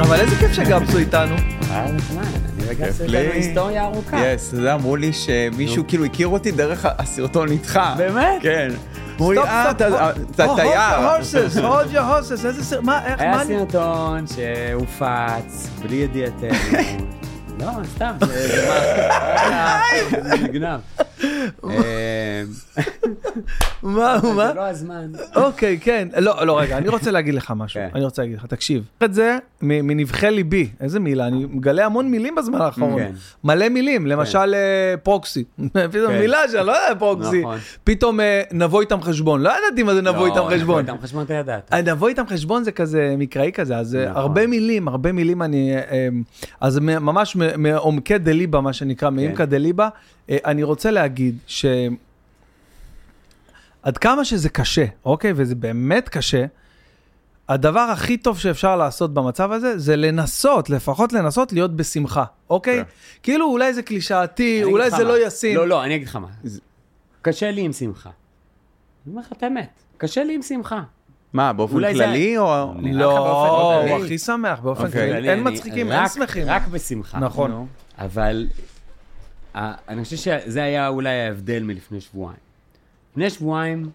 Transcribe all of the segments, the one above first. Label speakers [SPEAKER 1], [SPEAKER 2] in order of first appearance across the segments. [SPEAKER 1] אבל איזה כיף שגפסו איתנו.
[SPEAKER 2] היה נחמד, אני
[SPEAKER 3] כיף
[SPEAKER 2] וגפסו
[SPEAKER 3] לי.
[SPEAKER 2] איתנו היסטוריה ארוכה.
[SPEAKER 1] כן.
[SPEAKER 3] יס, אתה יודע, אמרו לי שמישהו כאילו הכיר אותי דרך הסרטון איתך.
[SPEAKER 1] באמת?
[SPEAKER 3] כן. אמרו לי,
[SPEAKER 1] סטופ,
[SPEAKER 3] אה,
[SPEAKER 1] סטופ,
[SPEAKER 3] אתה
[SPEAKER 1] hold-
[SPEAKER 3] אתה
[SPEAKER 1] Oh, hold
[SPEAKER 3] תייר.
[SPEAKER 1] your horses, hold your horses, איזה סרט, מה, איך, מה,
[SPEAKER 2] היה סרטון שהופץ בלי ידיעתנו. לא, סתם, זה זה מה, זה נגנב. אה,
[SPEAKER 1] מה, מה?
[SPEAKER 2] זה לא הזמן.
[SPEAKER 1] אוקיי, כן. לא, לא, רגע, אני רוצה להגיד לך משהו.
[SPEAKER 2] כן.
[SPEAKER 1] אני רוצה להגיד לך, תקשיב. את זה מ- מנבחי ליבי. איזה מילה, אני מגלה המון מילים בזמן האחרון.
[SPEAKER 2] כן.
[SPEAKER 1] מלא מילים, למשל אה, פרוקסי. פתאום
[SPEAKER 2] כן.
[SPEAKER 1] מילה שאני לא יודע פרוקסי.
[SPEAKER 2] נכון.
[SPEAKER 1] פתאום אה, נבוא איתם חשבון. לא ידעתי מה זה נבוא
[SPEAKER 2] לא,
[SPEAKER 1] איתם חשבון.
[SPEAKER 2] איתם חשבון אתה ידעת.
[SPEAKER 1] אה, נבוא איתם חשבון זה כזה מקראי כזה, אז אה,
[SPEAKER 2] נכון.
[SPEAKER 1] הרבה מילים, הרבה מילים אני, אה, אז מ- ממש מ- מעומקי דליבה, מה שנקרא,
[SPEAKER 2] כן.
[SPEAKER 1] מעמקא דליבה, אה, אני רוצה להגיד ש... עד כמה שזה קשה, אוקיי, וזה באמת קשה, הדבר הכי טוב שאפשר לעשות במצב הזה, זה לנסות, לפחות לנסות להיות בשמחה, אוקיי?
[SPEAKER 3] כן.
[SPEAKER 1] כאילו אולי זה קלישאתי,
[SPEAKER 2] אני אגיד
[SPEAKER 1] אולי
[SPEAKER 2] לך
[SPEAKER 1] זה
[SPEAKER 2] מה.
[SPEAKER 1] לא ישים.
[SPEAKER 2] לא, לא, אני אגיד לך מה.
[SPEAKER 3] זה-
[SPEAKER 2] קשה לי עם שמחה. אני אומר לך את האמת, קשה לי עם שמחה.
[SPEAKER 3] מה, באופן
[SPEAKER 2] אולי זה-
[SPEAKER 3] כללי או...
[SPEAKER 2] אני-
[SPEAKER 1] לא,
[SPEAKER 2] באופן
[SPEAKER 1] הוא
[SPEAKER 2] כללי.
[SPEAKER 1] הכי שמח באופן
[SPEAKER 3] אוקיי.
[SPEAKER 1] כללי.
[SPEAKER 2] אני-
[SPEAKER 1] כן, אין
[SPEAKER 2] אני-
[SPEAKER 1] מצחיקים,
[SPEAKER 2] רק-
[SPEAKER 1] אין שמחים.
[SPEAKER 2] רק בשמחה.
[SPEAKER 1] נכון.
[SPEAKER 3] נו.
[SPEAKER 2] אבל אה, אני חושב שזה היה אולי ההבדל מלפני שבועיים. לפני שבועיים,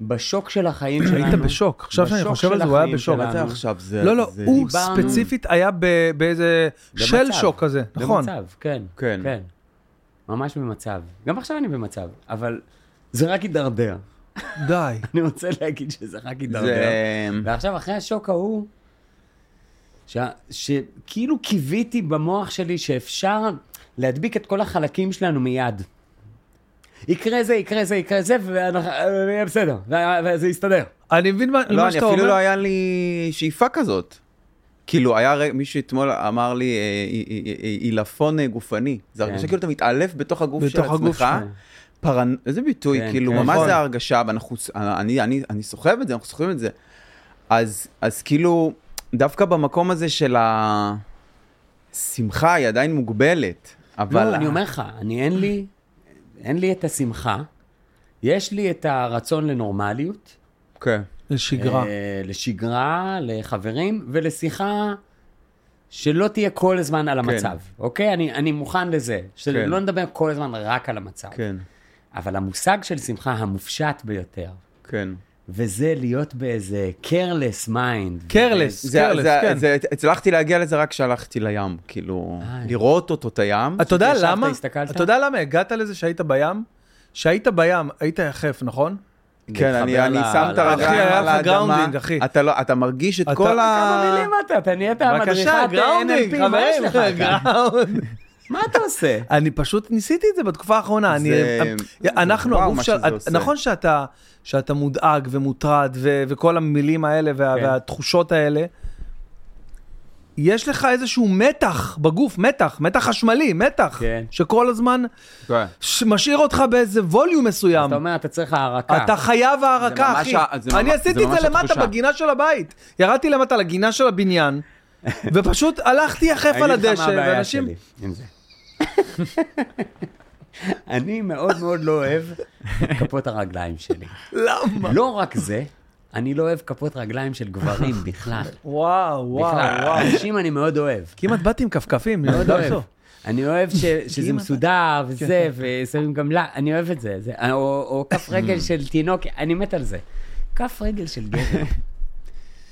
[SPEAKER 2] בשוק של החיים שלנו...
[SPEAKER 1] היית בשוק, עכשיו שאני
[SPEAKER 2] בשוק
[SPEAKER 1] חושב על
[SPEAKER 2] של
[SPEAKER 1] זה, הוא היה
[SPEAKER 2] החיים
[SPEAKER 1] בשוק.
[SPEAKER 2] שלנו.
[SPEAKER 3] מה זה עכשיו? זה...
[SPEAKER 1] לא, לא,
[SPEAKER 3] זה-
[SPEAKER 1] הוא
[SPEAKER 2] דיברנו.
[SPEAKER 1] ספציפית היה ב- באיזה
[SPEAKER 2] במצב,
[SPEAKER 1] של שוק כזה, נכון.
[SPEAKER 2] במצב, כן.
[SPEAKER 3] כן.
[SPEAKER 2] כן. ממש במצב. גם עכשיו אני במצב, אבל זה רק הידרדר.
[SPEAKER 1] די.
[SPEAKER 2] אני רוצה להגיד שזה רק הידרדר.
[SPEAKER 3] זה...
[SPEAKER 2] ועכשיו, אחרי השוק ההוא, ש... שכאילו קיוויתי במוח שלי שאפשר להדביק את כל החלקים שלנו מיד. יקרה זה, יקרה זה, יקרה זה, ואנחנו... אה, יהיה בסדר, וה- וזה יסתדר.
[SPEAKER 1] אני מבין מה
[SPEAKER 3] לא,
[SPEAKER 1] מה
[SPEAKER 3] אני
[SPEAKER 1] שאתה
[SPEAKER 3] אפילו לא
[SPEAKER 1] אומר.
[SPEAKER 3] היה לי שאיפה כזאת. כאילו, היה רגע, מישהו אתמול אמר לי, אה, אי- אי- אי- אי- עילפון אה, גופני. זה הרגשה
[SPEAKER 2] כן.
[SPEAKER 3] כאילו אתה מתעלף בתוך הגוף של
[SPEAKER 1] בתוך הגוף
[SPEAKER 3] עצמך.
[SPEAKER 1] שלך.
[SPEAKER 3] פרנ... איזה ביטוי,
[SPEAKER 2] כן,
[SPEAKER 3] כאילו,
[SPEAKER 2] כן.
[SPEAKER 3] ממש
[SPEAKER 1] נכון.
[SPEAKER 3] זה הרגשה, ואנחנו, אה, אני, אני, אני סוחב את זה, אנחנו סוחבים את זה. אז, אז כאילו, דווקא במקום הזה של השמחה, היא עדיין מוגבלת. אבל...
[SPEAKER 2] לא, אני אומר לך, אני אין לי, אין לי את השמחה, יש לי את הרצון לנורמליות.
[SPEAKER 3] כן.
[SPEAKER 1] לשגרה.
[SPEAKER 2] אה, לשגרה, לחברים, ולשיחה שלא תהיה כל הזמן
[SPEAKER 1] כן.
[SPEAKER 2] על המצב, אוקיי? אני, אני מוכן לזה, שלא לא
[SPEAKER 3] כן.
[SPEAKER 2] נדבר כל הזמן רק על המצב.
[SPEAKER 3] כן,
[SPEAKER 2] אבל המושג של שמחה המופשט ביותר,
[SPEAKER 3] כן.
[SPEAKER 2] וזה להיות באיזה careless
[SPEAKER 1] כן.
[SPEAKER 2] mind.
[SPEAKER 1] קרלס,
[SPEAKER 3] זה,
[SPEAKER 1] קרלס,
[SPEAKER 3] זה,
[SPEAKER 1] כן.
[SPEAKER 3] זה, הצלחתי להגיע לזה רק כשהלכתי לים, כאילו,
[SPEAKER 2] איי.
[SPEAKER 3] לראות אותו את הים.
[SPEAKER 1] אתה יודע
[SPEAKER 2] ישבת,
[SPEAKER 1] למה?
[SPEAKER 2] הסתכלת?
[SPEAKER 1] אתה יודע למה הגעת לזה שהיית בים? שהיית בים, היית יחף, נכון?
[SPEAKER 3] כן, אני,
[SPEAKER 2] להתחבר
[SPEAKER 3] אני
[SPEAKER 2] ל-
[SPEAKER 3] שם את
[SPEAKER 2] ל-
[SPEAKER 1] אחי,
[SPEAKER 3] הרגליים
[SPEAKER 1] היה
[SPEAKER 3] על
[SPEAKER 1] לך
[SPEAKER 3] האדמה,
[SPEAKER 1] גראונדינג, אחי.
[SPEAKER 3] אתה, לא, אתה מרגיש את
[SPEAKER 1] אתה-
[SPEAKER 3] כל
[SPEAKER 2] כמה
[SPEAKER 3] ה...
[SPEAKER 2] מילים אתה, אתה נהיית אה, המדריכת
[SPEAKER 1] בבקשה, גראונדינג,
[SPEAKER 2] NLP, מה יש לך
[SPEAKER 1] חברים, כן,
[SPEAKER 2] כאן?
[SPEAKER 1] גראונד.
[SPEAKER 2] מה אתה עושה?
[SPEAKER 1] אני פשוט ניסיתי את זה בתקופה האחרונה. אני,
[SPEAKER 3] זה-
[SPEAKER 1] אנחנו,
[SPEAKER 3] וואו,
[SPEAKER 1] הגוף
[SPEAKER 3] מה
[SPEAKER 1] של...
[SPEAKER 3] שזה עושה.
[SPEAKER 1] נכון שאתה, שאתה מודאג ומוטרד ו, וכל המילים האלה וה,
[SPEAKER 2] כן.
[SPEAKER 1] והתחושות האלה, יש לך איזשהו מתח בגוף, מתח, מתח חשמלי, מתח,
[SPEAKER 2] כן.
[SPEAKER 1] שכל הזמן
[SPEAKER 3] כן.
[SPEAKER 1] ש- משאיר אותך באיזה ווליום מסוים.
[SPEAKER 2] אתה אומר, אתה צריך הערקה.
[SPEAKER 1] אתה חייב הערקה,
[SPEAKER 3] ממש
[SPEAKER 1] אחי.
[SPEAKER 3] ה- זה ממש-
[SPEAKER 1] אני
[SPEAKER 3] זה
[SPEAKER 1] עשיתי את
[SPEAKER 3] ממש
[SPEAKER 1] זה למטה
[SPEAKER 3] התחושה.
[SPEAKER 1] בגינה של הבית. ירדתי למטה לגינה של הבניין, ופשוט הלכתי יחף על
[SPEAKER 2] אני אגיד לך מה
[SPEAKER 1] הדשא,
[SPEAKER 2] הבעיה
[SPEAKER 1] ואנשים...
[SPEAKER 2] שלי עם זה. אני מאוד מאוד לא אוהב כפות הרגליים שלי.
[SPEAKER 1] למה?
[SPEAKER 2] לא רק זה, אני לא אוהב כפות רגליים של גברים בכלל.
[SPEAKER 1] וואו, וואו,
[SPEAKER 2] בכלל.
[SPEAKER 1] וואו.
[SPEAKER 2] אנשים אני מאוד אוהב.
[SPEAKER 1] כמעט באתי עם כפכפים,
[SPEAKER 2] מאוד
[SPEAKER 1] לא
[SPEAKER 2] אוהב.
[SPEAKER 1] בסוף.
[SPEAKER 2] אני אוהב ש- שזה
[SPEAKER 1] אתה- כן.
[SPEAKER 2] מסודר וזה, ושמים גם לה, אני אוהב את זה. זה- או- או כף רגל של תינוק, אני מת על זה. כף רגל של גבר.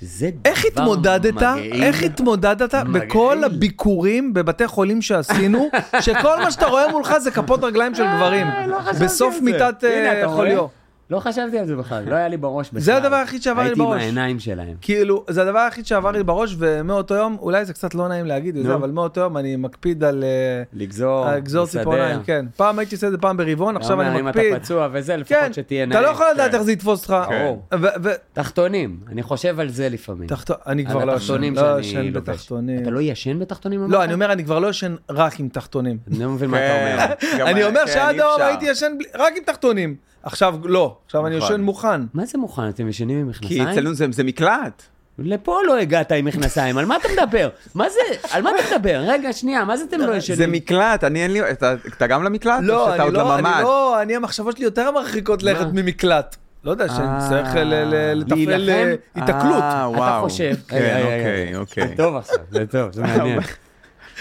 [SPEAKER 2] זה דבר
[SPEAKER 1] איך התמודדת,
[SPEAKER 2] מגעיל.
[SPEAKER 1] איך התמודדת
[SPEAKER 2] מגעיל.
[SPEAKER 1] בכל הביקורים בבתי חולים שעשינו, שכל מה שאתה רואה מולך זה כפות רגליים
[SPEAKER 2] אה,
[SPEAKER 1] של גברים,
[SPEAKER 2] לא.
[SPEAKER 1] בסוף מיטת אה,
[SPEAKER 2] הנה, אתה רואה?
[SPEAKER 1] חוליו.
[SPEAKER 2] לא חשבתי על זה בכלל, לא היה לי בראש בכלל.
[SPEAKER 1] זה הדבר היחיד שעבר לי בראש.
[SPEAKER 2] הייתי עם העיניים שלהם.
[SPEAKER 1] כאילו, זה הדבר היחיד שעבר לי בראש, ומאותו יום, אולי זה קצת לא נעים להגיד את זה,
[SPEAKER 2] נו.
[SPEAKER 1] אבל מאותו יום אני מקפיד על אה,
[SPEAKER 2] לגזור,
[SPEAKER 1] על לגזור
[SPEAKER 2] לסדר.
[SPEAKER 1] ציפורניים, כן. פעם הייתי עושה את זה פעם ברבעון,
[SPEAKER 2] אתה
[SPEAKER 1] עכשיו
[SPEAKER 2] אומר,
[SPEAKER 1] אני
[SPEAKER 2] אם
[SPEAKER 1] מקפיד.
[SPEAKER 2] אתה פצוע וזה,
[SPEAKER 1] כן,
[SPEAKER 2] לפחות שתהיה נעים.
[SPEAKER 1] אתה לא יכול לדעת
[SPEAKER 3] כן.
[SPEAKER 1] איך זה יתפוס אותך.
[SPEAKER 2] ברור.
[SPEAKER 1] ו- ו-
[SPEAKER 2] תחתונים, אני חושב על זה לפעמים.
[SPEAKER 1] תחתו- אני
[SPEAKER 2] על
[SPEAKER 1] כבר לא ישן,
[SPEAKER 2] התחתונים
[SPEAKER 1] לא
[SPEAKER 2] שאני
[SPEAKER 1] ישן
[SPEAKER 2] לובש.
[SPEAKER 1] בתחתונים.
[SPEAKER 2] אתה לא ישן בתחתונים? אמרת?
[SPEAKER 1] לא, אני אומר, אני כבר לא ישן רק עם תחתונים.
[SPEAKER 2] אני לא מבין מה אתה אומר.
[SPEAKER 3] גם
[SPEAKER 1] אני אומר
[SPEAKER 3] כן,
[SPEAKER 1] שעד
[SPEAKER 3] אי
[SPEAKER 1] היום
[SPEAKER 3] אפשר.
[SPEAKER 1] הייתי ישן בלי- רק עם תחתונים. עכשיו לא, עכשיו אני
[SPEAKER 3] נכון.
[SPEAKER 1] ישן מוכן.
[SPEAKER 2] מה זה מוכן? אתם ישנים עם
[SPEAKER 3] כי
[SPEAKER 2] מכנסיים?
[SPEAKER 3] אצלנו זה, זה מקלט.
[SPEAKER 2] לפה לא הגעת עם מכנסיים, על מה אתה מדבר? מה זה? על מה אתה מדבר? רגע, שנייה, מה זה אתם לא ישנים?
[SPEAKER 3] זה מקלט, אני אין לי... אתה, אתה גם למקלט? או
[SPEAKER 1] לא,
[SPEAKER 3] שאתה
[SPEAKER 1] אני
[SPEAKER 3] עוד
[SPEAKER 1] לא, אני
[SPEAKER 3] לממ"ד?
[SPEAKER 1] לא, אני המחשבות שלי יותר מרחיקות לכת ממקלט. לא יודע, שנצטרך
[SPEAKER 3] אה,
[SPEAKER 1] ל- ל- לתפעל אה,
[SPEAKER 2] להילחם?
[SPEAKER 1] היתקלות.
[SPEAKER 3] אה, וואו.
[SPEAKER 2] חושב. היי,
[SPEAKER 3] כן,
[SPEAKER 2] היי,
[SPEAKER 3] אוקיי,
[SPEAKER 2] היי.
[SPEAKER 3] אוקיי.
[SPEAKER 2] זה טוב עכשיו, זה טוב, זה מעניין.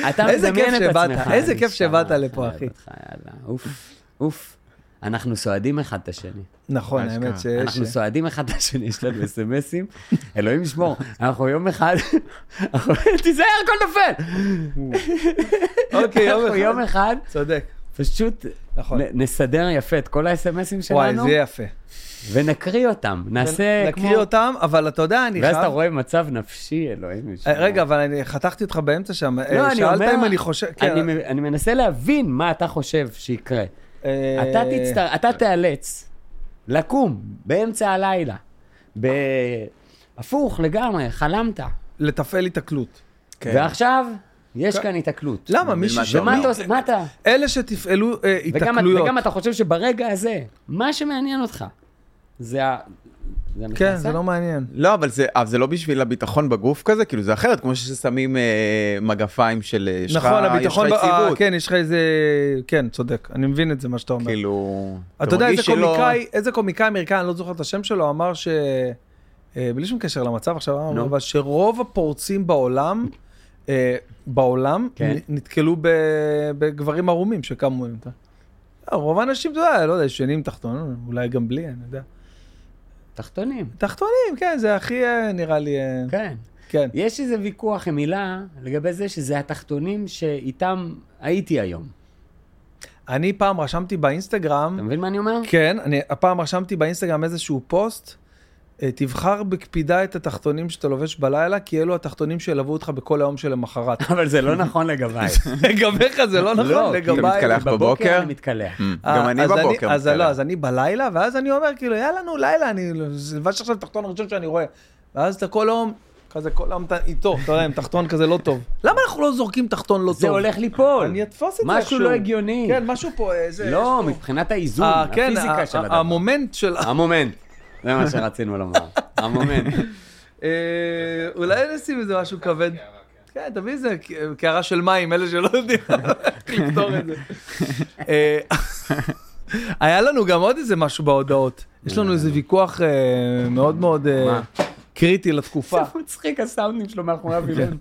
[SPEAKER 2] אתה
[SPEAKER 1] איזה
[SPEAKER 2] מדמיין
[SPEAKER 1] כיף
[SPEAKER 2] את
[SPEAKER 1] שבאת,
[SPEAKER 2] עצמך.
[SPEAKER 1] איזה
[SPEAKER 2] אני
[SPEAKER 1] כיף
[SPEAKER 2] שם,
[SPEAKER 1] שבאת לפה,
[SPEAKER 2] חייב
[SPEAKER 1] אחי.
[SPEAKER 2] אותך, יאללה, אוף, אוף. אנחנו סועדים אחד את השני.
[SPEAKER 1] נכון,
[SPEAKER 3] אשכרה.
[SPEAKER 1] האמת
[SPEAKER 2] אנחנו
[SPEAKER 1] שיש...
[SPEAKER 2] סועדים אחד את השני, יש לנו אסמסים. אלוהים ישמור, אנחנו יום אחד... אנחנו- תיזהר, הכל נופל!
[SPEAKER 1] אוקיי, יום
[SPEAKER 2] אנחנו
[SPEAKER 1] אחד.
[SPEAKER 2] יום אחד
[SPEAKER 1] צודק,
[SPEAKER 2] פשוט
[SPEAKER 1] נכון.
[SPEAKER 2] נ- נסדר יפה את כל האסמסים
[SPEAKER 1] וואי,
[SPEAKER 2] שלנו,
[SPEAKER 1] זה יפה.
[SPEAKER 2] ונקריא אותם. נעשה כמו...
[SPEAKER 1] נקריא אותם, אבל אתה יודע, אני
[SPEAKER 2] ואז אתה
[SPEAKER 1] חייב...
[SPEAKER 2] רואה מצב נפשי, אלוהים ישמור.
[SPEAKER 1] אה, רגע, אבל אני חתכתי אותך באמצע שם.
[SPEAKER 2] לא,
[SPEAKER 1] אה,
[SPEAKER 2] אני
[SPEAKER 1] שאלת
[SPEAKER 2] אומר-
[SPEAKER 1] אם אני חושב... כן,
[SPEAKER 2] אני מ- אני מנסה להבין מה אתה חושב שיקרה.
[SPEAKER 1] אה,
[SPEAKER 2] אתה תצטר... אתה תיאלץ לקום באמצע הלילה, ב... הפוך לגמרי, חלמת,
[SPEAKER 1] לתפעל היתקלות.
[SPEAKER 3] כן.
[SPEAKER 2] ועכשיו יש
[SPEAKER 1] כן.
[SPEAKER 2] כאן התקלות.
[SPEAKER 1] למה? מישהו
[SPEAKER 3] זה
[SPEAKER 2] ומה
[SPEAKER 1] שאומר...
[SPEAKER 2] אתה עושה? מה אתה?
[SPEAKER 1] אלה שתפעלו אה,
[SPEAKER 2] וגם,
[SPEAKER 1] היתקלויות.
[SPEAKER 2] וגם אתה חושב שברגע הזה, מה שמעניין אותך זה ה... זה
[SPEAKER 1] כן,
[SPEAKER 2] המכנסיים?
[SPEAKER 1] זה לא מעניין.
[SPEAKER 3] לא, אבל זה, אבל זה לא בשביל הביטחון בגוף כזה, כאילו זה אחרת, כמו ששמים אה, מגפיים של... אה, יש לך-
[SPEAKER 1] נכון, הביטחון...
[SPEAKER 3] יש לך
[SPEAKER 1] ב- אה,
[SPEAKER 3] יציבות.
[SPEAKER 1] כן, יש לך איזה... כן, צודק. אני מבין את זה, מה שאתה אומר.
[SPEAKER 3] כאילו...
[SPEAKER 1] אתה יודע
[SPEAKER 3] מרגיש
[SPEAKER 1] איזה
[SPEAKER 3] שלא-
[SPEAKER 1] קומיקאי, איזה קומיקאי אמריקאי, אני לא זוכר את השם שלו, אמר ש... אה, בלי שום קשר למצב עכשיו, אמר,
[SPEAKER 2] נו.
[SPEAKER 1] אבל שרוב הפורצים בעולם, אה, בעולם,
[SPEAKER 2] כן.
[SPEAKER 1] נ- נתקלו ב- בגברים ערומים שקמו. עם זה. אה, רוב האנשים, אתה יודע, לא יודע, ישנים תחתונים, אולי גם בלי, אני יודע.
[SPEAKER 2] תחתונים.
[SPEAKER 1] תחתונים, כן, זה הכי אה, נראה לי, אה,
[SPEAKER 2] כן.
[SPEAKER 1] כן.
[SPEAKER 2] יש איזה ויכוח עם הילה לגבי זה שזה התחתונים שאיתם הייתי היום.
[SPEAKER 1] אני פעם רשמתי באינסטגרם,
[SPEAKER 2] אתה מבין מה אני אומר?
[SPEAKER 1] כן, אני הפעם רשמתי באינסטגרם איזשהו פוסט, אה, תבחר בקפידה את התחתונים שאתה לובש בלילה, כי אלו התחתונים שילוו אותך בכל היום שלמחרת.
[SPEAKER 2] אבל זה לא נכון לגביי.
[SPEAKER 1] לגביך זה לא נכון,
[SPEAKER 2] לא,
[SPEAKER 1] לגביי.
[SPEAKER 3] אתה מתקלח בבוקר?
[SPEAKER 2] אני מתקלח.
[SPEAKER 3] Mm,
[SPEAKER 1] אה,
[SPEAKER 3] גם אני
[SPEAKER 1] אז
[SPEAKER 3] בבוקר.
[SPEAKER 1] אז לא,
[SPEAKER 3] מתקלח.
[SPEAKER 1] אז אני בלילה, ואז אני אומר, כאילו, יאללה, נו, לילה, אני לבש עכשיו תחתון הראשון שאני רואה. ואז אתה כל היום, כזה כל היום אתה איתו, אתה יודע, עם תחתון כזה לא טוב. למה אנחנו לא זורקים תחתון לא טוב?
[SPEAKER 2] זה הולך ליפול.
[SPEAKER 1] אני אתפוס את זה
[SPEAKER 2] משהו
[SPEAKER 1] איכשהו.
[SPEAKER 2] לא הגיוני.
[SPEAKER 1] כן, משהו פה, אה, זה...
[SPEAKER 2] לא,
[SPEAKER 1] יש פה-
[SPEAKER 2] מבחינת האיזון,
[SPEAKER 1] אה, כן,
[SPEAKER 2] הפיזיקה
[SPEAKER 1] ה-
[SPEAKER 2] של
[SPEAKER 1] ה-
[SPEAKER 2] הדבר.
[SPEAKER 1] המומנט של...
[SPEAKER 2] המומנט. זה מה שרצינו לומר. המומנט.
[SPEAKER 1] אה, אולי נשים איזה משהו כבד. כן, תביא איזה ק- קערה של מים, אלה שלא יודעים איך לפתור את זה. אה, היה לנו גם עוד איזה משהו בהודעות. יש לנו איזה ויכוח אה, מאוד מאוד אה,
[SPEAKER 2] מה?
[SPEAKER 1] קריטי לתקופה.
[SPEAKER 2] זה מצחיק הסאונדים שלו מאחוריו. אילן.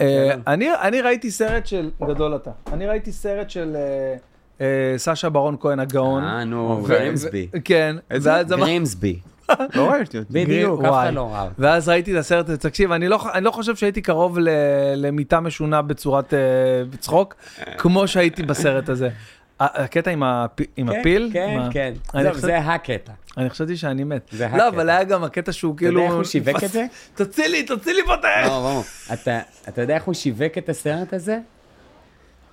[SPEAKER 1] אה,
[SPEAKER 2] כן.
[SPEAKER 1] אני אני ראיתי סרט של, גדול אתה, אני ראיתי סרט של אה, אה, סשה ברון כהן הגאון.
[SPEAKER 2] אה, נו,
[SPEAKER 1] ו-
[SPEAKER 2] גרימסבי.
[SPEAKER 1] ו- כן.
[SPEAKER 3] איזה?
[SPEAKER 1] ואז אמר-
[SPEAKER 2] גרימסבי.
[SPEAKER 3] לא ראיתי אותי.
[SPEAKER 2] בדיוק, אף אחד
[SPEAKER 1] וואי.
[SPEAKER 2] לא רב.
[SPEAKER 1] ואז ראיתי את הסרט הזה, תקשיב, אני לא, ח- אני לא חושב שהייתי קרוב ל, למיטה משונה בצורת uh, צחוק, כמו שהייתי בסרט הזה. ה- הקטע עם, הפ, עם הפיל? עם
[SPEAKER 2] כן,
[SPEAKER 1] ה-
[SPEAKER 2] כן.
[SPEAKER 1] אני
[SPEAKER 2] זהו,
[SPEAKER 1] חושב-
[SPEAKER 2] זה הקטע.
[SPEAKER 1] אני חשבתי שאני מת.
[SPEAKER 2] זה
[SPEAKER 1] לא,
[SPEAKER 2] הקטע.
[SPEAKER 1] אבל היה גם הקטע שהוא
[SPEAKER 2] יודע
[SPEAKER 1] כאילו...
[SPEAKER 2] איך הוא שיווק את זה?
[SPEAKER 1] תוציא לי, תוציא לי פה את ה...
[SPEAKER 2] לא, ברור. אתה- אתה יודע איך הוא שיווק את הסרט הזה?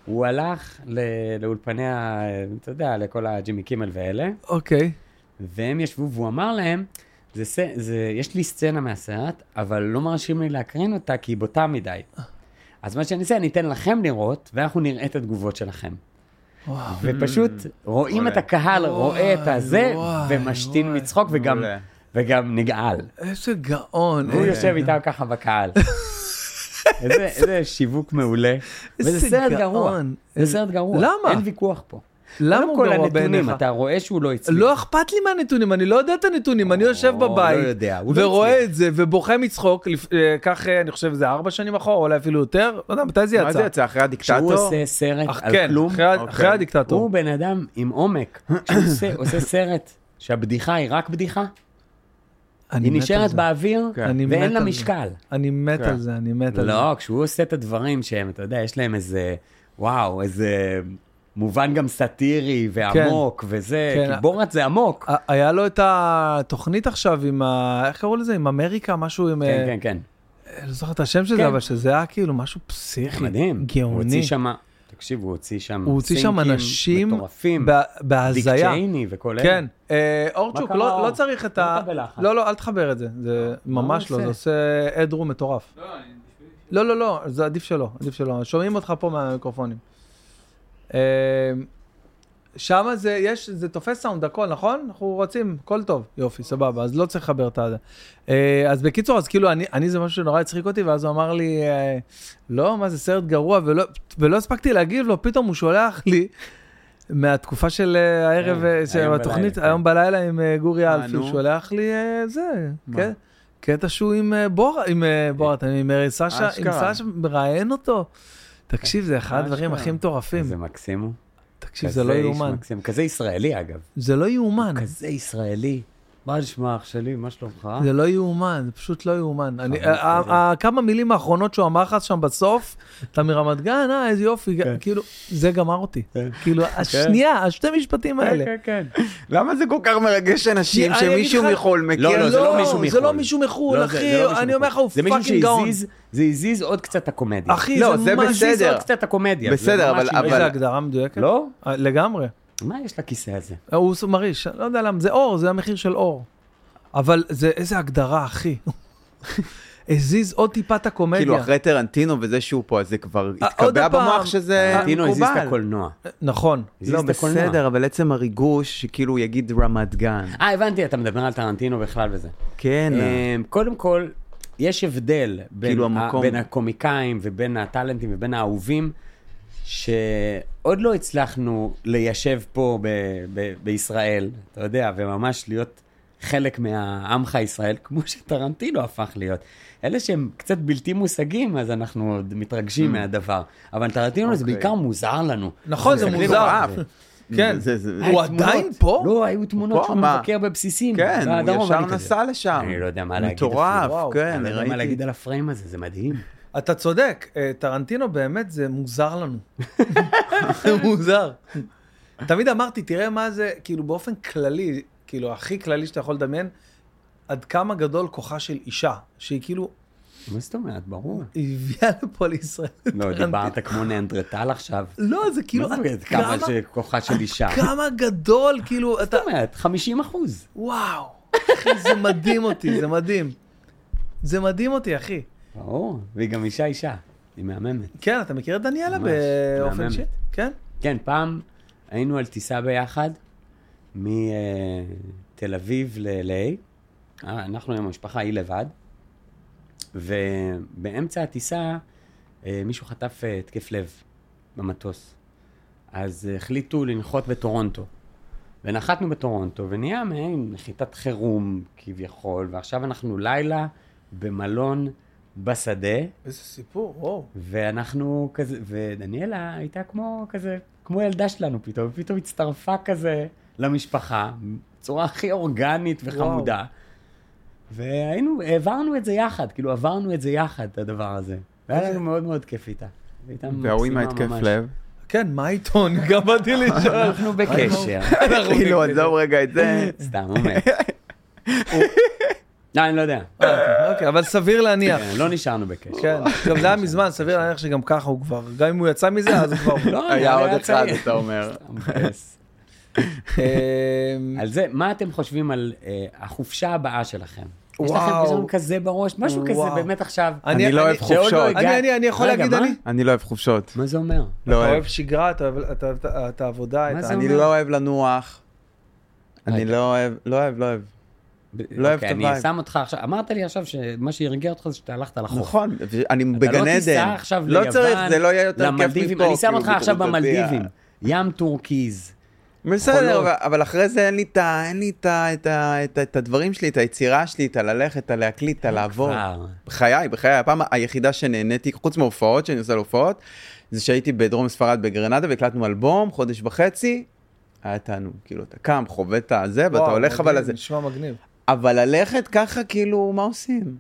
[SPEAKER 2] הוא הלך ל- לאולפני, ה- אתה יודע, לכל הג'ימי קימל ואלה,
[SPEAKER 1] אוקיי.
[SPEAKER 2] והם ישבו והוא אמר להם, זה, ס- זה, יש לי סצנה מהסרט, אבל לא מרשים לי להקרין אותה כי היא בוטה מדי. אז מה שאני אעשה, אני אתן לכם לראות, ואנחנו נראה את התגובות שלכם.
[SPEAKER 1] וואו.
[SPEAKER 2] ופשוט רואים
[SPEAKER 3] מעולה.
[SPEAKER 2] את הקהל,
[SPEAKER 1] וואי,
[SPEAKER 2] רואה את הזה,
[SPEAKER 1] וואי,
[SPEAKER 2] ומשתין
[SPEAKER 1] וואי.
[SPEAKER 2] מצחוק, וגם,
[SPEAKER 3] מעולה.
[SPEAKER 2] וגם נגעל.
[SPEAKER 1] איזה גאון.
[SPEAKER 2] הוא
[SPEAKER 1] איזה-
[SPEAKER 2] יושב איתם ככה בקהל. איזה, איזה שיווק מעולה.
[SPEAKER 1] איזה
[SPEAKER 2] וזה סרט
[SPEAKER 1] גאון.
[SPEAKER 2] גרוע. זה
[SPEAKER 1] איזה-
[SPEAKER 2] סרט גרוע.
[SPEAKER 1] למה?
[SPEAKER 2] אין ויכוח פה.
[SPEAKER 1] למה הוא
[SPEAKER 2] קודם כל
[SPEAKER 1] גרוע
[SPEAKER 2] הנתונים,
[SPEAKER 1] בעיניך?
[SPEAKER 2] אתה רואה שהוא לא הצליח.
[SPEAKER 1] לא אכפת לי מהנתונים, אני לא יודע את הנתונים, אני יושב
[SPEAKER 2] לא
[SPEAKER 1] בבית,
[SPEAKER 2] יודע, הוא לא
[SPEAKER 1] ורואה
[SPEAKER 2] הצליח.
[SPEAKER 1] את זה, ובוכה מצחוק, לפ- אה, כך אה, אני חושב זה ארבע שנים אחורה, אולי אפילו יותר, לא יודע, מתי זה יצא?
[SPEAKER 3] מה זה יצא? אחרי
[SPEAKER 2] שהוא
[SPEAKER 3] הדיקטטור?
[SPEAKER 2] עושה סרט
[SPEAKER 1] אך
[SPEAKER 2] על
[SPEAKER 1] כן,
[SPEAKER 2] כלום.
[SPEAKER 1] אחרי ה-
[SPEAKER 3] אוקיי.
[SPEAKER 1] אחרי הדיקטטור.
[SPEAKER 2] הוא בן אדם עם עומק, שהוא עושה- עושה סרט שהבדיחה היא רק בדיחה,
[SPEAKER 1] אני
[SPEAKER 2] היא
[SPEAKER 1] מת על
[SPEAKER 2] נשארת
[SPEAKER 1] זה.
[SPEAKER 2] באוויר
[SPEAKER 3] כן.
[SPEAKER 1] אני מת
[SPEAKER 2] ואין לה
[SPEAKER 1] על זה.
[SPEAKER 2] משקל.
[SPEAKER 1] אני מת
[SPEAKER 3] כן.
[SPEAKER 1] על זה, אני מת על זה.
[SPEAKER 2] לא, כשהוא עושה את הדברים שהם, אתה יודע, יש להם איזה, וואו, איזה מובן גם סאטירי ועמוק וזה,
[SPEAKER 1] כן.
[SPEAKER 2] כי בורת זה עמוק.
[SPEAKER 1] ה- היה לו את התוכנית עכשיו עם ה... איך קראו לזה? עם אמריקה, משהו עם...
[SPEAKER 2] כן,
[SPEAKER 1] אה,
[SPEAKER 2] כן, כן.
[SPEAKER 1] אני לא זוכר את השם של
[SPEAKER 2] כן.
[SPEAKER 1] זה, אבל שזה היה כאילו משהו פסיכי.
[SPEAKER 2] מדהים. הוא
[SPEAKER 1] גאוני.
[SPEAKER 2] הוציא שם, תקשיב, הוא הוציא שם
[SPEAKER 1] הוא הוציא שם
[SPEAKER 2] סינקים
[SPEAKER 1] אנשים
[SPEAKER 2] מטורפים,
[SPEAKER 1] בה-
[SPEAKER 2] דיק
[SPEAKER 1] בהזיה.
[SPEAKER 2] צ'ייני וכל אלה.
[SPEAKER 1] כן, אה, אורצ'וק,
[SPEAKER 2] קרה,
[SPEAKER 1] לא
[SPEAKER 2] אור?
[SPEAKER 1] לא צריך את
[SPEAKER 2] לא
[SPEAKER 1] ה...
[SPEAKER 2] מקבל אה, אוקיי. לחץ.
[SPEAKER 1] לא, לא, אל תחבר את זה, זה ממש
[SPEAKER 2] הוא
[SPEAKER 1] לא, זה עושה אדרום מטורף. לא, לא, לא, זה עדיף שלא, עדיף שלא, שומעים אותך פה מהמיקרופונים. אה, שם זה, יש, זה תופס סאונד הכל, נכון? אנחנו רוצים, הכל טוב, יופי, סבבה, אז לא צריך לחבר את הזה. אה, אז בקיצור, אז כאילו, אני, אני זה משהו שנורא הצחיק אותי, ואז הוא אמר לי, אה, לא, מה זה סרט גרוע, ולא, ולא הספקתי להגיב לו, פתאום הוא שולח לי מהתקופה של אה, הערב,
[SPEAKER 2] כן,
[SPEAKER 1] אה, של
[SPEAKER 2] היום
[SPEAKER 1] התוכנית,
[SPEAKER 2] בלילה, כן.
[SPEAKER 1] היום בלילה עם אה, גורי
[SPEAKER 3] אה,
[SPEAKER 1] אלפי,
[SPEAKER 3] נו.
[SPEAKER 1] הוא שולח לי אה, זה, כן? קטע שהוא עם אה, בורת, עם אה, בורת, עם אה, סשה, עם
[SPEAKER 3] אשכרה.
[SPEAKER 1] סשה, מראיין אותו. תקשיב, זה אחד הדברים
[SPEAKER 3] אשכרה.
[SPEAKER 1] הכי מטורפים.
[SPEAKER 2] אה, איזה מקסים הוא.
[SPEAKER 1] תקשיב, זה לא
[SPEAKER 2] כזה איש
[SPEAKER 1] יאומן.
[SPEAKER 2] מקסים. כזה ישראלי אגב.
[SPEAKER 1] זה לא יאומן.
[SPEAKER 2] כזה ישראלי. מה נשמע אח שלי, מה שלומך?
[SPEAKER 1] זה לא יאומן, זה פשוט לא יאומן. אני-
[SPEAKER 2] חמוד
[SPEAKER 1] ה-
[SPEAKER 2] כזה.
[SPEAKER 1] ה- כמה מילים האחרונות שהוא אמר לך שם בסוף, אתה מרמת גן, אה, איזה יופי,
[SPEAKER 2] כן.
[SPEAKER 1] כאילו, זה גמר אותי. כאילו, השנייה, השתי משפטים האלה.
[SPEAKER 2] כן.
[SPEAKER 3] למה זה כל כך מרגש אנשים
[SPEAKER 1] אני אגיד
[SPEAKER 3] שמישהו
[SPEAKER 1] לך-
[SPEAKER 3] מחו"ל מכיר?
[SPEAKER 2] לא, לא, זה לא מישהו מחו"ל.
[SPEAKER 1] זה לא מישהו מחו"ל,
[SPEAKER 2] לא, זה-
[SPEAKER 1] אחי,
[SPEAKER 2] זה לא מישהו
[SPEAKER 1] אני אומר לך,
[SPEAKER 2] מחו"ל.
[SPEAKER 1] הוא פאקינג גאון.
[SPEAKER 2] זה מישהו שהזיז, זה הזיז עוד קצת הקומדיה.
[SPEAKER 1] אחי,
[SPEAKER 3] לא,
[SPEAKER 1] זה
[SPEAKER 3] זה
[SPEAKER 1] ממש...
[SPEAKER 3] בסדר.
[SPEAKER 2] הזיז עוד קצת הקומדיה. זה
[SPEAKER 3] בסדר,
[SPEAKER 2] ממש
[SPEAKER 3] אבל-
[SPEAKER 2] איזה
[SPEAKER 1] איזה
[SPEAKER 3] אבל-
[SPEAKER 1] הגדרה מדויקת?
[SPEAKER 2] לא?
[SPEAKER 1] אה, לגמרי.
[SPEAKER 2] מה יש לכיסא הזה?
[SPEAKER 1] הוא מרעיש, לא יודע למה, זה אור, זה המחיר של אור. אבל זה, איזה הגדרה, אחי. הזיז עוד טיפה את הקומדיה.
[SPEAKER 3] כאילו אחרי טרנטינו וזה שהוא פה, אז זה כבר
[SPEAKER 1] אה, עוד
[SPEAKER 3] התקבע
[SPEAKER 1] הפעם.
[SPEAKER 3] במוח
[SPEAKER 1] אה,
[SPEAKER 3] שזה מקובל.
[SPEAKER 2] טינו הזיז את הקולנוע.
[SPEAKER 1] נכון.
[SPEAKER 2] הזיז
[SPEAKER 3] לא,
[SPEAKER 2] את הקולנוע.
[SPEAKER 3] בסדר, אבל עצם הריגוש, שכאילו הוא יגיד רמת גן.
[SPEAKER 2] אה, הבנתי, אתה מדבר על טרנטינו בכלל וזה.
[SPEAKER 3] כן.
[SPEAKER 2] אמ, קודם כל, יש הבדל בין,
[SPEAKER 3] כאילו
[SPEAKER 2] ה-
[SPEAKER 3] המקום.
[SPEAKER 2] בין הקומיקאים ובין הטאלנטים ובין האהובים, שעוד לא הצלחנו ליישב פה ב- ב- בישראל, אתה יודע, וממש להיות חלק מהעמך ישראל, כמו שטרנטינו הפך להיות. אלה שהם קצת בלתי מושגים, אז אנחנו עוד מתרגשים מהדבר. אבל טרנטינו זה
[SPEAKER 3] Mm. אוקיי.
[SPEAKER 2] בעיקר מוזר לנו.
[SPEAKER 1] נכון, זה
[SPEAKER 2] מסתכלים
[SPEAKER 1] מוזר.
[SPEAKER 2] עליו.
[SPEAKER 1] כן.
[SPEAKER 3] זה- זה-
[SPEAKER 1] הוא
[SPEAKER 2] היו תמונות.
[SPEAKER 1] עדיין פה?
[SPEAKER 2] לא, היו תמונות
[SPEAKER 3] פה,
[SPEAKER 2] שהוא
[SPEAKER 3] מה?
[SPEAKER 2] מבקר בבסיסים.
[SPEAKER 3] כן,
[SPEAKER 2] בדרום,
[SPEAKER 3] הוא ישר
[SPEAKER 2] ואני כזה.
[SPEAKER 3] נסע לשם.
[SPEAKER 2] אני לא יודע מה להגיד אפילו.
[SPEAKER 3] מטורף,
[SPEAKER 1] וואו,
[SPEAKER 3] כן,
[SPEAKER 2] אני לא יודע מה
[SPEAKER 3] ראיתי.
[SPEAKER 2] להגיד על הפריים הזה, זה מדהים.
[SPEAKER 1] אתה צודק, אה, טרנטינו באמת זה מוזר לנו. זה מוזר. תמיד אמרתי, תראה מה זה, כאילו באופן כללי, כאילו הכי כללי שאתה יכול לדמיין, עד כמה גדול כוחה של אישה, שהיא כאילו
[SPEAKER 2] מה זאת אומרת? ברור.
[SPEAKER 1] היא הביאה לפה לישראל.
[SPEAKER 2] לא,
[SPEAKER 1] טרנטינו.
[SPEAKER 2] דיברת כמו נאנדרטל עכשיו.
[SPEAKER 1] לא, זה כאילו,
[SPEAKER 2] מה זאת אומרת?
[SPEAKER 1] עד כמה,
[SPEAKER 2] כמה שכוחה של אישה. מה
[SPEAKER 1] כמה גדול, כאילו, אתה,
[SPEAKER 2] זאת אומרת? 50 אחוז.
[SPEAKER 1] וואו, אחי, זה מדהים אותי, זה מדהים. זה מדהים אותי, אחי.
[SPEAKER 2] ברור. והיא גם אישה אישה. היא מהממת.
[SPEAKER 1] כן, אתה מכיר את דניאלה
[SPEAKER 2] ממש,
[SPEAKER 1] באופן
[SPEAKER 2] מהממת.
[SPEAKER 1] ש... כן?
[SPEAKER 2] כן, פעם היינו על טיסה ביחד מתל אביב ל-LA. אה, אנחנו עם המשפחה, היא לבד. ובאמצע הטיסה אה, מישהו חטף אה, התקף לב במטוס. אז אה, החליטו לנחות בטורונטו. ונחתנו בטורונטו, ונהיה מעין נחיתת חירום כביכול, ועכשיו אנחנו לילה במלון בשדה.
[SPEAKER 1] איזה סיפור, וואו.
[SPEAKER 2] ואנחנו כזה, ודניאלה הייתה כמו כזה, כמו ילדה שלנו פתאום, פתאום הצטרפה כזה למשפחה, בצורה הכי אורגנית וחמודה. וואו. והיינו, העברנו את זה יחד, כאילו עברנו את זה יחד, את הדבר הזה. והיה לנו מאוד מאוד כיף איתה. והייתה
[SPEAKER 3] וההוא עם
[SPEAKER 2] מקסימה
[SPEAKER 3] ההתקף
[SPEAKER 2] ממש.
[SPEAKER 3] לב.
[SPEAKER 1] כן, מה העיתון? גם באתי לשאול.
[SPEAKER 2] אנחנו בקשר,
[SPEAKER 1] אנחנו
[SPEAKER 3] כאילו,
[SPEAKER 1] נגד.
[SPEAKER 3] עזוב רגע את זה. אה,
[SPEAKER 2] סתם אומר. לא, אני לא יודע.
[SPEAKER 1] אה, אוקיי, אבל סביר להניח.
[SPEAKER 2] כן, לא נשארנו בקשר.
[SPEAKER 1] כן, גם זה היה מזמן, סביר להניח שגם ככה הוא כבר, גם אם הוא יצא מזה, אז הוא כבר...
[SPEAKER 2] לא,
[SPEAKER 3] היה עוד אחד,
[SPEAKER 2] צעיר.
[SPEAKER 3] אתה אומר.
[SPEAKER 2] סתם מבאס.
[SPEAKER 1] אמ,
[SPEAKER 2] על זה, מה אתם חושבים על אה, החופשה הבאה שלכם? יש
[SPEAKER 1] וואו.
[SPEAKER 2] לכם פתאום כזה בראש, משהו כזה
[SPEAKER 1] וואו.
[SPEAKER 2] באמת עכשיו.
[SPEAKER 3] אני לא אוהב
[SPEAKER 2] שעוד לא
[SPEAKER 3] חופשות.
[SPEAKER 2] הגע-
[SPEAKER 1] אני, אני, אני יכול
[SPEAKER 2] רגע,
[SPEAKER 1] להגיד,
[SPEAKER 2] מה?
[SPEAKER 1] אני?
[SPEAKER 3] אני לא אוהב חופשות.
[SPEAKER 2] מה זה אומר?
[SPEAKER 3] לא
[SPEAKER 1] אתה
[SPEAKER 3] אוהב.
[SPEAKER 1] אוהב שגרה, אתה אוהב אתה אוהב את העבודה,
[SPEAKER 2] מה
[SPEAKER 1] את
[SPEAKER 2] זה
[SPEAKER 1] ה...
[SPEAKER 3] אני
[SPEAKER 2] אומר?
[SPEAKER 3] לא אוהב לנוח. אני
[SPEAKER 2] רגע.
[SPEAKER 3] לא אוהב, לא אוהב, לא אוהב. לא אוהב
[SPEAKER 2] אוקיי,
[SPEAKER 3] את
[SPEAKER 2] אני
[SPEAKER 3] הווייב.
[SPEAKER 2] שם אותך עכשיו, אמרת לי עכשיו שמה שהרגיע אותך זה שאתה הלכת לחוף.
[SPEAKER 3] נכון, אני
[SPEAKER 2] אתה
[SPEAKER 3] בגן
[SPEAKER 2] לא
[SPEAKER 3] עדן.
[SPEAKER 2] תיסע עכשיו
[SPEAKER 3] לא
[SPEAKER 2] ליוון,
[SPEAKER 3] צריך, זה לא יהיה יותר כיף
[SPEAKER 2] למלדיבים.
[SPEAKER 3] מפה.
[SPEAKER 2] אני שם
[SPEAKER 3] כאילו,
[SPEAKER 2] אותך עכשיו
[SPEAKER 3] בקרוב
[SPEAKER 2] במלדיבים.
[SPEAKER 3] תגיע.
[SPEAKER 2] ים טורקיז.
[SPEAKER 3] בסדר,
[SPEAKER 2] חולות.
[SPEAKER 3] אבל- אבל אחרי זה אין לי את ה- אין לי את ה- את ה- את ה- את הדברים שלי, את היצירה שלי, את הללכת, את הלהקליט, את הלעבור.
[SPEAKER 2] אה, כבר.
[SPEAKER 3] בחיי, בחיי, הפעם היחידה שנהניתי, חוץ מהופעות, שאני עושה להופעות, זה שהייתי בדרום ספרד בגרנדה והקלטנו אלבום, חודש וחצי, היה תענוג, כאילו, אתה קם, חווה את הזה, ואתה
[SPEAKER 1] וואו,
[SPEAKER 3] הולך אבל
[SPEAKER 1] מגניב,
[SPEAKER 3] לזה.
[SPEAKER 1] נשמע מגניב.
[SPEAKER 3] אבל ללכת ככה, כאילו, מה עושים?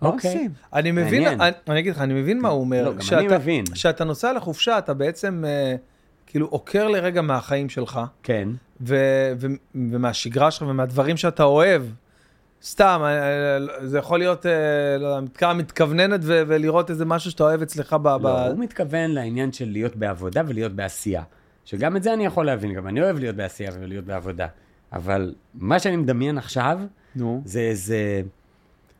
[SPEAKER 3] מה
[SPEAKER 2] אוקיי.
[SPEAKER 3] עושים?
[SPEAKER 1] אני מבין,
[SPEAKER 2] מעניין.
[SPEAKER 1] אני- אני אגיד לך, אני מבין מה הוא אומר.
[SPEAKER 2] לא, גם
[SPEAKER 1] שאתה-
[SPEAKER 2] אני מבין.
[SPEAKER 1] כשאתה נוסע לחופשה, אתה בעצם אה, כאילו עוקר לרגע מהחיים שלך.
[SPEAKER 2] כן.
[SPEAKER 1] ו- ו- ומהשגרה שלך ומהדברים שאתה אוהב. סתם, אה, אה, זה יכול להיות, אה, לא יודע, מתקע מתכווננת ו- ולראות איזה משהו שאתה אוהב אצלך ב... ב-
[SPEAKER 2] לא, הוא מתכוון לעניין של להיות בעבודה ולהיות בעשייה. שגם את זה אני יכול להבין, גם אני אוהב להיות בעשייה ולהיות בעבודה. אבל מה שאני מדמיין עכשיו,
[SPEAKER 3] נו.
[SPEAKER 2] זה איזה...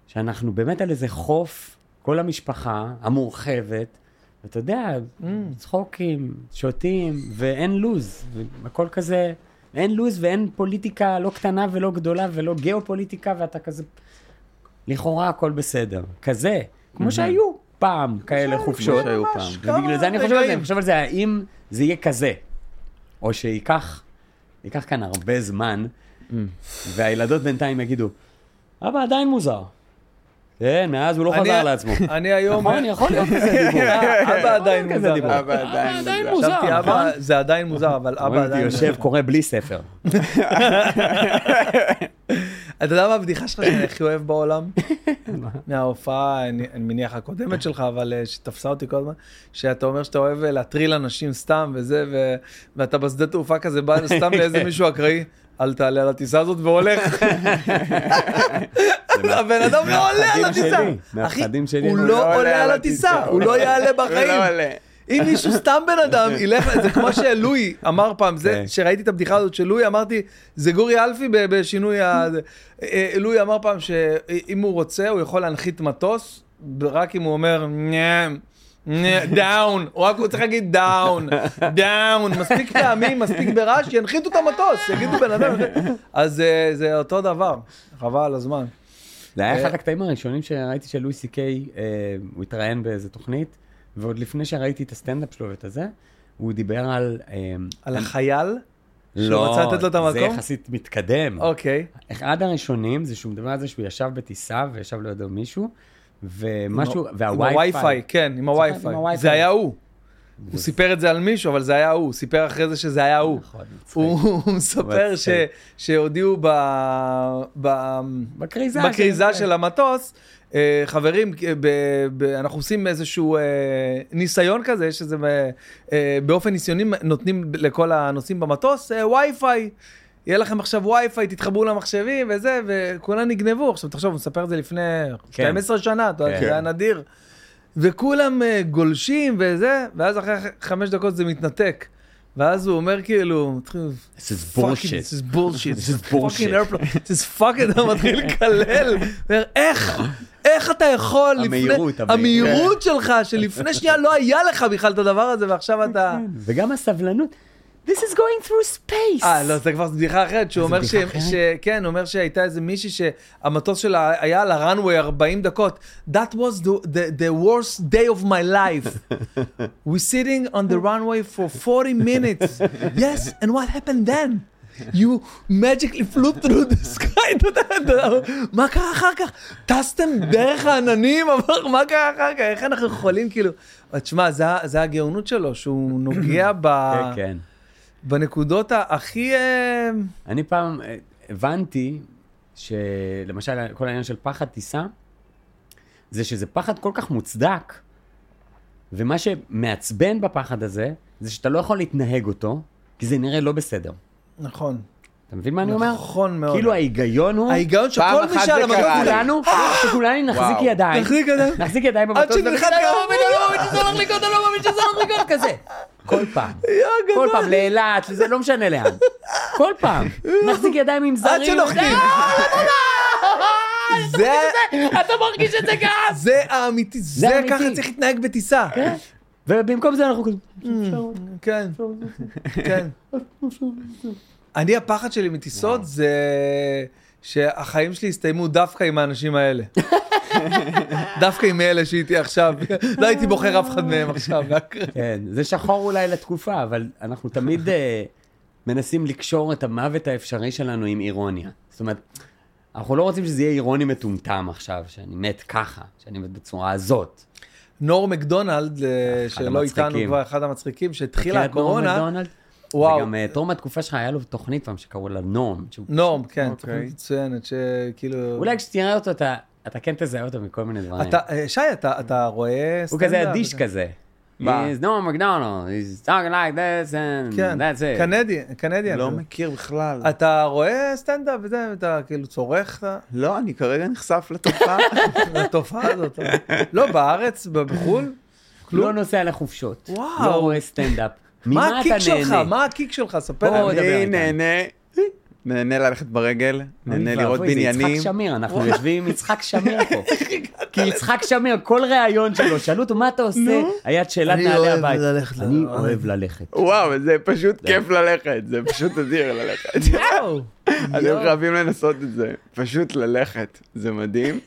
[SPEAKER 2] שאנחנו באמת על איזה חוף, כל המשפחה המורחבת, ואתה יודע, צחוקים, שותים, ואין לו"ז, הכל כזה, אין לו"ז ואין פוליטיקה לא קטנה ולא גדולה ולא גיאופוליטיקה, ואתה כזה, לכאורה הכל בסדר. כזה, כמו שהיו פעם כאלה חופשות.
[SPEAKER 3] שהיו
[SPEAKER 1] ממש
[SPEAKER 2] לא,
[SPEAKER 3] פעם.
[SPEAKER 1] כמה
[SPEAKER 2] ובגלל זה אני חושב על זה,
[SPEAKER 1] רגעים.
[SPEAKER 2] אני חושב על זה, האם זה יהיה כזה. או שייקח, ייקח כאן הרבה זמן,
[SPEAKER 1] Mm.
[SPEAKER 2] והילדות בינתיים יגידו, אבא עדיין מוזר. כן, מאז הוא לא
[SPEAKER 1] אני-
[SPEAKER 2] חזר לעצמו.
[SPEAKER 1] אני היום...
[SPEAKER 2] נכון, יכול להיות כזה דיבור.
[SPEAKER 1] אבא עדיין
[SPEAKER 2] כזה
[SPEAKER 1] מוזר.
[SPEAKER 2] דיבור.
[SPEAKER 3] אבא עדיין
[SPEAKER 2] עדיין
[SPEAKER 3] מוזר.
[SPEAKER 2] מוזר,
[SPEAKER 1] חשבתי,
[SPEAKER 2] נכון?
[SPEAKER 1] אבא, זה עדיין מוזר, אבל אבא
[SPEAKER 2] רואים אותי
[SPEAKER 1] עדיין...
[SPEAKER 2] יושב, קורא בלי ספר.
[SPEAKER 1] אתה יודע מה הבדיחה שלך שאני הכי אוהב בעולם? מההופעה, אני אני מניח הקודמת שלך, אבל אה, שתפסה אותי כל הזמן, שאתה אומר שאתה אוהב אה, להטריל אנשים סתם וזה, ו- ואתה בשדה תעופה כזה בא סתם לאיזה מישהו אקראי. אל תעלה על הטיסה הזאת והולך. הבן אדם לא עולה על
[SPEAKER 2] מהפחדים
[SPEAKER 1] הטיסה.
[SPEAKER 2] שלי,
[SPEAKER 1] אחי,
[SPEAKER 2] מהפחדים שלי.
[SPEAKER 1] הוא לא עולה על הטיסה, הוא לא יעלה בחיים. אם מישהו סתם בן אדם ילך, זה כמו שלואי אמר פעם, זה,
[SPEAKER 2] כן.
[SPEAKER 1] שראיתי את הבדיחה הזאת של לואי, אמרתי, זה גורי אלפי ב- בשינוי ה... זה." אה, לואי אמר פעם שאם הוא רוצה, הוא יכול להנחית מטוס, רק אם הוא אומר, "נעם, נע- דאון, הוא רק הוא צריך להגיד דאון, דאון, מספיק פעמים, מספיק ברעש, ינחיתו את המטוס, יגידו בן אדם, אז אה, זה אותו דבר, חבל על הזמן.
[SPEAKER 2] זה היה אחד
[SPEAKER 1] אה,
[SPEAKER 2] הקטעים הראשונים שראיתי של לואי סי קיי, אה, הוא התראיין באיזה תוכנית, ועוד לפני שראיתי את הסטנדאפ שלו ואת הזה, הוא דיבר על... אה,
[SPEAKER 1] על החייל?
[SPEAKER 2] לא,
[SPEAKER 1] רצה לתת לו את
[SPEAKER 2] זה
[SPEAKER 1] המקום?
[SPEAKER 2] יחסית מתקדם.
[SPEAKER 1] אוקיי.
[SPEAKER 2] אחד הראשונים זה שהוא מדבר על זה שהוא ישב בטיסה וישב לידו מישהו, ומשהו,
[SPEAKER 1] עם
[SPEAKER 2] והווי-פיי.
[SPEAKER 1] הווי-פיי, כן, עם
[SPEAKER 2] סליחה, עם
[SPEAKER 1] הווי-פיי.
[SPEAKER 2] הווי-פיי.
[SPEAKER 1] זה היה הוא. הוא סיפר את זה על מישהו, אבל זה היה הוא. הוא סיפר אחרי זה שזה היה הוא.
[SPEAKER 2] נכון, מצחיק.
[SPEAKER 1] הוא הוא מספר ש-
[SPEAKER 2] מצחיק.
[SPEAKER 1] שהודיעו ב- ב-
[SPEAKER 2] בכריזה.
[SPEAKER 1] בכריזה
[SPEAKER 2] זה-
[SPEAKER 1] של המטוס, אה, חברים, אה, ב- ב- אנחנו עושים איזשהו אה, ניסיון כזה, שזה ב- אה, באופן ניסיוני נותנים לכל הנוסעים במטוס אה, וי-פיי. יהיה לכם עכשיו וי-פיי, תתחברו למחשבים וזה, וכולם נגנבו. עכשיו תחשוב, הוא מספר את זה לפני
[SPEAKER 2] כן.
[SPEAKER 1] 12 שנה, אתה יודע,
[SPEAKER 2] כן.
[SPEAKER 1] זה היה נדיר. וכולם אה, גולשים וזה, ואז אחרי חמש דקות זה מתנתק. ואז הוא אומר כאילו, מתחיל,
[SPEAKER 2] This is
[SPEAKER 1] "Fucking,
[SPEAKER 2] bullshit."
[SPEAKER 1] This is bullshit.
[SPEAKER 2] This is
[SPEAKER 1] fucking
[SPEAKER 2] bullshit.
[SPEAKER 1] airplane. This is fucking, אתה מתחיל לקלל. אומר, איך, איך אתה יכול לפני...
[SPEAKER 2] המהירות, כן. המהירות.
[SPEAKER 1] המהירות שלך, שלפני שנייה לא היה לך בכלל את הדבר הזה, ועכשיו אתה...
[SPEAKER 2] כן. וגם הסבלנות. This is going through space.
[SPEAKER 1] אה, לא, זה כבר בדיחה אחרת, שהוא אומר ש...
[SPEAKER 2] אה, בדיחה אחרת?
[SPEAKER 1] ש- כן, הוא אומר שהייתה איזה מישהי שהמטוס שלה היה על הראנווי 40 דקות. That was the, the, the worst day of my life. We're sitting on the runway for 40 minutes. Yes, and what happened then? You magically flew through the sky, אתה יודע, אתה- מה קרה אחר כך? טסתם דרך העננים, אבל מה קרה אחר כך? איך אנחנו יכולים, כאילו... אבל תשמע, זה ה- זה הגאונות שלו, שהוא נוגע ב...
[SPEAKER 2] כן, כן.
[SPEAKER 1] בנקודות ה- הכי... אה,
[SPEAKER 2] אני פעם אה, הבנתי שלמשל כל העניין של פחד טיסה, זה שזה פחד כל כך מוצדק, ומה שמעצבן בפחד הזה, זה שאתה לא יכול להתנהג אותו, כי זה נראה לא בסדר.
[SPEAKER 1] נכון.
[SPEAKER 2] אתה מבין מה אני אומר?
[SPEAKER 1] נכון מאוד.
[SPEAKER 2] כאילו ההיגיון הוא,
[SPEAKER 3] פעם
[SPEAKER 1] ההיגיון שכל מי
[SPEAKER 3] אחת
[SPEAKER 1] שעל
[SPEAKER 3] זה
[SPEAKER 1] המטוס...
[SPEAKER 3] קרה לי.
[SPEAKER 2] שכולנו, שכולנו נחזיק
[SPEAKER 3] וואו.
[SPEAKER 2] ידיים,
[SPEAKER 1] נחזיק ידיים.
[SPEAKER 2] נחזיק ידיים
[SPEAKER 1] עד
[SPEAKER 2] במטוס,
[SPEAKER 1] שנלחץ
[SPEAKER 2] אני לא מאמין שזה הולך לקרות, אני לא מאמין שזה הולך לקרות, כזה. כל פעם,
[SPEAKER 1] יא
[SPEAKER 2] כל
[SPEAKER 1] גדול.
[SPEAKER 2] פעם לאילת, זה לא משנה לאן. כל פעם, נחזיק ידיים עם זרים.
[SPEAKER 1] עד שנוחתים. זה,
[SPEAKER 2] אתה מרגיש את זה גם!
[SPEAKER 1] זה האמיתי, זה
[SPEAKER 2] האמיתי.
[SPEAKER 1] ככה צריך להתנהג בטיסה.
[SPEAKER 2] ובמקום זה אנחנו כזה...
[SPEAKER 1] כן, כן. אני, הפחד שלי מטיסות זה שהחיים שלי יסתיימו דווקא עם האנשים האלה. דווקא עם אלה שהייתי עכשיו. לא הייתי בוחר אף אחד מהם עכשיו.
[SPEAKER 2] כן, זה שחור אולי לתקופה, אבל אנחנו תמיד אה, מנסים לקשור את המוות האפשרי שלנו עם אירוניה. זאת אומרת, אנחנו לא רוצים שזה יהיה אירוני מטומטם עכשיו, שאני מת ככה, שאני מת בצורה הזאת.
[SPEAKER 1] נור מקדונלד, אה,
[SPEAKER 2] אחד
[SPEAKER 1] שלא איתנו
[SPEAKER 2] המצחיקים.
[SPEAKER 1] כבר, אחד המצחיקים, שהתחילה
[SPEAKER 2] מכיר את נורם
[SPEAKER 1] כאילו, הקורונה.
[SPEAKER 2] מקדונלד?
[SPEAKER 1] וואו.
[SPEAKER 2] וגם אה, תום התקופה שלך היה לו תוכנית פעם שקראו לה נורם. שהוא-
[SPEAKER 1] נורם, כן,
[SPEAKER 3] אוקיי.
[SPEAKER 1] תוכנית מצוינת, שכאילו...
[SPEAKER 2] אולי כשתראה אותו, אתה- אתה כן תזהה אותו מכל מיני דברים.
[SPEAKER 1] אתה, אה, שי, אתה, אתה רואה
[SPEAKER 2] הוא
[SPEAKER 1] סטנדאפ?
[SPEAKER 2] כזה אדיש כזה.
[SPEAKER 3] מה?
[SPEAKER 2] He's Norm McDonald, he's talking like this and
[SPEAKER 1] כן,
[SPEAKER 2] that's it.
[SPEAKER 1] קנדי, קנדי.
[SPEAKER 3] לא מכיר בכלל.
[SPEAKER 1] אתה רואה סטנדאפ וזה, אתה כאילו צורך את
[SPEAKER 3] לא, אני כרגע נחשף לתופעה.
[SPEAKER 1] התופעה הזאת. לא, בארץ, ב- בחו"ל? כלום?
[SPEAKER 2] לא נוסע לחופשות.
[SPEAKER 1] וואו.
[SPEAKER 2] לא רואה סטנדאפ. ממה
[SPEAKER 1] מה
[SPEAKER 2] אתה
[SPEAKER 1] הקיק שלך?
[SPEAKER 2] נהנה?
[SPEAKER 1] מה הקיק שלך? ספר
[SPEAKER 2] בוא,
[SPEAKER 1] לנו.
[SPEAKER 2] דבר
[SPEAKER 3] אני
[SPEAKER 2] איתנו.
[SPEAKER 3] נהנה, נהנה ללכת ברגל, נהנה
[SPEAKER 2] אוי
[SPEAKER 3] לראות
[SPEAKER 2] ואבוי, זה
[SPEAKER 3] בניינים.
[SPEAKER 2] יצחק שמיר, אנחנו יושבים עם יצחק שמיר פה. כי יצחק שמיר, כל ראיון שלו, שאלו אותו, מה אתה עושה? היה את שאלת
[SPEAKER 1] אני
[SPEAKER 2] נעלי
[SPEAKER 1] אוהב
[SPEAKER 2] הבית.
[SPEAKER 1] ללכת ל-
[SPEAKER 2] אני אוהב ללכת.
[SPEAKER 3] וואו, זה פשוט כיף ללכת, זה פשוט אדיר ללכת.
[SPEAKER 1] וואו. לא.
[SPEAKER 3] אתם חייבים לנסות את זה, פשוט ללכת, זה מדהים.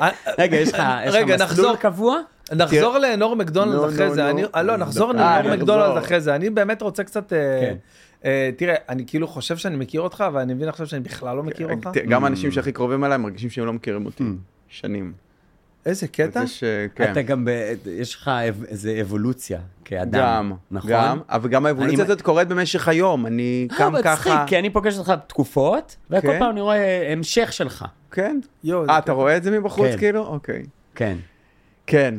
[SPEAKER 1] אה,
[SPEAKER 2] רגע, יש לך יש לך
[SPEAKER 1] רגע, נחזור.
[SPEAKER 2] מסלול קבוע?
[SPEAKER 1] נחזור לנור
[SPEAKER 4] נו,
[SPEAKER 1] מקדונלד אחרי
[SPEAKER 4] נו,
[SPEAKER 1] זה,
[SPEAKER 4] נו.
[SPEAKER 1] אני- אה, לא, נחזור
[SPEAKER 4] דווקא.
[SPEAKER 1] לנור
[SPEAKER 4] אה,
[SPEAKER 1] מקדונלד
[SPEAKER 4] נחזור.
[SPEAKER 1] אחרי זה, אני באמת רוצה קצת, אה,
[SPEAKER 2] כן.
[SPEAKER 1] אה, תראה, אני כאילו חושב שאני מכיר אותך, אבל אני מבין עכשיו שאני בכלל לא
[SPEAKER 3] אה,
[SPEAKER 1] מכיר אותך.
[SPEAKER 3] גם האנשים שהכי קרובים אליי מרגישים שהם לא מכירים אותי. שנים.
[SPEAKER 1] איזה קטע.
[SPEAKER 3] זה ש- כן.
[SPEAKER 2] Mm. אתה גם, ב- יש לך אב- איזה אבולוציה כאדם,
[SPEAKER 3] גם,
[SPEAKER 2] נכון?
[SPEAKER 3] גם, אבל גם האבולוציה
[SPEAKER 2] אני-
[SPEAKER 3] הזאת קורית במשך היום, אני
[SPEAKER 2] אה,
[SPEAKER 3] קם
[SPEAKER 2] אבל מצחיק,
[SPEAKER 3] ככה,
[SPEAKER 2] כי אני פוגש אותך תקופות, וכל
[SPEAKER 3] כן.
[SPEAKER 2] פעם אני רואה המשך שלך.
[SPEAKER 3] כן?
[SPEAKER 1] יואו, זה
[SPEAKER 3] אה, אתה
[SPEAKER 1] קטע.
[SPEAKER 3] רואה את זה מבחוץ
[SPEAKER 2] כן.
[SPEAKER 3] כאילו? אוקיי.
[SPEAKER 2] כן.
[SPEAKER 3] כן,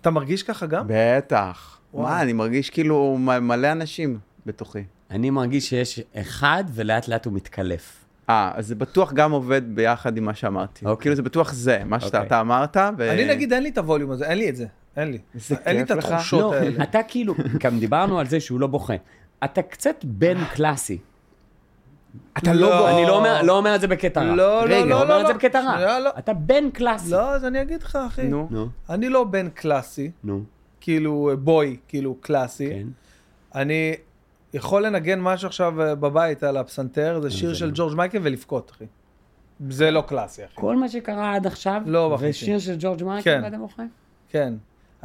[SPEAKER 1] אתה מרגיש ככה גם?
[SPEAKER 3] בטח.
[SPEAKER 1] וואו.
[SPEAKER 3] מה, אני מרגיש כאילו מ- מלא אנשים בתוכי.
[SPEAKER 2] אני מרגיש שיש אחד, ולאט לאט הוא מתקלף.
[SPEAKER 3] אה, אז זה בטוח גם עובד ביחד עם מה שאמרתי.
[SPEAKER 2] אוקיי.
[SPEAKER 3] כאילו זה בטוח זה, מה שאתה
[SPEAKER 2] אוקיי.
[SPEAKER 3] אתה אמרת. ו-
[SPEAKER 1] אני נגיד אין לי את הווליום הזה, אין לי את זה, אין לי.
[SPEAKER 3] איזה
[SPEAKER 1] אין לי את
[SPEAKER 3] כיף לך.
[SPEAKER 1] התחושות
[SPEAKER 2] לא,
[SPEAKER 1] האלה.
[SPEAKER 2] אתה כאילו, גם דיברנו על זה שהוא לא בוכה. אתה קצת בן קלאסי.
[SPEAKER 3] אתה לא בוכה.
[SPEAKER 2] אני לא אומר- לא אומר את זה בקטע רע.
[SPEAKER 1] לא, לא,
[SPEAKER 2] רגע,
[SPEAKER 1] לא,
[SPEAKER 2] הוא אומר
[SPEAKER 1] לא,
[SPEAKER 2] את זה
[SPEAKER 1] לא.
[SPEAKER 2] בקטע
[SPEAKER 1] שנייה, לא.
[SPEAKER 2] רע. אתה בן קלאסי.
[SPEAKER 1] לא, אז אני אגיד לך, אחי.
[SPEAKER 3] נו,
[SPEAKER 2] נו,
[SPEAKER 1] אני לא בן קלאסי,
[SPEAKER 2] נו,
[SPEAKER 1] כאילו אה, בוי, כאילו קלאסי.
[SPEAKER 2] כן.
[SPEAKER 1] אני יכול לנגן משהו עכשיו אה, בבית על הפסנתר, זה שיר
[SPEAKER 2] זה
[SPEAKER 1] של
[SPEAKER 2] לא.
[SPEAKER 1] ג'ורג' מייקל ולבכות, אחי. זה לא קלאסי, אחי.
[SPEAKER 2] כל מה שקרה עד עכשיו,
[SPEAKER 1] לא בכיתי.
[SPEAKER 2] ושיר של ג'ורג' מייקל,
[SPEAKER 1] כן.
[SPEAKER 2] ואתה בוכה?
[SPEAKER 1] כן. I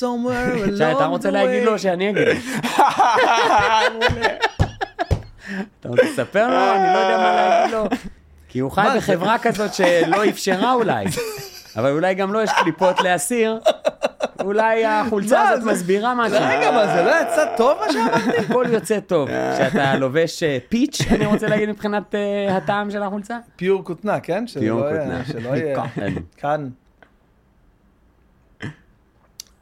[SPEAKER 1] somewhere along the way.
[SPEAKER 2] שי, אתה רוצה להגיד לו שאני אגיד. לו. אתה רוצה לספר לו? אני לא יודע מה להגיד לו. כי הוא חי
[SPEAKER 1] מה זה?
[SPEAKER 2] בחברה כזאת שלא אפשרה אולי. אבל אולי גם לו יש קליפות להסיר. אולי החולצה
[SPEAKER 1] מה
[SPEAKER 2] הזאת
[SPEAKER 1] זה?
[SPEAKER 2] מסבירה משהו.
[SPEAKER 1] רגע, מה זה לא יצא טוב מה שאמרתי?
[SPEAKER 2] הכל יוצא טוב. כשאתה לובש אה, פיץ', אני רוצה להגיד מבחינת אה, הטעם של החולצה.
[SPEAKER 1] פיור כותנה, כן? שזה
[SPEAKER 2] פיור
[SPEAKER 1] לא יהיה-
[SPEAKER 2] כותנה. כן.
[SPEAKER 1] שלא יהיה.
[SPEAKER 2] כאן.
[SPEAKER 1] כאן.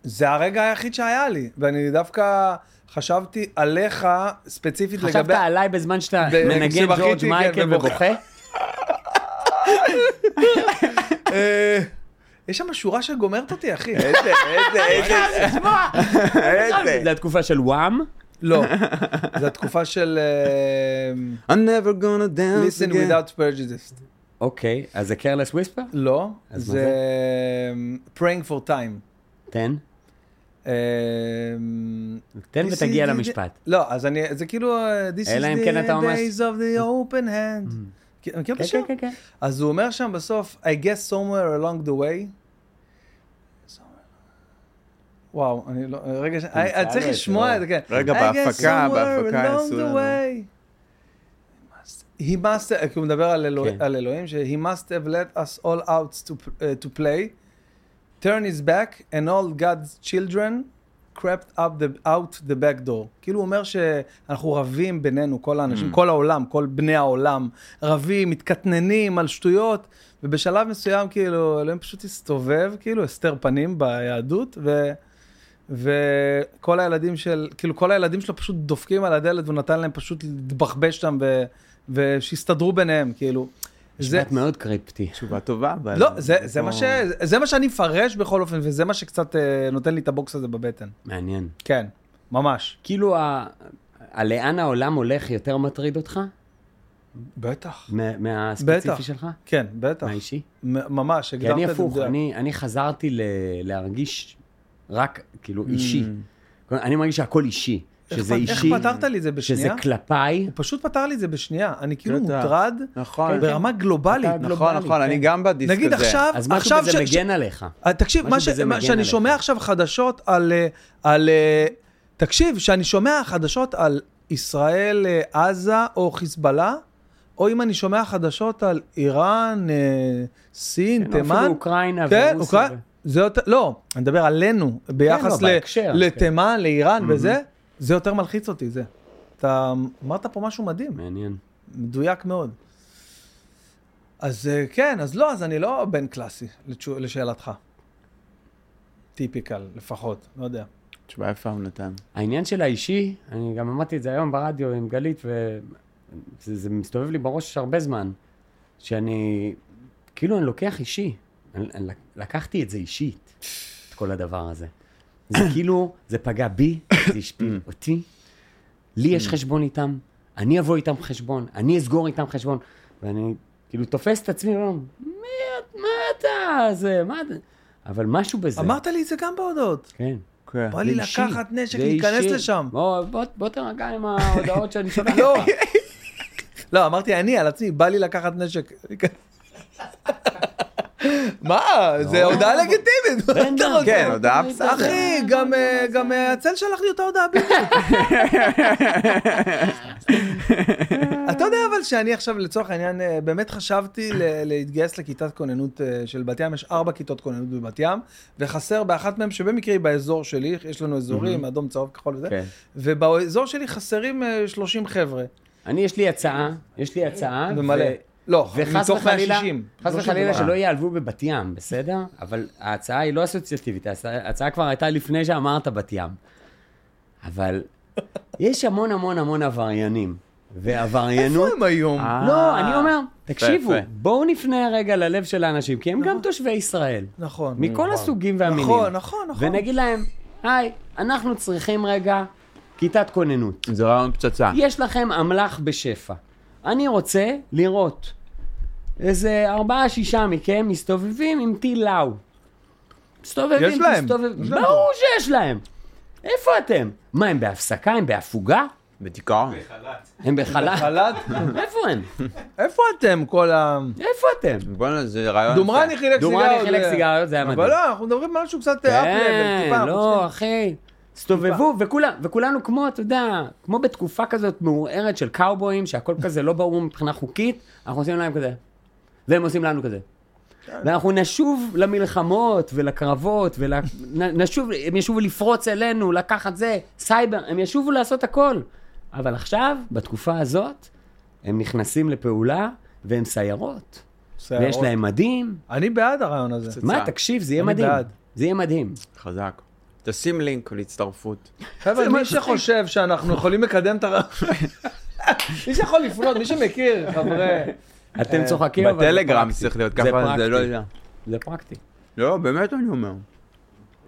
[SPEAKER 1] זה הרגע היחיד שהיה לי, ואני דווקא חשבתי עליך ספציפית
[SPEAKER 2] חשבת
[SPEAKER 1] לגבי...
[SPEAKER 2] עליי בזמן שאתה
[SPEAKER 1] ב-
[SPEAKER 2] מנגן
[SPEAKER 1] כשבכיתי,
[SPEAKER 2] ג'ורג'
[SPEAKER 1] כן,
[SPEAKER 2] מייקל
[SPEAKER 1] ובוכה.
[SPEAKER 2] ובוכה?
[SPEAKER 1] אה, יש שם שורה שגומרת אותי,
[SPEAKER 2] אה.
[SPEAKER 1] אחי.
[SPEAKER 3] איזה, איזה, איזה, איזה.
[SPEAKER 2] זה התקופה של וואם.
[SPEAKER 1] לא, זו התקופה של אה,
[SPEAKER 3] I'm never gonna dance
[SPEAKER 1] listen
[SPEAKER 2] כן.
[SPEAKER 3] again.
[SPEAKER 1] without prejudice.
[SPEAKER 2] אוקיי, אז זה careless whisper?
[SPEAKER 1] לא,
[SPEAKER 2] אז מה
[SPEAKER 1] זה אה, praying for time.
[SPEAKER 2] תן.
[SPEAKER 1] אה,
[SPEAKER 2] תן
[SPEAKER 1] This
[SPEAKER 2] ותגיע
[SPEAKER 1] is the-
[SPEAKER 2] למשפט.
[SPEAKER 1] לא, אז אני, זה כאילו, אה, this is
[SPEAKER 2] אלא אם
[SPEAKER 1] the
[SPEAKER 2] כן אתה ממש-
[SPEAKER 1] days of the open hand. כן, מכיר את
[SPEAKER 2] כן,
[SPEAKER 1] השיר?
[SPEAKER 2] כן, כן, כן.
[SPEAKER 1] אז הוא אומר שם בסוף, I guess somewhere along the way. וואו, אני לא, רגע, ש- אני אני צריך
[SPEAKER 2] לו את זה,
[SPEAKER 1] לשמוע
[SPEAKER 2] לא?
[SPEAKER 1] את זה, כן.
[SPEAKER 3] רגע,
[SPEAKER 1] I guess
[SPEAKER 3] בהפקה,
[SPEAKER 1] somewhere
[SPEAKER 3] בהפקה
[SPEAKER 1] along
[SPEAKER 3] עשו
[SPEAKER 1] the
[SPEAKER 3] לנו.
[SPEAKER 1] way. He must, he must- כי הוא מדבר על אלוה-
[SPEAKER 2] כן.
[SPEAKER 1] על אלוהים, ש- He must have let us all out to, uh, to play, turn his back and all God's children crept up the, out the back door. כאילו הוא אומר שאנחנו רבים בינינו, כל האנשים, כל העולם, כל בני העולם, רבים, מתקטננים על שטויות, ובשלב מסוים כאילו אלוהים פשוט הסתובב, כאילו הסתר פנים ביהדות, ו... וכל הילדים של, כאילו כל הילדים שלו פשוט דופקים על הדלת והוא נתן להם פשוט להתבחבש שם ו, ושיסתדרו ביניהם, כאילו. זה,
[SPEAKER 2] משפט מאוד קריפטי.
[SPEAKER 3] תשובה טובה, אבל... נכון.
[SPEAKER 1] לא, זה, זה,
[SPEAKER 3] פה-
[SPEAKER 1] מה ש, זה מה שאני מפרש בכל אופן, וזה מה שקצת אה, נותן לי את הבוקס הזה בבטן.
[SPEAKER 2] מעניין.
[SPEAKER 1] כן, ממש.
[SPEAKER 2] כאילו, ה- הלאן העולם הולך יותר מטריד אותך?
[SPEAKER 1] בטח.
[SPEAKER 2] מה-
[SPEAKER 1] בטח.
[SPEAKER 2] מהספציפי שלך?
[SPEAKER 1] כן, בטח.
[SPEAKER 2] מהאישי?
[SPEAKER 1] מ- ממש,
[SPEAKER 2] כי
[SPEAKER 1] הגדרת
[SPEAKER 2] אני
[SPEAKER 1] את זה.
[SPEAKER 2] הפוך,
[SPEAKER 1] מדויק.
[SPEAKER 2] אני, אני חזרתי ל, להרגיש רק, כאילו, אישי. אני מרגיש שהכל אישי.
[SPEAKER 1] Mm. איך
[SPEAKER 2] שזה
[SPEAKER 1] פ-
[SPEAKER 2] אישי,
[SPEAKER 1] איך פתרת לי את זה
[SPEAKER 2] שזה
[SPEAKER 1] בשנייה?
[SPEAKER 2] כלפיי.
[SPEAKER 1] הוא פשוט פתר לי את זה בשנייה. אני כאילו
[SPEAKER 3] בטח.
[SPEAKER 1] מוטרד
[SPEAKER 3] נכון,
[SPEAKER 1] כן, ברמה גלובלית.
[SPEAKER 2] אתה
[SPEAKER 3] נכון,
[SPEAKER 2] גלובלי,
[SPEAKER 3] נכון, אני
[SPEAKER 2] כן.
[SPEAKER 3] גם בדיסק הזה.
[SPEAKER 1] נגיד עכשיו,
[SPEAKER 2] אז משהו
[SPEAKER 1] עכשיו
[SPEAKER 2] בזה
[SPEAKER 1] ש-
[SPEAKER 2] מגן עליך.
[SPEAKER 1] אה, תקשיב, מה ש-
[SPEAKER 2] משהו בזה
[SPEAKER 1] מה
[SPEAKER 2] מגן
[SPEAKER 1] שאני
[SPEAKER 2] עליך.
[SPEAKER 1] שומע עכשיו חדשות על... אה, על אה, תקשיב, שאני שומע חדשות על ישראל, אה, עזה או חיזבאללה, או אם אני שומע חדשות על איראן, אה, סין,
[SPEAKER 2] כן,
[SPEAKER 1] תימן.
[SPEAKER 2] אפילו אוקראינה
[SPEAKER 1] כן,
[SPEAKER 2] ורוסיה
[SPEAKER 1] אוקראינה. זה יותר, לא, אני מדבר עלינו, ביחס
[SPEAKER 2] לא,
[SPEAKER 1] ל-
[SPEAKER 2] בהקשר, כן.
[SPEAKER 1] לתימן, לאיראן וזה, זה יותר מלחיץ אותי, זה. אתה אמרת פה משהו מדהים.
[SPEAKER 2] מעניין.
[SPEAKER 1] מדויק מאוד. אז אה, כן, אז לא, אז אני לא בן קלאסי, לתשו- לשאלתך. טיפיקל, לפחות, לא יודע.
[SPEAKER 3] תשובה יפה הוא נתן.
[SPEAKER 2] העניין של האישי, אני גם אמרתי את זה היום ברדיו עם גלית, וזה זה מסתובב לי בראש הרבה זמן, שאני, כאילו אני לוקח אישי, אני, אני לק- לקחתי את זה אישית, את כל הדבר הזה. זה כאילו, זה פגע בי, זה השפיל אותי, לי יש חשבון איתם, אני אבוא איתם חשבון, אני אסגור איתם חשבון, ואני כאילו תופס את עצמי, ואומר, מי את- מה אתה, זה, מה אתה, אבל משהו בזה,
[SPEAKER 1] אמרת לי את זה גם בהודעות.
[SPEAKER 2] כן.
[SPEAKER 3] כן.
[SPEAKER 1] בא לי
[SPEAKER 2] זה אישי.
[SPEAKER 1] לקחת נשק,
[SPEAKER 2] זה
[SPEAKER 1] להיכנס
[SPEAKER 2] אישי.
[SPEAKER 1] לשם.
[SPEAKER 2] בוא, בוא, בוא תרגע עם ההודעות שאני שולח
[SPEAKER 1] לא.
[SPEAKER 2] לך.
[SPEAKER 1] לא, אמרתי אני על עצמי, בא לי לקחת נשק. מה? זה הודעה לגיטימית, מה אתה רוצה?
[SPEAKER 3] כן, הודעה בסדר.
[SPEAKER 1] אחי,
[SPEAKER 2] לא,
[SPEAKER 1] גם, אה, גם אה, הצל שלח לי אותה הודעה בדיוק. אתה יודע אבל שאני עכשיו לצורך העניין אה, באמת חשבתי ל- להתגייס לכיתת כוננות אה, של בת ים, יש ארבע כיתות כוננות בבת ים, וחסר באחת מהן שבמקרה היא באזור שלי, יש לנו אזורים, אדום, צהוב, כחול וזה,
[SPEAKER 2] Mm-hmm. כן.
[SPEAKER 1] ובאזור שלי חסרים אה, 30 חבר'ה,
[SPEAKER 2] אני, יש לי הצעה, יש לי הצעה.
[SPEAKER 1] ומלא.
[SPEAKER 2] אה, ו-
[SPEAKER 1] לא,
[SPEAKER 2] וחס
[SPEAKER 1] מתוך
[SPEAKER 2] וחלילה,
[SPEAKER 1] 160.
[SPEAKER 2] חס
[SPEAKER 1] לא
[SPEAKER 2] וחלילה
[SPEAKER 1] שום
[SPEAKER 2] שלא
[SPEAKER 1] דבר.
[SPEAKER 2] ייעלבו בבת ים, בסדר? אבל ההצעה היא לא אסוציאטיבית, ההצעה- ההצעה כבר הייתה לפני שאמרת בת ים. אבל יש המון המון המון עבריינים, ועבריינות...
[SPEAKER 1] איפה הם היום?
[SPEAKER 3] אה,
[SPEAKER 2] לא, אני אומר, תקשיבו,
[SPEAKER 3] יפה.
[SPEAKER 2] בואו נפנה רגע ללב של האנשים, כי הם גם תושבי ישראל.
[SPEAKER 1] נכון.
[SPEAKER 2] מכל הסוגים והמינים.
[SPEAKER 1] נכון, נכון, נכון.
[SPEAKER 2] ונגיד להם, היי, אנחנו צריכים רגע כיתת כוננות.
[SPEAKER 3] זה רעיון פצצה.
[SPEAKER 2] יש לכם אמל"ח בשפע. אני רוצה לראות איזה ארבעה, שישה מכם מסתובבים עם טיל לאו. מסתובבים,
[SPEAKER 1] יש להם.
[SPEAKER 2] מסתובבים.
[SPEAKER 1] יש להם.
[SPEAKER 2] ברור שיש להם. איפה אתם? מה, הם בהפסקה? הם בהפוגה?
[SPEAKER 3] בדיכאון.
[SPEAKER 2] הם בחלל?
[SPEAKER 1] חל"ת?
[SPEAKER 2] איפה הם?
[SPEAKER 1] איפה אתם כל ה...
[SPEAKER 2] איפה אתם?
[SPEAKER 3] בואנה, זה רעיון...
[SPEAKER 1] דומרני חילק סיגריות.
[SPEAKER 2] דומרני חילק סיגריות, זה היה מדהים.
[SPEAKER 1] אבל לא, אנחנו מדברים על משהו קצת אפ-לבל, טיפה.
[SPEAKER 2] כן,
[SPEAKER 1] אנחנו
[SPEAKER 2] לא,
[SPEAKER 1] צריכים-
[SPEAKER 2] אחי. הסתובבו, וכולם- וכולנו כמו, אתה יודע, כמו בתקופה כזאת מעורערת של קאובויים, שהכל כזה לא ברור מבחינה חוקית, אנחנו עושים להם כזה. והם עושים לנו כזה.
[SPEAKER 1] כן.
[SPEAKER 2] ואנחנו נשוב למלחמות ולקרבות, ונשוב, הם ישובו לפרוץ אלינו, לקחת זה, סייבר, הם ישובו לעשות הכל. אבל עכשיו, בתקופה הזאת, הם נכנסים לפעולה, והם סיירות,
[SPEAKER 1] סיירות.
[SPEAKER 2] ויש להם מדים.
[SPEAKER 1] אני בעד הרעיון הזה.
[SPEAKER 2] מה, תקשיב, זה יהיה
[SPEAKER 1] אני
[SPEAKER 2] מדהים.
[SPEAKER 1] בעד.
[SPEAKER 2] זה יהיה מדהים.
[SPEAKER 3] חזק. תשים לינק להצטרפות.
[SPEAKER 1] חבר'ה,
[SPEAKER 2] זה
[SPEAKER 1] מי
[SPEAKER 2] מצחיק.
[SPEAKER 1] שחושב שאנחנו יכולים לקדם את הרעיון... מי שיכול לפנות, מי שמכיר, חבר'ה.
[SPEAKER 2] אתם צוחקים, כן, אבל זה
[SPEAKER 3] בטלגרם
[SPEAKER 2] פרקטי.
[SPEAKER 3] זה צריך להיות
[SPEAKER 2] אה, זה
[SPEAKER 3] ככה,
[SPEAKER 2] פרקטי.
[SPEAKER 3] זה לא יודע.
[SPEAKER 2] זה פרקטי.
[SPEAKER 3] לא, באמת אני אומר.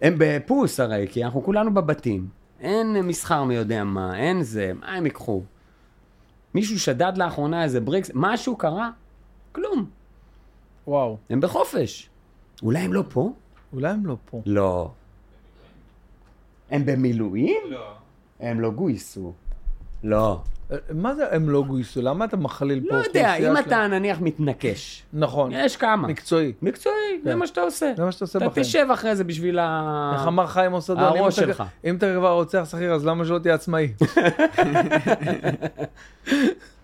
[SPEAKER 2] הם בפוס הרי, כי אנחנו כולנו בבתים. אין מסחר מי יודע מה, אין זה, מה הם ייקחו? מישהו שדד לאחרונה איזה בריקס, משהו קרה? כלום.
[SPEAKER 1] וואו,
[SPEAKER 2] הם בחופש. אולי הם לא פה?
[SPEAKER 1] אולי הם לא פה.
[SPEAKER 2] לא. הם במילואים? לא. הם לא גויסו. לא.
[SPEAKER 1] אה, מה זה הם לא גויסו? למה אתה מכליל פה?
[SPEAKER 2] לא יודע,
[SPEAKER 1] אוכלוסייה
[SPEAKER 2] אם
[SPEAKER 1] שלהם?
[SPEAKER 2] אתה נניח מתנקש,
[SPEAKER 1] נכון,
[SPEAKER 2] יש כמה.
[SPEAKER 1] מקצועי.
[SPEAKER 2] מקצועי, זה
[SPEAKER 1] כן.
[SPEAKER 2] מה שאתה עושה.
[SPEAKER 1] זה מה שאתה עושה
[SPEAKER 2] אתה
[SPEAKER 1] בחיים.
[SPEAKER 2] תשב אחרי זה בשביל ה...
[SPEAKER 1] איך אמר חיים מוסדון? אם
[SPEAKER 2] הראש
[SPEAKER 1] אתה-
[SPEAKER 2] שלך.
[SPEAKER 1] אם אתה כבר רוצח שכיר, אז למה שלא תהיה עצמאי?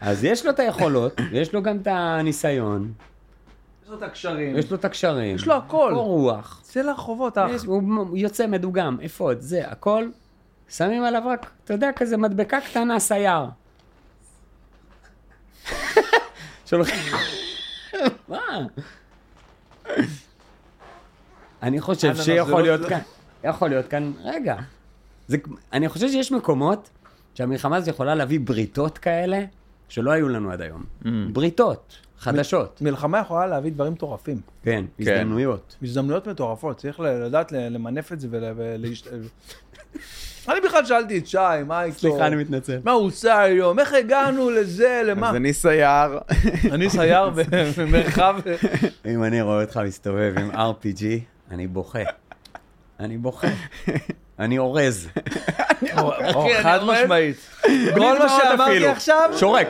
[SPEAKER 2] אז יש לו את היכולות, יש לו גם את הניסיון,
[SPEAKER 1] יש לו את הקשרים.
[SPEAKER 2] יש לו את הקשרים.
[SPEAKER 1] יש לו הכל.
[SPEAKER 2] קור רוח.
[SPEAKER 1] צא לרחובות, אח.
[SPEAKER 2] יש, הוא הוא יוצא מדוגם, אפוד, זה, הכל. שמים עליו רק, אתה יודע, כזה מדבקה קטנה, סייר. שולחים... מה? אני חושב
[SPEAKER 1] אננס זה
[SPEAKER 2] שיכול
[SPEAKER 1] לא-
[SPEAKER 2] להיות
[SPEAKER 1] לא-
[SPEAKER 2] כאן, יכול להיות כאן, רגע. זה, אני חושב שיש מקומות שהמלחמה הזאת יכולה להביא בריתות כאלה שלא היו לנו עד היום. בריתות, חדשות.
[SPEAKER 1] מלחמה יכולה להביא דברים מטורפים.
[SPEAKER 2] כן,
[SPEAKER 3] כן.
[SPEAKER 2] הזדמנויות.
[SPEAKER 1] הזדמנויות מטורפות, צריך ל- לדעת ל- למנף את זה ולהשתלב. אני בכלל שאלתי את שי, מה איתו?
[SPEAKER 2] סליחה, אני מתנצל.
[SPEAKER 1] מה הוא עושה היום? איך הגענו לזה? למה?
[SPEAKER 3] אז אני סייר.
[SPEAKER 1] אני סייר במרחב...
[SPEAKER 2] אם אני רואה אותך מסתובב עם RPG, אני בוכה. אני בוכה. אני אורז.
[SPEAKER 1] או,
[SPEAKER 2] אני
[SPEAKER 1] אוקיי, חד
[SPEAKER 2] אומר-
[SPEAKER 1] משמעית. כל מה
[SPEAKER 3] דמעות
[SPEAKER 1] שאמרתי
[SPEAKER 3] אפילו.
[SPEAKER 1] עכשיו...
[SPEAKER 2] שורק.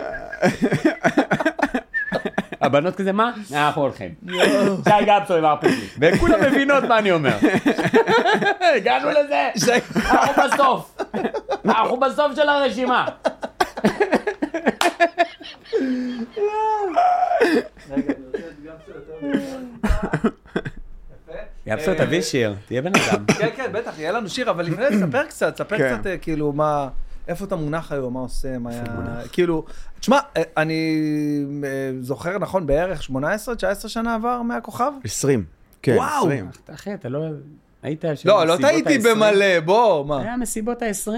[SPEAKER 2] הבנות כזה, מה? אה, אנחנו הולכים. שי גפסו עם RPG. וכולם מבינות מה אני אומר. הגענו לזה. אנחנו בסוף. אנחנו בסוף של הרשימה. גפסו, תביא שיר, תהיה בן אדם.
[SPEAKER 1] כן, כן, בטח, יהיה לנו שיר, אבל לפני, ספר קצת, ספר
[SPEAKER 3] כן.
[SPEAKER 1] קצת, אה, כאילו, מה, איפה אתה מונח היום, מה עושה, מה היה, כאילו, תשמע, אה, אני אה, זוכר נכון, בערך 18-19 שנה עבר מהכוכב?
[SPEAKER 3] 20. כן,
[SPEAKER 1] וואו.
[SPEAKER 3] 20.
[SPEAKER 2] אחי, אתה לא... היית...
[SPEAKER 1] לא, לא טעיתי במלא, בוא, מה.
[SPEAKER 2] היה מסיבות ה-20.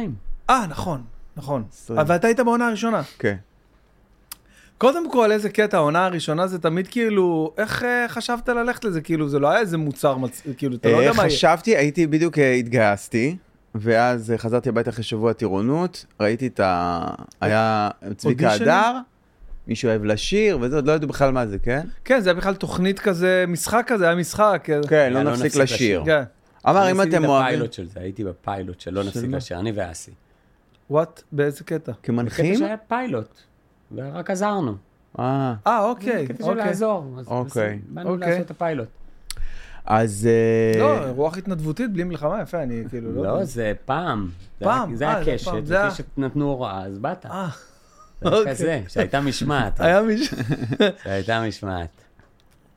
[SPEAKER 1] אה, נכון, נכון.
[SPEAKER 3] עשרים.
[SPEAKER 1] אבל אתה היית בעונה הראשונה.
[SPEAKER 3] כן.
[SPEAKER 1] קודם כל, איזה קטע, העונה הראשונה זה תמיד כאילו, איך אה, חשבת ללכת לזה? כאילו, זה לא היה איזה מוצר, מצ- כאילו, אתה לא יודע
[SPEAKER 3] אה,
[SPEAKER 1] מה יהיה.
[SPEAKER 3] חשבתי, הייתי בדיוק אה, התגייסתי, ואז אה, חזרתי הביתה אחרי שבוע טירונות, ראיתי את ה... היה צביקה
[SPEAKER 1] אודישנים?
[SPEAKER 3] הדר, מישהו אוהב לשיר, וזה, עוד לא ידעו בכלל מה זה, כן?
[SPEAKER 1] כן, זה היה בכלל תוכנית כזה, משחק כזה, היה משחק. אה,
[SPEAKER 3] כן,
[SPEAKER 2] לא
[SPEAKER 3] לא נפסיק
[SPEAKER 2] נפסיק
[SPEAKER 3] לשיר.
[SPEAKER 1] כן.
[SPEAKER 3] אמר, אם אתם
[SPEAKER 2] אני עשיתי את
[SPEAKER 3] אוהבים...
[SPEAKER 2] הפיילוט של זה, הייתי בפיילוט של לא נפסיק
[SPEAKER 3] מה?
[SPEAKER 2] לשיר, אני ואסי.
[SPEAKER 1] וואט, באיזה קטע?
[SPEAKER 2] קטע
[SPEAKER 3] כמנחים?
[SPEAKER 2] שהיה פיילוט, ורק עזרנו.
[SPEAKER 3] אה,
[SPEAKER 1] אה, אוקיי,
[SPEAKER 2] קטע של
[SPEAKER 1] אוקיי.
[SPEAKER 2] לעזור. אז
[SPEAKER 3] אוקיי.
[SPEAKER 2] בסדר, באנו
[SPEAKER 1] אוקיי.
[SPEAKER 2] לעשות את הפיילוט.
[SPEAKER 3] אז... אה,
[SPEAKER 1] לא, רוח התנדבותית בלי מלחמה, יפה, אני כאילו לא...
[SPEAKER 2] לא, זה פעם. זה
[SPEAKER 1] פעם,
[SPEAKER 2] היה- זה
[SPEAKER 1] אה,
[SPEAKER 2] היה
[SPEAKER 1] זה
[SPEAKER 2] קשת,
[SPEAKER 1] פעם, זה היה-
[SPEAKER 2] וקשת נתנו הוראה, אז באת.
[SPEAKER 1] אה,
[SPEAKER 2] זה היה
[SPEAKER 1] אוקיי.
[SPEAKER 2] כזה, שהייתה משמעת.
[SPEAKER 1] היה מישהו...
[SPEAKER 2] זה הייתה משמעת.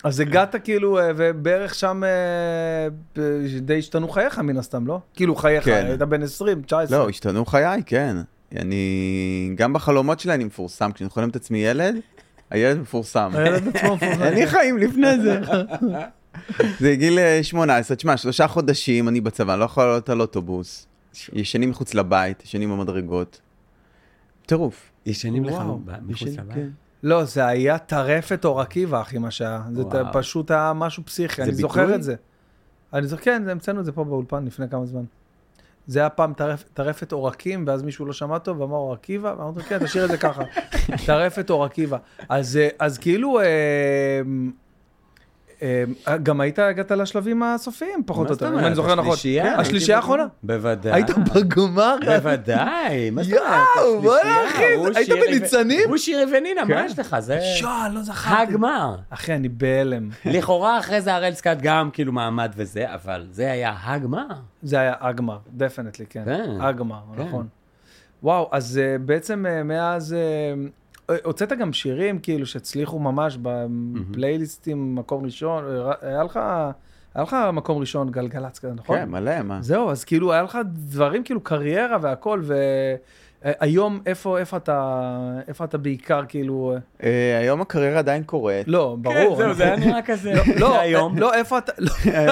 [SPEAKER 1] אז הגעת כאילו, אה, ובערך שם אה, ב- די השתנו חייך מן הסתם, לא? כאילו חייך,
[SPEAKER 3] כן.
[SPEAKER 1] היית בן 20, 19.
[SPEAKER 3] לא, השתנו חיי, כן. אני... גם בחלומות שלי אני מפורסם. כשאני חולם את עצמי ילד, הילד מפורסם.
[SPEAKER 1] הילד עצמו מפורסם.
[SPEAKER 3] אין לי חיים לפני זה. זה גיל אה, 18, תשמע, שלושה חודשים אני בצבא, אני לא יכול לעלות על אוטובוס. ישנים מחוץ לבית, ישנים במדרגות. טירוף.
[SPEAKER 2] ישנים לך
[SPEAKER 1] וואו,
[SPEAKER 2] ב- מחוץ
[SPEAKER 3] ישנים,
[SPEAKER 2] לבית?
[SPEAKER 3] כן.
[SPEAKER 1] לא, זה היה טרפת אור עקיבא, אחי, מה שהיה. זה
[SPEAKER 2] וואו.
[SPEAKER 1] פשוט היה משהו פסיכי, אני
[SPEAKER 3] ביטוי?
[SPEAKER 1] זוכר את זה. אני זוכר, כן, המצאנו את זה פה באולפן לפני כמה זמן. זה היה פעם טרפ- טרפת עורקים, ואז מישהו לא שמע טוב ואמר אור עקיבא, ואמרנו, כן, תשאיר את זה ככה. טרפת אור עקיבא. אז, אה, אז כאילו, אה, אה, גם היית, הגעת לשלבים הסופיים, פחות
[SPEAKER 2] מה
[SPEAKER 1] או יותר,
[SPEAKER 2] זאת
[SPEAKER 1] אם
[SPEAKER 2] אומרת?
[SPEAKER 1] אני זוכר נכון.
[SPEAKER 2] השלישייה, כן, הייתי
[SPEAKER 1] השלישייה
[SPEAKER 2] בגמר.
[SPEAKER 1] האחרונה?
[SPEAKER 2] בוודאי.
[SPEAKER 1] היית בגמר?
[SPEAKER 2] בוודאי, מה זאת אומרת?
[SPEAKER 1] יואו, בוא'נה,
[SPEAKER 2] השלישייה,
[SPEAKER 1] אחי,
[SPEAKER 2] הוא
[SPEAKER 1] היית
[SPEAKER 2] שירי ו-
[SPEAKER 1] בניצנים?
[SPEAKER 2] הוא שירי ונינה, מה
[SPEAKER 3] כן.
[SPEAKER 2] יש לך? זה
[SPEAKER 1] שואל, לא זכרתי.
[SPEAKER 2] הגמר.
[SPEAKER 1] אחי, אני בהלם.
[SPEAKER 2] לכאורה אחרי זה הראל סקאט גם כאילו מעמד וזה, אבל זה היה הגמר.
[SPEAKER 1] זה היה אגמר, דפנטלי, כן.
[SPEAKER 2] כן.
[SPEAKER 1] אגמר,
[SPEAKER 2] כן.
[SPEAKER 1] נכון. וואו, אז אה, בעצם אה, מאז... אה, אה, הוצאת גם שירים כאילו שהצליחו ממש בפלייליסטים מקום ראשון, אה, ר- היה לך, היה לך מקום ראשון גלגלצ כזה, נכון?
[SPEAKER 3] כן, מלא, מה?
[SPEAKER 1] זהו, אז כאילו היה לך דברים כאילו קריירה והכל, והיום איפה, איפה אתה, איפה אתה בעיקר כאילו, אה,
[SPEAKER 3] אה, היום הקריירה עדיין קורית.
[SPEAKER 1] לא, ברור.
[SPEAKER 2] כן, זהו,
[SPEAKER 1] אנחנו-
[SPEAKER 2] זה היה נראה כזה.
[SPEAKER 1] לא,
[SPEAKER 2] היום.
[SPEAKER 1] לא, איפה אתה, לא,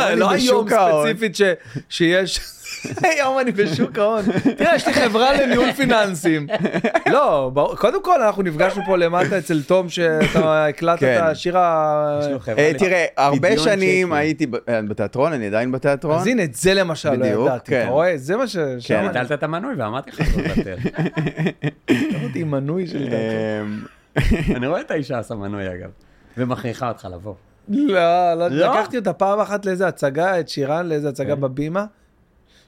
[SPEAKER 3] אני
[SPEAKER 1] לא היום
[SPEAKER 3] בשוק ההון.
[SPEAKER 1] ספציפית ש- שיש, היום אני בשוק ההון. תראה, יש לי חברה לניהול פיננסים. לא, ברור- קודם כל אנחנו נפגשנו פה למטה אצל תום, שאתה הקלטת את
[SPEAKER 3] כן.
[SPEAKER 1] השיר ה...
[SPEAKER 2] יש לו חברה
[SPEAKER 3] אה,
[SPEAKER 2] לפ-
[SPEAKER 3] תראה, הרבה
[SPEAKER 2] פדיון
[SPEAKER 3] שנים
[SPEAKER 2] צ'קים.
[SPEAKER 3] הייתי ב- אה, בתיאטרון, אני עדיין בתיאטרון.
[SPEAKER 1] אז הנה, את זה למשל לא
[SPEAKER 3] בדיוק,
[SPEAKER 1] ידעתי, אתה
[SPEAKER 3] כן.
[SPEAKER 1] רואה? זה מה ש... שם
[SPEAKER 2] לא, ביטלת את המנוי ואמרתי לך לא לוותר.
[SPEAKER 1] אותי מנוי של דרכו.
[SPEAKER 3] אמ,
[SPEAKER 2] אני רואה את האישה עושה מנוי אגב, ומכריחה אותך לבוא.
[SPEAKER 1] לא, לא,
[SPEAKER 2] לא?
[SPEAKER 1] לקחתי אותה פעם אחת לאיזה הצגה, את שירן לאיזה
[SPEAKER 3] כן.
[SPEAKER 1] הצגה בבימה.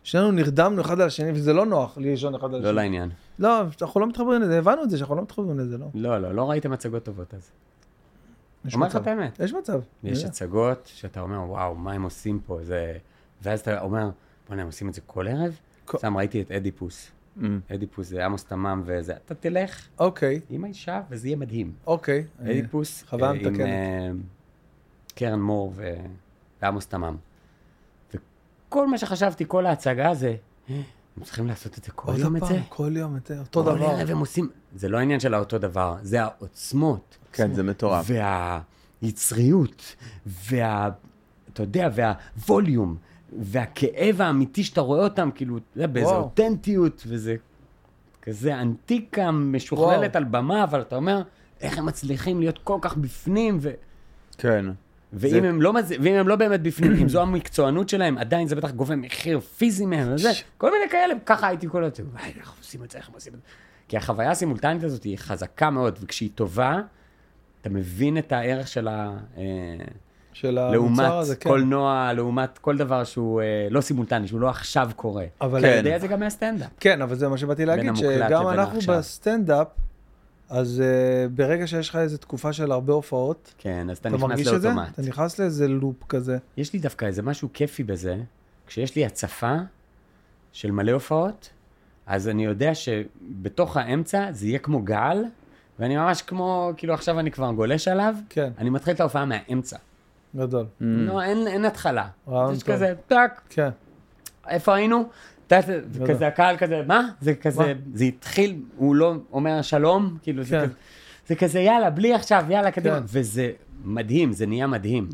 [SPEAKER 1] שנינו נרדמנו אחד על השני, וזה לא נוח לישון אחד על
[SPEAKER 2] לא
[SPEAKER 1] השני.
[SPEAKER 2] לעניין.
[SPEAKER 1] לא, אנחנו לא מתחברים לזה, הבנו את זה שאנחנו לא מתחברים לזה, לא.
[SPEAKER 2] לא, לא, לא ראיתם מצגות טובות אז.
[SPEAKER 1] יש
[SPEAKER 2] אומר לך
[SPEAKER 1] מצב.
[SPEAKER 2] את האמת.
[SPEAKER 1] יש מצב. אה,
[SPEAKER 2] יש
[SPEAKER 1] אני יודע.
[SPEAKER 2] הצגות שאתה אומר, וואו, מה הם עושים פה? זה... ואז אתה אומר, בוא'נה, הם עושים את זה כל ערב?
[SPEAKER 1] כל- Mm.
[SPEAKER 2] סתם ראיתי את אדיפוס.
[SPEAKER 3] אמ,
[SPEAKER 2] אדיפוס זה עמוס תמם וזה. אתה תלך
[SPEAKER 1] אוקיי,
[SPEAKER 2] עם האישה וזה יהיה מדהים.
[SPEAKER 1] אוקיי. אני-
[SPEAKER 2] אדיפוס
[SPEAKER 1] חוויה
[SPEAKER 2] אה, עם
[SPEAKER 1] מתקנת.
[SPEAKER 2] אה, קרן מור ו- ועמוס תמם. וכל מה שחשבתי, כל ההצגה זה, "אה, הם צריכים לעשות את זה כל
[SPEAKER 1] עוד
[SPEAKER 2] יום את זה?
[SPEAKER 1] פעם, כל יום את זה, אותו
[SPEAKER 2] כל
[SPEAKER 1] דבר.
[SPEAKER 2] ערב הם עושים... זה לא עניין של האותו דבר, זה העוצמות.
[SPEAKER 3] כן, זה מטורף.
[SPEAKER 2] והיצריות, וה... אתה יודע, והווליום, והכאב האמיתי שאתה רואה אותם, כאילו, אתה יודע, באיזו
[SPEAKER 1] וואו.
[SPEAKER 2] אותנטיות, וזה כזה אנטיקה משוכללת על
[SPEAKER 1] וואו.
[SPEAKER 2] במה, אבל אתה אומר, איך הם מצליחים להיות כל כך בפנים, ו...
[SPEAKER 3] כן.
[SPEAKER 2] ואם,
[SPEAKER 3] זה-
[SPEAKER 2] הם לא, מצ- ואם הם לא באמת בפנים, אם זו המקצוענות שלהם, עדיין זה בטח גובה מחיר פיזי מהם, וזה, כל מיני כאלה, ככה הייתי כל הזמן, וואי, איך עושים את זה, איך הם עושים את זה. כי החוויה הסימולטנית הזאת היא חזקה מאוד, וכשהיא טובה, אתה מבין את הערך שלה אה,
[SPEAKER 1] של
[SPEAKER 2] לעומת
[SPEAKER 1] המוצר הזה, כן.
[SPEAKER 2] קולנוע, לעומת כל דבר שהוא אה, לא סימולטני, שהוא לא עכשיו קורה.
[SPEAKER 1] אבל-
[SPEAKER 2] אתה
[SPEAKER 3] כן.
[SPEAKER 2] יודע את זה גם מהסטנדאפ.
[SPEAKER 1] כן, אבל זה מה שבאתי להגיד,
[SPEAKER 2] המוקלט
[SPEAKER 1] שגם
[SPEAKER 2] לבין
[SPEAKER 1] אנחנו
[SPEAKER 2] העכשיו.
[SPEAKER 1] בסטנדאפ, אז אה, ברגע שיש לך איזו תקופה של הרבה הופעות,
[SPEAKER 2] כן, אז אתה
[SPEAKER 1] אתה
[SPEAKER 2] נכנס
[SPEAKER 1] מרגיש את זה?
[SPEAKER 2] לאוטומט.
[SPEAKER 1] אתה נכנס לאיזה לופ כזה.
[SPEAKER 2] יש לי דווקא איזה משהו כיפי בזה, כשיש לי הצפה של מלא הופעות, אז אני יודע שבתוך האמצע זה יהיה כמו גל, ואני ממש כמו, כאילו עכשיו אני כבר גולש עליו,
[SPEAKER 1] כן,
[SPEAKER 2] אני מתחיל את ההופעה מהאמצע.
[SPEAKER 1] גדול.
[SPEAKER 2] לא, אין, אין התחלה.
[SPEAKER 1] רעיון
[SPEAKER 2] יש
[SPEAKER 1] טוב.
[SPEAKER 2] כזה, טאק,
[SPEAKER 1] כן,
[SPEAKER 2] איפה היינו? טאק,
[SPEAKER 1] לא,
[SPEAKER 2] כזה הקהל כזה, מה? זה כזה, זה התחיל, הוא לא אומר שלום, כאילו זה
[SPEAKER 1] כן.
[SPEAKER 2] כזה, זה כזה יאללה, בלי עכשיו, יאללה, קדימה.
[SPEAKER 1] כן.
[SPEAKER 2] וזה מדהים, זה נהיה מדהים.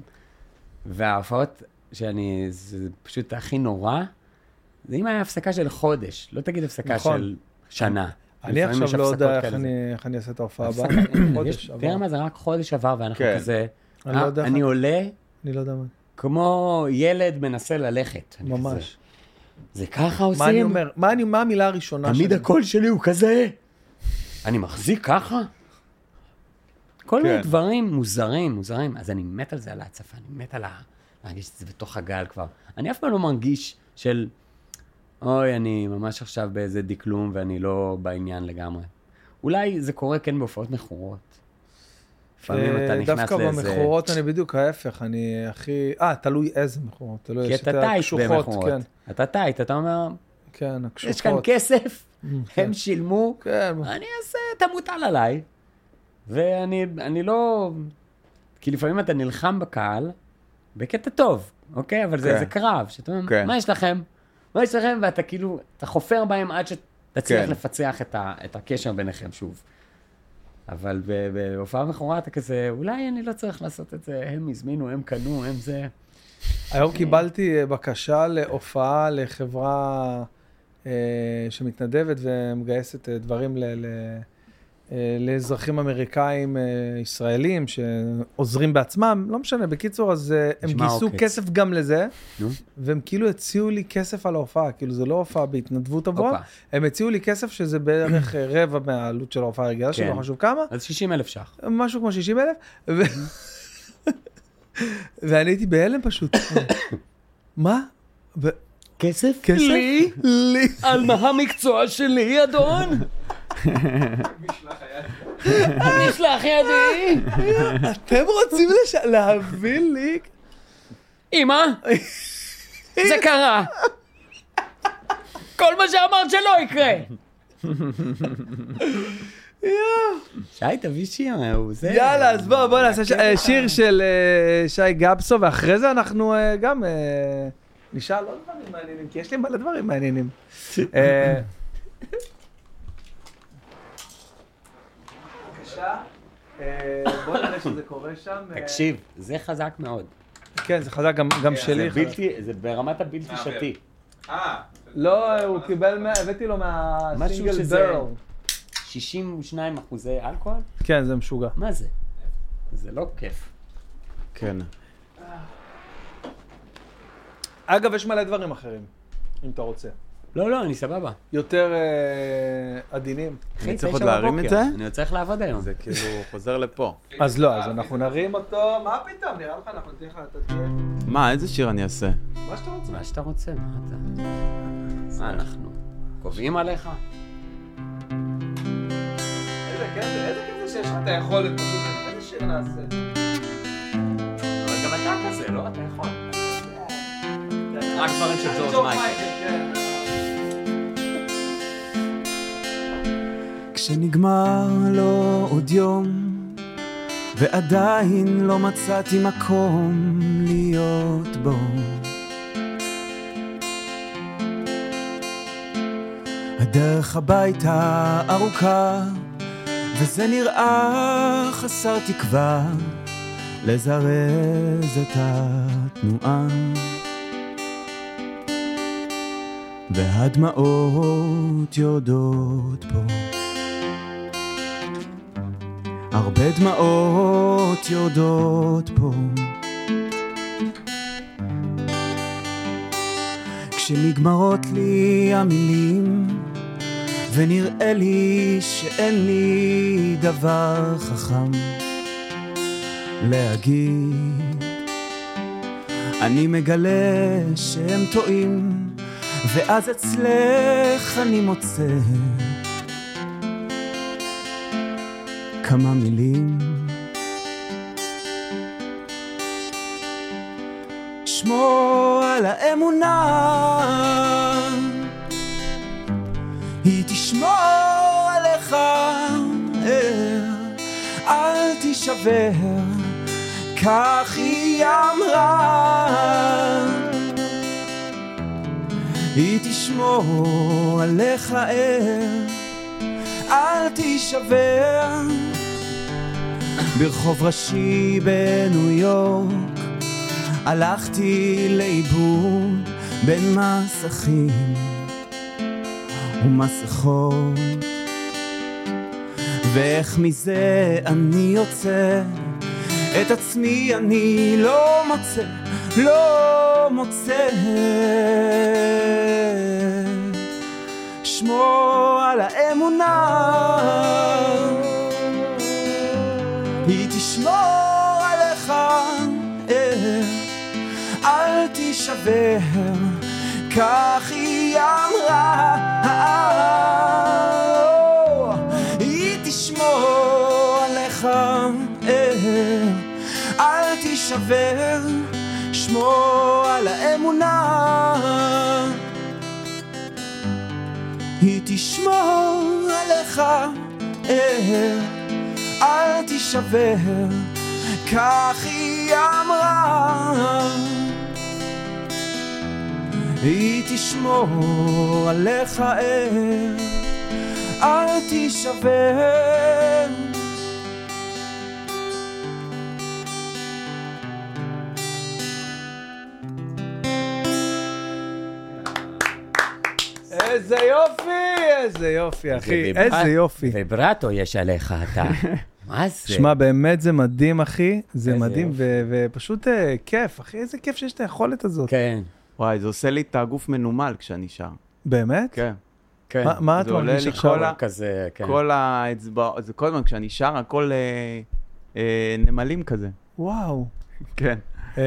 [SPEAKER 2] וההופעות שאני, זה פשוט הכי נורא, זה אם היה הפסקה של חודש, לא תגיד הפסקה
[SPEAKER 1] נכון.
[SPEAKER 2] של שנה.
[SPEAKER 1] אני
[SPEAKER 2] לפעמים יש
[SPEAKER 1] עכשיו לא יודע
[SPEAKER 2] הפסקות
[SPEAKER 1] איך
[SPEAKER 2] כאלה.
[SPEAKER 1] אני- איך אני אעשה את ההופעה הבאה.
[SPEAKER 2] יש-
[SPEAKER 1] חודש עבר.
[SPEAKER 2] תראה מה זה, רק חודש עבר, ואנחנו
[SPEAKER 3] כן.
[SPEAKER 2] כזה,
[SPEAKER 1] אני לא
[SPEAKER 2] "אה,
[SPEAKER 1] יודע איך-
[SPEAKER 2] אני עולה
[SPEAKER 1] אני לא יודע מה.
[SPEAKER 2] כמו ילד מנסה ללכת. אני כזה,
[SPEAKER 1] ממש.
[SPEAKER 2] זה ככה
[SPEAKER 1] מה אני
[SPEAKER 2] עושים?
[SPEAKER 1] אומר? מה אני- מה המילה הראשונה שלי?
[SPEAKER 2] תמיד הקול שלי הוא כזה. אני מחזיק ככה? כל מיני
[SPEAKER 3] כן.
[SPEAKER 2] דברים מוזרים, מוזרים. אז אני מת על זה, על ההצפה, אני מת על ה... להרגיש את זה בתוך הגל כבר. אני אף פעם לא מרגיש של, אוי, אני ממש עכשיו באיזה דקלום ואני לא בעניין לגמרי. אולי זה קורה כן בהופעות מכורות. לפעמים אתה נכנס לאיזה...
[SPEAKER 1] אה, דווקא במכורות אני בדיוק ההפך, אני הכי... אה, תלוי איזה מכורות, תלוי.
[SPEAKER 2] כי
[SPEAKER 1] יש את
[SPEAKER 2] אתה טייט
[SPEAKER 1] הקשוחות,
[SPEAKER 2] במכורות.
[SPEAKER 1] כן,
[SPEAKER 2] אתה טייט, אתה אומר,
[SPEAKER 1] כן, הקשוחות.
[SPEAKER 2] יש כאן כסף,
[SPEAKER 1] כן.
[SPEAKER 2] הם שילמו,
[SPEAKER 1] כן,
[SPEAKER 2] אני אעשה, אתה מוטל עליי. ואני אני לא... כי לפעמים אתה נלחם בקהל, בקטע טוב, אוקיי? אבל זה
[SPEAKER 3] כן.
[SPEAKER 2] איזה קרב, שאתה אומר,
[SPEAKER 3] כן.
[SPEAKER 2] מה יש לכם? מה יש לכם? ואתה כאילו, אתה חופר בהם עד שתצליח
[SPEAKER 3] כן.
[SPEAKER 2] לפצח את ה- את הקשר ביניכם שוב. אבל ב- בהופעה מכורה אתה כזה, אולי אני לא צריך לעשות את זה, הם הזמינו, הם קנו, הם זה.
[SPEAKER 1] היום קיבלתי אה, בקשה להופעה לחברה אה, שמתנדבת ומגייסת אה, דברים ל, ל, אה, לאזרחים אמריקאים אה, ישראלים שעוזרים בעצמם, לא משנה, בקיצור, אז אה, הם
[SPEAKER 2] נשמע
[SPEAKER 1] גייסו
[SPEAKER 2] עוקץ.
[SPEAKER 1] כסף גם לזה,
[SPEAKER 2] נו.
[SPEAKER 1] והם כאילו הציעו לי כסף על ההופעה, כאילו זה לא הופעה בהתנדבות עבורם,
[SPEAKER 2] הופה.
[SPEAKER 1] הם הציעו לי כסף שזה בערך אה, רבע מהעלות של ההופעה הרגילה, שלא
[SPEAKER 2] כן.
[SPEAKER 1] חשוב כמה,
[SPEAKER 2] אז 60 אלף ש"ח.
[SPEAKER 1] משהו כמו 60 אלף, ו... ואני הייתי בהלם פשוט. מה? ו...
[SPEAKER 2] כסף?
[SPEAKER 1] כסף? לי.
[SPEAKER 2] על מה המקצוע שלי, אדון? משלח ידי.
[SPEAKER 1] אתם רוצים לש... להביא לי?
[SPEAKER 2] אמא, זה קרה. כל מה שאמרת שלא יקרה. שי, תביא שיר, הוא זה.
[SPEAKER 1] יאללה, אז בוא, בוא נעשה ש... אה, שיר של אה, שי גבסו, ואחרי זה אנחנו אה, גם אה, נשאל עוד דברים מעניינים, כי יש לי מלא דברים מעניינים. אה, בבקשה, אה, בוא נראה שזה קורה שם. אה,
[SPEAKER 2] תקשיב, זה חזק מאוד.
[SPEAKER 1] כן, זה חזק, גם, גם
[SPEAKER 2] זה
[SPEAKER 1] שלי. חזק.
[SPEAKER 2] בלתי, זה ברמת הבלתי שתי.
[SPEAKER 3] אה,
[SPEAKER 1] לא, הוא קיבל, מה- הבאתי לו מהסינגל
[SPEAKER 2] שזה-
[SPEAKER 1] ברל.
[SPEAKER 2] 62 אחוזי אלכוהול?
[SPEAKER 1] כן, זה משוגע.
[SPEAKER 2] מה זה? זה לא כיף.
[SPEAKER 3] כן.
[SPEAKER 1] אגב, יש מלא דברים אחרים, אם אתה רוצה.
[SPEAKER 2] לא, לא, אני סבבה.
[SPEAKER 1] יותר אה, עדינים.
[SPEAKER 2] אחי,
[SPEAKER 3] צריך עוד
[SPEAKER 2] תשע
[SPEAKER 3] להרים את
[SPEAKER 2] בבוקר.
[SPEAKER 3] זה?
[SPEAKER 2] אני עוד צריך לעבוד היום.
[SPEAKER 3] זה כאילו חוזר לפה.
[SPEAKER 1] אז לא, אז אנחנו נרים אותו, מה פתאום, נראה לך, אנחנו ניתן לך, אתה תהיה,
[SPEAKER 3] מה, איזה שיר אני אעשה?
[SPEAKER 1] מה שאתה רוצה.
[SPEAKER 2] מה שאתה רוצה, מה אתה... מה אנחנו? קובעים עליך?
[SPEAKER 1] איזה כיף, זה- איזה כיף זה שיש לך את היכולת, פשוט, איזה שיר נעשה.
[SPEAKER 2] אבל גם אתה כזה, לא? אתה יכול. רק דברים של ג'ורג' מייקל.
[SPEAKER 1] כן.
[SPEAKER 3] כשנגמר לו לא עוד יום, ועדיין לא מצאתי מקום להיות בו. הדרך הביתה ארוכה, וזה נראה חסר תקווה לזרז את התנועה. והדמעות יורדות פה. הרבה דמעות יורדות פה. כשנגמרות לי המילים, ונראה לי שאין לי דבר חכם להגיד. אני מגלה שהם טועים, ואז אצלך אני מוצא כמה מילים. שמור על האמונה, היא תשמור עליך, אה, אל תישבר. כך היא אמרה. היא תשמור עליך ער, אל תישבר. ברחוב ראשי בניו יורק, הלכתי לאיבוד בין מסכים ומסכות. ואיך מזה אני יוצא? את עצמי אני לא מוצא, לא מוצא. שמור על האמונה, היא תשמור עליך, אה, אל תישבר, כך היא אמרה. היא תשמור עליך, אה,
[SPEAKER 5] תתנער, אל תישבר, כך היא אמרה. היא תשמור עליך ער, אל תישבר.
[SPEAKER 1] איזה יופי, איזה יופי, אחי,
[SPEAKER 2] וביברה-
[SPEAKER 1] איזה יופי.
[SPEAKER 2] ויברטו יש עליך אתה. מה זה?
[SPEAKER 1] שמע, באמת זה מדהים, אחי, זה
[SPEAKER 2] איזה
[SPEAKER 1] מדהים,
[SPEAKER 2] יופי.
[SPEAKER 1] ו- ופשוט אה, כיף, אחי, איזה כיף שיש את היכולת הזאת.
[SPEAKER 2] כן,
[SPEAKER 3] וואי, זה עושה לי את הגוף מנומל כשאני שר.
[SPEAKER 1] באמת?
[SPEAKER 3] כן.
[SPEAKER 2] כן.
[SPEAKER 1] מה- מה את
[SPEAKER 3] זה עולה
[SPEAKER 1] מרגיש
[SPEAKER 3] לי
[SPEAKER 1] עכשיו?
[SPEAKER 3] כל ה-
[SPEAKER 2] כזה, כן.
[SPEAKER 3] כל האצבעות, זה כל הזמן כשאני שר, הכל אה, אה, נמלים כזה.
[SPEAKER 1] וואו.
[SPEAKER 3] כן.
[SPEAKER 1] אה,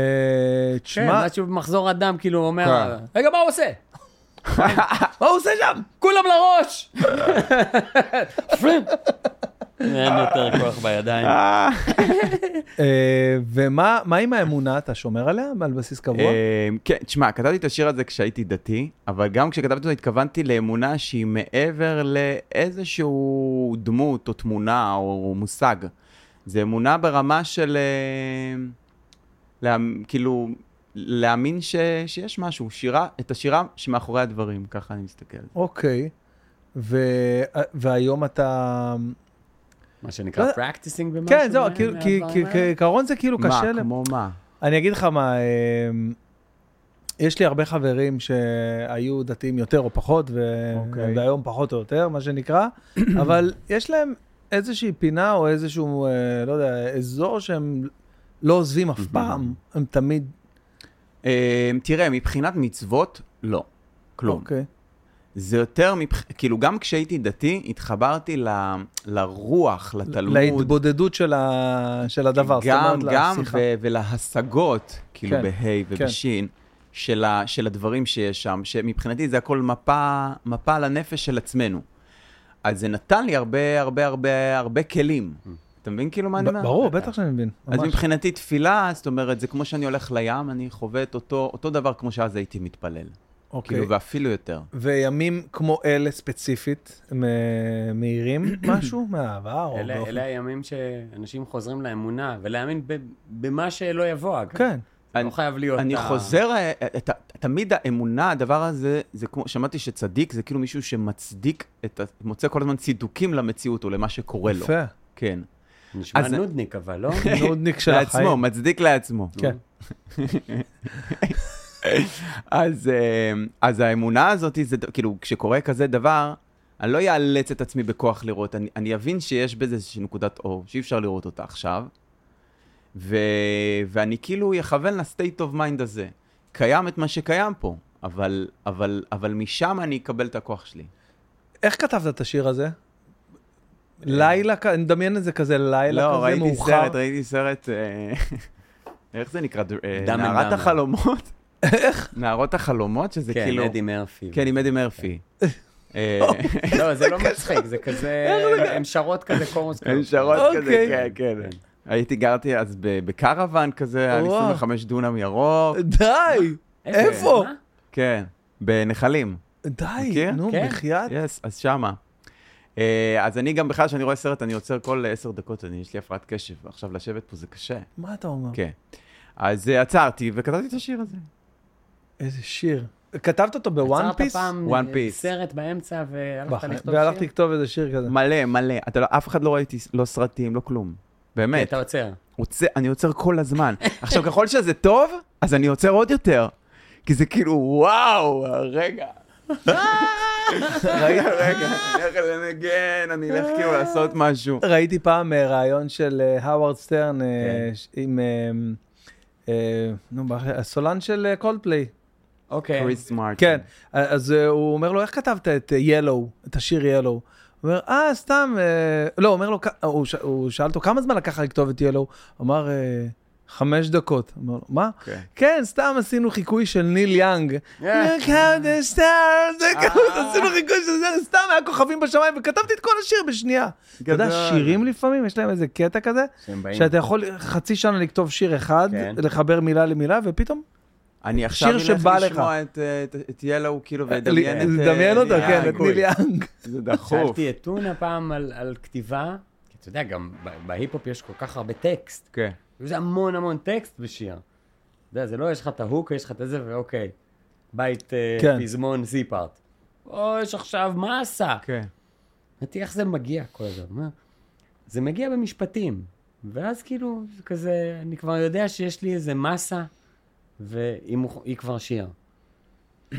[SPEAKER 2] כן,
[SPEAKER 1] תשמע,
[SPEAKER 2] משהו במחזור הדם, כאילו, אומר,
[SPEAKER 1] כן.
[SPEAKER 2] רגע, מה הוא עושה?
[SPEAKER 1] מה הוא עושה שם?
[SPEAKER 2] כולם לראש! אין יותר כוח בידיים.
[SPEAKER 1] אה, ומה מה עם האמונה, אתה שומר עליה על בסיס קבוע?
[SPEAKER 3] אמ, כן, תשמע, כתבתי את השיר הזה כשהייתי דתי, אבל גם כשכתבתי אותו התכוונתי לאמונה שהיא מעבר לאיזשהו דמות או תמונה או מושג. זה אמונה ברמה של... אמ, להאמ- כאילו, להאמין ש, שיש משהו, שירה, את השירה שמאחורי הדברים, ככה אני מסתכל.
[SPEAKER 1] אוקיי. ו- והיום אתה...
[SPEAKER 2] מה שנקרא
[SPEAKER 1] לא-
[SPEAKER 2] practicing במשהו.
[SPEAKER 1] כן, זהו,
[SPEAKER 2] מה-
[SPEAKER 1] כאילו, כי-
[SPEAKER 2] מהדברים
[SPEAKER 1] כי-
[SPEAKER 2] האלה?
[SPEAKER 1] כעיקרון זה כאילו
[SPEAKER 3] מה,
[SPEAKER 1] קשה. להם.
[SPEAKER 3] כמו מה?
[SPEAKER 1] אני אגיד לך מה, אמ, יש לי הרבה חברים שהיו דתיים יותר או פחות, ו-
[SPEAKER 3] אוקיי.
[SPEAKER 1] והיום פחות או יותר, מה שנקרא, אבל יש להם איזושהי פינה או איזשהו, אה, לא יודע, אזור שהם לא עוזבים
[SPEAKER 3] Mhm.
[SPEAKER 1] אף פעם, הם תמיד...
[SPEAKER 3] אמ, תראה, מבחינת מצוות, לא. כלום.
[SPEAKER 1] אוקיי.
[SPEAKER 3] זה יותר, מבח... כאילו גם כשהייתי דתי, התחברתי ל... לרוח, לתלמוד.
[SPEAKER 1] להתבודדות של ה- של הדבר, זאת
[SPEAKER 3] כן, גם,
[SPEAKER 1] אומרת,
[SPEAKER 3] גם,
[SPEAKER 1] לשיחה.
[SPEAKER 3] ו... ולהשגות, כאילו
[SPEAKER 1] כן,
[SPEAKER 3] בה' ובשין, של, ה... של הדברים שיש שם, שמבחינתי זה הכל מפה, מפה על הנפש של עצמנו. אז זה נתן לי הרבה, הרבה, הרבה, הרבה כלים. אתה מבין כאילו מה אני
[SPEAKER 1] ב-
[SPEAKER 3] אומר?
[SPEAKER 1] ברור, בטח שאני מבין.
[SPEAKER 3] אז
[SPEAKER 1] ממש.
[SPEAKER 3] מבחינתי תפילה, זאת אומרת, זה כמו שאני הולך לים, אני חווה את אותו, אותו דבר כמו שאז הייתי מתפלל.
[SPEAKER 1] אוקיי.
[SPEAKER 3] כאילו, ואפילו יותר.
[SPEAKER 1] וימים כמו אלה ספציפית, מ- מאירים משהו מהעבר? או
[SPEAKER 2] אלה
[SPEAKER 1] באופן-
[SPEAKER 2] אלה הימים שאנשים חוזרים לאמונה, ולהאמין ב- במה שלא יבוא, אגב.
[SPEAKER 1] כן.
[SPEAKER 2] לא חייב להיות...
[SPEAKER 3] אני
[SPEAKER 2] ה-
[SPEAKER 3] חוזר, אה, אה, ת- תמיד האמונה, הדבר הזה, זה כמו, שמעתי שצדיק זה כאילו מישהו שמצדיק את, ה- מוצא כל הזמן צידוקים למציאות או למה שקורה לו.
[SPEAKER 1] יפה.
[SPEAKER 3] כן.
[SPEAKER 2] נשמע
[SPEAKER 3] אז-
[SPEAKER 2] נודניק, אבל לא?
[SPEAKER 1] נודניק של
[SPEAKER 3] לעצמו,
[SPEAKER 1] החיים.
[SPEAKER 3] מצדיק לעצמו.
[SPEAKER 1] כן.
[SPEAKER 3] אז, אה, אז האמונה הזאת, זה ד- כאילו, כשקורה כזה דבר, אני לא אאלץ את עצמי בכוח לראות, אני, אני אבין שיש בזה איזושהי נקודת אור, שאי אפשר לראות אותה עכשיו, ו, ואני כאילו אכוון ל-state of mind הזה. קיים את מה שקיים פה, אבל, אבל, אבל משם אני אקבל את הכוח שלי.
[SPEAKER 1] איך כתבת את השיר
[SPEAKER 3] אה.
[SPEAKER 1] הזה? לילה, כ- אני מדמיין את זה כזה לילה
[SPEAKER 3] לא,
[SPEAKER 1] כזה
[SPEAKER 3] ראיתי
[SPEAKER 1] מאוחר.
[SPEAKER 3] סרט, ראיתי סרט, אה, איך זה נקרא? אה,
[SPEAKER 2] Dumb and
[SPEAKER 3] נערת
[SPEAKER 2] Dumber.
[SPEAKER 3] החלומות? איך? נערות החלומות, שזה
[SPEAKER 2] כן,
[SPEAKER 3] כאילו...
[SPEAKER 2] אדי מרפי.
[SPEAKER 3] כן, עם אדי מרפי. אה,
[SPEAKER 2] לא, זה לא מצחיק, זה כזה... הן שרות כזה קורוס.
[SPEAKER 3] הן
[SPEAKER 2] כזה.
[SPEAKER 3] שרות כזה,
[SPEAKER 1] אוקיי.
[SPEAKER 3] כן, כן. הייתי, גרתי אז ב- בקרוון כזה, היה לי
[SPEAKER 1] וואו. אה.
[SPEAKER 3] 25 דונם ירוק,
[SPEAKER 1] די, איפה?
[SPEAKER 2] מה?
[SPEAKER 3] כן, בנחלים.
[SPEAKER 1] די,
[SPEAKER 3] מכיר?
[SPEAKER 1] נו,
[SPEAKER 2] כן.
[SPEAKER 1] בחייאת.
[SPEAKER 3] יס, אז שמה. אה, אז אני גם בכלל, כשאני רואה סרט, אני עוצר כל עשר דקות, אני, יש לי הפרעת קשב, ועכשיו לשבת פה זה קשה.
[SPEAKER 1] מה אתה אומר?
[SPEAKER 3] כן. אז אה, עצרתי וכתבתי את השיר הזה.
[SPEAKER 1] איזה שיר. כתבת אותו בוואן
[SPEAKER 2] עצרת
[SPEAKER 1] פיס?
[SPEAKER 2] פעם אה,
[SPEAKER 3] One Piece.
[SPEAKER 2] סרט באמצע והלכת
[SPEAKER 1] בחיים.
[SPEAKER 2] לכתוב
[SPEAKER 1] והלכתי
[SPEAKER 2] שיר?
[SPEAKER 1] לכתוב איזה שיר כזה.
[SPEAKER 3] מלא, מלא. אתה לא, אף אחד לא ראיתי, לא סרטים, לא כלום. באמת.
[SPEAKER 2] אתה עוצר.
[SPEAKER 3] עוצר, אני עוצר כל הזמן. עכשיו, ככל שזה טוב, אז אני עוצר עוד יותר. כי זה כאילו, וואו, רגע. רגע, רגע, אני אלך לנגן, אני אלך כאילו לעשות משהו.
[SPEAKER 1] ראיתי פעם אה, ראיון של אה, האווארד סטרן אה,
[SPEAKER 3] כן.
[SPEAKER 1] ש- עם, אה, אה, נו, ברח לי, הסולן של אה, קולדפליי.
[SPEAKER 2] אוקיי.
[SPEAKER 3] קריס מרטין.
[SPEAKER 1] כן, אז אה, הוא אומר לו, איך כתבת את ילו, את השיר ילו? הוא אומר, אה, סתם, אה, לא, הוא אומר לו, "כ- הוא ש- הוא שאל אותו, כמה זמן לקח לך לכתוב את ילו? הוא אמר, "אה, חמש דקות. הוא אמר לו, מה?
[SPEAKER 3] כן.
[SPEAKER 1] כן, סתם עשינו חיקוי של ניל יאנג. Look how the stars, זה ככה, עשינו חיקוי של זה, סתם היה כוכבים בשמיים, וכתבתי את כל השיר בשנייה. אתה יודע,
[SPEAKER 3] גדול.
[SPEAKER 1] שירים לפעמים, יש להם איזה קטע כזה,
[SPEAKER 2] שהם באים.
[SPEAKER 1] שאתה יכול חצי שנה לכתוב שיר אחד,
[SPEAKER 2] כן.
[SPEAKER 1] לחבר מילה למילה, ופתאום
[SPEAKER 3] אני עכשיו אלך
[SPEAKER 1] שבא לך.
[SPEAKER 3] לשמוע את, אה, את- את ילו, כאילו, ולדמיין את... אה,
[SPEAKER 1] לדמיין אותה,
[SPEAKER 3] ליאנג.
[SPEAKER 1] כן, את נילי אנג.
[SPEAKER 3] זה דחוף.
[SPEAKER 2] שאלתי את טונה פעם על, על כתיבה, כי אתה יודע, גם ב- בהיפ-הופ יש כל כך הרבה טקסט.
[SPEAKER 3] כן.
[SPEAKER 2] וזה המון המון טקסט בשיר. אתה יודע, זה לא יש לך את ההוק, יש לך את זה, ואוקיי, בית אה,
[SPEAKER 1] כן.
[SPEAKER 2] פזמון זיפארט. או, יש עכשיו מסה.
[SPEAKER 3] כן.
[SPEAKER 2] אמרתי, איך זה מגיע כל הזמן? מה? זה מגיע במשפטים. ואז כאילו, זה כזה, אני כבר יודע שיש לי איזה מסה, והיא מוכ- היא כבר שיר.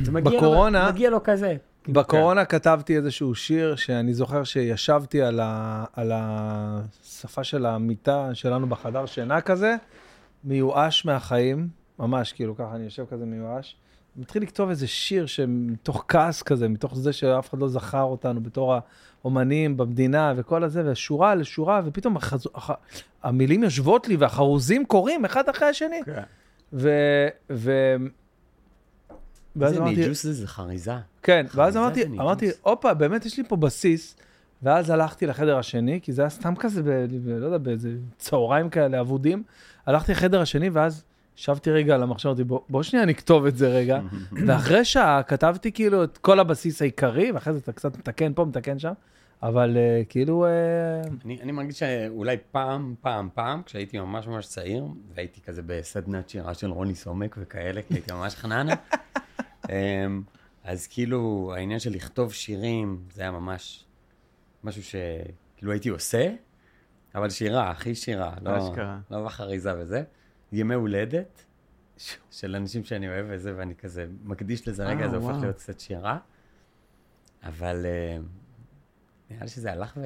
[SPEAKER 2] זה מגיע לו-
[SPEAKER 1] בקורונה-
[SPEAKER 2] מגיע לו כזה.
[SPEAKER 1] בקורונה כתבתי איזשהו שיר שאני זוכר שישבתי על, ה, על השפה של המיטה שלנו בחדר שינה כזה, מיואש מהחיים, ממש כאילו ככה, אני יושב כזה מיואש. מתחיל לכתוב איזה שיר שמתוך כעס כזה, מתוך זה שאף אחד לא זכר אותנו בתור האומנים במדינה וכל הזה, ושורה לשורה, ופתאום החז... הח... המילים יושבות לי והחרוזים קורים אחד אחרי השני.
[SPEAKER 3] כן.
[SPEAKER 1] ו... ו... ואז
[SPEAKER 2] זה
[SPEAKER 1] אמרתי-
[SPEAKER 2] ניג'וס זה, זה חריזה.
[SPEAKER 1] כן, ואז
[SPEAKER 2] זה
[SPEAKER 1] אמרתי,
[SPEAKER 2] זה ניג'וס.
[SPEAKER 1] אמרתי, הופה, באמת יש לי פה בסיס. ואז הלכתי לחדר השני, כי זה היה סתם כזה, ב, ב, לא יודע, באיזה צהריים כאלה אבודים. הלכתי לחדר השני, ואז ישבתי רגע על המחשב, אמרתי, בוא, בוא שנייה נכתוב את זה רגע. ואחרי שעה כתבתי כאילו את כל הבסיס העיקרי, ואחרי זה אתה קצת מתקן פה, מתקן שם, אבל אה, כאילו... אה,
[SPEAKER 3] כן.
[SPEAKER 2] אני, אני מרגיש שאולי פעם, פעם, פעם, כשהייתי ממש ממש צעיר, והייתי כזה בסדנת שירה של רוני סומק וכאלה, כי הייתי ממש חננה. אמ, אז כאילו, העניין של לכתוב שירים, זה היה ממש משהו שכאילו הייתי עושה, אבל שירה, הכי שירה, לא,
[SPEAKER 3] אשכרה.
[SPEAKER 2] לא בחריזה וזה. ימי הולדת של אנשים שאני אוהב וזה, ואני כזה מקדיש לזה רגע,
[SPEAKER 3] אה,
[SPEAKER 2] זה הופך
[SPEAKER 3] וואו.
[SPEAKER 2] להיות קצת שירה. אבל אמ, נראה לי שזה הלך ו...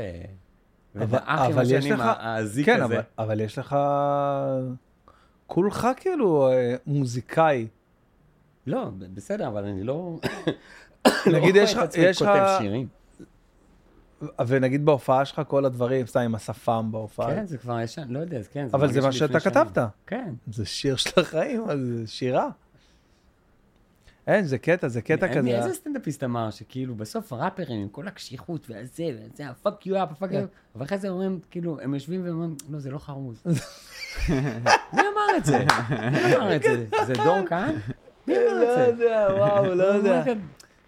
[SPEAKER 2] ובאח עם השנים, האזיק
[SPEAKER 1] כן,
[SPEAKER 2] הזה.
[SPEAKER 1] אבל, אבל יש לך... כולך כאילו אה, מוזיקאי.
[SPEAKER 2] לא, ב- בסדר, אבל אני לא...
[SPEAKER 1] נגיד,
[SPEAKER 2] לא
[SPEAKER 1] יש
[SPEAKER 2] רואה את
[SPEAKER 1] לך-
[SPEAKER 2] עצמי
[SPEAKER 1] יש
[SPEAKER 2] כותב
[SPEAKER 1] לך-
[SPEAKER 2] שירים.
[SPEAKER 1] ונגיד בהופעה שלך כל הדברים, סתם עם השפם בהופעה.
[SPEAKER 2] כן, זה כבר ישן, לא יודע, אז כן.
[SPEAKER 1] אבל זה
[SPEAKER 2] מרגיש
[SPEAKER 1] מה
[SPEAKER 2] לי
[SPEAKER 1] שאתה
[SPEAKER 2] לפני
[SPEAKER 1] כתבת.
[SPEAKER 2] שנים. כן.
[SPEAKER 1] זה שיר של החיים, אז זה שירה. אין, זה קטע, זה קטע
[SPEAKER 2] מי-
[SPEAKER 1] כזה. אה,
[SPEAKER 2] איזה סטנדאפיסט אמר שכאילו, בסוף הראפרים עם כל הקשיחות והזה, וזה, ה-fuck you up,
[SPEAKER 1] כן.
[SPEAKER 2] ה-fuck you up, אבל אחרי זה אומרים, כאילו, הם יושבים ואומרים, לא, זה לא חרוז. מי אמר את זה? מי אמר את זה? זה דור כהן? מי אמר את
[SPEAKER 1] לא
[SPEAKER 2] זה?
[SPEAKER 1] יודע, וואו,
[SPEAKER 2] אה,
[SPEAKER 1] לא יודע.
[SPEAKER 2] אוקיי.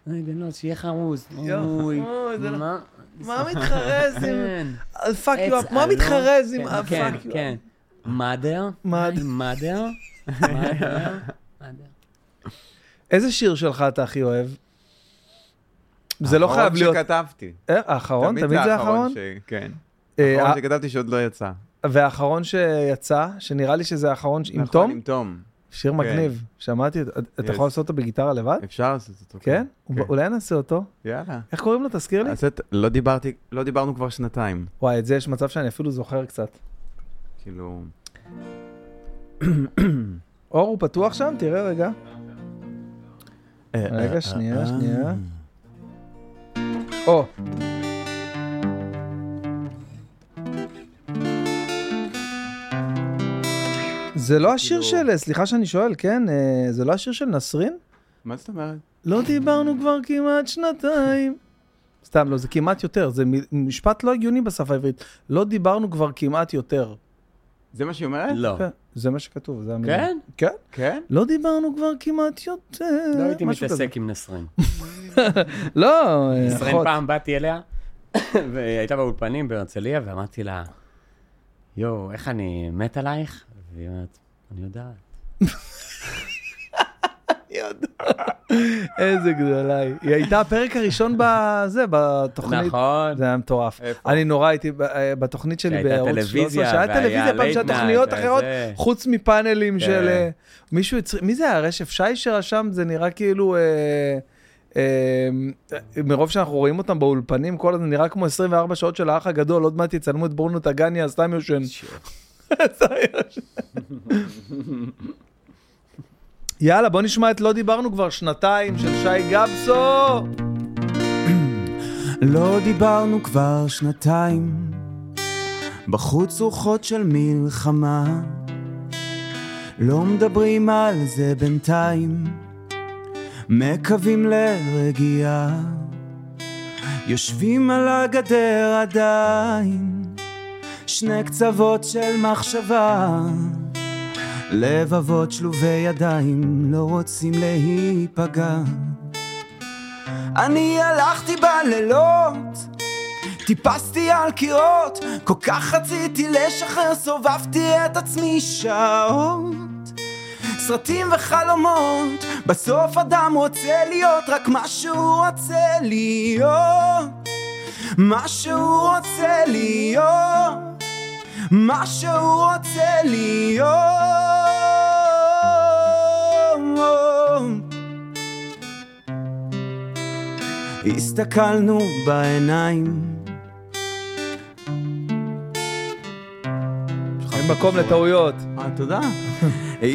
[SPEAKER 2] רגע, לא, שיהיה חרוז.
[SPEAKER 1] יואו,
[SPEAKER 2] אוי,
[SPEAKER 1] זה לא-
[SPEAKER 2] מה?
[SPEAKER 1] מה מתחרז אה,
[SPEAKER 2] כן.
[SPEAKER 1] פאק
[SPEAKER 2] עץ
[SPEAKER 1] יו אפ? כאילו, מה
[SPEAKER 2] אלון.
[SPEAKER 1] מתחרז עם אה, כאילו?
[SPEAKER 2] כן,
[SPEAKER 1] פאק
[SPEAKER 2] כן,
[SPEAKER 1] יו
[SPEAKER 2] כן. mother,
[SPEAKER 1] Mother.
[SPEAKER 2] mother, mother, mother.
[SPEAKER 1] איזה שיר שלך אתה הכי אוהב? זה לא חייב להיות...
[SPEAKER 3] האחרון שכתבתי.
[SPEAKER 1] אה,
[SPEAKER 3] נכון,
[SPEAKER 1] האחרון? תמיד זה האחרון?
[SPEAKER 3] ש- כן.
[SPEAKER 1] אה,
[SPEAKER 3] האחרון שכתבתי שעוד לא יצא.
[SPEAKER 1] והאחרון שיצא, שנראה לי שזה האחרון ש- עם
[SPEAKER 3] נכון,
[SPEAKER 1] תום?
[SPEAKER 3] עם תום.
[SPEAKER 1] שיר מגניב. שמעתי אותו. אתה
[SPEAKER 3] Yes.
[SPEAKER 1] יכול לעשות אותו בגיטרה לבד?
[SPEAKER 3] אפשר לעשות אותו.
[SPEAKER 1] כן? אולי נעשה אותו.
[SPEAKER 3] יאללה.
[SPEAKER 1] איך קוראים לו? תזכיר לי.
[SPEAKER 3] אז את- לא דיברתי, לא דיברנו כבר שנתיים.
[SPEAKER 1] וואי, את זה יש מצב שאני אפילו זוכר קצת.
[SPEAKER 3] כאילו...
[SPEAKER 1] אור, הוא פתוח שם? תראה רגע.
[SPEAKER 3] אה,
[SPEAKER 1] רגע, שנייה, שנייה. אה, או. זה לא השיר
[SPEAKER 3] כאילו-
[SPEAKER 1] של, סליחה שאני שואל, כן? אה, זה לא השיר של נסרין?
[SPEAKER 3] מה זאת אומרת?
[SPEAKER 1] לא דיברנו כבר כמעט שנתיים. סתם, לא, זה כמעט יותר, זה מ- משפט לא הגיוני בשפה העברית. לא דיברנו כבר כמעט יותר.
[SPEAKER 3] זה מה שהיא אומרת?
[SPEAKER 2] לא.
[SPEAKER 1] כן, זה מה שכתוב, זה המילה.
[SPEAKER 2] כן?
[SPEAKER 1] כן.
[SPEAKER 3] כן?
[SPEAKER 1] לא דיברנו כבר כמעט יותר.
[SPEAKER 2] לא הייתי
[SPEAKER 1] משהו כזה.
[SPEAKER 2] מתעסק עם נסרין.
[SPEAKER 1] נכון. לא, אה,
[SPEAKER 2] נסרין
[SPEAKER 1] אחות.
[SPEAKER 2] פעם באתי אליה, והייתה באולפנים בהרצליה, ואמרתי לה, יואו, איך אני מת עלייך? והיא אומרת, אני יודעת.
[SPEAKER 1] איזה גדולה היא. היא הייתה הפרק הראשון בזה, בתוכנית.
[SPEAKER 2] נכון.
[SPEAKER 1] זה היה מטורף.
[SPEAKER 3] איפה?
[SPEAKER 1] אני נורא הייתי ב- אה, בתוכנית שלי
[SPEAKER 2] שהייתה
[SPEAKER 1] בערוץ 13,
[SPEAKER 2] טלוויזיה,
[SPEAKER 1] שהיה
[SPEAKER 2] והיה
[SPEAKER 1] טלוויזיה פעם,
[SPEAKER 2] late
[SPEAKER 1] שהיה
[SPEAKER 2] night,
[SPEAKER 1] תוכניות
[SPEAKER 2] והיה
[SPEAKER 1] אחרות,
[SPEAKER 2] זה.
[SPEAKER 1] חוץ מפאנלים
[SPEAKER 2] כן.
[SPEAKER 1] של אה, מישהו, הצ- מי זה היה? רשף שי שרשם? זה נראה כאילו... אה, אה, מרוב שאנחנו רואים אותם באולפנים, כל הזמן נראה כמו 24 שעות של האח הגדול, עוד מעט יצלמו את ברונו טגניה, אז סתם יושן. יאללה, בוא נשמע את לא דיברנו כבר שנתיים של שי גבסו.
[SPEAKER 6] לא דיברנו כבר שנתיים, בחוץ רוחות של מלחמה. לא מדברים על זה בינתיים, מקווים לרגיעה. יושבים על הגדר עדיין, שני קצוות של מחשבה.
[SPEAKER 3] לבבות שלובי ידיים לא רוצים להיפגע. אני הלכתי בלילות, טיפסתי על קירות, כל כך רציתי לשחרר, סובבתי את עצמי שעות. סרטים וחלומות, בסוף אדם רוצה להיות רק מה שהוא רוצה להיות. מה שהוא רוצה להיות. מה שהוא רוצה להיות. הסתכלנו בעיניים,
[SPEAKER 1] אין מקום לטעויות.
[SPEAKER 7] אה, תודה.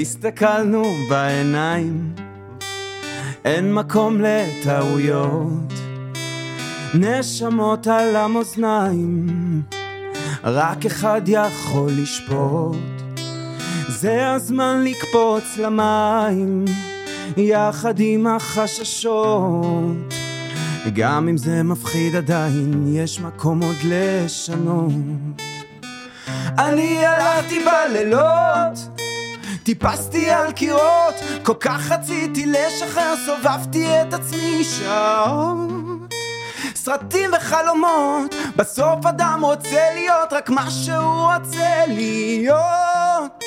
[SPEAKER 3] הסתכלנו בעיניים, אין מקום לטעויות, נשמות על המאזניים, רק אחד יכול לשפוט. זה הזמן לקפוץ למים, יחד עם החששות. גם אם זה מפחיד עדיין, יש מקום עוד לשנות. אני הלכתי בלילות, טיפסתי על קירות, כל כך רציתי לשחרר, סובבתי את עצמי שעות. סרטים וחלומות, בסוף אדם רוצה להיות רק מה שהוא רוצה להיות.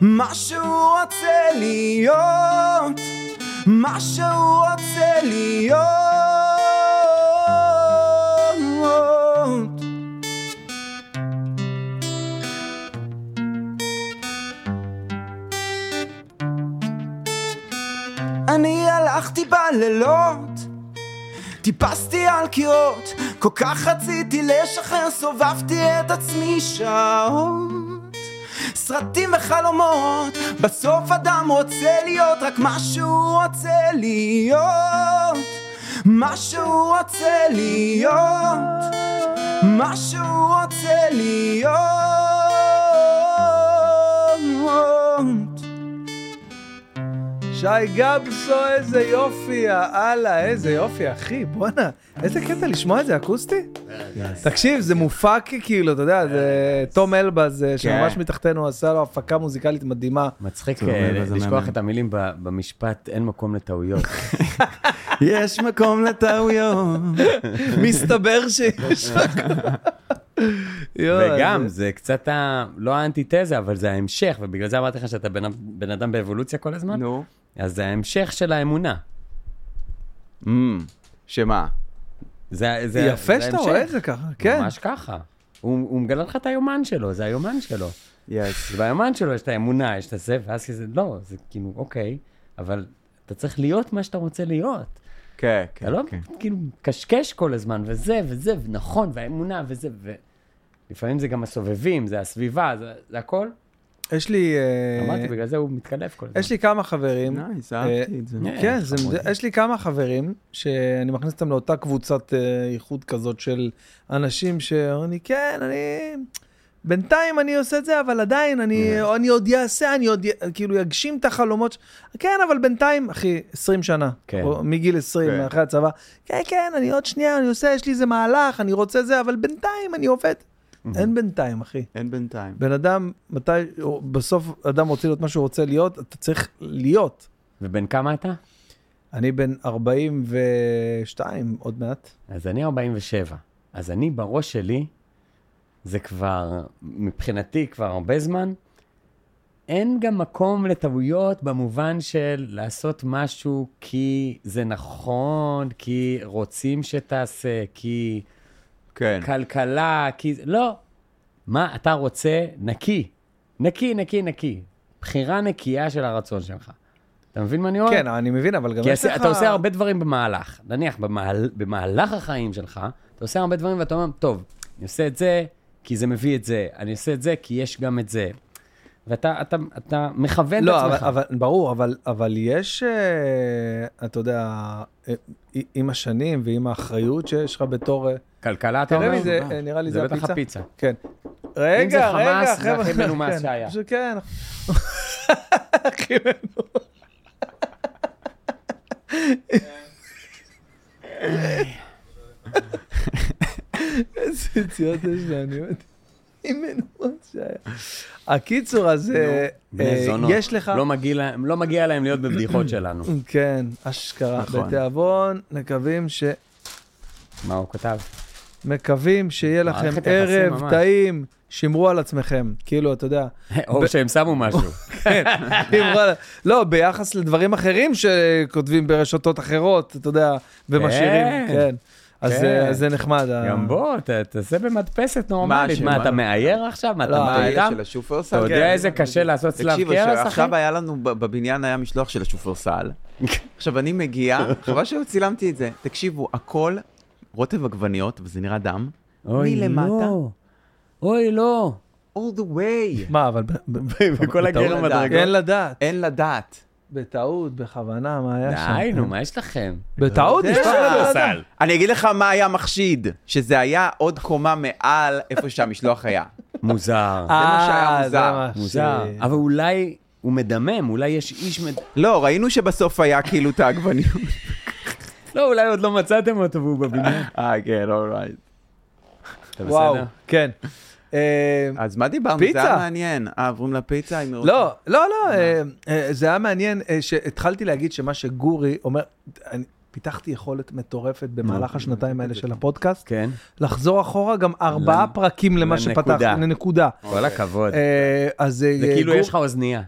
[SPEAKER 3] מה שהוא רוצה להיות, מה שהוא רוצה להיות. אני הלכתי בלילות, טיפסתי על קירות, כל כך רציתי לשחרר, סובבתי את עצמי שעות. סרטים וחלומות, בסוף אדם רוצה להיות רק מה שהוא רוצה להיות. מה שהוא רוצה להיות, מה שהוא רוצה להיות.
[SPEAKER 1] שי גבסו, איזה יופי, הלאה, איזה יופי, אחי, בואנה. איזה קטע לשמוע את זה, אקוסטי? תקשיב, זה מופק כאילו, אתה יודע, זה תום אלבז,
[SPEAKER 2] כן.
[SPEAKER 1] אה, שממש מתחתנו עשה לו הפקה מוזיקלית מדהימה.
[SPEAKER 2] מצחיק
[SPEAKER 7] טוב,
[SPEAKER 2] אה,
[SPEAKER 7] אבל זה
[SPEAKER 2] לשכוח
[SPEAKER 7] מהמם.
[SPEAKER 2] את המילים ב- במשפט, אין מקום לטעויות.
[SPEAKER 7] יש מקום לטעויות.
[SPEAKER 1] מסתבר שיש לך... יואי,
[SPEAKER 2] וגם, זה קצת, ה- לא האנטיתזה, אבל זה ההמשך, ובגלל זה אמרתי לך שאתה בן- בן אדם באבולוציה כל הזמן,
[SPEAKER 7] נו.
[SPEAKER 2] אז זה ההמשך של האמונה.
[SPEAKER 7] אמ, שמה?
[SPEAKER 2] זה, זה,
[SPEAKER 1] זה- יפה
[SPEAKER 2] זה
[SPEAKER 1] שאתה
[SPEAKER 2] ההמשך.
[SPEAKER 1] רואה את זה ככה, כן.
[SPEAKER 2] ממש ככה. הוא, הוא מגלה לך את היומן שלו, זה היומן שלו.
[SPEAKER 7] יס.
[SPEAKER 2] אז ביומן שלו יש את האמונה, יש את הזה, ואז כזה, לא, זה כאילו, אוקיי, אבל אתה צריך להיות מה שאתה רוצה להיות.
[SPEAKER 7] כן, כן.
[SPEAKER 2] אתה לא
[SPEAKER 7] כן.
[SPEAKER 2] כאילו מקשקש כל הזמן, וזה, וזה, ונכון, והאמונה, וזה, ו... לפעמים זה גם הסובבים, זה הסביבה, זה, זה הכל.
[SPEAKER 1] יש לי... אה,
[SPEAKER 2] אמרתי, בגלל זה הוא מתקלף כל הזמן.
[SPEAKER 1] יש לי כמה חברים.
[SPEAKER 7] נייס, אהבתי את זה.
[SPEAKER 2] אה,
[SPEAKER 1] כן, זה,
[SPEAKER 2] חמוד.
[SPEAKER 1] זה- יש לי כמה חברים שאני מכניס אותם לאותה קבוצת אה, איחוד כזאת של אנשים שאומרים לי, כן, אני... בינתיים אני עושה את זה, אבל עדיין, אני,
[SPEAKER 2] אה.
[SPEAKER 1] אני עוד יעשה, אני עוד י- כאילו יגשים את החלומות. ש- כן, אבל בינתיים, אחי, 20 שנה.
[SPEAKER 2] כן.
[SPEAKER 1] או מגיל 20,
[SPEAKER 7] כן.
[SPEAKER 1] אחרי הצבא. כן, כן, אני עוד שנייה, אני עושה, יש לי איזה מהלך, אני רוצה זה, אבל בינתיים אני עובד. אין בינתיים, אחי.
[SPEAKER 7] אין בינתיים.
[SPEAKER 1] בן אדם, מתי, או- בסוף אדם רוצה להיות מה שהוא רוצה להיות, אתה צריך להיות.
[SPEAKER 2] ובן כמה אתה?
[SPEAKER 1] אני בן 42 עוד מעט.
[SPEAKER 2] אז אני 47. אז אני בראש שלי, זה כבר, מבחינתי כבר הרבה זמן, אין גם מקום לטעויות במובן של לעשות משהו כי זה נכון, כי רוצים שתעשה, כי
[SPEAKER 7] כן.
[SPEAKER 2] כלכלה, כי... זה- לא. מה אתה רוצה? נקי. נקי, נקי, נקי. בחירה נקייה של הרצון שלך. אתה מבין מה אני אומר?
[SPEAKER 1] כן, אני מבין, אבל גם
[SPEAKER 2] נכון. כי
[SPEAKER 1] יש
[SPEAKER 2] עשה,
[SPEAKER 1] לך...
[SPEAKER 2] אתה עושה הרבה דברים במהלך. נניח, במהל, במהלך החיים שלך, אתה עושה הרבה דברים ואתה אומר, טוב, אני עושה את זה כי זה מביא את זה, אני עושה את זה כי יש גם את זה. ואתה אתה, אתה מכוון את
[SPEAKER 1] לא, אבל,
[SPEAKER 2] עצמך.
[SPEAKER 1] אבל, ברור, אבל, אבל יש, אה, אתה יודע, אה, עם השנים ועם האחריות שיש לך בתור... אה,
[SPEAKER 2] כלכלה, אתה
[SPEAKER 1] תראה
[SPEAKER 2] אומר?
[SPEAKER 1] לי, זה, אה, נראה לי
[SPEAKER 2] זה
[SPEAKER 1] זה
[SPEAKER 2] בטח
[SPEAKER 1] הפיצה.
[SPEAKER 2] הפיצה.
[SPEAKER 1] כן. רגע,
[SPEAKER 2] זה
[SPEAKER 1] רגע,
[SPEAKER 2] חמאס, זה
[SPEAKER 1] חבר'ה,
[SPEAKER 2] הכי מנומס
[SPEAKER 1] כן,
[SPEAKER 2] שהיה.
[SPEAKER 1] פשוט כן. הכי מנומס. איזה יציאות יש לנו, היא מנומס שהיה. הקיצור, אז אה,
[SPEAKER 2] בני
[SPEAKER 1] אה,
[SPEAKER 2] זונות.
[SPEAKER 1] יש לך...
[SPEAKER 2] לא מגיע להם- לא מגיע להם להיות בבדיחות שלנו.
[SPEAKER 1] כן, אשכרה.
[SPEAKER 3] נכון.
[SPEAKER 1] בתיאבון, מקווים ש...
[SPEAKER 2] מה הוא כתב?
[SPEAKER 1] מקווים שיהיה לכם
[SPEAKER 2] מערכת יחסים
[SPEAKER 1] ערב
[SPEAKER 2] ממש.
[SPEAKER 1] טעים, שמרו על עצמכם. כאילו, אתה יודע.
[SPEAKER 2] או שהם שמו משהו.
[SPEAKER 1] כן, שמרו על- לא, ביחס לדברים אחרים שכותבים ברשתות אחרות, אתה יודע, ומשאירים.
[SPEAKER 2] כן.
[SPEAKER 1] כן. אז
[SPEAKER 2] כן.
[SPEAKER 1] זה- אז זה נחמד. ה-
[SPEAKER 2] גם בוא, ת- תעשה במדפסת נורמלית.
[SPEAKER 3] השם?
[SPEAKER 2] מה,
[SPEAKER 3] מה?
[SPEAKER 2] אתה מאייר עכשיו? מה, אתה
[SPEAKER 1] לא,
[SPEAKER 7] אה,
[SPEAKER 3] מה, אלה
[SPEAKER 2] מטומטם?
[SPEAKER 3] של
[SPEAKER 2] אתה
[SPEAKER 3] השופרסל?
[SPEAKER 1] כן.
[SPEAKER 7] כן.
[SPEAKER 2] יודע איזה קשה לעשות צלב
[SPEAKER 3] תקשיבו,
[SPEAKER 2] קרס, אחי?
[SPEAKER 3] עכשיו היה לנו, ב- בבניין היה משלוח של השופרסל. עכשיו אני מגיע, חבל שלא צילמתי את זה. תקשיבו, הכל רוטב עגבניות, וזה נראה דם,
[SPEAKER 2] אוי,
[SPEAKER 3] מלמטה.
[SPEAKER 2] לא. אוי, לא.
[SPEAKER 3] all the way.
[SPEAKER 1] מה, אבל... ב- ב-
[SPEAKER 2] וכל הגר
[SPEAKER 3] לדעת.
[SPEAKER 1] אין
[SPEAKER 2] מדרגות.
[SPEAKER 1] לדעת.
[SPEAKER 3] אין לדעת.
[SPEAKER 1] בטעות, בכוונה, מה היה שם?
[SPEAKER 2] די, נו, מה יש לכם?
[SPEAKER 1] בטעות,
[SPEAKER 3] יודע.
[SPEAKER 1] נשפך על הדעת.
[SPEAKER 3] אני אגיד לך מה היה מחשיד, שזה היה עוד קומה מעל איפה שהמשלוח היה.
[SPEAKER 2] מוזר.
[SPEAKER 3] מה שהיה
[SPEAKER 1] אה,
[SPEAKER 3] מוזר.
[SPEAKER 1] מה ש-
[SPEAKER 2] מוזר. אה, אבל אולי הוא מדמם, אולי יש איש מד...
[SPEAKER 3] לא, ראינו שבסוף היה כאילו את העגבניות.
[SPEAKER 2] לא, אולי עוד לא מצאתם אותו והוא בבניין.
[SPEAKER 3] אה, כן, אורייט.
[SPEAKER 2] אתה
[SPEAKER 1] וואו,
[SPEAKER 2] בסדר?
[SPEAKER 1] כן. אה,
[SPEAKER 3] אז מה דיברנו?
[SPEAKER 1] פיצה.
[SPEAKER 3] זה היה מעניין. אה, עוברים לפיצה? אם
[SPEAKER 1] לא, לא, לא, אה, אה, זה היה מעניין אה, שהתחלתי להגיד שמה שגורי אומר, אני פיתחתי יכולת מטורפת במהלך השנתיים האלה של הפודקאסט,
[SPEAKER 2] כן.
[SPEAKER 1] לחזור אחורה גם ארבעה פרקים למה
[SPEAKER 2] לנקודה.
[SPEAKER 1] שפתחתי, לנקודה.
[SPEAKER 2] כל הכבוד.
[SPEAKER 1] אה, אז אה,
[SPEAKER 2] זה כאילו
[SPEAKER 1] גור-
[SPEAKER 2] יש לך אוזנייה.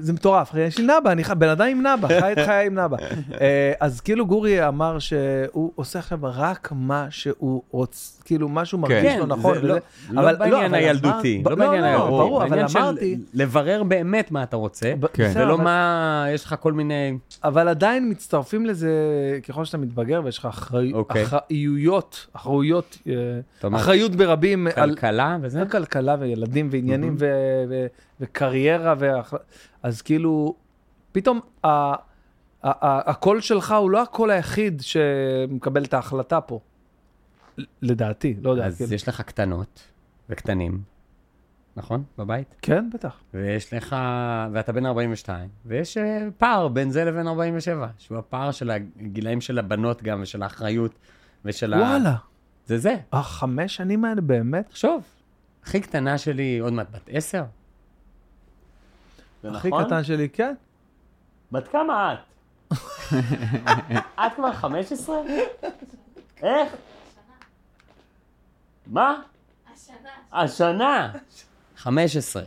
[SPEAKER 1] זה מטורף, אחי, יש לי נאבה, אני חי- בן אדם עם נאבה, חי את חיי עם נאבה. אה, אז כאילו גורי אמר שהוא עושה עכשיו רק מה שהוא רוצה, כאילו משהו מרגיש
[SPEAKER 2] כן,
[SPEAKER 1] לו נכון.
[SPEAKER 2] זה לא-
[SPEAKER 1] וזה-
[SPEAKER 2] לא
[SPEAKER 1] אבל-
[SPEAKER 2] בעניין
[SPEAKER 1] אבל
[SPEAKER 2] הילדותי,
[SPEAKER 1] אמר-
[SPEAKER 2] לא בעניין הילדותי,
[SPEAKER 1] לא, ברור, אבל
[SPEAKER 2] בעניין של
[SPEAKER 1] אמרתי,
[SPEAKER 2] לברר באמת מה אתה רוצה,
[SPEAKER 1] ב- כן. בסדר,
[SPEAKER 2] ולא
[SPEAKER 1] אבל-
[SPEAKER 2] מה, יש לך כל מיני...
[SPEAKER 1] אבל עדיין מצטרפים לזה ככל שאתה מתבגר ויש לך אחרי-
[SPEAKER 2] אוקיי.
[SPEAKER 1] אחריויות, אחריויות, אה,
[SPEAKER 2] אתה אומר,
[SPEAKER 1] אחריות ברבים על
[SPEAKER 2] כלכלה וזה?
[SPEAKER 1] על כלכלה וילדים ועניינים ו- ו- וקריירה, והח- אז כאילו, פתאום ה- ה- ה- הקול שלך הוא לא הקול היחיד שמקבל את ההחלטה פה. ל- לדעתי, לא יודע.
[SPEAKER 2] אז
[SPEAKER 1] כאילו.
[SPEAKER 2] יש לך קטנות וקטנים, נכון? בבית?
[SPEAKER 1] כן, בטח.
[SPEAKER 2] ויש לך, ואתה בן 42, ויש אה, פער בין זה לבין 47, שהוא הפער של הגילאים של הבנות גם, ושל האחריות, ושל ה...
[SPEAKER 1] וואלה,
[SPEAKER 2] זה זה,
[SPEAKER 1] החמש שנים האלה באמת?
[SPEAKER 2] תחשוב. הכי קטנה שלי עוד מעט בת 10.
[SPEAKER 1] הכי
[SPEAKER 2] נכון?
[SPEAKER 1] קטן שלי, כן.
[SPEAKER 2] בת כמה את? את כבר 15? איך? מה? השנה. השנה. 15.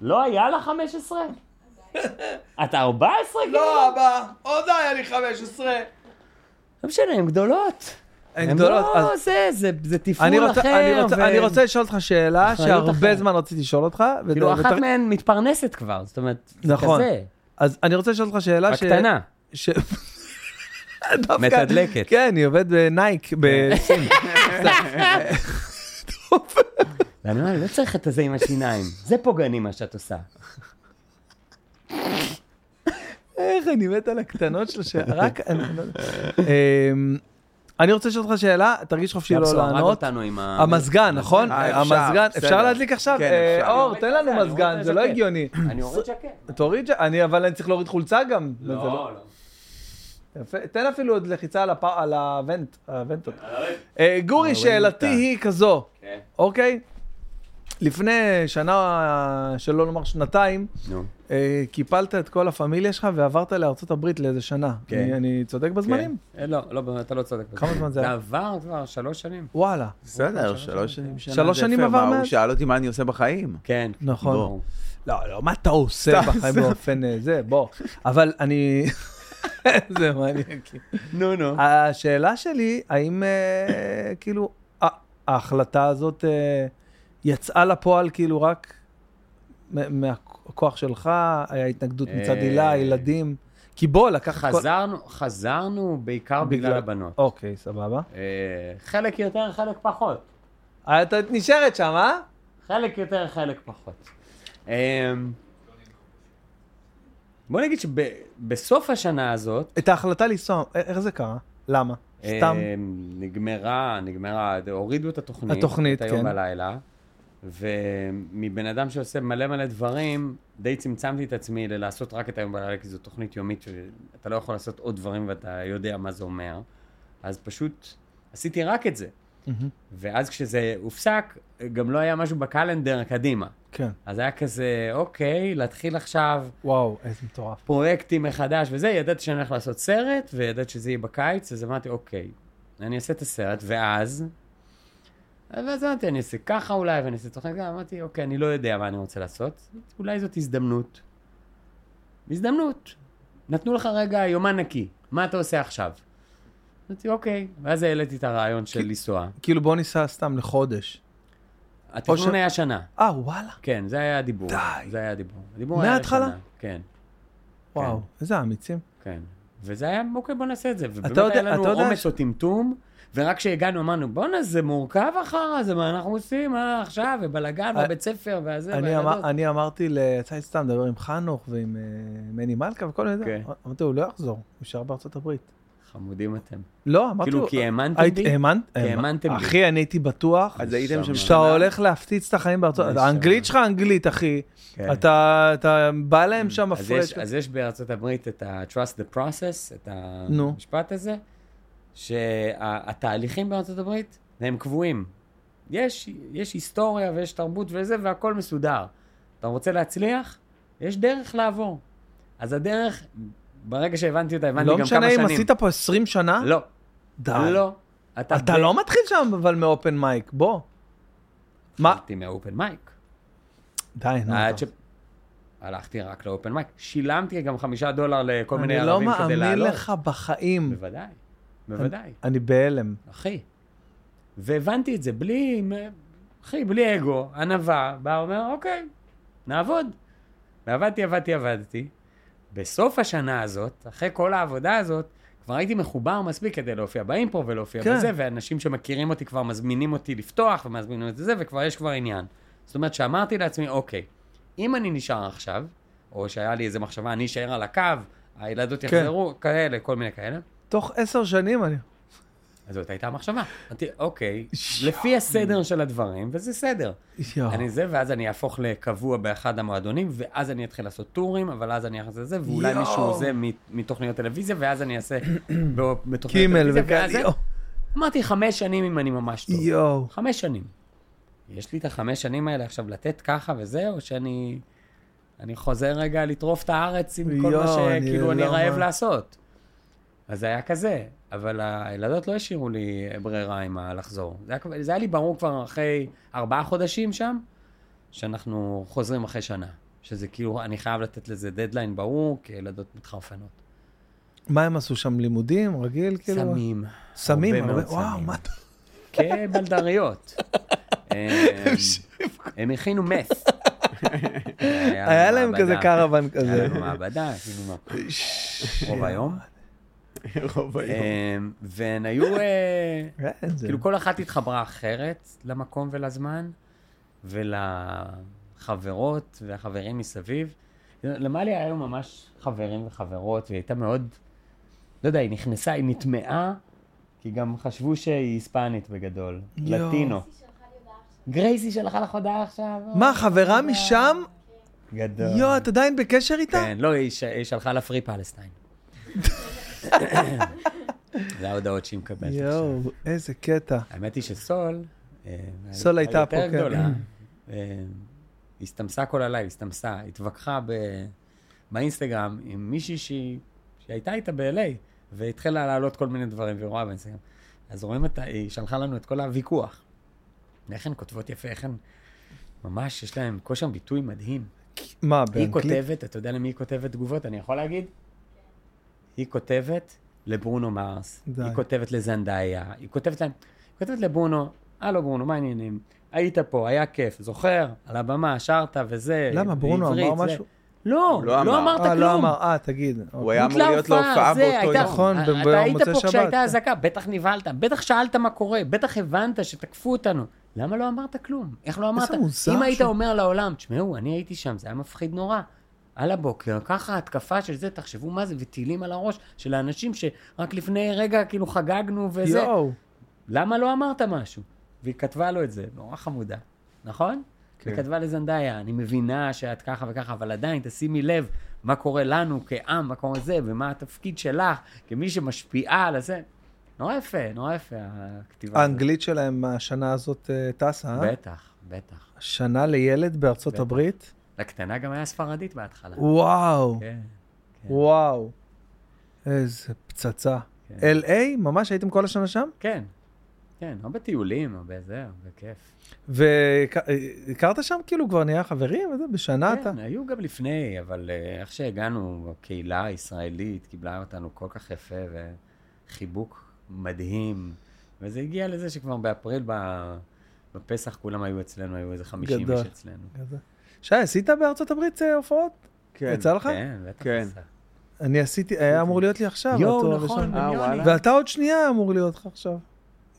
[SPEAKER 2] לא היה לה 15? אתה 14?
[SPEAKER 1] לא, אבא, עוד היה לי 15.
[SPEAKER 2] לא משנה, הן גדולות.
[SPEAKER 1] הן
[SPEAKER 2] הן
[SPEAKER 1] גדולות, אז-
[SPEAKER 2] לא זה, זה- זה
[SPEAKER 1] אני
[SPEAKER 2] תפעול
[SPEAKER 1] רוצה- אני
[SPEAKER 2] אחר.
[SPEAKER 1] רוצה-
[SPEAKER 2] ו-
[SPEAKER 1] אני רוצה לשאול אותך שאלה
[SPEAKER 2] אחריות
[SPEAKER 1] שהרבה
[SPEAKER 2] אחרת.
[SPEAKER 1] זמן רציתי לשאול אותך. ו-
[SPEAKER 2] כאילו,
[SPEAKER 1] ו-
[SPEAKER 2] אחת מהן מתפרנסת כבר, זאת אומרת, זה
[SPEAKER 1] נכון.
[SPEAKER 2] כזה.
[SPEAKER 1] אז אני רוצה לשאול אותך שאלה ש...
[SPEAKER 2] הקטנה.
[SPEAKER 1] ש... דווקא-
[SPEAKER 2] מתדלקת.
[SPEAKER 1] כן, היא עובדת בנייק בסין.
[SPEAKER 2] ואני אומר, לא צריך את הזה עם השיניים. זה פוגעני מה שאת עושה.
[SPEAKER 1] איך אני מת על הקטנות שלו, שרק... אני לא יודע. אמ, אני רוצה לשאול אותך שאלה, תרגיש חופשי לא
[SPEAKER 2] יבסו, הרג
[SPEAKER 1] לענות.
[SPEAKER 2] אותנו עם ה-
[SPEAKER 1] המזגן, נכון?
[SPEAKER 3] אה, אפשר,
[SPEAKER 1] המזגן, אפשר
[SPEAKER 3] בסדר.
[SPEAKER 1] להדליק עכשיו?
[SPEAKER 3] כן,
[SPEAKER 1] אה,
[SPEAKER 3] אפשר.
[SPEAKER 1] אור, תן לנו
[SPEAKER 2] אני רואה
[SPEAKER 1] מזגן,
[SPEAKER 2] את
[SPEAKER 1] זה לא
[SPEAKER 2] הז'קט.
[SPEAKER 1] הגיוני.
[SPEAKER 2] אני אוריד ז'קט.
[SPEAKER 1] תוריד, ש- אני אבל אני צריך להוריד חולצה גם. זה
[SPEAKER 2] לא, לא.
[SPEAKER 1] יפה, תן אפילו עוד לחיצה על, הפ... על הוונט, הוונטות. אה, גורי, שאלתי היא כזו,
[SPEAKER 2] כן.
[SPEAKER 1] אוקיי? לפני שנה, שלא לומר שנתיים,
[SPEAKER 2] נו.
[SPEAKER 1] אה, קיפלת את כל הפמיליה שלך ועברת לארה"ב לאיזה שנה.
[SPEAKER 2] כן.
[SPEAKER 1] אני, אני צודק בזמנים?
[SPEAKER 3] כן.
[SPEAKER 2] אה, לא, לא, אתה לא צודק. בזה.
[SPEAKER 1] כמה זמן זה היה?
[SPEAKER 2] עבר כבר שלוש שנים.
[SPEAKER 1] וואלה,
[SPEAKER 3] בסדר, שלוש שנים. שנה
[SPEAKER 1] שלוש
[SPEAKER 3] זה
[SPEAKER 1] שנים
[SPEAKER 3] יפה,
[SPEAKER 1] עבר
[SPEAKER 3] מה, הוא
[SPEAKER 1] מאז?
[SPEAKER 3] שאל אותי מה אני עושה בחיים.
[SPEAKER 2] כן.
[SPEAKER 1] נכון.
[SPEAKER 2] בוא.
[SPEAKER 1] לא, לא, מה אתה עושה בחיים באופן אה, זה, בוא. אבל אני... זה מעניין. כי-
[SPEAKER 2] נו, נו.
[SPEAKER 1] השאלה שלי, האם אה, כאילו ה- ההחלטה הזאת אה, יצאה לפועל כאילו רק מ- מהכוח שלך, היה התנגדות מצד
[SPEAKER 2] אה.
[SPEAKER 1] הילה, ילדים? כי בוא, לקח את כל...
[SPEAKER 2] חזרנו, חזרנו בעיקר בגלל הבנות.
[SPEAKER 1] אוקיי, סבבה.
[SPEAKER 2] אה, חלק יותר, חלק פחות.
[SPEAKER 1] אה, את את נשארת שם, אה?
[SPEAKER 2] חלק יותר, חלק פחות. אמ, בוא נגיד שבסוף השנה הזאת,
[SPEAKER 1] את ההחלטה לנסוע, א- איך זה קרה? למה? סתם.
[SPEAKER 2] אה, נגמרה, נגמרה, הורידו את התוכנית.
[SPEAKER 1] התוכנית,
[SPEAKER 2] את היום
[SPEAKER 1] כן.
[SPEAKER 2] בלילה. ומבן אדם שעושה מלא מלא דברים, די צמצמתי את עצמי ללעשות רק את היום בלילה, כי זו תוכנית יומית שאתה לא יכול לעשות עוד דברים ואתה יודע מה זה אומר. אז פשוט עשיתי רק את זה. ואז כשזה הופסק, גם לא היה משהו בקלנדר קדימה.
[SPEAKER 1] כן.
[SPEAKER 2] אז היה כזה, אוקיי, להתחיל עכשיו
[SPEAKER 1] וואו, איזה מטורף.
[SPEAKER 2] פרויקטים מחדש וזה, ידעתי שאני הולך לעשות סרט, וידעתי שזה יהיה בקיץ, אז אמרתי, אוקיי, אני אעשה את הסרט, ואז... ואז אמרתי, אני אעשה ככה אולי, ואני אעשה תוכנית ככה, אמרתי, אוקיי, אני לא יודע מה אני רוצה לעשות, אולי זאת הזדמנות. הזדמנות. נתנו לך רגע יומן נקי, מה אתה עושה עכשיו? אמרתי, אוקיי. ואז העליתי את הרעיון של לנסוע.
[SPEAKER 1] כאילו בוא ניסע סתם לחודש.
[SPEAKER 2] התכנון
[SPEAKER 1] ש-
[SPEAKER 2] היה שנה.
[SPEAKER 1] אה, וואלה.
[SPEAKER 2] כן, זה היה הדיבור.
[SPEAKER 1] די.
[SPEAKER 2] זה היה הדיבור. הדיבור היה
[SPEAKER 1] מההתחלה?
[SPEAKER 2] לשנה, כן,
[SPEAKER 1] וואו, איזה אמיצים.
[SPEAKER 2] כן. וזה היה, אוקיי, בוא נעשה את זה. ובאמת
[SPEAKER 1] יודע-
[SPEAKER 2] היה
[SPEAKER 1] אתה
[SPEAKER 2] לנו
[SPEAKER 1] יודע
[SPEAKER 2] אומץ
[SPEAKER 1] ש-
[SPEAKER 2] או טמטום, ורק כשהגענו אמרנו, בואנה, זה מורכב אחר הזה, מה אנחנו עושים, מה עכשיו, ובלאגן,
[SPEAKER 1] אה,
[SPEAKER 2] והבית ספר, והזה,
[SPEAKER 1] אני,
[SPEAKER 2] והילדות."
[SPEAKER 1] אמר, אני אמרתי, ל- יצא לי סתם לדבר עם חנוך ועם אה, מני מלכה וכל מיני,
[SPEAKER 2] כן.
[SPEAKER 1] okay. אמרתי, הוא לא יחזור, הוא יישאר בארצות הברית.
[SPEAKER 2] חמודים אתם.
[SPEAKER 1] לא, אמרתי,
[SPEAKER 2] כאילו,
[SPEAKER 1] לו,
[SPEAKER 2] כי האמנתם
[SPEAKER 1] היית-
[SPEAKER 2] בי?
[SPEAKER 1] האמנת?
[SPEAKER 2] האמנתם בי.
[SPEAKER 1] אחי, אני הייתי בטוח
[SPEAKER 3] אז הייתם שם
[SPEAKER 2] שמה.
[SPEAKER 1] שאתה
[SPEAKER 3] שנה.
[SPEAKER 1] הולך להפציץ את החיים בארצות,
[SPEAKER 2] אני
[SPEAKER 1] האנגלית
[SPEAKER 2] שם.
[SPEAKER 1] שלך אנגלית, אחי.
[SPEAKER 2] כן.
[SPEAKER 1] אתה, אתה בא להם שם
[SPEAKER 2] אז יש,
[SPEAKER 1] הפרש.
[SPEAKER 2] אז יש בארצות הברית את ה-Trust the Process, את
[SPEAKER 1] נו.
[SPEAKER 2] המשפט הזה, שהתהליכים בארצות הברית, הם קבועים. יש, יש היסטוריה ויש תרבות וזה, והכל מסודר. אתה רוצה להצליח? יש דרך לעבור. אז הדרך, ברגע שהבנתי אותה, הבנתי
[SPEAKER 1] לא
[SPEAKER 2] גם כמה שנים.
[SPEAKER 1] משנה אם עשית פה 20 שנה,
[SPEAKER 2] לא,
[SPEAKER 1] די.
[SPEAKER 2] לא.
[SPEAKER 1] אתה לא מתחיל שם אבל מאופן מייק, בוא. מה?
[SPEAKER 2] הלכתי מהאופן מייק.
[SPEAKER 1] די, נו.
[SPEAKER 2] עד
[SPEAKER 1] טוב.
[SPEAKER 2] ש... הלכתי רק לאופן מייק. שילמתי גם חמישה דולר לכל מיני
[SPEAKER 1] אני לא
[SPEAKER 2] ערבים כדי לעלות.
[SPEAKER 1] מאמין לך בחיים.
[SPEAKER 2] בוודאי, בוודאי.
[SPEAKER 1] אני בהלם.
[SPEAKER 2] אחי. והבנתי את זה בלי, אחי, בלי אגו, ענווה, בא ואומר, אוקיי, נעבוד. ועבדתי, עבדתי, עבדתי. בסוף השנה הזאת, אחרי כל העבודה הזאת, כבר הייתי מחובר מספיק כדי להופיע באימפרו ולהופיע
[SPEAKER 1] כן.
[SPEAKER 2] כן. בזה, ואנשים שמכירים אותי כבר מזמינים אותי לפתוח ומזמינים אותי זה, וכבר יש כבר עניין. זאת אומרת שאמרתי לעצמי, אוקיי, אם אני נשאר עכשיו, או שהיה לי איזו מחשבה, אני אשאר על הקו, הילדות יחזרו, כן. כאלה, כל מיני כאלה,
[SPEAKER 1] תוך עשר שנים אני...
[SPEAKER 2] אז זאת הייתה המחשבה. אמרתי, אוקיי, לפי הסדר של הדברים, וזה סדר.
[SPEAKER 1] יואו.
[SPEAKER 2] אני זה, ואז אני אהפוך לקבוע באחד המועדונים, ואז אני אתחיל לעשות טורים, אבל אז אני אעשה זה, ואולי
[SPEAKER 1] יואו.
[SPEAKER 2] מישהו עוזב מ- מתוכניות טלוויזיה, ואז אני אעשה בו- בתוכניות
[SPEAKER 1] קימל
[SPEAKER 2] טלוויזיה, ואז זה.
[SPEAKER 1] וכאלה.
[SPEAKER 2] אמרתי, חמש שנים אם אני ממש טוב.
[SPEAKER 1] יואו.
[SPEAKER 2] חמש שנים. יש לי את החמש שנים האלה עכשיו לתת ככה וזה, או שאני אני חוזר רגע לטרוף את הארץ עם כל מה
[SPEAKER 1] יואו, אני
[SPEAKER 2] שכאילו אני
[SPEAKER 1] לא
[SPEAKER 2] רעב
[SPEAKER 1] מה-
[SPEAKER 2] לעשות. אז זה היה כזה, אבל הילדות לא השאירו לי ברירה עם הלחזור. זה היה, כבר- זה היה לי ברור כבר אחרי ארבעה חודשים שם, שאנחנו חוזרים אחרי שנה. שזה כאילו, אני חייב לתת לזה דדליין ברור, כי הילדות מתחרפנות.
[SPEAKER 1] מה הם עשו שם? לימודים? רגיל? כאילו?
[SPEAKER 2] סמים.
[SPEAKER 1] סמים.
[SPEAKER 2] הרבה מאוד
[SPEAKER 1] הרבה- וואו,
[SPEAKER 2] סמים.
[SPEAKER 1] מה אתה...
[SPEAKER 2] כבלדריות. אה, הם הכינו מת.
[SPEAKER 1] היה להם כזה קרוון
[SPEAKER 2] היה
[SPEAKER 1] כזה.
[SPEAKER 2] לנו מעבדה, עשינו מה- רוב היום.
[SPEAKER 3] רוב היום.
[SPEAKER 2] אה, והן היו, אה,
[SPEAKER 1] כן, זה-
[SPEAKER 2] כאילו כל אחת התחברה אחרת למקום ולזמן, ולחברות והחברים מסביב. למאלי היה היום ממש חברים וחברות, והיא הייתה מאוד, לא יודע, היא נכנסה, היא נטמעה, כי גם חשבו שהיא היספנית בגדול,
[SPEAKER 1] יואו.
[SPEAKER 2] לטינו. גרייסי שלחה לך הודעה עכשיו.
[SPEAKER 1] מה, חברה משם?
[SPEAKER 2] גדול.
[SPEAKER 1] יואו, את עדיין בקשר איתה?
[SPEAKER 2] כן, לא, היא ש- היא שלחה לה פרי פלסטיין. זה ההודעות שהיא מקבלת עכשיו.
[SPEAKER 1] יואו, איזה קטע.
[SPEAKER 2] האמת היא שסול... אה,
[SPEAKER 1] סול הייתה פה,
[SPEAKER 2] היותר
[SPEAKER 1] כן.
[SPEAKER 2] גדולה. אה, הסתמסה כל הלילה, הסתמסה, התווכחה ב... באינסטגרם עם מישהי שהיא... שהייתה איתה ב-LA, והתחילה להעלות כל מיני דברים, והיא רואה באינסטגרם. אז רואים אותה, היא שלחה לנו את כל הוויכוח. איך הן כותבות יפה, איך הן... ממש, יש להן כושר ביטוי מדהים.
[SPEAKER 1] מה,
[SPEAKER 2] היא
[SPEAKER 1] באנגלית?
[SPEAKER 2] כותבת, אתה יודע למי היא כותבת תגובות? אני יכול להגיד? היא כותבת לברונו מרס,
[SPEAKER 1] די.
[SPEAKER 2] היא כותבת לזנדאיה, היא כותבת להם, היא כותבת לברונו, הלו ברונו, מה העניינים? היית פה, היה כיף, זוכר? על הבמה, שרת וזה,
[SPEAKER 1] למה, ברונו
[SPEAKER 2] בעברית,
[SPEAKER 1] אמר
[SPEAKER 2] זה."
[SPEAKER 1] משהו?
[SPEAKER 2] לא,
[SPEAKER 3] לא אמר.
[SPEAKER 2] לא אמרת
[SPEAKER 1] אה,
[SPEAKER 2] כלום.
[SPEAKER 1] לא אמר, אה, תגיד.
[SPEAKER 3] הוא
[SPEAKER 1] אוקיי.
[SPEAKER 3] היה אמור
[SPEAKER 2] בוטלה
[SPEAKER 3] להיות להופעה
[SPEAKER 2] זה,
[SPEAKER 3] באותו
[SPEAKER 2] הייתה-
[SPEAKER 3] יום.
[SPEAKER 1] נכון, ב-
[SPEAKER 2] אתה היית
[SPEAKER 1] במוצאי
[SPEAKER 2] פה
[SPEAKER 1] שבת.
[SPEAKER 2] כשהייתה אזעקה, בטח נבהלת, בטח שאלת מה קורה, בטח הבנת שתקפו אותנו. למה לא אמרת כלום? איך לא אמרת?
[SPEAKER 1] איזה מוזר
[SPEAKER 2] אם היית
[SPEAKER 1] שהוא-
[SPEAKER 2] אומר לעולם, תשמעו, אני הייתי שם, זה היה מפחיד נורא. על הבוקר, ככה התקפה של זה, תחשבו מה זה, וטילים על הראש של האנשים שרק לפני רגע כאילו חגגנו וזה.
[SPEAKER 1] יואו.
[SPEAKER 2] למה לא אמרת משהו? והיא כתבה לו את זה, נורא חמודה, נכון?
[SPEAKER 3] כן.
[SPEAKER 2] כן. היא כתבה לזנדאיה, אני מבינה שאת ככה וככה, אבל עדיין תשימי לב מה קורה לנו כעם, מה קורה זה, ומה התפקיד שלך כמי שמשפיעה על הזה. נורא יפה, נורא יפה הכתיבה. הזאת.
[SPEAKER 1] האנגלית שלהם השנה הזאת אה, טסה, אה?
[SPEAKER 2] בטח, בטח.
[SPEAKER 1] שנה לילד בארצות
[SPEAKER 2] בטח.
[SPEAKER 1] הברית?
[SPEAKER 2] לקטנה גם היה ספרדית בהתחלה.
[SPEAKER 1] וואו,
[SPEAKER 2] כן. כן.
[SPEAKER 1] וואו. איזה פצצה.
[SPEAKER 2] כן.
[SPEAKER 1] LA? ממש הייתם כל השנה שם?
[SPEAKER 2] כן, כן, או בטיולים, או בזה, או בכיף.
[SPEAKER 1] והכרת שם כאילו כבר נהיה חברים? וזה, בשנה אתה?
[SPEAKER 2] כן, היו גם לפני, אבל אה, איך שהגענו, הקהילה הישראלית קיבלה אותנו כל כך יפה, וחיבוק מדהים. וזה הגיע לזה שכבר באפריל, ב- בפסח, כולם היו אצלנו, היו איזה 50 איש
[SPEAKER 1] גדול.
[SPEAKER 2] אצלנו.
[SPEAKER 1] כזה. שי, עשית בארצות הברית אה, הופעות?
[SPEAKER 3] כן.
[SPEAKER 1] יצא לך?
[SPEAKER 2] כן, בטח.
[SPEAKER 3] כן.
[SPEAKER 2] עשה.
[SPEAKER 1] אני עשיתי, היה אמור להיות לי עכשיו. התואר
[SPEAKER 2] יואו,
[SPEAKER 1] הראשון.
[SPEAKER 2] נכון,
[SPEAKER 3] אה,
[SPEAKER 2] בניוני.
[SPEAKER 3] וואלה.
[SPEAKER 1] ואתה עוד שנייה אמור להיות לך עכשיו.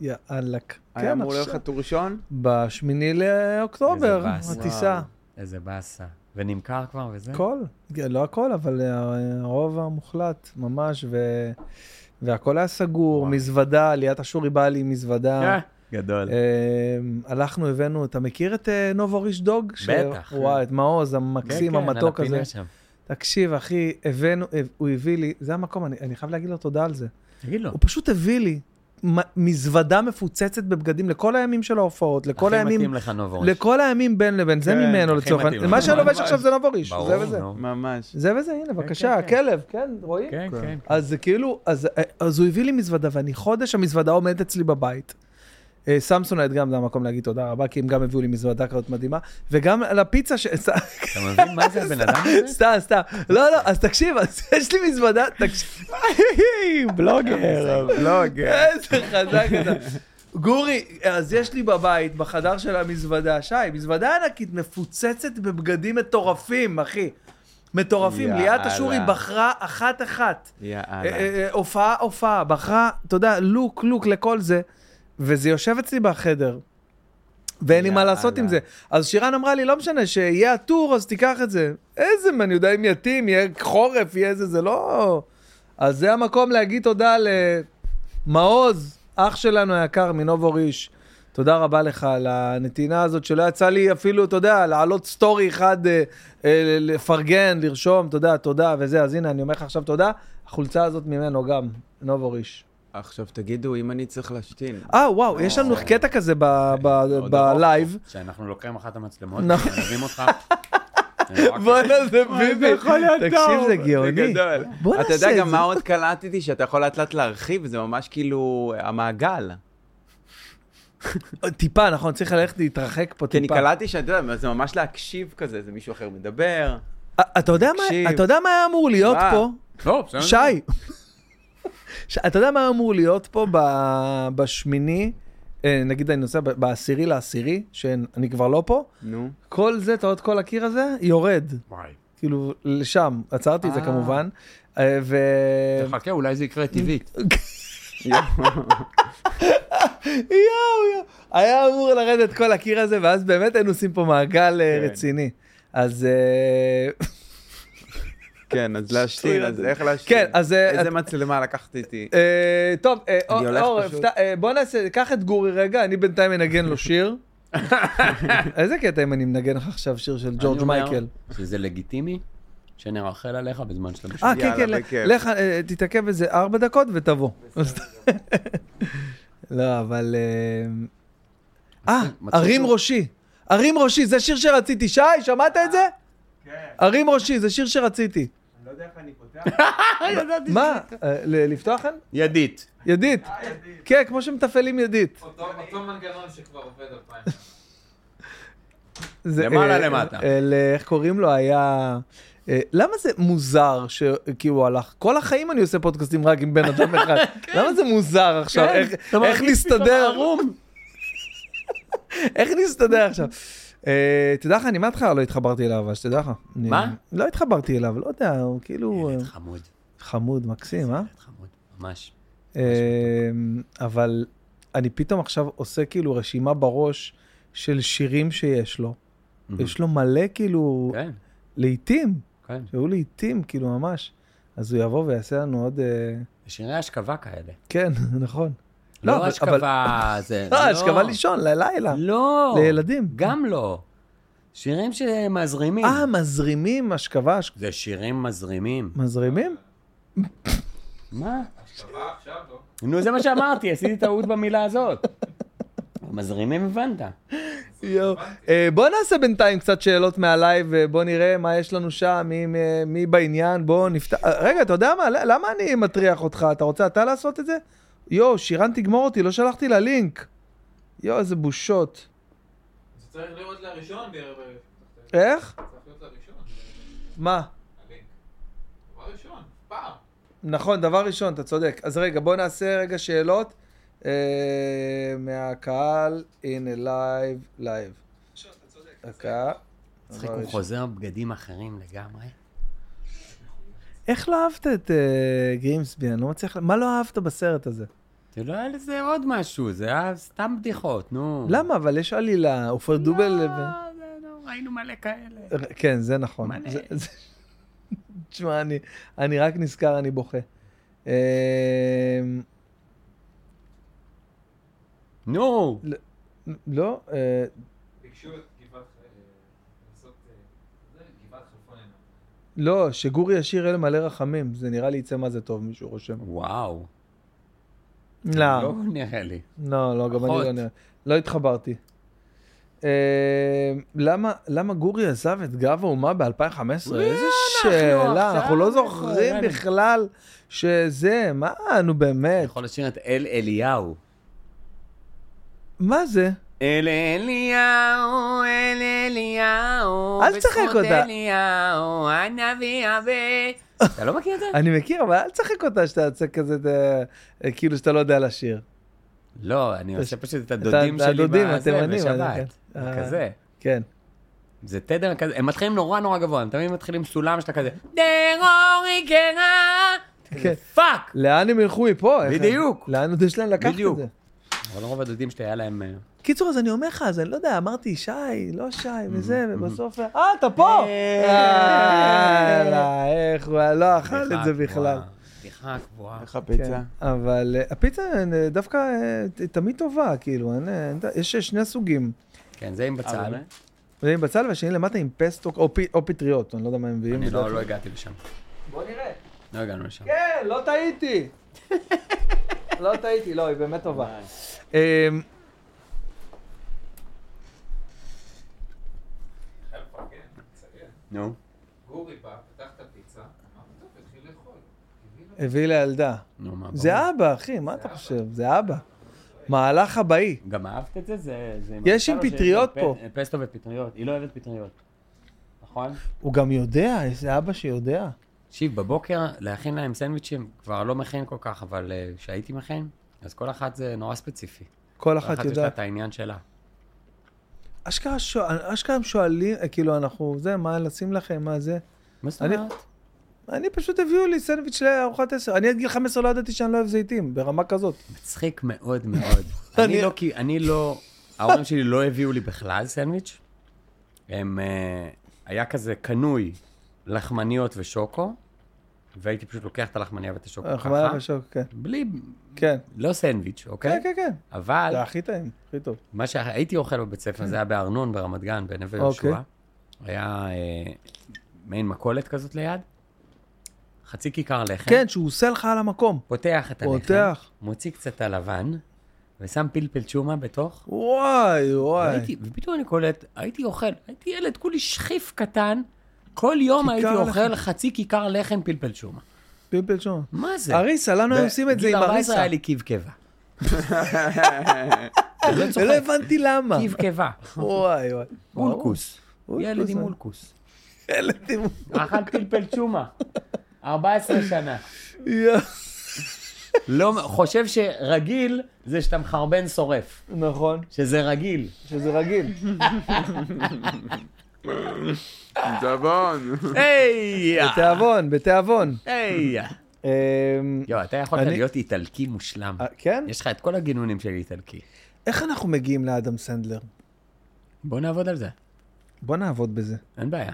[SPEAKER 1] יאללק.
[SPEAKER 3] היה
[SPEAKER 1] כן,
[SPEAKER 3] אמור להיות לך
[SPEAKER 1] עכשיו.
[SPEAKER 3] טור ראשון?
[SPEAKER 1] בשמיני לאוקטובר,
[SPEAKER 2] איזה באסה.
[SPEAKER 1] הטיסה.
[SPEAKER 2] איזה באסה. ונמכר כבר וזה?
[SPEAKER 1] הכל, לא הכל, אבל אה, הרוב המוחלט, ממש, ו... והכל היה סגור,
[SPEAKER 2] וואו.
[SPEAKER 1] מזוודה, ליאת אשורי באה לי עם מזוודה.
[SPEAKER 2] אה, גדול.
[SPEAKER 1] אמ, הלכנו, הבאנו, אתה מכיר את אה, נובו ריש דוג? ש-
[SPEAKER 2] בטח.
[SPEAKER 1] וואי, את מעוז,
[SPEAKER 2] כן,
[SPEAKER 1] המקסים,
[SPEAKER 2] כן, על
[SPEAKER 1] המתוק
[SPEAKER 2] הפינה
[SPEAKER 1] הזה.
[SPEAKER 2] שם.
[SPEAKER 1] תקשיב, אחי, הבאנו, הב- הוא הביא לי, זה המקום, אני- אני חייב להגיד לו תודה על זה.
[SPEAKER 2] תגיד לו.
[SPEAKER 1] הוא פשוט הביא לי מ- מזוודה מפוצצת בבגדים לכל הימים של ההופעות, לכל
[SPEAKER 2] הכי
[SPEAKER 1] הימים,
[SPEAKER 2] מתאים לך נובוריש.
[SPEAKER 1] לכל הימים בין לבין, זה
[SPEAKER 3] כן,
[SPEAKER 1] ממנו
[SPEAKER 2] הכי
[SPEAKER 1] לצורך
[SPEAKER 2] מתאים
[SPEAKER 1] העניין.
[SPEAKER 2] לך.
[SPEAKER 1] מה שאני לובש
[SPEAKER 3] ממש.
[SPEAKER 1] עכשיו זה נבוריש, זה וזה.
[SPEAKER 2] נו.
[SPEAKER 3] ממש.
[SPEAKER 1] זה וזה, הנה, בבקשה,
[SPEAKER 2] כן, כן.
[SPEAKER 1] הכלב, כן, רואים?
[SPEAKER 2] כן, כן.
[SPEAKER 1] אז זה כאילו, אז, אז הוא הביא לי מזוודה, ואני חודש המזוודה עומדת אצלי בבית. אה, סמסונד גם זה המקום להגיד תודה רבה, כי הם גם הביאו לי מזוודה כזאת מדהימה, וגם על הפיצה ש... סתם,
[SPEAKER 2] כן, אתה מבין מה זה הבן אדם הזה?
[SPEAKER 1] סתם, סתם. לא, לא, אז תקשיב, אז יש לי מזוודה, תקשיב.
[SPEAKER 2] כן,
[SPEAKER 1] בלוגר.
[SPEAKER 3] לא, בלוגר.
[SPEAKER 1] איזה חזק אתה. גורי, אז יש לי בבית, בחדר של המזוודה, שי, מזוודה ענקית מפוצצת בבגדים מטורפים, אחי. מטורפים.
[SPEAKER 3] יאללה.
[SPEAKER 1] ליאת אשורי בחרה אחת-אחת. אה,
[SPEAKER 3] יאללה.
[SPEAKER 1] אה, אה, הופעה, הופעה, בחרה, אתה יודע, לוק, לוק לכל זה, וזה יושב אצלי בחדר. ואין לי מה
[SPEAKER 3] יאללה.
[SPEAKER 1] לעשות עם זה. אז שירן אמרה לי, לא משנה, שיהיה הטור, אז תיקח את זה. איזה, אני יודע אם יתאים, יהיה חורף, יהיה איזה, זה לא... אז זה המקום להגיד תודה למעוז, אח שלנו היקר מנובוריש. תודה רבה לך על הנתינה הזאת, שלא יצא לי אפילו, אתה יודע, להעלות סטורי אחד, אה, אה, לפרגן, לרשום, תודה, תודה וזה. אז הנה, אני אומר לך עכשיו תודה. החולצה הזאת ממנו גם, נובוריש.
[SPEAKER 3] עכשיו תגידו, אם אני צריך להשתין.
[SPEAKER 1] אה, וואו, יש לנו קטע כזה ב- ב-
[SPEAKER 2] עוד
[SPEAKER 1] בלייב.
[SPEAKER 2] ארוך, שאנחנו לוקחים אחת המצלמות,
[SPEAKER 1] נכון.
[SPEAKER 2] מביאים אותך. אה,
[SPEAKER 3] אוקיי.
[SPEAKER 1] בואנה זה ביבי, תקשיב זה
[SPEAKER 3] זה
[SPEAKER 1] גאוני.
[SPEAKER 3] גדול.
[SPEAKER 1] בוא
[SPEAKER 3] אתה
[SPEAKER 1] נעשה
[SPEAKER 3] יודע
[SPEAKER 1] את
[SPEAKER 3] גם
[SPEAKER 1] זה. לא-
[SPEAKER 3] מה עוד קלטתי? שאתה יכול לאט לאט להרחיב, זה ממש כאילו המעגל.
[SPEAKER 1] טיפה, נכון, צריך ללכת להתרחק פה
[SPEAKER 3] כי אני
[SPEAKER 1] טיפה.
[SPEAKER 3] קלטתי שאתה יודע, זה ממש להקשיב כזה, זה מישהו אחר מדבר.
[SPEAKER 1] א- אה, אתה יודע מה-
[SPEAKER 3] תקשיב.
[SPEAKER 1] אתה יודע מה היה אמור להיות
[SPEAKER 3] מה?
[SPEAKER 1] פה?
[SPEAKER 2] לא, בסדר.
[SPEAKER 1] שי, ש- אתה יודע מה אמור להיות פה ב- בשמיני, אה, נגיד אני נוסע ב- בעשירי לעשירי, שאני כבר לא פה,
[SPEAKER 3] נו.
[SPEAKER 1] כל זה, אתה רואה את כל הקיר הזה, יורד,
[SPEAKER 2] וואי.
[SPEAKER 1] כאילו לשם, עצרתי את זה כמובן. אה, ו...
[SPEAKER 2] תחכה, אולי זה יקרה טבעית.
[SPEAKER 1] יואו, יואו. היה אמור לרדת כל הקיר הזה, ואז באמת היינו עושים פה מעגל אה,
[SPEAKER 3] כן.
[SPEAKER 1] רציני. אז... אה,
[SPEAKER 3] כן, אז להשתין, אז איך להשתין?
[SPEAKER 1] כן, אז... אה,
[SPEAKER 3] איזה
[SPEAKER 1] את-
[SPEAKER 3] מצלמה לקחת איתי?
[SPEAKER 1] אה, טוב, אה,
[SPEAKER 3] אני
[SPEAKER 1] אור,
[SPEAKER 3] הולך
[SPEAKER 1] אור,
[SPEAKER 3] פשוט.
[SPEAKER 1] פת- אה, בוא נעשה, קח את גורי רגע, אני בינתיים אנגן לו שיר. איזה קטע אם אני מנגן לך עכשיו שיר של ג'ורג'
[SPEAKER 2] אני אומר
[SPEAKER 1] מייקל.
[SPEAKER 2] שזה לגיטימי שנרחל עליך בזמן שאתה
[SPEAKER 1] אה,
[SPEAKER 2] משתמש.
[SPEAKER 1] כן, כן,
[SPEAKER 3] יאללה,
[SPEAKER 1] לך-
[SPEAKER 3] בכיף.
[SPEAKER 1] לך, אה, תתעכב איזה ארבע דקות ותבוא.
[SPEAKER 2] כן.
[SPEAKER 1] לא, אבל... אה, אה,
[SPEAKER 2] מצחיק
[SPEAKER 1] הרים
[SPEAKER 2] שהוא-
[SPEAKER 1] ראשי. הרים ראשי, זה שיר שרציתי. שי, שמעת את זה?
[SPEAKER 3] כן,
[SPEAKER 1] הרים ראשי, זה שיר שרציתי.
[SPEAKER 3] אני לא יודע איך אני פותח.
[SPEAKER 1] מה, אה, ל- לפתוח כאן?
[SPEAKER 2] ידית.
[SPEAKER 1] ידית. כן, כמו שמתפעלים ידית.
[SPEAKER 8] אה, אותו מנגנון שכבר עובד אלפיים.
[SPEAKER 1] זה,
[SPEAKER 2] למעלה,
[SPEAKER 1] אה,
[SPEAKER 2] למטה.
[SPEAKER 1] אה, ל- איך קוראים לו? היה... אה, למה זה מוזר שכאילו הלך? כל החיים אני עושה פודקאסטים רק עם בן אדם אחד.
[SPEAKER 8] כן.
[SPEAKER 1] למה זה מוזר עכשיו? איך- איך נסתדר? איך נסתדר עכשיו? אה, תדע לך, אני מההתחלה לא התחברתי אליו, אז תדע לך. אני-
[SPEAKER 2] מה?
[SPEAKER 1] לא התחברתי אליו, לא יודע, הוא כאילו אה,
[SPEAKER 2] חמוד,
[SPEAKER 1] חמוד, מקסים, אה?
[SPEAKER 2] חמוד, ממש.
[SPEAKER 1] אה, אבל אני פתאום עכשיו עושה כאילו רשימה בראש של שירים שיש לו. יש לו מלא כאילו,
[SPEAKER 2] כן,
[SPEAKER 1] לעיתים,
[SPEAKER 2] כן.
[SPEAKER 1] שהיו לעיתים כאילו ממש. אז הוא יבוא ויעשה לנו עוד... אה,
[SPEAKER 2] שירי השכבה כאלה.
[SPEAKER 1] כן, נכון. לא, אבל-
[SPEAKER 2] לא השכבה זה...
[SPEAKER 1] אה, השכבה
[SPEAKER 2] לא.
[SPEAKER 1] לישון, ללילה,
[SPEAKER 2] לא.
[SPEAKER 1] לילדים.
[SPEAKER 2] גם לא. שירים שמזרימים.
[SPEAKER 1] אה, מזרימים, אה, השכבה, הש-
[SPEAKER 2] זה שירים מזרימים.
[SPEAKER 1] מזרימים?
[SPEAKER 2] מה? נו, זה מה שאמרתי, עשיתי טעות במילה הזאת. מזרימים הבנת.
[SPEAKER 1] יואו. אה, בוא נעשה בינתיים קצת שאלות מהלייב, אה, בוא נראה מה יש לנו שם, מי, מי, מי בעניין, בוא נפתח... אה, רגע, אתה יודע מה? ל- למה אני מטריח אותך? אתה רוצה אתה לעשות את זה? יואו, שירן תגמור אותי, לא שלחתי לה לינק. יואו, איזה בושות.
[SPEAKER 9] צריך לראות לראשון בערב ערב.
[SPEAKER 1] איך?
[SPEAKER 9] צריך להיות לראשון.
[SPEAKER 1] מה?
[SPEAKER 9] דבר ראשון. פעם.
[SPEAKER 1] נכון, דבר ראשון, אתה צודק. אז רגע, בוא נעשה רגע שאלות אה, מהקהל, הנה לייב, לייב. דקה.
[SPEAKER 2] מצחיק,
[SPEAKER 1] דבר
[SPEAKER 2] הוא
[SPEAKER 1] ראשון.
[SPEAKER 2] חוזר בבגדים אחרים לגמרי.
[SPEAKER 1] איך לא אהבת את אה, גרימסבי? אני לא מצליח... מה לא אהבת בסרט הזה?
[SPEAKER 2] זה לא היה לזה עוד משהו, זה היה סתם בדיחות, נו.
[SPEAKER 1] למה? אבל יש עלילה, עופר דובל...
[SPEAKER 2] לא,
[SPEAKER 1] ו-
[SPEAKER 2] זה לא, ראינו מלא כאלה.
[SPEAKER 1] ר- כן, זה נכון.
[SPEAKER 2] מלא.
[SPEAKER 1] זה- זה- תשמע, אני- אני רק נזכר, אני בוכה. אמ,
[SPEAKER 2] נו,
[SPEAKER 1] לא, אה,
[SPEAKER 9] ביקשו את גבעת... אה, לעשות... אה, זה, גבעת חלפון עיניו.
[SPEAKER 1] לא, שגורי ישיר אל מלא רחמים, זה נראה לי יצא מה זה טוב, מישהו רושם.
[SPEAKER 2] וואו.
[SPEAKER 1] לא,
[SPEAKER 2] לא נראה לי.
[SPEAKER 1] לא, לא, גם אני לא
[SPEAKER 2] פחות.
[SPEAKER 1] נראה. לא התחברתי. אה, למה למה גורי עזב את גב האומה ב-2015? איזה שאלה,
[SPEAKER 2] לא, עכשיו
[SPEAKER 1] אנחנו לא
[SPEAKER 2] איפה,
[SPEAKER 1] זוכרים
[SPEAKER 2] יאללה.
[SPEAKER 1] בכלל שזה, מה, נו באמת,
[SPEAKER 2] יכול לשיר את אל אליהו.
[SPEAKER 1] מה זה?
[SPEAKER 2] אל אליהו, אל אליהו,
[SPEAKER 1] אל תשחק
[SPEAKER 2] בזכות
[SPEAKER 1] אותה.
[SPEAKER 2] אליהו, הנביא הבא. אתה לא מכיר את זה?
[SPEAKER 1] אני מכיר, אבל אל תשחק אותה שאתה יוצא כזה, אה, אה, כאילו שאתה לא יודע לשיר.
[SPEAKER 2] לא, אני עושה פשוט את
[SPEAKER 1] את
[SPEAKER 2] הדודים שלי
[SPEAKER 1] הדודים,
[SPEAKER 2] בזה,
[SPEAKER 1] התימנים, אני-
[SPEAKER 2] בשבת.
[SPEAKER 1] כן. אה.
[SPEAKER 2] כזה.
[SPEAKER 1] כן.
[SPEAKER 2] זה תדר כזה, הם מתחילים נורא נורא גבוה, הם תמיד מתחילים סולם שלה כזה, דרורי קרה,
[SPEAKER 1] כן.
[SPEAKER 2] פאק!
[SPEAKER 1] לאן הם ילכו מפה? איך הם-
[SPEAKER 2] בדיוק.
[SPEAKER 1] לאן עוד יש להם לקחת את
[SPEAKER 2] בדיוק.
[SPEAKER 1] זה?
[SPEAKER 2] אבל רוב הדודים שלי היה להם... אה,
[SPEAKER 1] קיצור, אז אני אומר לך, אז אני לא יודע, אמרתי שי, לא שי, וזה, ובסוף, אה, אתה פה! אה, יאללה, איך הוא לא אכל את
[SPEAKER 2] בדיחה
[SPEAKER 1] זה
[SPEAKER 2] קבועה,
[SPEAKER 1] בכלל.
[SPEAKER 2] בדיחה קבועה.
[SPEAKER 3] איך הפיצה?
[SPEAKER 1] כן, אבל אה, הפיצה אה, דווקא אה, ת- תמיד טובה, כאילו, אין- אין- יש שני סוגים.
[SPEAKER 2] כן, זה עם בצל.
[SPEAKER 1] זה עם בצל והשני למטה עם פסטו או פי- או פטריות, אני לא יודע מה הם מביאים.
[SPEAKER 2] אני
[SPEAKER 1] בדרך
[SPEAKER 2] לא
[SPEAKER 1] כלל.
[SPEAKER 2] לא הגעתי לשם.
[SPEAKER 1] בוא נראה.
[SPEAKER 2] לא הגענו לשם.
[SPEAKER 1] כן, לא טעיתי. לא טעיתי, לא, היא באמת טובה. אמ,
[SPEAKER 9] חייב לפרגן, מציין.
[SPEAKER 2] נו.
[SPEAKER 9] גורי בא, פתח את הפיצה, אמרתי, טוב, התחיל לאכול. הביא לו
[SPEAKER 1] הביא לילדה.
[SPEAKER 2] נו, מה ברור.
[SPEAKER 1] זה אבא, אחי, מה אתה חושב? זה אבא. מהלך הבאי.
[SPEAKER 2] גם אהבת את זה? זה... זה הבצל
[SPEAKER 1] יש
[SPEAKER 2] או
[SPEAKER 1] עם
[SPEAKER 2] שיש
[SPEAKER 1] פטריות
[SPEAKER 2] פ-
[SPEAKER 1] פה.
[SPEAKER 2] פסטו ופטריות, היא לא אוהבת פטריות. נכון?
[SPEAKER 1] הוא גם יודע, איזה אבא שיודע.
[SPEAKER 2] תקשיב, בבוקר להכין להם סנדוויצ'ים, כבר לא מכין כל כך, אבל אה, כשהייתי מכין, אז כל אחת זה נורא ספציפי.
[SPEAKER 1] כל
[SPEAKER 2] כל
[SPEAKER 1] אחת
[SPEAKER 2] אחת יש לה
[SPEAKER 1] יודעת.
[SPEAKER 2] את העניין שלה.
[SPEAKER 1] אשכרה שואל- אשכרה הם שואלים, אה, כאילו, אנחנו, זה, מה לשים לכם, מה זה?
[SPEAKER 2] מה זאת
[SPEAKER 1] אני-
[SPEAKER 2] אומרת?
[SPEAKER 1] אני פשוט הביאו לי סנדוויץ' לארוחת עשר. אני עד גיל 15 לא ידעתי שאני לא אוהב זיתים, ברמה כזאת.
[SPEAKER 2] אה, מצחיק מאוד מאוד.
[SPEAKER 1] אני-
[SPEAKER 2] אני לא, כי אני לא, ההורים שלי לא הביאו לי בכלל סנדוויץ'. הם, אה, היה כזה קנוי לחמניות ושוקו, והייתי פשוט לוקח את הלחמניה ואת השוקו
[SPEAKER 1] אנחנו
[SPEAKER 2] ככה,
[SPEAKER 1] מעלה בשוק, כן.
[SPEAKER 2] בלי,
[SPEAKER 1] כן,
[SPEAKER 2] לא סנדוויץ', אוקיי?
[SPEAKER 1] כן, כן, כן.
[SPEAKER 2] אבל
[SPEAKER 1] זה הכי טעים, הכי טוב.
[SPEAKER 2] מה שהייתי אוכל בבית ספר, זה היה בארנון, ברמת גן, בנווה
[SPEAKER 1] אוקיי.
[SPEAKER 2] יהושע. היה אה, מעין מכולת כזאת ליד, חצי כיכר לחם.
[SPEAKER 1] כן, שהוא עושה לך על המקום.
[SPEAKER 2] פותח את הלחם,
[SPEAKER 1] פותח.
[SPEAKER 2] מוציא קצת הלבן, ושם פלפל צ'ומה בתוך.
[SPEAKER 1] וואי, וואי.
[SPEAKER 2] הייתי, ופתאום אני קולט, הייתי אוכל, הייתי ילד כולי שכיף קטן, כל יום
[SPEAKER 1] כיכר
[SPEAKER 2] הייתי
[SPEAKER 1] לחם.
[SPEAKER 2] אוכל חצי כיכר לחם פלפל שומה.
[SPEAKER 1] פלפל שום.
[SPEAKER 2] מה זה?
[SPEAKER 1] אריסה, לנו לא היו עושים את זה עם
[SPEAKER 2] בגיל 14
[SPEAKER 1] אריסה.
[SPEAKER 2] היה לי קבקבה. אני לא
[SPEAKER 1] ולא
[SPEAKER 2] צוחק,
[SPEAKER 1] הבנתי למה.
[SPEAKER 2] קבקבה.
[SPEAKER 1] וואי, וואי.
[SPEAKER 2] מולקוס.
[SPEAKER 1] ברור. אה.
[SPEAKER 2] ילד עם מולקוס.
[SPEAKER 1] ילד עם מולקוס.
[SPEAKER 2] אכל פלפל צ'ומה. 14 שנה.
[SPEAKER 1] יואו.
[SPEAKER 2] לא, חושב שרגיל זה שאתה מחרבן שורף.
[SPEAKER 1] נכון,
[SPEAKER 2] שזה רגיל.
[SPEAKER 1] שזה רגיל. כן.
[SPEAKER 3] דבון.
[SPEAKER 2] היי!
[SPEAKER 1] בתיאבון, בתיאבון.
[SPEAKER 2] היי!
[SPEAKER 1] אמ,
[SPEAKER 2] יואו, אתה יכולת
[SPEAKER 1] אני-
[SPEAKER 2] להיות איטלקי מושלם.
[SPEAKER 1] אה, כן?
[SPEAKER 2] יש לך את כל הגינונים של איטלקי.
[SPEAKER 1] איך אנחנו מגיעים לאדם סנדלר?
[SPEAKER 2] בוא נעבוד על זה,
[SPEAKER 1] בוא נעבוד בזה.
[SPEAKER 2] אין בעיה.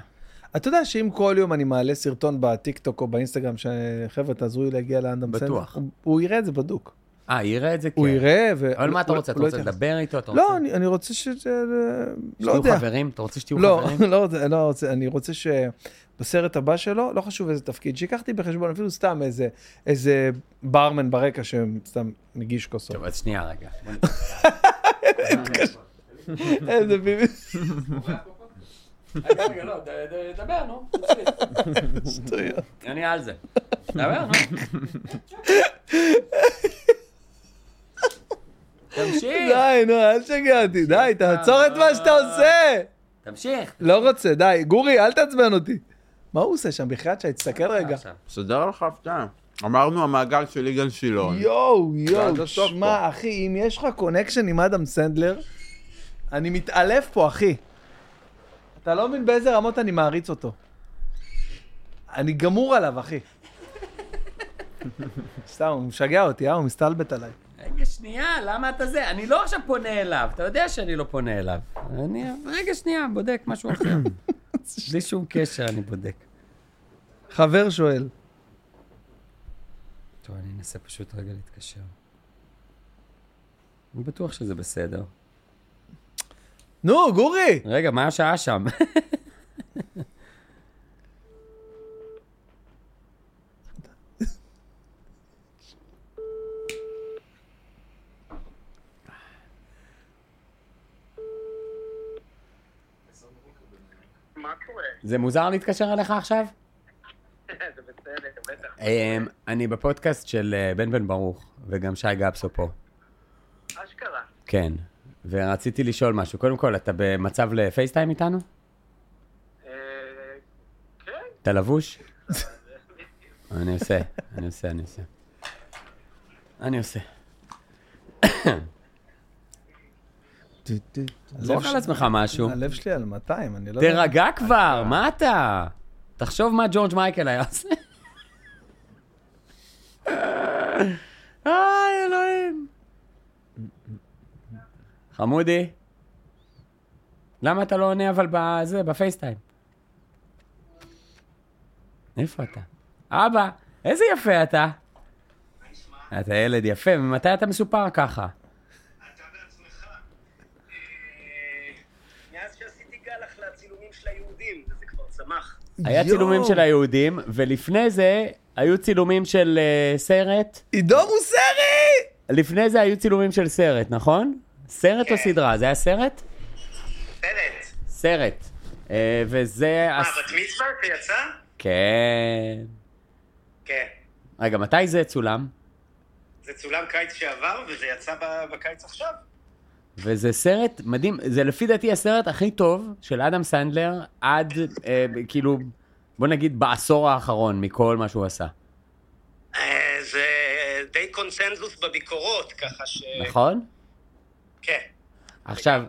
[SPEAKER 1] אתה יודע שאם כל יום אני מעלה סרטון בטיקטוק או באינסטגרם, שחבר'ה, תעזרו לי להגיע לאדם סנדלר,
[SPEAKER 2] בטוח.
[SPEAKER 1] הוא- הוא יראה את זה בדוק.
[SPEAKER 2] אה, יראה את זה?
[SPEAKER 1] הוא
[SPEAKER 2] כן.
[SPEAKER 1] יראה, ו...
[SPEAKER 2] אבל מה אתה
[SPEAKER 1] הוא-
[SPEAKER 2] רוצה? אתה
[SPEAKER 1] הוא לא
[SPEAKER 2] רוצה
[SPEAKER 1] יתייחס.
[SPEAKER 2] לדבר איתו? אתה
[SPEAKER 1] לא,
[SPEAKER 2] רוצה-
[SPEAKER 1] אני- אני רוצה ש... ש- לא
[SPEAKER 2] שתהיו
[SPEAKER 1] יודע.
[SPEAKER 2] חברים? אתה רוצה שתהיו
[SPEAKER 1] לא,
[SPEAKER 2] חברים?
[SPEAKER 1] לא רוצה, לא רוצה, אני רוצה שבסרט הבא שלו, לא חשוב איזה תפקיד, שיקחתי בחשבון אפילו סתם איזה, איזה ברמן ברקע שסתם מגיש כוסות.
[SPEAKER 2] טוב, אז שנייה רגע. כן.
[SPEAKER 1] איזה ביבי.
[SPEAKER 2] רגע, רגע, לא, דבר, נו.
[SPEAKER 1] שטויות.
[SPEAKER 2] אני על זה. דבר, נו. תמשיך,
[SPEAKER 1] די, נו, אל תשגע אותי, די, תעצור את מה שאתה עושה!
[SPEAKER 2] תמשיך.
[SPEAKER 1] לא רוצה, די. גורי, אל תעצבן אותי. מה הוא עושה שם בחייאת שי? תסתכל רגע.
[SPEAKER 2] אה, עכשיו.
[SPEAKER 3] סדר לך הפתעה. אמרנו המעגל של יגאל שילון.
[SPEAKER 1] יואו,
[SPEAKER 3] זה
[SPEAKER 1] יואו,
[SPEAKER 3] הסוף
[SPEAKER 1] שמע, אחי, אם יש לך קונקשן עם אדם סנדלר, אני מתעלף פה, אחי. אתה לא מבין באיזה רמות אני מעריץ אותו. אני גמור עליו, אחי. סתם, הוא משגע אותי, אה? הוא מסתלבט עליי.
[SPEAKER 2] רגע, שנייה, למה אתה זה? אני לא עכשיו פונה אליו, אתה יודע שאני לא פונה אליו. אני, רגע, שנייה, בודק משהו אחר. בלי שום קשר, אני בודק.
[SPEAKER 1] חבר שואל,
[SPEAKER 2] טוב, אני אנסה פשוט רגע להתקשר. אני בטוח שזה בסדר.
[SPEAKER 1] נו, גורי!
[SPEAKER 2] רגע, מה השעה שם?
[SPEAKER 10] מה קורה?
[SPEAKER 2] זה מוזר להתקשר אליך עכשיו?
[SPEAKER 10] זה בסדר, בטח.
[SPEAKER 2] אמ, אני בפודקאסט של אה, בן בן ברוך, וגם שי גפסו פה.
[SPEAKER 10] אשכרה.
[SPEAKER 2] כן. ורציתי לשאול משהו. קודם כל, אתה במצב לפייסטיים איתנו?
[SPEAKER 10] אה, כן,
[SPEAKER 2] אתה לבוש? אני עושה, אני עושה, אני עושה. אני עושה. זרוק על עצמך משהו.
[SPEAKER 1] הלב שלי על 200, אני לא יודע.
[SPEAKER 2] תירגע כבר, מה אתה? תחשוב מה ג'ורג' מייקל היה עושה. איי, אלוהים. חמודי, למה אתה לא עונה אבל בזה, בפייסטיים? איפה אתה? אבא, איזה יפה אתה. אתה ילד יפה, ממתי אתה מסופר ככה?
[SPEAKER 10] אתה בעצמך. אה, מאז שעשיתי גלח לצילומים של היהודים, זה כבר צמח.
[SPEAKER 2] היה צילומים של היהודים, ולפני זה היו צילומים של אה, סרט.
[SPEAKER 1] עידו מוסרי!
[SPEAKER 2] לפני זה היו צילומים של סרט, נכון? סרט או סדרה? זה היה סרט?
[SPEAKER 10] פרט.
[SPEAKER 2] סרט. אה, וזה...
[SPEAKER 10] מה,
[SPEAKER 2] הס-
[SPEAKER 10] בת מצווה זה יצא?
[SPEAKER 2] כן.
[SPEAKER 10] כן.
[SPEAKER 2] רגע, מתי זה צולם?
[SPEAKER 10] זה צולם קיץ שעבר, וזה יצא ב- בקיץ עכשיו.
[SPEAKER 2] וזה סרט מדהים, זה לפי דעתי הסרט הכי טוב של אדם סנדלר עד, אה, כאילו, בוא נגיד בעשור האחרון מכל מה שהוא עשה,
[SPEAKER 10] אה, זה די קונצנזוס בביקורות, ככה ש...
[SPEAKER 2] נכון?
[SPEAKER 10] כן.
[SPEAKER 2] עכשיו,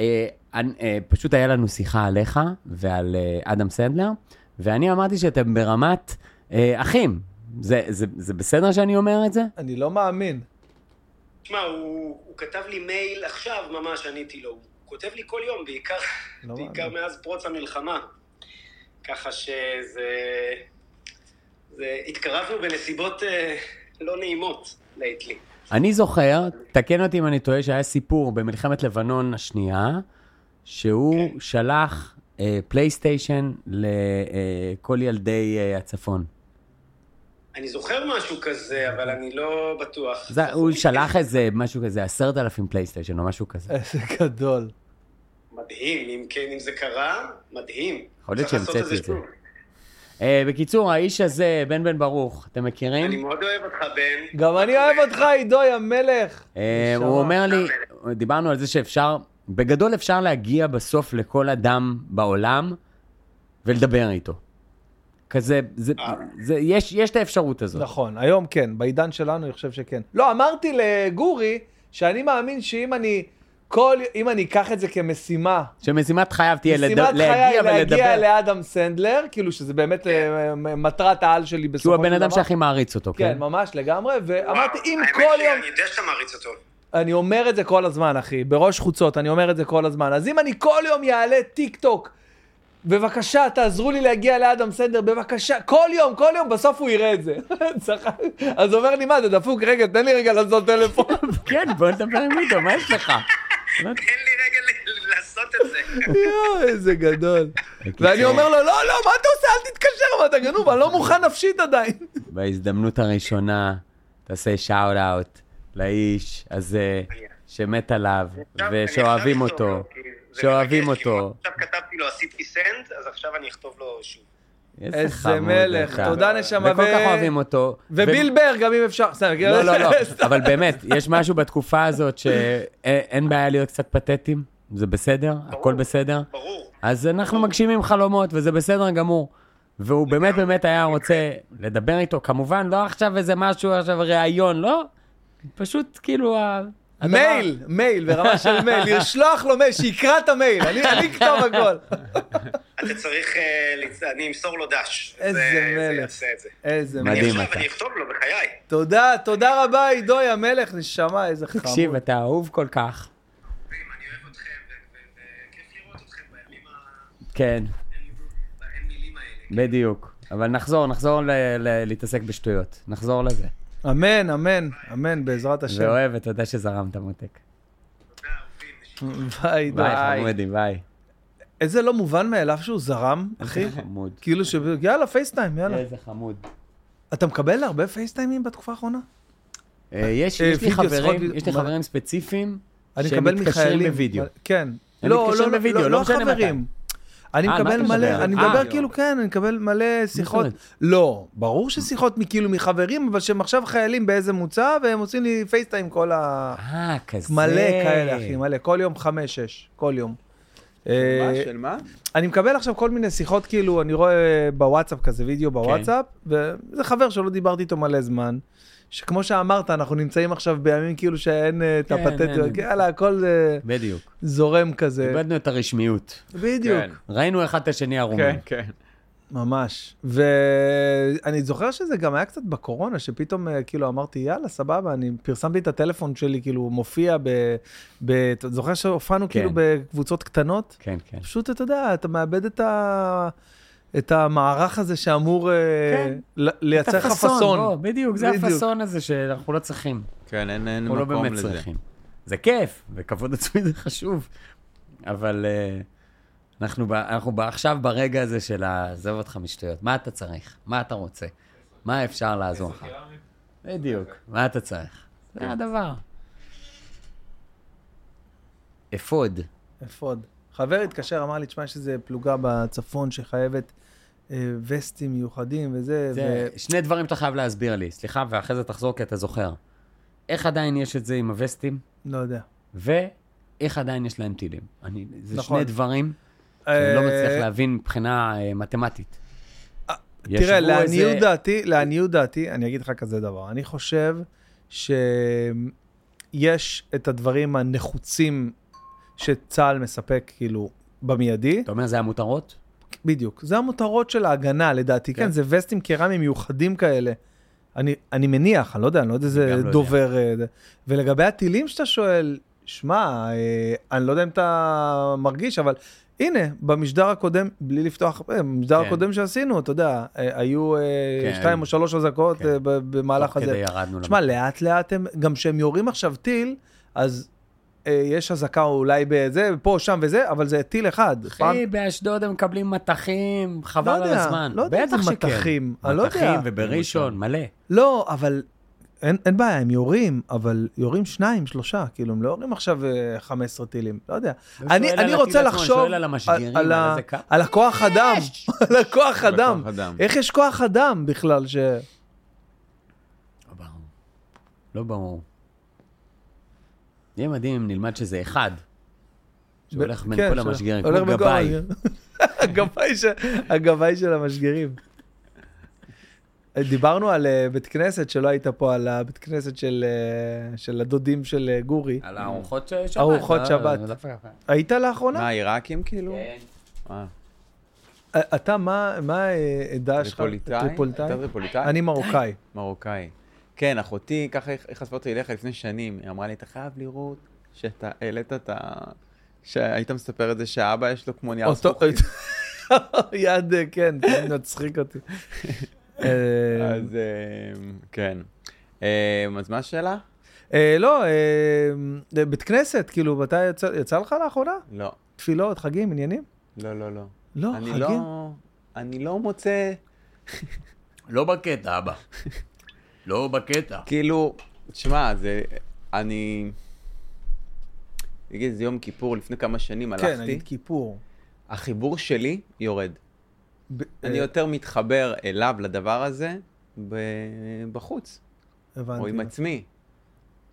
[SPEAKER 2] אה, אני- אה, פשוט היה לנו שיחה עליך ועל אה, אדם סנדלר, ואני אמרתי שאתם ברמת אה, אחים. זה, זה, זה בסדר שאני אומר את זה?
[SPEAKER 1] אני לא מאמין.
[SPEAKER 10] תשמע, הוא, הוא כתב לי מייל עכשיו, ממש עניתי לו. הוא כותב לי כל יום, בעיקר,
[SPEAKER 1] לא
[SPEAKER 10] לא בעיקר מאז פרוץ המלחמה. ככה שזה... זה, התקרבנו בנסיבות אה, לא נעימות, לייטלי.
[SPEAKER 2] אני זוכר, תקן אותי אם אני טועה, שהיה סיפור במלחמת לבנון השנייה, שהוא
[SPEAKER 10] כן.
[SPEAKER 2] שלח אה, פלייסטיישן לכל ילדי אה, הצפון.
[SPEAKER 10] אני זוכר משהו כזה, אבל אני לא בטוח.
[SPEAKER 2] זה, הוא שלח איזה משהו כזה, עשרת אלפים פלייסטיישן או משהו
[SPEAKER 10] אה.
[SPEAKER 2] כזה.
[SPEAKER 1] איזה גדול.
[SPEAKER 10] מדהים, אם כן, אם זה קרה, מדהים.
[SPEAKER 2] יכול להיות
[SPEAKER 10] צריך לעשות
[SPEAKER 2] שהמצאתי את זה.
[SPEAKER 10] שוב.
[SPEAKER 2] אה, בקיצור, האיש הזה, בן בן ברוך, אתם מכירים?
[SPEAKER 10] אני מאוד אוהב אותך, בן.
[SPEAKER 1] גם אני אוהב אותך, עידו, יא מלך.
[SPEAKER 2] אה, הוא אומר לי, דיברנו על זה שאפשר, בגדול אפשר להגיע בסוף לכל אדם בעולם ולדבר איתו. כזה, זה,
[SPEAKER 10] אה.
[SPEAKER 2] זה, יש, יש את האפשרות הזאת.
[SPEAKER 1] נכון, היום כן, בעידן שלנו אני חושב שכן. לא, אמרתי לגורי שאני מאמין שאם אני כל, אם אני אקח את זה כמשימה,
[SPEAKER 2] שמשימת חייו תהיה לד...
[SPEAKER 1] משימת
[SPEAKER 2] להגיע
[SPEAKER 1] חיי להגיע
[SPEAKER 2] ולדבר. כן.
[SPEAKER 1] לאדם סנדלר, כאילו שזה באמת אה, מטרת העל שלי בסופו
[SPEAKER 2] כי
[SPEAKER 1] של
[SPEAKER 2] הוא
[SPEAKER 1] דבר.
[SPEAKER 2] הבן אדם שהכי מעריץ אותו,
[SPEAKER 1] כן,
[SPEAKER 2] כן?
[SPEAKER 1] ממש לגמרי, ואמרתי,
[SPEAKER 10] וואו,
[SPEAKER 1] אם
[SPEAKER 10] האמת
[SPEAKER 1] כל
[SPEAKER 10] שאני
[SPEAKER 1] יום...
[SPEAKER 10] יודע שאתה מעריץ אותו.
[SPEAKER 1] אני אומר את זה כל הזמן, אחי, בראש חוצות, אני אומר את זה כל הזמן. אז אם אני כל יום יעלה טיק טוק בבקשה, תעזרו לי להגיע לאדם סנדר, בבקשה. כל יום, כל יום, בסוף הוא יראה את זה. צחק. אז הוא אומר לי, מה, אתה דפוק? רגע, תן לי רגע לעשות טלפון.
[SPEAKER 2] כן, בוא נדבר עם איתו, מה יש לך?
[SPEAKER 10] תן לי רגע ל- לעשות את זה.
[SPEAKER 1] יואו, איזה גדול. ואני אומר לו, לא, לא, מה אתה עושה? אל תתקשר, מה אתה גנוב? אני לא מוכן נפשית עדיין.
[SPEAKER 2] בהזדמנות הראשונה, תעשה שאול אאוט לאיש הזה שמת עליו,
[SPEAKER 10] עכשיו, אני
[SPEAKER 2] ושאוהבים
[SPEAKER 10] עכשיו אכתוב
[SPEAKER 2] אותו.
[SPEAKER 10] לו, כי זה
[SPEAKER 2] שאוהבים
[SPEAKER 10] מרגש,
[SPEAKER 2] אותו.
[SPEAKER 10] עכשיו כתבתי לו, עשיתי סנד, אז עכשיו אני אכתוב לו שוב.
[SPEAKER 1] איזה
[SPEAKER 2] חמוד
[SPEAKER 1] מלך,
[SPEAKER 2] אתה.
[SPEAKER 1] תודה נשמה.
[SPEAKER 2] וכל
[SPEAKER 1] ו-
[SPEAKER 2] כך אוהבים אותו.
[SPEAKER 1] וביל בר, גם אם אפשר. סתם,
[SPEAKER 2] ו- לא, לא, לא, אבל באמת, יש משהו בתקופה הזאת שאין בעיה להיות קצת פתטיים, זה בסדר, הכל בסדר.
[SPEAKER 10] ברור.
[SPEAKER 2] אז אנחנו מגשימים חלומות, וזה בסדר גמור. והוא באמת באמת היה רוצה לדבר איתו, כמובן, לא עכשיו איזה משהו, עכשיו ראיון, לא? פשוט כאילו ה... הדבר-
[SPEAKER 1] מייל, מייל, ברמה של מייל. לשלוח לו מייל, שיקרא את המייל. אני אני אכתוב הכל.
[SPEAKER 10] אתה צריך, אה, לצ- אני אמסור לו דש.
[SPEAKER 1] איזה
[SPEAKER 10] זה- זה
[SPEAKER 1] מלך.
[SPEAKER 10] יעשה את זה.
[SPEAKER 1] איזה
[SPEAKER 2] מדהים.
[SPEAKER 1] מייל.
[SPEAKER 10] אני עכשיו,
[SPEAKER 2] אתה.
[SPEAKER 10] אני אכתוב לו, בחיי.
[SPEAKER 1] תודה, תודה רבה, עידו המלך, נשמה, איזה חמוד.
[SPEAKER 2] תקשיב, אתה אהוב כל כך.
[SPEAKER 10] אני אוהב אתכם, וכיף לראות אתכם בימים ה...
[SPEAKER 2] כן,
[SPEAKER 10] אין מילים האלה.
[SPEAKER 2] לא בדיוק. אבל נחזור, נחזור ל- ל- להתעסק בשטויות. נחזור לזה.
[SPEAKER 1] אמן, אמן, אמן, בעזרת השם.
[SPEAKER 2] ואוהב, ותודה שזרמת, מותק.
[SPEAKER 1] ביי, עידו.
[SPEAKER 2] ביי, חמודי, ביי.
[SPEAKER 1] איזה לא מובן מאליו שהוא זרם, אחי.
[SPEAKER 2] איזה חמוד.
[SPEAKER 1] כאילו ש... יאללה, פייסטיים, יאללה.
[SPEAKER 2] איזה חמוד.
[SPEAKER 1] אתה מקבל הרבה פייסטיימים בתקופה האחרונה?
[SPEAKER 2] אה, יש
[SPEAKER 1] אה,
[SPEAKER 2] יש לי
[SPEAKER 1] וידאו,
[SPEAKER 2] חברים,
[SPEAKER 1] שיחות-
[SPEAKER 2] יש לי
[SPEAKER 1] מה-
[SPEAKER 2] חברים ספציפיים,
[SPEAKER 1] אני
[SPEAKER 2] שהם
[SPEAKER 1] מקבל
[SPEAKER 2] מתקשרים
[SPEAKER 1] מחיילים.
[SPEAKER 2] בווידאו.
[SPEAKER 1] כן.
[SPEAKER 2] הם מתקשרים בווידאו, לא משנה מתי.
[SPEAKER 1] חברים. אני
[SPEAKER 2] אה,
[SPEAKER 1] מקבל
[SPEAKER 2] מה אתה מדבר?
[SPEAKER 1] מלא, אני
[SPEAKER 2] אה,
[SPEAKER 1] מדבר
[SPEAKER 2] לא.
[SPEAKER 1] כאילו, כן, אני מקבל מלא שיחות.
[SPEAKER 2] אומרת?
[SPEAKER 1] לא, ברור ששיחות מכאילו מחברים, אבל שהם עכשיו חיילים באיזה מוצא, והם עושים לי פייסטיים כל ה...
[SPEAKER 2] אה, כזה.
[SPEAKER 1] מלא כאלה, אחי, מלא. כל יום חמש-שש, כל יום.
[SPEAKER 3] מה,
[SPEAKER 1] אה,
[SPEAKER 3] של מה?
[SPEAKER 1] אני מקבל עכשיו כל מיני שיחות, כאילו, אני רואה בוואטסאפ כזה וידאו
[SPEAKER 2] כן.
[SPEAKER 1] בוואטסאפ, וזה חבר שלא דיברתי איתו מלא זמן, שכמו שאמרת, אנחנו נמצאים עכשיו בימים כאילו שאין אה, את
[SPEAKER 2] כן,
[SPEAKER 1] הפתטיות,
[SPEAKER 2] אין.
[SPEAKER 1] יאללה, הכל אה,
[SPEAKER 2] בדיוק.
[SPEAKER 1] זורם כזה.
[SPEAKER 2] איבדנו את הרשמיות.
[SPEAKER 1] בדיוק,
[SPEAKER 3] כן.
[SPEAKER 2] ראינו אחד את השני ערומים.
[SPEAKER 3] כן, כן.
[SPEAKER 1] ממש. ואני זוכר שזה גם היה קצת בקורונה, שפתאום אה, כאילו אמרתי, יאללה, סבבה, אני פרסמתי את הטלפון שלי, כאילו, מופיע ב... ב- אתה זוכר שהופענו כאילו בקבוצות קטנות?
[SPEAKER 2] כן, כן.
[SPEAKER 1] פשוט אתה יודע, אתה מאבד את, ה... את המערך הזה שאמור כן.
[SPEAKER 2] כן.
[SPEAKER 1] לייצר לך
[SPEAKER 2] בוא,
[SPEAKER 1] פאסון.
[SPEAKER 2] בדיוק, זה
[SPEAKER 1] בדיוק.
[SPEAKER 2] הפאסון הזה שאנחנו לא צריכים.
[SPEAKER 3] כן, אין אין
[SPEAKER 2] אנחנו לא
[SPEAKER 3] מקום
[SPEAKER 2] באמת
[SPEAKER 3] לזה.
[SPEAKER 2] צריכים. זה כיף, וכבוד עצמי זה חשוב, אבל אה, אנחנו ב- אנחנו ב- עכשיו ברגע הזה של עזוב אותך משטויות. מה אתה צריך? מה אתה רוצה? מה אפשר לעזור לך? בדיוק, מה אתה צריך?
[SPEAKER 3] כן.
[SPEAKER 2] זה הדבר. אפוד.
[SPEAKER 1] אפוד. חבר התקשר, אמר לי, תשמע, יש איזה פלוגה בצפון שחייבת אה, וסטים מיוחדים וזה.
[SPEAKER 2] זה
[SPEAKER 1] זה...
[SPEAKER 2] שני דברים שאתה חייב להסביר לי, סליחה, ואחרי זה תחזור כי אתה זוכר. איך עדיין יש את זה עם הווסטים,
[SPEAKER 1] ו... לא יודע.
[SPEAKER 2] ואיך עדיין יש להם טילים. אני, זה
[SPEAKER 1] נכון.
[SPEAKER 2] שני דברים שאני לא
[SPEAKER 1] אה,
[SPEAKER 2] מצליח להבין מבחינה אה, מתמטית.
[SPEAKER 1] תראה,
[SPEAKER 2] ישבו
[SPEAKER 1] לעניות
[SPEAKER 2] איזה-
[SPEAKER 1] דעתי, לעניות דעתי, אני אגיד לך כזה דבר. אני חושב שיש את הדברים הנחוצים שצה"ל מספק, כאילו, במיידי.
[SPEAKER 2] אתה אומר זה המותרות?
[SPEAKER 1] בדיוק. זה המותרות של ההגנה, לדעתי. כן,
[SPEAKER 2] כן.
[SPEAKER 1] זה וסטים קרמיים מיוחדים כאלה. אני, אני מניח, אני לא יודע, אני לא יודע
[SPEAKER 2] גם לא
[SPEAKER 1] איזה
[SPEAKER 2] יודע.
[SPEAKER 1] דובר... אה, זה. ולגבי הטילים שאתה שואל, שמע, אה, אני לא יודע אם אתה מרגיש, אבל הנה, במשדר הקודם, בלי לפתוח, אה, במשדר
[SPEAKER 2] כן.
[SPEAKER 1] הקודם שעשינו, אתה יודע, אה, היו אה,
[SPEAKER 2] כן,
[SPEAKER 1] שתיים
[SPEAKER 2] היו.
[SPEAKER 1] או שלוש אזעקות
[SPEAKER 2] כן.
[SPEAKER 1] אה, ב- במהלך
[SPEAKER 2] תוך
[SPEAKER 1] הזה.
[SPEAKER 2] כדי לא ירדנו
[SPEAKER 1] תשמע, לאט לאט הם, גם כשהם יורים עכשיו טיל, אז אה, יש אזעקה אולי בזה, פה, שם וזה, אבל זה טיל אחד. פעם-
[SPEAKER 2] אחי, באשדוד הם מקבלים מטחים,
[SPEAKER 1] לא
[SPEAKER 2] חבל על
[SPEAKER 1] יודע,
[SPEAKER 2] הזמן.
[SPEAKER 1] לא יודע אם זה
[SPEAKER 2] בטח שכן.
[SPEAKER 1] מטחים, אני לא יודע.
[SPEAKER 2] מטחים ובראשון, מלא.
[SPEAKER 1] לא, אבל אין, אין בעיה, הם יורים, אבל יורים שניים, שלושה, כאילו, הם לא יורים עכשיו אה, 15 טילים, לא יודע.
[SPEAKER 2] לא
[SPEAKER 1] אני,
[SPEAKER 2] שואל
[SPEAKER 1] אני
[SPEAKER 2] על
[SPEAKER 1] רוצה
[SPEAKER 2] הטיל עצמו,
[SPEAKER 1] לחשוב
[SPEAKER 2] שואל על המשגרים, על
[SPEAKER 1] ה-
[SPEAKER 2] איזה קו.
[SPEAKER 1] על הכוח אדם, על הכוח אדם.
[SPEAKER 3] בכוח אדם.
[SPEAKER 1] איך יש כוח אדם בכלל ש...
[SPEAKER 2] לא ברור. לא ברור. יהיה מדהים אם נלמד שזה אחד. שהולך בין
[SPEAKER 1] כן,
[SPEAKER 2] כל
[SPEAKER 1] ש-
[SPEAKER 2] המשגרים,
[SPEAKER 1] הולך
[SPEAKER 2] כמו
[SPEAKER 1] בין כל
[SPEAKER 2] גבאי.
[SPEAKER 1] המשגרים. הגבאי של- הגבאי של המשגרים. דיברנו על אה, בית כנסת, שלא היית פה, על הבית כנסת של אה, של הדודים של אה, גורי.
[SPEAKER 2] על הארוחות ש- שבת.
[SPEAKER 1] ארוחות
[SPEAKER 2] לא,
[SPEAKER 1] שבת.
[SPEAKER 2] לא, לא, לא.
[SPEAKER 1] היית לאחרונה?
[SPEAKER 3] מה, עיראקים כאילו?
[SPEAKER 2] כן.
[SPEAKER 3] אה,
[SPEAKER 1] אתה, מה מה, אה, עדה שלך?
[SPEAKER 3] טריפוליטאי? אתה טריפוליטאי?
[SPEAKER 1] אני מרוקאי.
[SPEAKER 3] מרוקאי. כן, אחותי, ככה היא היא חשפה אותי אליך לפני שנים. היא אמרה לי, אתה חייב לראות שאתה העלית את ה... שהיית מספר את זה שהאבא יש לו כמו נייר
[SPEAKER 1] אותו-
[SPEAKER 3] זכוכית.
[SPEAKER 1] יד, אה, כן, זה מצחיק אותי. אה,
[SPEAKER 3] אז אמ, כן. אמ, אז מה השאלה?
[SPEAKER 1] אה, לא, אה, בית כנסת, כאילו, מתי יצא- יצא לך לאחרונה?
[SPEAKER 3] לא.
[SPEAKER 1] תפילות, חגים, עניינים?
[SPEAKER 3] לא, לא, לא.
[SPEAKER 1] לא,
[SPEAKER 3] אני לא...
[SPEAKER 1] חגים.
[SPEAKER 3] אני לא מוצא...
[SPEAKER 2] לא בקטע, אבא. לא בקטע.
[SPEAKER 3] כאילו, תשמע, זה... אני... נגיד, זה יום כיפור, לפני כמה שנים
[SPEAKER 1] כן,
[SPEAKER 3] הלכתי.
[SPEAKER 1] נגיד כיפור.
[SPEAKER 3] החיבור שלי יורד.
[SPEAKER 1] ב-
[SPEAKER 3] אני
[SPEAKER 1] אה,
[SPEAKER 3] יותר מתחבר אליו, לדבר הזה, ב- בחוץ, או עם
[SPEAKER 1] הבנתי.
[SPEAKER 3] עצמי.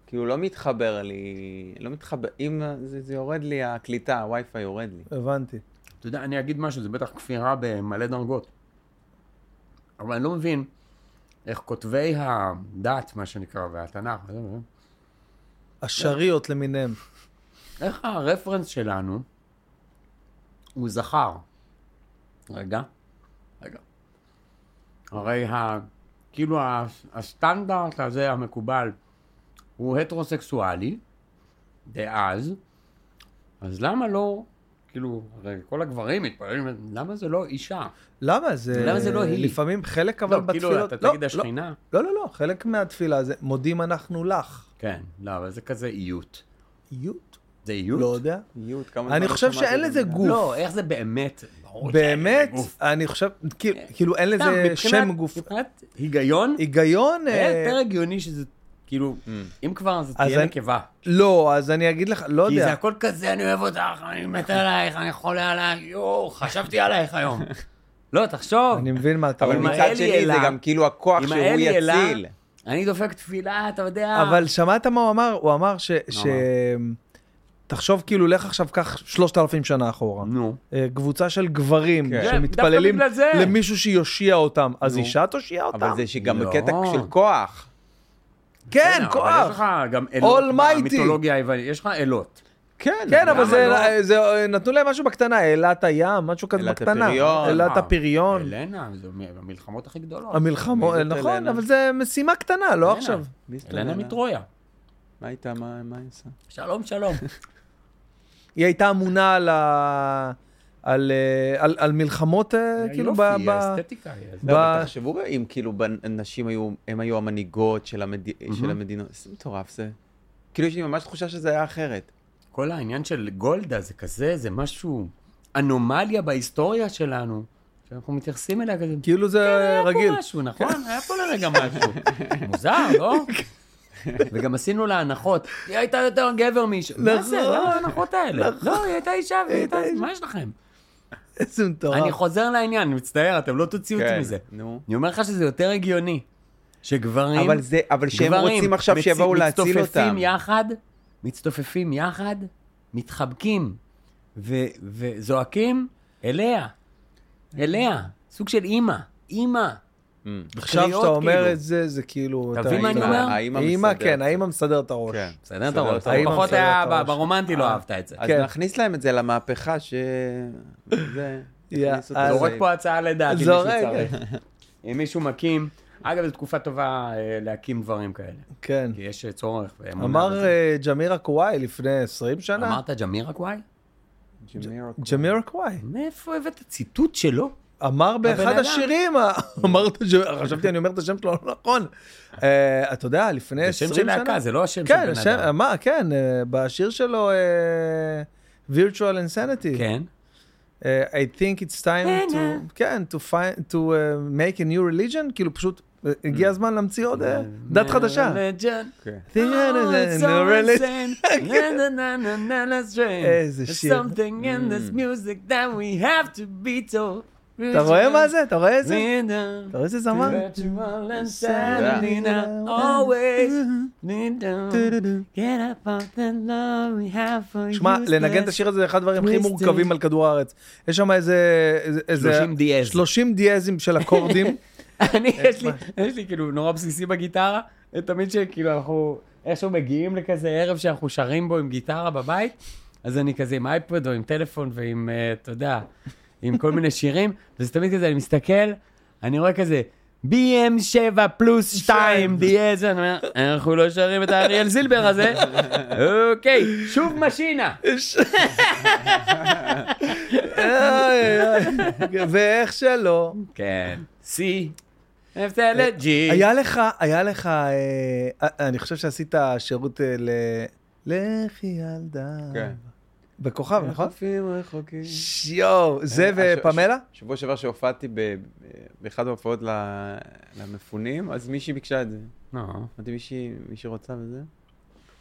[SPEAKER 3] כאילו, לא מתחבר לי, לא מתחבר, אם זה, זה יורד לי, הקליטה, הווי-פיי יורד לי.
[SPEAKER 1] הבנתי.
[SPEAKER 2] אתה יודע, אני אגיד משהו, זה בטח כפירה במלא דרגות. אבל אני לא מבין איך כותבי הדת, מה שנקרא, והתנ"ך, וזה, וזה,
[SPEAKER 1] השריות למיניהם.
[SPEAKER 2] איך הרפרנס שלנו הוא זכר. רגע, רגע. הרי ה... כאילו ה- הסטנדרט הזה המקובל הוא הטרוסקסואלי, דאז, אז למה לא, כאילו, הרי כל הגברים מתפללים, למה זה לא אישה?
[SPEAKER 1] למה זה...
[SPEAKER 2] למה זה לא היא?
[SPEAKER 1] לפעמים חלק אבל
[SPEAKER 2] לא,
[SPEAKER 1] בתפילות...
[SPEAKER 2] כאילו, אתה
[SPEAKER 1] לא,
[SPEAKER 2] תגיד
[SPEAKER 1] לא,
[SPEAKER 2] השכינה.
[SPEAKER 1] לא, לא, לא, חלק מהתפילה זה מודים אנחנו לך.
[SPEAKER 2] כן, לא, אבל זה כזה איות.
[SPEAKER 1] איות?
[SPEAKER 2] זה איות?
[SPEAKER 1] לא יודע.
[SPEAKER 3] יוט, כמה זמן
[SPEAKER 1] אני
[SPEAKER 3] לא
[SPEAKER 1] חושב
[SPEAKER 3] שמעתי
[SPEAKER 1] שאין
[SPEAKER 3] את
[SPEAKER 1] לזה
[SPEAKER 3] המילה.
[SPEAKER 1] גוף.
[SPEAKER 2] לא, איך זה באמת? ברור שאין לזה
[SPEAKER 1] באמת?
[SPEAKER 2] גוף.
[SPEAKER 1] אני חושב, כאילו- כאילו אין
[SPEAKER 2] סתם,
[SPEAKER 1] לזה
[SPEAKER 2] מבחינת-
[SPEAKER 1] שם גוף.
[SPEAKER 2] מבחינת היגיון,
[SPEAKER 1] היגיון... אה,
[SPEAKER 2] היה יותר הגיוני שזה, כאילו, אם כבר, אז תהיה
[SPEAKER 1] אני-
[SPEAKER 2] נקבה.
[SPEAKER 1] לא, אז אני אגיד לך, לא
[SPEAKER 2] כי זה
[SPEAKER 1] יודע.
[SPEAKER 2] הכל כזה, אני אוהב אותך, אני מת עלייך, אני חולה עלייך, יואו, חשבתי עלייך היום. לא, תחשוב,
[SPEAKER 1] אני מבין מה אתה
[SPEAKER 3] אבל
[SPEAKER 2] אם
[SPEAKER 1] אומר.
[SPEAKER 3] מצד
[SPEAKER 2] האל
[SPEAKER 3] שני
[SPEAKER 2] יאלה-
[SPEAKER 3] זה גם כאילו הכוח
[SPEAKER 2] אם
[SPEAKER 3] שהוא
[SPEAKER 2] האל יאלה,
[SPEAKER 3] יציל.
[SPEAKER 2] אני דופק תפילה, אתה יודע.
[SPEAKER 1] אבל שמעת מה הוא אמר? הוא אמר ש... ש- תחשוב כאילו, לך עכשיו כך 3,000 שנה אחורה.
[SPEAKER 2] נו.
[SPEAKER 1] אה, קבוצה של גברים
[SPEAKER 3] כן.
[SPEAKER 1] שמתפללים
[SPEAKER 2] דווקא בגלל זה.
[SPEAKER 1] למישהו שיושיע אותם, אז
[SPEAKER 2] נו.
[SPEAKER 1] אישה תושיע אותם.
[SPEAKER 3] אבל זה שגם
[SPEAKER 2] לא.
[SPEAKER 3] בקטע של כוח.
[SPEAKER 1] כן,
[SPEAKER 2] בסדר, אבל יש
[SPEAKER 1] כוח.
[SPEAKER 2] לך גם אלות,
[SPEAKER 1] Almighty.
[SPEAKER 2] במיתולוגיה היוונית, יש לך אלות.
[SPEAKER 3] כן,
[SPEAKER 1] כן, אבל
[SPEAKER 2] למה
[SPEAKER 1] זה,
[SPEAKER 2] לא?
[SPEAKER 1] זה, אה, נתנו להם משהו בקטנה, אילת הים, משהו כזה
[SPEAKER 3] אילת
[SPEAKER 1] בקטנה.
[SPEAKER 3] הפריון.
[SPEAKER 1] אילת
[SPEAKER 2] אה,
[SPEAKER 1] הפריון.
[SPEAKER 2] אלנה, זה מ- המלחמות הכי גדולות.
[SPEAKER 1] המלחמות,
[SPEAKER 3] מי זאת
[SPEAKER 1] נכון,
[SPEAKER 3] אלנה?
[SPEAKER 1] אבל זה משימה קטנה, לא
[SPEAKER 2] אלנה.
[SPEAKER 1] עכשיו.
[SPEAKER 3] מי זאת
[SPEAKER 2] אלנה מטרויה.
[SPEAKER 3] מה הייתה, מה מה היא עושה?
[SPEAKER 2] שלום, שלום.
[SPEAKER 1] אה, היא הייתה אמונה על, ה... על, אה, על, על מלחמות, אה, כאילו, ב...
[SPEAKER 2] יופי,
[SPEAKER 1] ב...
[SPEAKER 2] אסתטיקה. לא היא
[SPEAKER 1] ב-
[SPEAKER 3] לא, אבל תחשבו אם כאילו נשים היו, הן היו המנהיגות של המד- של המדינות, זה מטורף זה. כאילו יש לי ממש תחושה שזה היה אחרת.
[SPEAKER 2] כל העניין של גולדה זה כזה, זה משהו, אנומליה בהיסטוריה שלנו, שאנחנו מתייחסים אליה כזה. "אה,
[SPEAKER 1] כאילו זה
[SPEAKER 2] כן, היה
[SPEAKER 1] רגיל.
[SPEAKER 2] פה משהו, נכון? היה פה לרגע משהו. מוזר, לא? וגם עשינו לה הנחות. היא הייתה יותר גבר מאישה. מה זה?
[SPEAKER 1] נכון.
[SPEAKER 2] למה ההנחות האלה? לא, היא הייתה אישה, אה. והיא הייתה... מה יש לכם?
[SPEAKER 1] איזה מטורף.
[SPEAKER 2] אני חוזר לעניין, אני מצטער, אתם לא תוציאו אותי
[SPEAKER 3] כן,
[SPEAKER 2] מזה.
[SPEAKER 3] נו.
[SPEAKER 2] אני אומר לך שזה יותר הגיוני. שגברים...
[SPEAKER 3] אבל זה, אבל שהם
[SPEAKER 2] גברים
[SPEAKER 3] רוצים עכשיו
[SPEAKER 2] מצ-
[SPEAKER 3] שיבואו להציל אותם.
[SPEAKER 2] מצטופפים יחד, מצטופפים יחד, מתחבקים ו- וזועקים אליה, אליה, סוג של אימא, אימא.
[SPEAKER 1] עכשיו
[SPEAKER 2] קריאות,
[SPEAKER 1] שאתה אומר
[SPEAKER 2] כאילו.
[SPEAKER 1] את זה, זה כאילו...
[SPEAKER 2] אתה מבין מה אני
[SPEAKER 3] האמא-
[SPEAKER 2] אומר?
[SPEAKER 3] האמא
[SPEAKER 1] האמא,
[SPEAKER 3] מסדרת.
[SPEAKER 1] כן, האמא מסדר את הראש.
[SPEAKER 3] כן.
[SPEAKER 2] בסדר, אתה
[SPEAKER 3] בסדר,
[SPEAKER 2] רואה,
[SPEAKER 3] אתה
[SPEAKER 2] אתה
[SPEAKER 1] רואה.
[SPEAKER 2] פחות היה
[SPEAKER 1] בסדר, אתה
[SPEAKER 2] ב- ברומנטי לא אהבת את זה.
[SPEAKER 3] אז
[SPEAKER 1] כן.
[SPEAKER 3] נכניס להם את זה למהפכה ש... זה...
[SPEAKER 1] יא,
[SPEAKER 3] נכניס אותם.
[SPEAKER 1] אז-
[SPEAKER 2] זורק פה הצעה לדעת, אם מישהו
[SPEAKER 1] זורק.
[SPEAKER 2] צריך. אם מישהו מקים, אגב, זו תקופה טובה אה, להקים דברים כאלה.
[SPEAKER 1] כן.
[SPEAKER 2] כי יש אה, צורך. ואמונה
[SPEAKER 1] אמר
[SPEAKER 2] וזה.
[SPEAKER 1] אה, ג'מירה קוואי לפני 20 שנה.
[SPEAKER 2] אמרת ג'מירה קוואי?
[SPEAKER 3] ג'מירוקו.
[SPEAKER 1] ג'מירה קוואי.
[SPEAKER 2] מאיפה הבאת ציטוט שלו?
[SPEAKER 1] אמר באחד
[SPEAKER 2] אדם.
[SPEAKER 1] השירים, ה- אמרת, ש- חשבתי אני אומר את השם שלו לא נכון. אה, אתה יודע, לפני
[SPEAKER 2] זה
[SPEAKER 1] 20
[SPEAKER 2] שם
[SPEAKER 1] שנה...
[SPEAKER 2] של להקה, זה לא השם של
[SPEAKER 1] כן,
[SPEAKER 2] בן
[SPEAKER 1] השם,
[SPEAKER 2] אדם.
[SPEAKER 1] מה, כן, אה, בשיר שלו, אה, virtual insanity.
[SPEAKER 2] כן.
[SPEAKER 1] אה, I think it's time to, כן, to find, to אה, make a new religion, כאילו פשוט אה, הגיע הזמן להמציא עוד אה, דת חדשה. I think אה, it's a new religion. איזה שיר. אתה רואה מה זה? אתה רואה איזה? אתה רואה איזה זמר? שמע, לנגן את השיר הזה זה אחד הדברים הכי מורכבים על כדור הארץ. יש שם איזה... איזה- איזה-
[SPEAKER 2] 30 דיאז.
[SPEAKER 1] 30 דיאזים של אקורדים.
[SPEAKER 2] אני, יש לי, יש לי כאילו נורא בסיסי בגיטרה, תמיד שכאילו אנחנו איכשהו מגיעים לכזה ערב שאנחנו שרים בו עם גיטרה בבית, אז אני כזה עם אייפוד או עם טלפון ועם, אה, אתה יודע, עם כל מיני שירים, וזה תמיד כזה, אני מסתכל, אני רואה כזה, BM7 פלוס
[SPEAKER 1] כן.
[SPEAKER 2] 2 דיאז, אני אומר, אנחנו לא שרים את האריאל זילבר הזה, אוקיי, שוב משינה.
[SPEAKER 1] איי, איי. ואיך שלא.
[SPEAKER 2] כן. C. אוהב את הילד,
[SPEAKER 1] אה,
[SPEAKER 2] G.
[SPEAKER 1] היה לך, היה לך, אה, אה, אני חושב שעשית שירות אה, ל... לכי ילדה.
[SPEAKER 3] כן.
[SPEAKER 1] בכוכב, נכון?
[SPEAKER 2] חופים רחוקים.
[SPEAKER 1] יואו, זה
[SPEAKER 3] אה, הש-
[SPEAKER 1] ופמלה?
[SPEAKER 3] שבוע שעבר שהופעתי ב- באחד ההופעות ל- למפונים, אז מישהי ביקשה את זה.
[SPEAKER 1] אה.
[SPEAKER 2] נו.
[SPEAKER 3] אמרתי, מישהי מישהי רוצה וזה?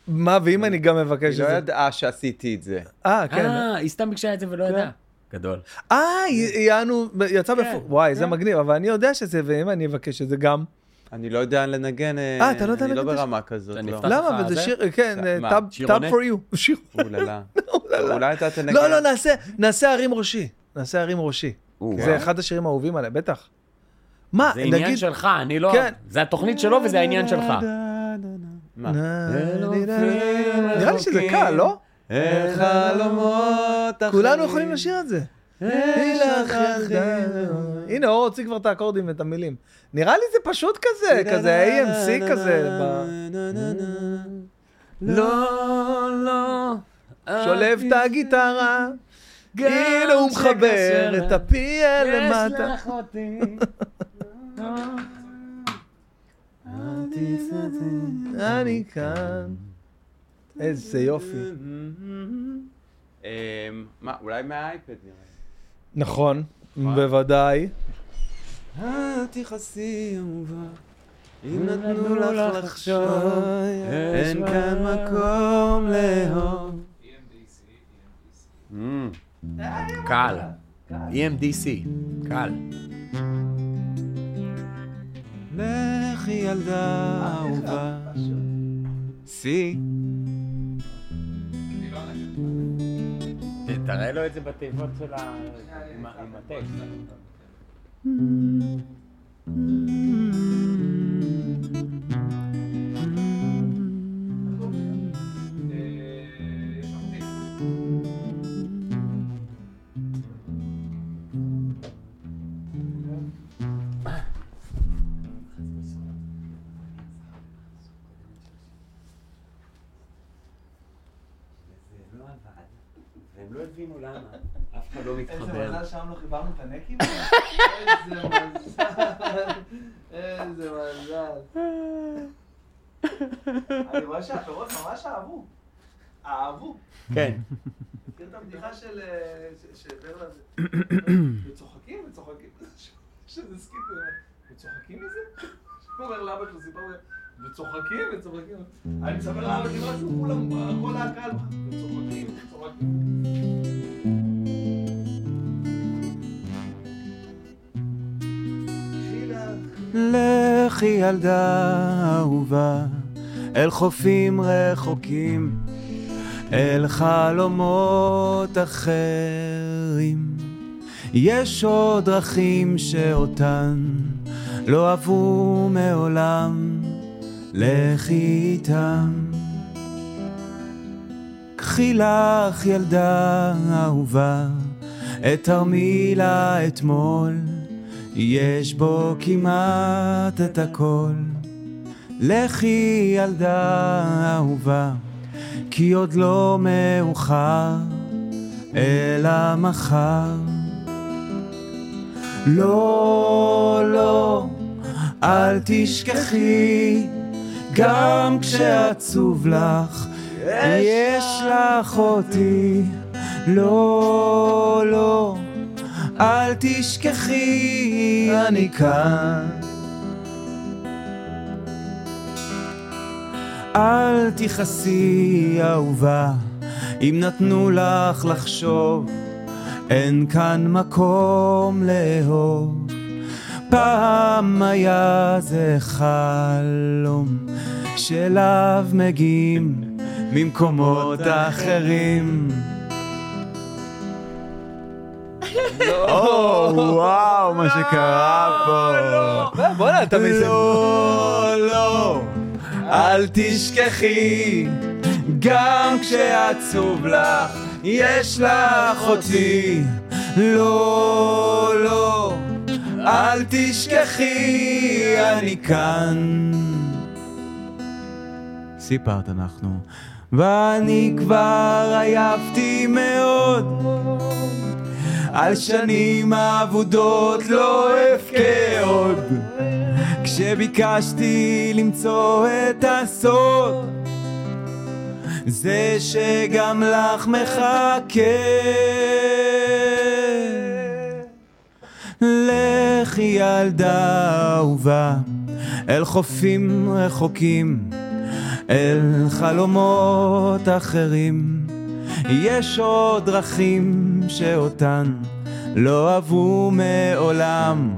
[SPEAKER 1] מה, ואם אני גם מבקש את
[SPEAKER 3] היא לא
[SPEAKER 1] זה?
[SPEAKER 3] ידעה שעשיתי את זה.
[SPEAKER 1] אה, כן.
[SPEAKER 2] אה, היא סתם ביקשה את זה ולא ידעה. גדול.
[SPEAKER 1] אה, יענו, יצא בפור... וואי, זה מגניב, אבל אני יודע שזה, ואם אני אבקש את זה גם...
[SPEAKER 3] אני לא יודע לנגן,
[SPEAKER 1] אה, אתה לא יודע
[SPEAKER 3] אני לא
[SPEAKER 1] לנגן את השיר?
[SPEAKER 3] ברמה כזאת,
[SPEAKER 2] אתה
[SPEAKER 3] לא.
[SPEAKER 2] נפתח? לך
[SPEAKER 1] למה? אבל זה
[SPEAKER 2] זה?
[SPEAKER 1] שיר, כן,
[SPEAKER 3] זה- מה,
[SPEAKER 1] טאב
[SPEAKER 2] שירונה?
[SPEAKER 1] פור יו. שיר.
[SPEAKER 3] אוללה. לא. אולי אתה תנגן.
[SPEAKER 1] לא, לא, נעשה, נעשה הרים ראשי. נעשה הרים ראשי. זה אחד השירים האהובים עליי, בטח. מה,
[SPEAKER 2] זה עניין
[SPEAKER 1] נגיד...
[SPEAKER 2] שלך, אני לא...
[SPEAKER 1] כן. אה,
[SPEAKER 2] זה התוכנית שלו וזה העניין שלך.
[SPEAKER 3] מה?
[SPEAKER 1] נראה לי שזה קל, לא? אה,
[SPEAKER 3] חלומות אחרים.
[SPEAKER 1] כולנו יכולים לשיר את זה. הנה, אור הוציא כבר את האקורדים ואת המילים. נראה לי זה פשוט כזה, כזה AMC כזה. ב-
[SPEAKER 2] לא, לא.
[SPEAKER 1] שולף את הגיטרה, הנה הוא מחבר את הפי אל למטה.
[SPEAKER 2] יש לך אותי.
[SPEAKER 1] אני כאן. איזה יופי.
[SPEAKER 3] אמ, מה, אולי מהאייפד נראה לי.
[SPEAKER 1] נכון, בוודאי.
[SPEAKER 3] את יחסי אהובה, אם נתנו לך לחשוב, אין כאן מקום לאהוב.
[SPEAKER 2] קל. EMDC. קל.
[SPEAKER 3] לכי ילדה אהובה. סי.
[SPEAKER 2] תראה לו את זה בתיבות של ה... עם ה- עם הטקסט. זה לא עבד, והם לא הבינו למה. אף אחד לא מתחבר.
[SPEAKER 1] שם לא חיברנו את הנקים? איזה מזל. איזה מזל. אני רואה שהפירות ממש אהבו. אהבו.
[SPEAKER 2] כן.
[SPEAKER 1] מכיר את הבדיחה של... אה, ש- שברלנד... וצוחקים, וצוחקים. שזה סקיט, הוא אומר, וצוחקים מזה? הוא אומר לאבא שלו, סיפר לו, וצוחקים, וצוחקים. אני מספר לאבא שלי משהו, כולם, כל הקהל, וצוחקים, וצוחקים.
[SPEAKER 3] לכי ילדה אהובה, אל חופים רחוקים, אל חלומות אחרים. יש עוד דרכים שאותן לא עברו מעולם, לכי איתם. קחי לך ילדה אהובה, את תרמילה אתמול. יש בו כמעט את הכל. לכי ילדה אהובה, כי עוד לא מאוחר, אלא מחר. לא, לא, אל תשכחי, גם כשעצוב לך, יש לך אותי. לא, לא, אל תשכחי, אני כאן. אל תכעסי, אהובה, אם נתנו לך לחשוב, אין כאן מקום לאהוב. פעם היה זה חלום שאליו מגיעים ממקומות אחרים. או, וואו, מה שקרה פה.
[SPEAKER 1] לא, בוא'נה, אתה מזה.
[SPEAKER 3] לא, לא, אל תשכחי, גם כשעצוב לך, יש לך אותי. לא, לא, אל תשכחי, אני כאן. סיפרת אנחנו. ואני כבר עייפתי מאוד
[SPEAKER 11] על שנים אבודות לא אבכה עוד כשביקשתי למצוא את הסוד זה שגם לך מחכה לכי ילדה אהובה אל חופים רחוקים אל חלומות אחרים יש עוד דרכים שאותן לא אהבו מעולם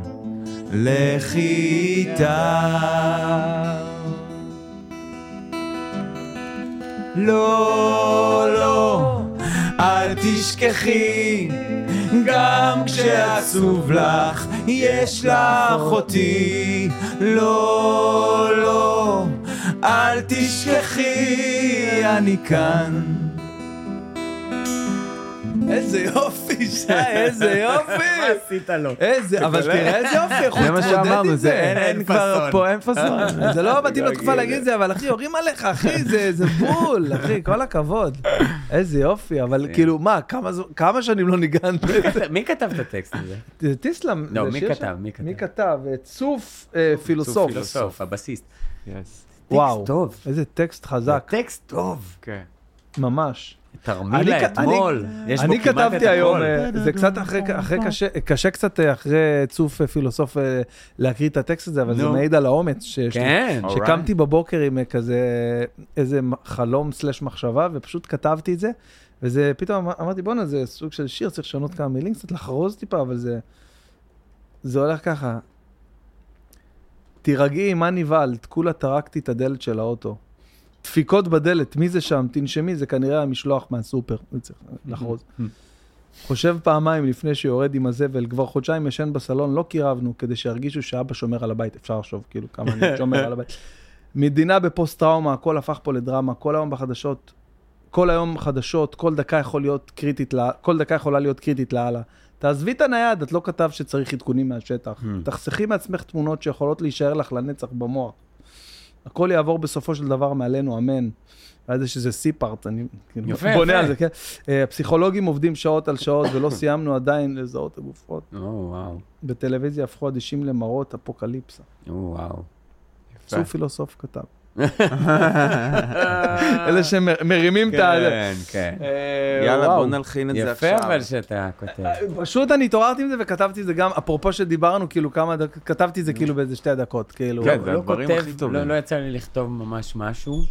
[SPEAKER 11] לכי איתה לא, לא, אל תשכחי גם כשעצוב לך, יש לך אותי. לא, לא, אל תשכחי, אני כאן.
[SPEAKER 1] איזה יופי, שי, איזה יופי!
[SPEAKER 2] עשית לו.
[SPEAKER 1] איזה, אבל תראה איזה יופי, איך הוא
[SPEAKER 3] זה מה
[SPEAKER 1] התמודד
[SPEAKER 3] שאמרנו, זה
[SPEAKER 1] עם זה.
[SPEAKER 3] אין- אין כבר פה, אין פאסון.
[SPEAKER 2] אה,
[SPEAKER 1] זה לא מתאים לתקופה להגיד את זה, אבל אחי, יורים עליך, אחי, זה זה בול, אחי, כל הכבוד. איזה יופי, אבל
[SPEAKER 2] כן.
[SPEAKER 1] כאילו, מה, כמה זו- כמה שנים לא ניגנת?
[SPEAKER 2] מי כתב את הטקסט הזה?
[SPEAKER 1] זה טיסלאם,
[SPEAKER 2] לא,
[SPEAKER 1] זה
[SPEAKER 2] מי
[SPEAKER 1] שיר
[SPEAKER 2] כתב?
[SPEAKER 1] של-
[SPEAKER 2] מי כתב?
[SPEAKER 1] מי כתב? אה, צוף אה, פילוסוף.
[SPEAKER 2] פילוסוף, הבסיסט.
[SPEAKER 3] יס,
[SPEAKER 1] וואו,
[SPEAKER 2] טקסט טוב.
[SPEAKER 1] איזה טקסט חזק,
[SPEAKER 2] טקסט טוב.
[SPEAKER 3] כן.
[SPEAKER 1] ממש. אני
[SPEAKER 2] תרמילה
[SPEAKER 1] כ-
[SPEAKER 2] אתמול. לא. יש בו
[SPEAKER 1] אני
[SPEAKER 2] כמעט את
[SPEAKER 1] כתבתי היום,
[SPEAKER 2] הכל.
[SPEAKER 1] אה, זה קצת אחרי, אחרי קשה, קשה קצת אה, אחרי צוף אה, פילוסוף אה, להקריא את הטקסט הזה, אבל זה
[SPEAKER 2] נו.
[SPEAKER 1] מעיד על האומץ שיש לי.
[SPEAKER 2] כן.
[SPEAKER 1] שקמתי בבוקר עם אה, כזה איזה מ- חלום סלש מחשבה ופשוט כתבתי את זה וזה פתאום אמ- אמרתי בואנה זה סוג של שיר צריך לשנות כמה מילים קצת לחרוז טיפה אבל זה זה הולך ככה. תירגעי מה נבהלת כולה טרקתי את הדלת של האוטו. דפיקות בדלת מי זה שם תנשמי זה כנראה המשלוח מהסופר זה צריך לחרוז. חושב פעמיים לפני שיורד עם הזבל, כבר חודשיים ישן בסלון, לא קירבנו, כדי שירגישו שאבא שומר על הבית, אפשר לחשוב כאילו כמה אני שומר על הבית. מדינה בפוסט-טראומה, הכל הפך פה לדרמה, כל היום בחדשות, כל היום חדשות, כל דקה יכול להיות קריטית, לה, כל דקה יכולה להיות קריטית לאללה. תעזבי את הנייד, את לא כתב שצריך עדכונים
[SPEAKER 12] Hmm.
[SPEAKER 1] מהשטח. תחסכי מעצמך תמונות שיכולות להישאר לך לנצח במוח. הכל יעבור בסופו של דבר מעלינו, אמן. ואז יש איזה סיפארט, אני כאילו,
[SPEAKER 12] יפה,
[SPEAKER 1] בונה
[SPEAKER 12] יפה.
[SPEAKER 1] על זה, כן? אה, הפסיכולוגים עובדים שעות על שעות ולא סיימנו עדיין לזהות הגופות.
[SPEAKER 2] או, וואו.
[SPEAKER 1] בטלוויזיה הפכו אדישים למראות אפוקליפסה.
[SPEAKER 2] או, וואו.
[SPEAKER 1] צור פילוסוף כתב. אלה שמרימים את ה...
[SPEAKER 2] כן, כן.
[SPEAKER 1] אה,
[SPEAKER 3] יאללה,
[SPEAKER 1] וואו.
[SPEAKER 3] בוא נלחין את זה עכשיו.
[SPEAKER 2] יפה אבל שאתה כותב.
[SPEAKER 1] פשוט אני התעוררתי עם זה וכתבתי את זה גם, אפרופו שדיברנו, כאילו כמה דקות, כתבתי את זה כאילו באיזה שתי דקות, כאילו.
[SPEAKER 3] כן, זה
[SPEAKER 2] לא
[SPEAKER 3] הדברים הכי
[SPEAKER 2] כותב, לא
[SPEAKER 3] טובים.
[SPEAKER 2] לא יצא לי לכתוב ממש משהו.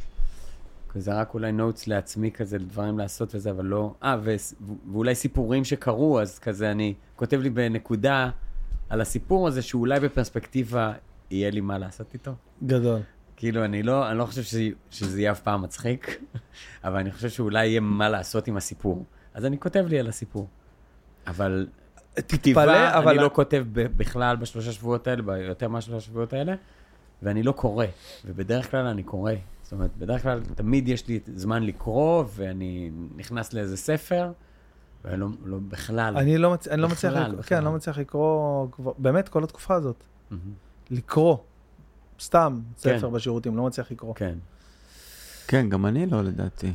[SPEAKER 2] כזה רק אולי נוטס לעצמי כזה, דברים לעשות וזה, אבל לא... אה, וס- ו- ואולי סיפורים שקרו, אז כזה אני כותב לי בנקודה על הסיפור הזה, שאולי בפרספקטיבה יהיה לי מה לעשות איתו.
[SPEAKER 1] גדול.
[SPEAKER 2] כאילו, אני לא, אני לא חושב שזה, שזה יהיה אף פעם מצחיק, אבל אני חושב שאולי יהיה מה לעשות עם הסיפור. אז אני כותב לי על הסיפור. אבל כתיבה,
[SPEAKER 1] אבל-
[SPEAKER 2] אני לא כותב ב- בכלל בשלושה שבועות האלה, ביותר מהשלושה שבועות האלה, ואני לא קורא. ובדרך כלל אני קורא. זאת אומרת, בדרך כלל תמיד יש לי זמן לקרוא, ואני נכנס לאיזה ספר, ואני לא, לא בכלל.
[SPEAKER 1] אני לא מצ- אני לא מצליח
[SPEAKER 2] בכלל,
[SPEAKER 1] לקרוא,
[SPEAKER 2] בכלל.
[SPEAKER 1] כן, אני לא מצליח לקרוא, כבר- באמת, כל התקופה הזאת.
[SPEAKER 2] מהמם.
[SPEAKER 1] לקרוא. סתם,
[SPEAKER 2] כן.
[SPEAKER 1] ספר בשירותים, לא מצליח לקרוא.
[SPEAKER 2] כן.
[SPEAKER 3] כן, גם אני לא, לדעתי.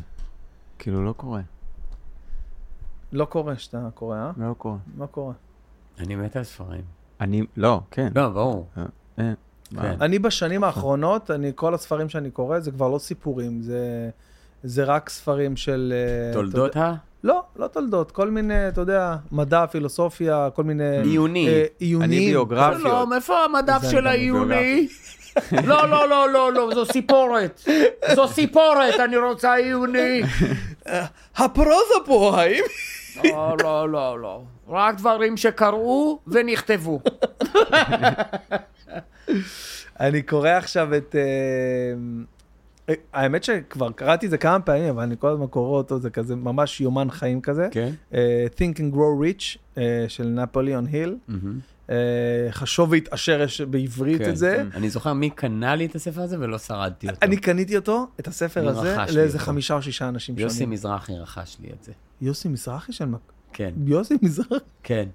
[SPEAKER 3] כאילו, לא קורה.
[SPEAKER 1] לא קורה שאתה קורא, אה?
[SPEAKER 3] לא קורה.
[SPEAKER 1] לא קורה.
[SPEAKER 2] אני מת על ספרים.
[SPEAKER 3] אני, לא, כן.
[SPEAKER 2] לא, ברור.
[SPEAKER 3] אה,
[SPEAKER 2] כן.
[SPEAKER 1] אני בשנים האחרונות, אני, כל הספרים שאני קורא, זה כבר לא סיפורים, זה, זה רק ספרים של... אה,
[SPEAKER 2] תולדות
[SPEAKER 1] אתה,
[SPEAKER 2] ה...
[SPEAKER 1] לא, לא תולדות, כל מיני, אתה יודע, מדע, פילוסופיה, כל מיני...
[SPEAKER 2] עיוני.
[SPEAKER 1] אה, עיונים.
[SPEAKER 3] אני ביוגרפיות.
[SPEAKER 2] איפה המדף
[SPEAKER 1] זה
[SPEAKER 2] של
[SPEAKER 1] גם
[SPEAKER 2] העיוני? לא, לא, לא, לא, לא, זו סיפורת. זו סיפורת, אני רוצה עיוני.
[SPEAKER 1] הפרוזה פה, האם?
[SPEAKER 2] לא, לא, לא, לא. רק דברים שקראו ונכתבו.
[SPEAKER 1] אני קורא עכשיו את... אה, אה, האמת שכבר קראתי את זה כמה פעמים, אבל אני כל הזמן קורא אותו, זה כזה ממש יומן חיים כזה.
[SPEAKER 2] כן.
[SPEAKER 1] אה, Think and Grow Rich אה, של נפוליאון היל.
[SPEAKER 2] Mm-hmm.
[SPEAKER 1] אה, חשוב והתעשר יש בעברית
[SPEAKER 2] כן,
[SPEAKER 1] את זה.
[SPEAKER 2] אני זוכר מי קנה לי את הספר הזה ולא שרדתי אותו.
[SPEAKER 1] אני קניתי אותו, את הספר
[SPEAKER 2] מי
[SPEAKER 1] הזה,
[SPEAKER 2] רכש לי
[SPEAKER 1] לאיזה
[SPEAKER 2] אותו?
[SPEAKER 1] חמישה או שישה אנשים
[SPEAKER 2] יוסי
[SPEAKER 1] שונים.
[SPEAKER 2] מזרחי רכש לי את זה.
[SPEAKER 1] יוסי מזרחי של... מק-
[SPEAKER 2] כן,
[SPEAKER 1] יוסי מזרחי?
[SPEAKER 2] כן.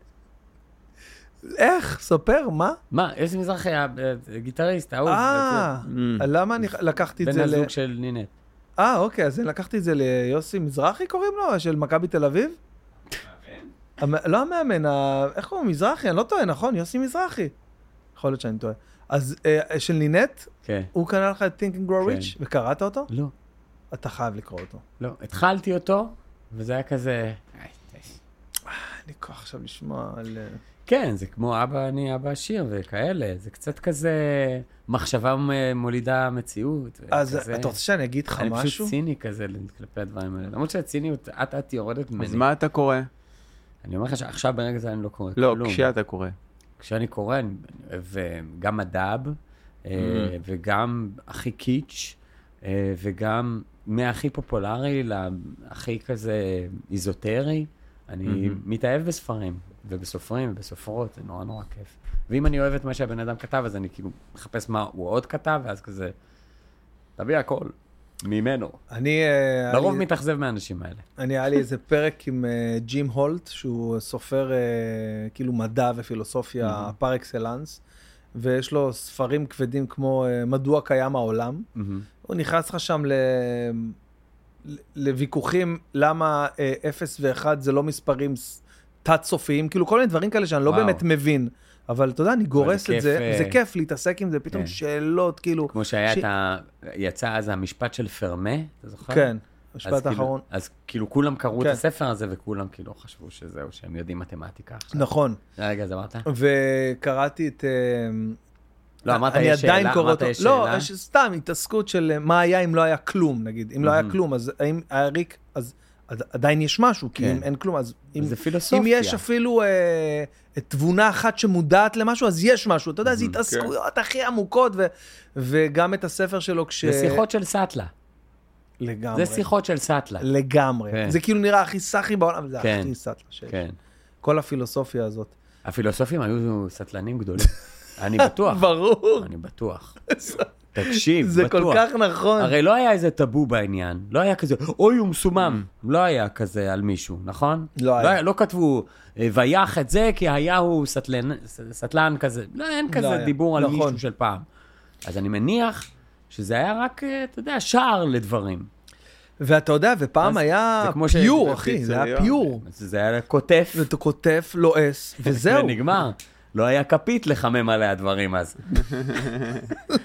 [SPEAKER 1] איך? ספר, מה?
[SPEAKER 2] מה, יוסי מזרחי היה אה, גיטריסט, אהוב.
[SPEAKER 1] אה, למה אני לקחתי את
[SPEAKER 2] Mm. בן
[SPEAKER 1] זה ל...
[SPEAKER 2] הזוג של נינת.
[SPEAKER 1] אה, אוקיי, אז לקחתי את זה ליוסי מזרחי קוראים לו? של מכבי תל אביב? המ- לא המאמן, ה- איך קוראים? לו? מזרחי, אני לא טועה, נכון? יוסי מזרחי. יכול להיות שאני טועה. אז אה, של לינט,
[SPEAKER 2] כן.
[SPEAKER 1] הוא קנה לך את Think and Grow
[SPEAKER 2] כן.
[SPEAKER 1] Rich, וקראת אותו?
[SPEAKER 2] לא,
[SPEAKER 1] אתה חייב לקרוא אותו.
[SPEAKER 2] לא. התחלתי אותו, וזה היה כזה... "איי, די."
[SPEAKER 1] אין לי כוח עכשיו לשמוע על... אה,
[SPEAKER 2] כן, זה כמו אבא אני אבא עשיר וכאלה, זה קצת כזה מחשבה מ- מולידה מציאות.
[SPEAKER 1] אז
[SPEAKER 2] וכזה.
[SPEAKER 1] אתה רוצה שאני אגיד לך
[SPEAKER 2] אני
[SPEAKER 1] משהו?
[SPEAKER 2] פשוט ציני כזה כלפי הדברים האלה. למרות שהציניות אט-אט יורדת ממני.
[SPEAKER 3] אז מה אתה קורא?
[SPEAKER 2] אני אומר לך שעכשיו ברגע זה אני לא קורא
[SPEAKER 3] לא,
[SPEAKER 2] כלום.
[SPEAKER 3] כשאתה קורא.
[SPEAKER 2] כשאני קורא, אני אני אוהב אה, גם מדב, אה, וגם הכי קיץ', אה, וגם מהכי פופולרי להכי כזה איזוטרי. אני מתאהב בספרים, ובסופרים, ובסופרות, זה נורא נורא כיף. ואם אני אוהב את מה שהבן אדם כתב, אז אני כאילו מחפש מה הוא עוד כתב, ואז כזה, תביא הכל, ממנו.
[SPEAKER 1] אני... אה,
[SPEAKER 2] לרוב
[SPEAKER 1] אני-
[SPEAKER 2] מתאכזב מהאנשים האלה.
[SPEAKER 1] אני, היה לי איזה פרק עם אה, ג'ים הולט, שהוא סופר אה, כאילו מדע ופילוסופיה פר אקסלנס, ויש לו ספרים כבדים כמו אה, מדוע קיים העולם. הוא נכנס לך שם ל... ל- לוויכוחים למה אה, 0 ו-1 זה לא מספרים ס- תת-סופיים, כאילו כל מיני דברים כאלה שאני לא
[SPEAKER 2] וואו.
[SPEAKER 1] באמת מבין. אבל אתה יודע, אני גורס את
[SPEAKER 2] כיף,
[SPEAKER 1] זה,
[SPEAKER 2] אה,
[SPEAKER 1] זה כיף להתעסק עם זה, פתאום
[SPEAKER 2] כן.
[SPEAKER 1] שאלות, כאילו,
[SPEAKER 2] כמו שהיה
[SPEAKER 1] ש-
[SPEAKER 2] את ה... יצא אז המשפט של פרמה, אתה זוכר? אז
[SPEAKER 1] כן, המשפט
[SPEAKER 2] כאילו-
[SPEAKER 1] האחרון.
[SPEAKER 2] אז כאילו כולם קראו
[SPEAKER 1] כן.
[SPEAKER 2] את הספר הזה, וכולם כאילו חשבו שזהו, שהם יודעים מתמטיקה עכשיו.
[SPEAKER 1] נכון,
[SPEAKER 2] רגע, אז אמרת?
[SPEAKER 1] וקראתי את... אה,
[SPEAKER 2] לא, אמרת
[SPEAKER 1] אני
[SPEAKER 2] יש
[SPEAKER 1] עדיין
[SPEAKER 2] שאלה,
[SPEAKER 1] קורא
[SPEAKER 2] אמרת
[SPEAKER 1] אותו.
[SPEAKER 2] יש
[SPEAKER 1] לא,
[SPEAKER 2] שאלה.
[SPEAKER 1] יש סתם התעסקות של אה, מה היה אם לא היה כלום, נגיד. אם לא
[SPEAKER 2] Mm-hmm.
[SPEAKER 1] היה כלום, אז האם היה ריק, אז עד- עדיין יש משהו, כי
[SPEAKER 2] כן.
[SPEAKER 1] אם אין כלום, אז... אם-
[SPEAKER 2] זה
[SPEAKER 1] אם
[SPEAKER 2] פילוסופיה.
[SPEAKER 1] יש אפילו אה, תבונה אחת שמודעת למשהו, אז יש משהו. אתה יודע,
[SPEAKER 2] Mm-hmm,
[SPEAKER 1] זה התעסקויות הכי עמוקות, ו- וגם את הספר שלו כש...
[SPEAKER 2] זה שיחות של סאטלה.
[SPEAKER 1] לגמרי.
[SPEAKER 2] זה שיחות של סאטלה.
[SPEAKER 1] לגמרי.
[SPEAKER 2] כן.
[SPEAKER 1] זה כאילו נראה הכי סאחי בעולם, אבל זה
[SPEAKER 2] כן.
[SPEAKER 1] הכי סאטלה שיש.
[SPEAKER 2] כן.
[SPEAKER 1] כל הפילוסופיה הזאת.
[SPEAKER 2] הפילוסופים היו סטלנים גדולים. אני בטוח.
[SPEAKER 1] ברור,
[SPEAKER 2] אני בטוח. תקשיב, בטוח.
[SPEAKER 1] זה כל כך נכון.
[SPEAKER 2] הרי לא היה איזה טאבו בעניין, לא היה כזה, אוי, הוא מסומם. לא היה כזה על מישהו, נכון?
[SPEAKER 1] Mm. לא היה.
[SPEAKER 2] לא כתבו, "אה, ויח את זה, כי היה הוא סטלן- ס- סטלן כזה. לא, אין כזה
[SPEAKER 1] היה.
[SPEAKER 2] דיבור על
[SPEAKER 1] נכון.
[SPEAKER 2] מישהו של פעם. אז אני מניח שזה היה רק, אה, אתה יודע, שער לדברים.
[SPEAKER 1] ואתה יודע, ופעם
[SPEAKER 2] אז
[SPEAKER 1] היה
[SPEAKER 2] זה כמו ש-
[SPEAKER 1] פיור, אחי, זה היה
[SPEAKER 3] פיצריה.
[SPEAKER 1] פיור.
[SPEAKER 2] אז זה היה קוטף,
[SPEAKER 1] ואתה כותף, לועס, וזהו.
[SPEAKER 2] ונגמר. לא היה כפית לחמם עליה דברים אז.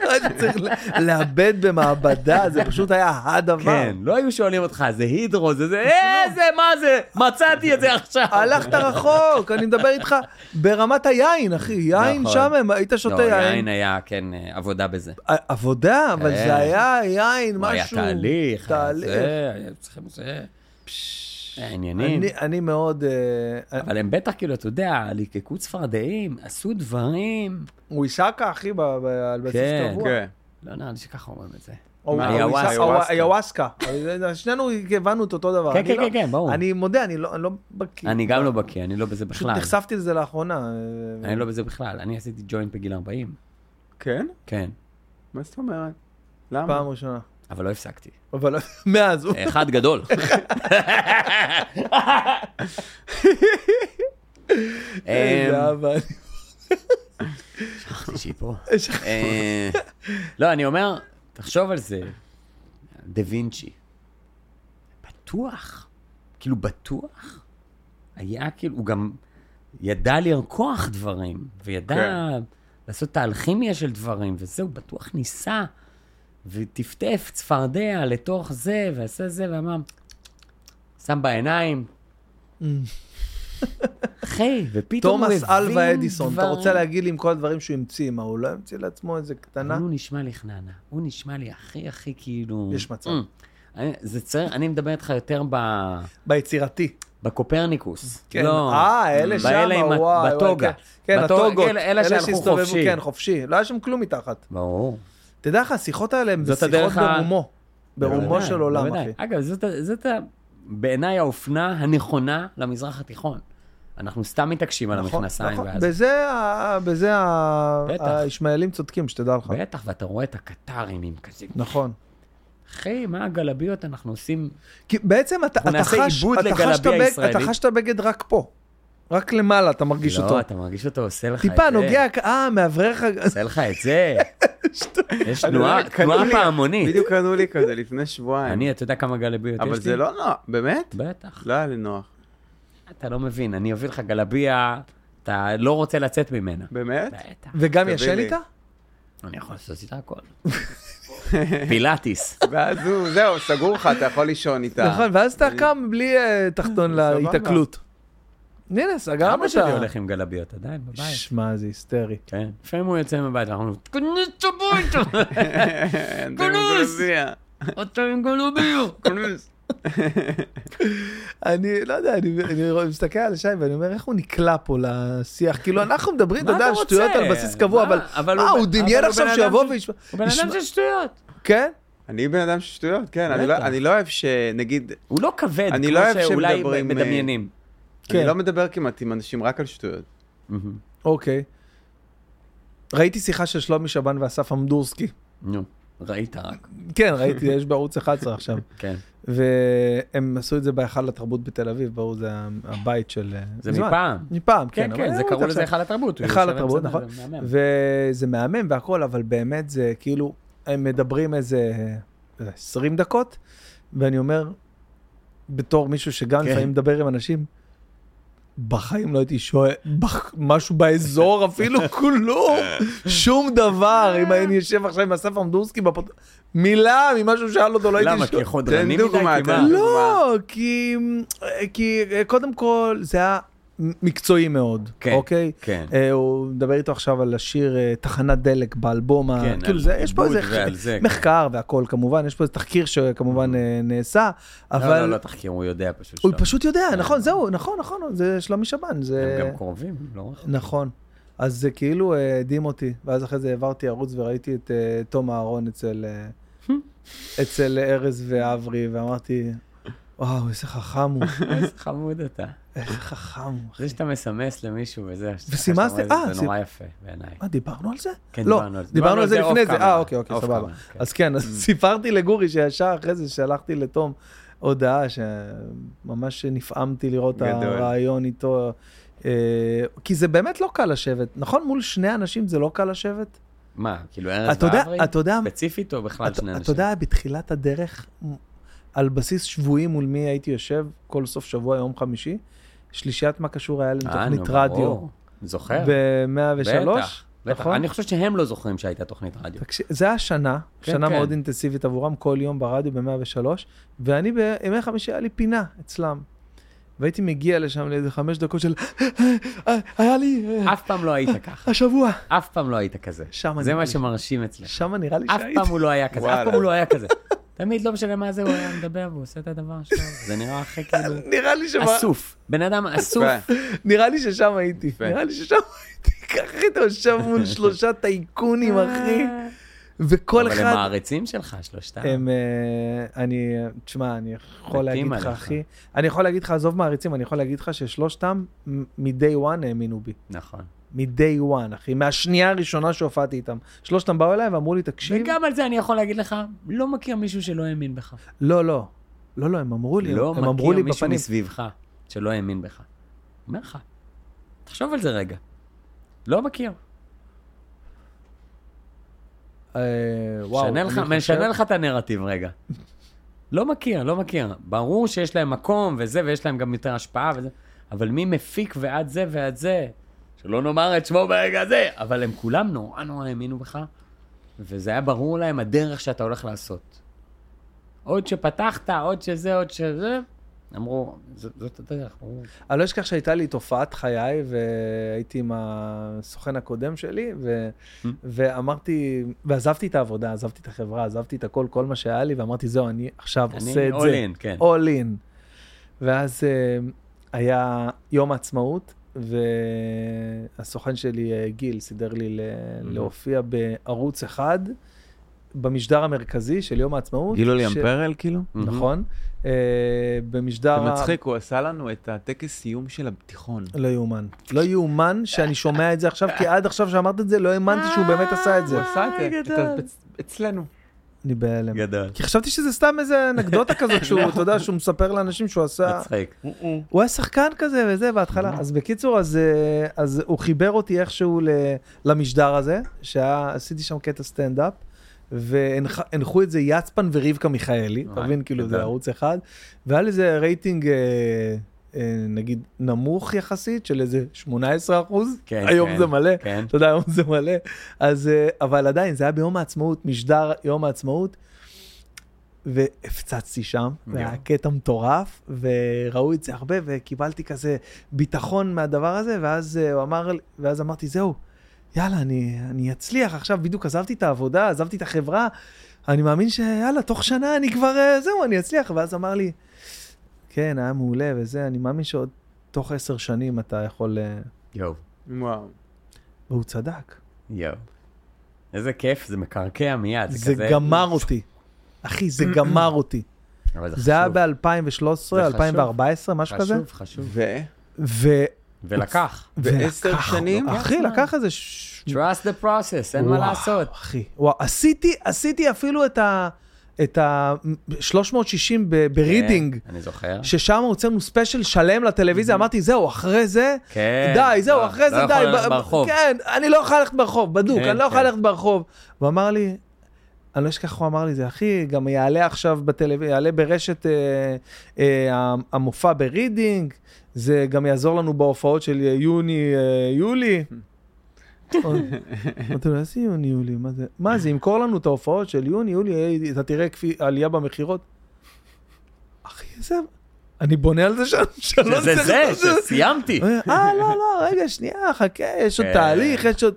[SPEAKER 1] היית צריך לאבד במעבדה, זה פשוט היה הדבר.
[SPEAKER 2] כן, לא היו שואלים אותך, זה הידרו, זה זה, אה, זה, מה זה? מצאתי את זה עכשיו.
[SPEAKER 1] הלכת רחוק, אני מדבר איתך ברמת היין, אחי, יין
[SPEAKER 2] נכון.
[SPEAKER 1] שם, הם- היית
[SPEAKER 2] לא,
[SPEAKER 1] שותה יין.
[SPEAKER 2] יין היה, כן, אה, עבודה בזה.
[SPEAKER 1] ע- עבודה, אבל
[SPEAKER 2] כן.
[SPEAKER 1] זה היה יין,
[SPEAKER 2] לא,
[SPEAKER 1] משהו.
[SPEAKER 2] היה תהליך,
[SPEAKER 1] תהליך.
[SPEAKER 2] היה זה, היה צריכים זה, היה עניינים.
[SPEAKER 1] אני- אני מאוד, אה,
[SPEAKER 2] אבל הם בטח, כאילו, אתה יודע, ליקקו צפרדעים, עשו דברים.
[SPEAKER 1] הוא אישקה, אחי, ב- ב- על בסיס
[SPEAKER 2] כן.
[SPEAKER 1] קבוע.
[SPEAKER 3] כן.
[SPEAKER 2] לא נראה לי שככה אומרים את זה.
[SPEAKER 1] או-
[SPEAKER 2] מה,
[SPEAKER 1] או- הוא
[SPEAKER 2] איוואסקה?
[SPEAKER 1] אישקה- או- איוואסקה. שנינו הבנו את אותו דבר.
[SPEAKER 2] כן,
[SPEAKER 1] אני
[SPEAKER 2] כן,
[SPEAKER 1] לא-
[SPEAKER 2] כן, כן, ברור.
[SPEAKER 1] אני מודה, אני לא אני לא בקיא.
[SPEAKER 2] אני גם לא בקיא, אני לא בזה
[SPEAKER 1] פשוט
[SPEAKER 2] בכלל.
[SPEAKER 1] נחשפתי לזה לאחרונה. אה,
[SPEAKER 2] אני לא בזה בכלל. אני עשיתי ג'וינט בגיל 40.
[SPEAKER 3] כן?
[SPEAKER 2] כן,
[SPEAKER 3] מה זאת אומרת? למה?
[SPEAKER 1] פעם ראשונה.
[SPEAKER 2] אבל לא הפסקתי.
[SPEAKER 1] אבל מאז, הוא-
[SPEAKER 2] אחד גדול.
[SPEAKER 1] זה
[SPEAKER 2] אמ,
[SPEAKER 1] אבל-
[SPEAKER 2] שכחתי שהיא פה. אה, לא, אני אומר, תחשוב על זה, דה וינצ'י. בטוח, כאילו בטוח. היה כאילו, הוא גם ידע לרקוח דברים, וידע
[SPEAKER 3] כן.
[SPEAKER 2] לעשות את האלכימיה של דברים, וזהו, בטוח ניסה, וטפטף צפרדע לתוך זה, ועשה זה, ואמר, שם בעיניים. Mm. אחי, ופתאום הוא הבין
[SPEAKER 1] תומאס
[SPEAKER 2] דברים.
[SPEAKER 1] אלווה אדיסון, אתה רוצה להגיד לי עם כל הדברים שהוא המציא, מה, הוא לא המציא לעצמו איזה קטנה?
[SPEAKER 2] אבל הוא נשמע לי חננה. הוא נשמע לי הכי הכי כאילו...
[SPEAKER 1] יש מצב.
[SPEAKER 2] Mm. אני- זה צריך, אני מדבר איתך יותר ב...
[SPEAKER 1] ביצירתי.
[SPEAKER 2] בקופרניקוס.
[SPEAKER 1] כן.
[SPEAKER 2] לא.
[SPEAKER 1] אה, אלה
[SPEAKER 2] Mm.
[SPEAKER 1] שם,
[SPEAKER 2] באלה עם ה-
[SPEAKER 1] וואי, וואי.
[SPEAKER 2] בטוגה.
[SPEAKER 1] כן. כן,
[SPEAKER 2] בטוגה,
[SPEAKER 1] הטוגות.
[SPEAKER 2] אלה- אלה שהלכו
[SPEAKER 1] שהסתובבו,
[SPEAKER 2] חופשי.
[SPEAKER 1] כן, חופשי. לא היה שם כלום מתחת.
[SPEAKER 2] ברור.
[SPEAKER 1] תדע לך, השיחות האלה הן
[SPEAKER 2] זאת
[SPEAKER 1] שיחות
[SPEAKER 2] הדרך ה-
[SPEAKER 1] ברומו. ברומו
[SPEAKER 2] בוודאי,
[SPEAKER 1] של עולם,
[SPEAKER 2] בוודאי.
[SPEAKER 1] אחי.
[SPEAKER 2] אגב, זאת, ה- זאת ה- בעיניי האופנה הנכונה למזרח התיכון. אנחנו סתם מתעקשים על
[SPEAKER 1] נכון,
[SPEAKER 2] המכנסיים.
[SPEAKER 1] נכון.
[SPEAKER 2] ואז...
[SPEAKER 1] בזה ה- בזה ה-
[SPEAKER 2] בטח.
[SPEAKER 1] הישמעאלים צודקים, שתדע לך.
[SPEAKER 2] בטח, ואתה רואה את הקטרים עם כזה.
[SPEAKER 1] נכון.
[SPEAKER 2] אחי, מה הגלביות אנחנו עושים?
[SPEAKER 1] כי בעצם אתה
[SPEAKER 2] אנחנו
[SPEAKER 1] אתה
[SPEAKER 2] נעשה
[SPEAKER 1] חש,
[SPEAKER 2] עיבוד
[SPEAKER 1] אתה
[SPEAKER 2] לגלבי
[SPEAKER 1] חש את הבגד-
[SPEAKER 2] הישראלי.
[SPEAKER 1] אתה חש את הבגד רק פה. רק למעלה אתה מרגיש
[SPEAKER 2] לא,
[SPEAKER 1] אותו.
[SPEAKER 2] אתה מרגיש אותו עושה לך את זה.
[SPEAKER 1] טיפה נוגע, אה, מאוורר לך...
[SPEAKER 2] עושה לך את זה. יש תנועה
[SPEAKER 3] קנו
[SPEAKER 2] תנועה
[SPEAKER 3] לי-
[SPEAKER 2] פעמונית.
[SPEAKER 3] בדיוק קנו לי כזה לפני שבועיים.
[SPEAKER 2] אני, אתה יודע כמה גלביות יש לי?
[SPEAKER 3] אבל זה לא נוח, באמת?
[SPEAKER 2] בטח.
[SPEAKER 3] לא היה לי נוח.
[SPEAKER 12] אתה לא מבין, אני אביא לך גלביה, אתה לא רוצה לצאת ממנה.
[SPEAKER 3] באמת?
[SPEAKER 12] בטח.
[SPEAKER 1] וגם
[SPEAKER 3] תביא
[SPEAKER 1] ישן
[SPEAKER 3] לי.
[SPEAKER 1] איתה?
[SPEAKER 12] אני יכול לעשות איתה הכל. פילאטיס.
[SPEAKER 3] ואז הוא, זהו, סגור לך, אתה יכול לישון
[SPEAKER 12] אה,
[SPEAKER 3] איתה.
[SPEAKER 1] נכון, ואז אתה קם בלי אה, תחתון
[SPEAKER 3] סבבה.
[SPEAKER 1] להיתקלות. הנה, סגרנו
[SPEAKER 12] אבא שלי
[SPEAKER 1] אותה.
[SPEAKER 12] הולך עם גלביות עדיין בבית.
[SPEAKER 1] שמע, זה היסטרי.
[SPEAKER 12] כן. לפעמים הוא יוצא מהבית, אנחנו אומרים, תכנס את הביתה,
[SPEAKER 3] אתם עם
[SPEAKER 12] כנוס!
[SPEAKER 3] גלביה.
[SPEAKER 12] אתה
[SPEAKER 1] לא
[SPEAKER 12] עם גלביות.
[SPEAKER 3] כנוס.
[SPEAKER 1] אני לא יודע, אני אני רואה- מסתכל על שי ואני אומר, איך הוא נקלע פה לשיח? כאילו, אנחנו מדברים, אתה
[SPEAKER 12] מה
[SPEAKER 1] יודע,
[SPEAKER 12] אתה
[SPEAKER 1] על
[SPEAKER 12] רוצה?
[SPEAKER 1] שטויות על בסיס קבוע,
[SPEAKER 12] מה?
[SPEAKER 1] אבל
[SPEAKER 12] אבל
[SPEAKER 1] מה,
[SPEAKER 12] הוא
[SPEAKER 1] הוא
[SPEAKER 12] בן-
[SPEAKER 1] דמיין
[SPEAKER 12] אבל הוא
[SPEAKER 1] עכשיו
[SPEAKER 12] בן אדם
[SPEAKER 1] שיבוא
[SPEAKER 12] ש-
[SPEAKER 1] וישמע...
[SPEAKER 12] הוא בן אדם
[SPEAKER 1] ישמע-
[SPEAKER 12] של שטויות.
[SPEAKER 1] כן?
[SPEAKER 3] אני בן אדם של שטויות, כן. אני לא-
[SPEAKER 12] בטח.
[SPEAKER 3] אני לא אוהב שנגיד,
[SPEAKER 12] הוא לא כבד,
[SPEAKER 3] אני
[SPEAKER 12] כמו
[SPEAKER 3] לא אוהב
[SPEAKER 12] שאולי
[SPEAKER 3] שמדברים, אה,
[SPEAKER 12] מדמיינים.
[SPEAKER 1] כן.
[SPEAKER 3] אני לא מדבר כמעט עם אנשים רק על שטויות.
[SPEAKER 12] מהמם.
[SPEAKER 1] אוקיי. ראיתי שיחה של שלומי שבן ואסף עמדורסקי.
[SPEAKER 12] נו, ראית רק.
[SPEAKER 1] כן, ראיתי, יש בערוץ 11 עכשיו.
[SPEAKER 12] כן.
[SPEAKER 1] והם עשו את זה בהיכל התרבות בתל אביב, ברור, זה הבית של... אה,
[SPEAKER 12] זה
[SPEAKER 1] מזמן.
[SPEAKER 12] מפעם.
[SPEAKER 1] מפעם, כן.
[SPEAKER 12] כן,
[SPEAKER 1] אבל
[SPEAKER 12] כן,
[SPEAKER 1] הראו
[SPEAKER 3] לא
[SPEAKER 12] זה
[SPEAKER 1] את
[SPEAKER 12] קראו
[SPEAKER 1] עכשיו.
[SPEAKER 12] לזה היכל התרבות. הוא
[SPEAKER 1] היכל
[SPEAKER 12] יושב
[SPEAKER 1] התרבות,
[SPEAKER 12] באמצע,
[SPEAKER 1] נכון.
[SPEAKER 12] זה מהמם.
[SPEAKER 1] וזה מהמם והכל, אבל באמת זה כאילו, הם מדברים איזה אה, 20 דקות, ואני אומר, בתור מישהו שגם
[SPEAKER 3] כן.
[SPEAKER 1] לפעמים מדבר עם אנשים, בחיים לא הייתי שואל בח- משהו באזור אפילו, כלום, שום דבר. אם הייתי יושב עכשיו עם אסף עמדורסקי, בפוד- מילה ממה שהוא שאל אותו, לא הייתי
[SPEAKER 12] למה?
[SPEAKER 1] שואל.
[SPEAKER 12] כי חודרני
[SPEAKER 3] תן
[SPEAKER 12] מדי?
[SPEAKER 3] דוגמה,
[SPEAKER 12] כי
[SPEAKER 3] תן
[SPEAKER 2] כן.
[SPEAKER 12] מה?
[SPEAKER 3] דוגמה.
[SPEAKER 1] לא, כי, כי אה, קודם כל זה היה מקצועי מאוד,
[SPEAKER 12] כן,
[SPEAKER 1] אוקיי?
[SPEAKER 12] כן.
[SPEAKER 1] אה, הוא מדבר איתו עכשיו על השיר אה, תחנת דלק באלבום, ה-
[SPEAKER 12] כן,
[SPEAKER 1] כאילו
[SPEAKER 12] על
[SPEAKER 1] זה, יש פה
[SPEAKER 12] עיבוד
[SPEAKER 1] איזה
[SPEAKER 12] ועל זה, כן.
[SPEAKER 1] מחקר והכל כמובן, יש פה איזה תחקיר שכמובן אה, נעשה,
[SPEAKER 12] לא, לא,
[SPEAKER 1] אבל
[SPEAKER 12] לא תחקיר, הוא יודע פשוט.
[SPEAKER 1] הוא
[SPEAKER 12] שלא.
[SPEAKER 1] פשוט אה, יודע, נכון, זהו, נכון, נכון, זה שלומי שבן,
[SPEAKER 12] הם
[SPEAKER 1] זה...
[SPEAKER 12] גם קרובים, הם לא רחוקים.
[SPEAKER 1] נכון. אז זה כאילו אה, הדהים אותי, ואז אחרי זה העברתי ערוץ וראיתי את אה, תום אהרון אצל אה, אצל ארז ואברי, ואמרתי, וואו, איזה חכם הוא,
[SPEAKER 12] איזה חמוד אתה.
[SPEAKER 1] איזה חכם הוא. אחי."
[SPEAKER 12] זה שאתה מסמס למישהו וזה, שאתה-
[SPEAKER 1] וסימסתי-
[SPEAKER 12] שאתה רואה
[SPEAKER 1] אה,
[SPEAKER 12] את זה, זה
[SPEAKER 1] סי-
[SPEAKER 12] נורא יפה בעיניי.
[SPEAKER 1] מה, דיברנו על זה?
[SPEAKER 12] כן,
[SPEAKER 1] לא,
[SPEAKER 12] דיברנו על זה.
[SPEAKER 1] דיברנו על זה לפני
[SPEAKER 12] אוף
[SPEAKER 1] זה.
[SPEAKER 12] קאמרה.
[SPEAKER 1] אה, אוקיי, אוקיי,
[SPEAKER 12] אוף
[SPEAKER 1] סבבה.
[SPEAKER 12] קאמרה, כן.
[SPEAKER 1] אז כן, אז סיפרתי לגורי שישר אחרי זה שלחתי לתום הודעה שממש נפעמתי לראות את
[SPEAKER 3] גדול.
[SPEAKER 1] הרעיון איתו. אה, כי זה באמת לא קל לשבת, נכון? מול שני אנשים זה לא קל לשבת?
[SPEAKER 12] מה, כאילו ארז
[SPEAKER 1] אתה יודע-
[SPEAKER 12] ואברי?
[SPEAKER 1] אתה יודע-
[SPEAKER 12] ספציפית או בכלל
[SPEAKER 1] אתה-
[SPEAKER 12] שני אנשים?
[SPEAKER 1] אתה יודע, בתחילת הדרך, על בסיס שבועי מול מי הייתי יושב כל סוף שבוע, יום חמישי, שלישיית מה קשור היה להם
[SPEAKER 12] אה, נו,
[SPEAKER 1] תוכנית רדיו.
[SPEAKER 12] ברור. זוכר?
[SPEAKER 1] ב-103,
[SPEAKER 12] בטח, בטח.
[SPEAKER 1] נכון?
[SPEAKER 12] אני חושב שהם לא זוכרים שהייתה תוכנית רדיו.
[SPEAKER 1] תקשיב, זה היה שנה,
[SPEAKER 12] כן,
[SPEAKER 1] שנה
[SPEAKER 12] כן.
[SPEAKER 1] מאוד אינטנסיבית עבורם, כל יום ברדיו ב-103, ואני בימי חמישי היה לי פינה אצלם. והייתי מגיע לשם לאיזה חמש דקות של, "אה, היה לי אה,
[SPEAKER 12] אף פעם לא היית ככה.
[SPEAKER 1] השבוע.
[SPEAKER 12] אף פעם לא היית כזה.
[SPEAKER 1] שם
[SPEAKER 12] זה
[SPEAKER 1] אני-
[SPEAKER 12] מה שמרשים אצלך.
[SPEAKER 1] שם נראה לי
[SPEAKER 12] אף
[SPEAKER 1] שהייתי.
[SPEAKER 12] פעם הוא לא היה כזה, אף
[SPEAKER 3] וואלה.
[SPEAKER 12] פעם הוא לא היה כזה. תמיד, לא משנה מה זה, הוא היה מדבר והוא עושה את הדבר שלו. זה נראה אחרי כאילו...
[SPEAKER 1] נראה לי שמה-
[SPEAKER 12] אסוף. בן אדם אסוף.
[SPEAKER 3] כן.
[SPEAKER 1] נראה לי ששם הייתי.
[SPEAKER 3] יפה.
[SPEAKER 1] נראה לי ששם הייתי. ככה אתה יושב מול שלושה טייקונים, אחי. וכל
[SPEAKER 12] אבל הם
[SPEAKER 1] אחד... כן.
[SPEAKER 12] מעריצים שלך, שלושתם.
[SPEAKER 1] הם, אה, אני, תשמע, אני יכול
[SPEAKER 12] מתים
[SPEAKER 1] להגיד לך,
[SPEAKER 12] עליך.
[SPEAKER 1] אחי, אני יכול להגיד לך, עזוב מעריצים, אני יכול להגיד לך ששלושתם מ- מ-day one האמינו בי.
[SPEAKER 12] נכון.
[SPEAKER 1] מ-day one, אחי, מהשנייה הראשונה שהופעתי איתם. שלושתם באו אליי ואמרו לי, תקשיב,
[SPEAKER 12] וגם על זה אני יכול להגיד לך, לא מכיר מישהו שלא האמין בך.
[SPEAKER 1] לא, לא, לא, לא, הם אמרו לי,
[SPEAKER 12] לא
[SPEAKER 1] הם אמרו לי
[SPEAKER 12] מכיר מישהו
[SPEAKER 1] בפנים,
[SPEAKER 12] מסביבך שלא האמין בך. אומר לך, תחשוב על זה רגע. לא מכיר.
[SPEAKER 1] אה, וואו,
[SPEAKER 12] משנה לך,
[SPEAKER 1] אני חושב-
[SPEAKER 12] משנה לך את הנרטיב רגע. לא מכיר, לא מכיר. ברור שיש להם מקום וזה, ויש להם גם יותר השפעה וזה, אבל מי מפיק ועד זה ועד זה, שלא נאמר את שמו ברגע הזה, אבל הם כולם נורא נורא האמינו בך, וזה היה ברור להם הדרך שאתה הולך לעשות. עוד שפתחת, עוד שזה, עוד שזה, אמרו, "ז- זאת הדרך, ברור.
[SPEAKER 1] אני לא אשכח שהייתה לי תופעת חיי, והייתי עם הסוכן הקודם שלי, ו...
[SPEAKER 12] Mm.
[SPEAKER 1] ואמרתי, ועזבתי את העבודה, עזבתי את החברה, עזבתי את הכל, כל מה שהיה לי, ואמרתי, זהו, אני עכשיו
[SPEAKER 12] אני
[SPEAKER 1] עושה את
[SPEAKER 12] all
[SPEAKER 1] זה.
[SPEAKER 12] in, כן.
[SPEAKER 1] all in. ואז אה, היה יום העצמאות, והסוכן שלי, אה, גיל, סידר לי ל-
[SPEAKER 12] Mm-hmm.
[SPEAKER 1] להופיע בערוץ אחד, במשדר המרכזי של יום העצמאות.
[SPEAKER 3] גילולי
[SPEAKER 1] ש-
[SPEAKER 3] אמפרל, כאילו?
[SPEAKER 12] Mm-hmm.
[SPEAKER 1] נכון. אה, במשדר...
[SPEAKER 3] זה
[SPEAKER 1] ה-
[SPEAKER 3] מצחיק, הוא עשה לנו את הטקס סיום של התיכון.
[SPEAKER 1] לא יאומן. לא יאומן שאני שומע את זה עכשיו, כי עד עכשיו שאמרת את זה, לא האמנתי שהוא באמת עשה את זה.
[SPEAKER 3] הוא עשה את זה, את ה- אצ- אצלנו.
[SPEAKER 1] אני בהלם.
[SPEAKER 12] גדול.
[SPEAKER 1] כי חשבתי שזה סתם איזה אנקדוטה כזאת
[SPEAKER 3] לא.
[SPEAKER 1] שהוא, אתה יודע, שהוא מספר לאנשים שהוא עשה...
[SPEAKER 12] מצחיק.
[SPEAKER 1] הוא היה שחקן כזה וזה
[SPEAKER 12] Mm-hmm.
[SPEAKER 1] בהתחלה. אז בקיצור, אז, אה, אז הוא חיבר אותי איכשהו ל- למשדר הזה, שעשיתי שם קטע סטנדאפ, והנחו את זה יצפן ורבקה מיכאלי, אתה
[SPEAKER 12] וואי,
[SPEAKER 1] מבין? כאילו זה
[SPEAKER 12] גדול.
[SPEAKER 1] ערוץ אחד, והיה לזה רייטינג אה, אה, נגיד נמוך יחסית של איזה 18 אחוז,
[SPEAKER 12] כן,
[SPEAKER 1] היום
[SPEAKER 12] כן,
[SPEAKER 1] זה מלא,
[SPEAKER 12] כן.
[SPEAKER 1] אתה יודע, היום זה מלא, אז, אה, אבל עדיין, זה היה ביום העצמאות, משדר יום העצמאות, והפצצתי שם, והיה קטע מטורף, וראו את זה הרבה, וקיבלתי כזה ביטחון מהדבר הזה, ואז אה, הוא אמר, לי- ואז אמרתי, זהו, יאללה, אני, אני אצליח, עכשיו בדיוק עזבתי את העבודה, עזבתי את החברה, אני מאמין שיאללה, תוך שנה אני כבר, אה, זהו, אני אצליח, ואז אמר לי, כן, היה מעולה וזה, אני מאמין שעוד תוך עשר שנים אתה יכול... אה,
[SPEAKER 12] יואו,
[SPEAKER 3] וואו.
[SPEAKER 1] והוא צדק.
[SPEAKER 12] יואו. איזה כיף, זה מקרקע מיד.
[SPEAKER 1] זה
[SPEAKER 12] כזה-
[SPEAKER 1] גמר אותי. אחי, זה גמר אותי.
[SPEAKER 12] אבל
[SPEAKER 1] זה היה
[SPEAKER 12] חשוב,
[SPEAKER 1] ב-2013,
[SPEAKER 12] זה חשוב.
[SPEAKER 1] 2014, משהו כזה.
[SPEAKER 12] חשוב, חשוב.
[SPEAKER 3] ו?
[SPEAKER 1] ו...
[SPEAKER 12] ולקח.
[SPEAKER 3] בעשר
[SPEAKER 1] ולקח לו.
[SPEAKER 3] שנים?
[SPEAKER 1] אחי, לקח איזה... ש-
[SPEAKER 12] Trust the process, אין מה
[SPEAKER 1] וואו,
[SPEAKER 12] לעשות.
[SPEAKER 1] אחי, וואו, עשיתי, עשיתי אפילו את ה... את ה... 360 ב- ברידינג.
[SPEAKER 12] כן, Mm-hmm. אני זוכר.
[SPEAKER 1] ששם הוצאנו ספיישל שלם לטלוויזיה, אמרתי, זהו, אחרי זה,
[SPEAKER 12] כן.
[SPEAKER 1] די, זהו,
[SPEAKER 12] לא,
[SPEAKER 1] אחרי זה
[SPEAKER 12] לא
[SPEAKER 1] די.
[SPEAKER 12] יכול ללכת
[SPEAKER 1] ב-
[SPEAKER 12] ברחוב.
[SPEAKER 1] כן, אני לא יכול ללכת ברחוב, בדוק,
[SPEAKER 12] כן,
[SPEAKER 1] אני לא יכול
[SPEAKER 12] כן.
[SPEAKER 1] ללכת ברחוב. הוא אמר לי, אני לא אשכח, הוא אמר לי, זה אחי, גם יעלה עכשיו בטלוויזיה, יעלה ברשת אה, אה, המופע ברידינג, זה גם יעזור לנו בהופעות של יוני, אה, יולי. אמרתי לו, איזה יוני, יולי, מה זה? מה זה, ימכור לנו את ההופעות של יוני, יולי, אה, אתה תראה כפי- עלייה במכירות. אחי, איזה... אני בונה על זה לא שם שלוש
[SPEAKER 12] זה זה,
[SPEAKER 1] סרטונים.
[SPEAKER 12] שסיימתי.
[SPEAKER 1] הוא אומר, אה, לא, לא, רגע, שנייה, חכה, יש עוד
[SPEAKER 12] כן.
[SPEAKER 1] תהליך, יש עוד...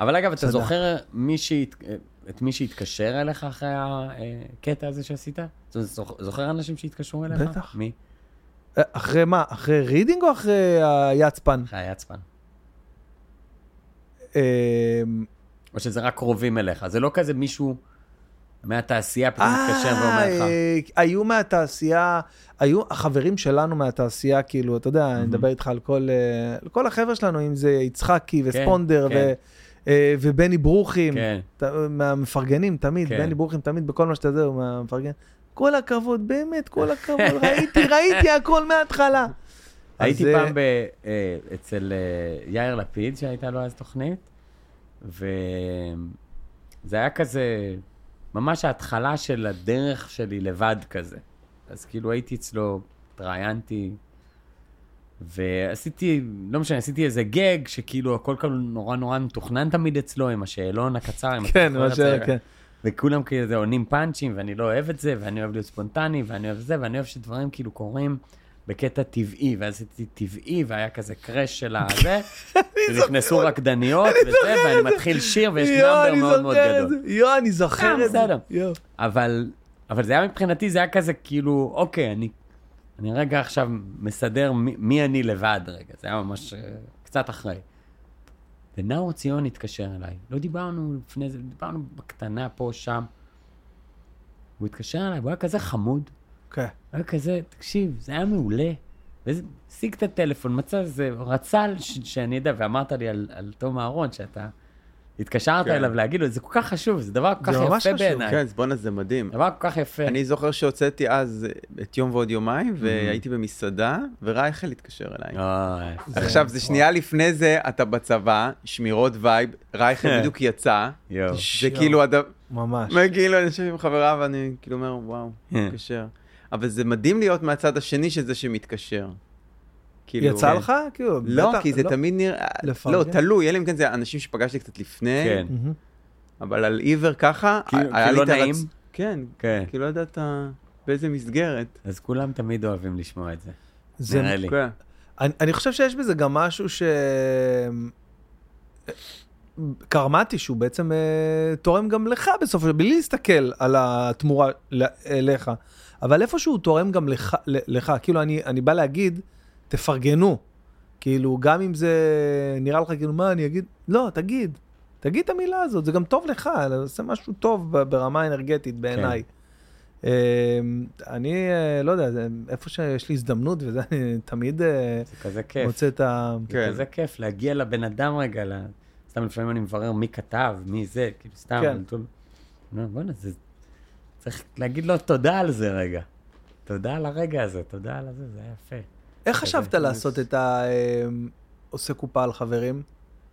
[SPEAKER 12] אבל אגב, אתה זוכר מי שהת- את מי שהתקשר אליך אחרי הקטע הזה שעשית? זאת אומרת, זוכ- זוכר אנשים שהתקשרו אליך?
[SPEAKER 1] בטח.
[SPEAKER 12] מי?
[SPEAKER 1] אה, אחרי מה? אחרי רידינג או אחרי היצפן?
[SPEAKER 12] אחרי היצפן.
[SPEAKER 1] אה,
[SPEAKER 12] או שזה רק קרובים אליך, זה לא כזה מישהו מהתעשייה פתאום מתקשר ואומר לך.
[SPEAKER 1] אה, היו מהתעשייה, היו החברים שלנו מהתעשייה, כאילו, אתה יודע,
[SPEAKER 12] Mm-hmm.
[SPEAKER 1] אני מדבר איתך על כל אה, על כל החבר'ה שלנו, אם זה יצחקי וספונדר
[SPEAKER 12] כן.
[SPEAKER 1] ו- אה, ובני ברוכים,
[SPEAKER 12] כן.
[SPEAKER 1] ת- מהמפרגנים תמיד,
[SPEAKER 12] כן.
[SPEAKER 1] בני ברוכים תמיד, בכל מה שאתה יודע, הוא מהמפרגן. כל הכבוד, באמת, כל הכבוד, ראיתי, ראיתי הכל מההתחלה.
[SPEAKER 12] הייתי
[SPEAKER 1] אז, אה,
[SPEAKER 12] פעם ב, אה, אצל אה, יאיר לפיד, שהייתה לו אז תוכנית, וזה היה כזה, ממש ההתחלה של הדרך שלי לבד כזה. אז כאילו הייתי אצלו, התראיינתי, ועשיתי, לא משנה, עשיתי איזה גג, שכאילו הכל כאילו נורא נורא מתוכנן תמיד אצלו, עם השאלון הקצר, עם
[SPEAKER 1] כן,
[SPEAKER 12] התוכנן
[SPEAKER 1] מה
[SPEAKER 12] הזה.
[SPEAKER 1] ש- כן.
[SPEAKER 12] וכולם כזה עונים פאנצ'ים, ואני לא אוהב את זה, ואני אוהב להיות ספונטני, ואני אוהב זה, ואני אוהב שדברים כאילו קורים בקטע טבעי, ואז עשיתי טבעי, והיה כזה קראש של הזה, ונכנסו רקדניות, וזה, ואני מתחיל שיר, ויש
[SPEAKER 1] יואו,
[SPEAKER 12] נאמבר
[SPEAKER 1] אני
[SPEAKER 12] מאוד מאוד
[SPEAKER 1] זוכר את
[SPEAKER 12] גדול.
[SPEAKER 1] זה. יואו, אני זוכר
[SPEAKER 12] אה,
[SPEAKER 1] את זה.
[SPEAKER 12] בסדר.
[SPEAKER 1] יואו.
[SPEAKER 12] אבל, אבל זה היה מבחינתי, זה היה כזה כאילו, אוקיי, אני, אני רגע עכשיו מסדר מי, מי אני לבד רגע, זה היה ממש אה, קצת אחרי. ונאור ציון התקשר אליי, לא דיברנו לפני זה, דיברנו בקטנה פה, שם. הוא התקשר אליי, הוא היה כזה חמוד,
[SPEAKER 1] כן.
[SPEAKER 12] הוא היה כזה, תקשיב, זה היה מעולה. ואז השיג את הטלפון, מצא איזה, רצה ש- שאני אדע, ואמרת לי על, על תום אהרון, שאתה התקשרת
[SPEAKER 3] כן.
[SPEAKER 12] אליו להגיד לו, זה כל כך חשוב, זה דבר כל כך
[SPEAKER 1] זה ממש
[SPEAKER 12] יפה
[SPEAKER 1] חשוב,
[SPEAKER 12] בעיניי.
[SPEAKER 3] כן, אז בואנה, זה מדהים.
[SPEAKER 12] דבר כל כך יפה.
[SPEAKER 3] אני זוכר שהוצאתי אז את יום ועוד יומיים, והייתי במסעדה, ורייכל התקשר אליי.
[SPEAKER 12] אוי,
[SPEAKER 3] עכשיו, זה שנייה לפני זה, אתה בצבא, שמירות וייב, רייכל בדיוק יצא,
[SPEAKER 12] יואו.
[SPEAKER 3] זה כאילו הדבר...
[SPEAKER 1] ממש.
[SPEAKER 3] כאילו, אני יושב עם חברה ואני כאילו אומר, וואו,
[SPEAKER 12] כן.
[SPEAKER 1] כן.
[SPEAKER 3] מתקשר. אבל זה מדהים להיות מהצד השני של זה שמתקשר. כאילו-
[SPEAKER 1] יצא לך? כאילו,
[SPEAKER 3] לא,
[SPEAKER 1] בטח,
[SPEAKER 3] כי זה תמיד נראה...
[SPEAKER 1] לפרגן?
[SPEAKER 3] לא, תלוי, אלא אם כן זה אנשים שפגשתי קצת לפני,
[SPEAKER 12] כן,
[SPEAKER 1] מהמם.
[SPEAKER 3] אבל על עיוור ככה,
[SPEAKER 12] כאילו-
[SPEAKER 3] היה
[SPEAKER 12] כאילו
[SPEAKER 3] לי את
[SPEAKER 12] לא
[SPEAKER 3] הרצ-
[SPEAKER 12] נעים?
[SPEAKER 3] כן,
[SPEAKER 12] כן.
[SPEAKER 3] כי לא ידעת באיזה מסגרת.
[SPEAKER 12] אז כולם תמיד אוהבים לשמוע את זה.
[SPEAKER 1] זה-
[SPEAKER 12] נראה לי.
[SPEAKER 3] כן.
[SPEAKER 1] אני אני חושב שיש בזה גם משהו ש... קרמטי, שהוא בעצם אה, תורם גם לך בסוף, בלי להסתכל על התמורה ל- אליך, אבל איפשהו הוא תורם גם לך, ל- לך. כאילו, אני, אני בא להגיד, תפרגנו. כאילו, גם אם זה נראה לך, כאילו, מה, אני אגיד? לא, תגיד. תגיד את המילה הזאת, זה גם טוב לך, זה משהו טוב ב- ברמה האנרגטית בעיניי. אה, אני אה, לא יודע, זה- איפה שיש לי הזדמנות, וזה אני תמיד אה,
[SPEAKER 12] זה כזה כיף.
[SPEAKER 1] מוצא את ה...
[SPEAKER 3] כן.
[SPEAKER 12] זה כזה כיף להגיע לבן אדם רגע, ל- סתם לפעמים אני מברר מי כתב, מי זה, כאילו סתם.
[SPEAKER 1] כן.
[SPEAKER 12] אני טוב- לא, בוא'נה, זה... צריך להגיד לו תודה על זה רגע. תודה על הרגע הזה, תודה על הזה, זה היה יפה.
[SPEAKER 1] איך חשבת לעשות את ה... אה, עושה קופה על חברים?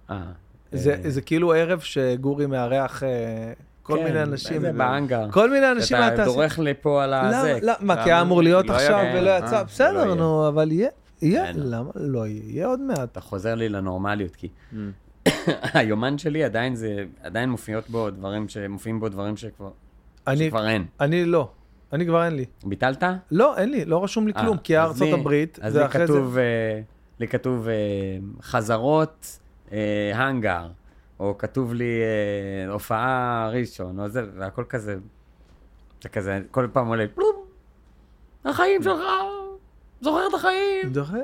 [SPEAKER 12] אה.
[SPEAKER 1] זה
[SPEAKER 12] אה,
[SPEAKER 1] זה כאילו ערב שגורי מארח אה, כל כל
[SPEAKER 12] כן,
[SPEAKER 1] מיני אנשים.
[SPEAKER 12] זה בהאנגר.
[SPEAKER 1] כל מיני אנשים
[SPEAKER 12] אתה כאילו,
[SPEAKER 1] מהתעשייה. לא.
[SPEAKER 12] דורך לפה על הזה.
[SPEAKER 1] למה, למה, מה,
[SPEAKER 3] למה?
[SPEAKER 1] כי היה אמור להיות
[SPEAKER 3] לא היה
[SPEAKER 1] עכשיו
[SPEAKER 3] אמור,
[SPEAKER 1] ולא
[SPEAKER 3] אה,
[SPEAKER 1] יצא?
[SPEAKER 3] לא
[SPEAKER 1] בסדר,
[SPEAKER 3] יהיה.
[SPEAKER 1] נו, אבל יהיה, יהיה,
[SPEAKER 12] אין.
[SPEAKER 1] למה לא יהיה? יהיה עוד מעט.
[SPEAKER 12] אתה חוזר לי לנורמליות, כי
[SPEAKER 1] Mm.
[SPEAKER 12] היומן שלי עדיין זה, עדיין מופיעות בו דברים שמופיעים בו דברים שכבר
[SPEAKER 1] אני-
[SPEAKER 12] שכבר אין.
[SPEAKER 1] אני לא, אני כבר אין לי.
[SPEAKER 12] ביטלת?
[SPEAKER 1] לא, אין לי, לא רשום לי כלום,
[SPEAKER 12] אה,
[SPEAKER 1] כי היה
[SPEAKER 12] אז
[SPEAKER 1] ארצות
[SPEAKER 12] לי-
[SPEAKER 1] הברית,
[SPEAKER 12] אז
[SPEAKER 1] זה
[SPEAKER 12] לי
[SPEAKER 1] אחרי זה.
[SPEAKER 12] כתוב, אה, לי כתוב אה, חזרות אה, האנגר, או כתוב לי אה, הופעה ראשון, או זה, והכל כזה, זה כזה, כל פעם עולה, פלום, החיים שלך, זוכר את החיים,
[SPEAKER 1] דוחה?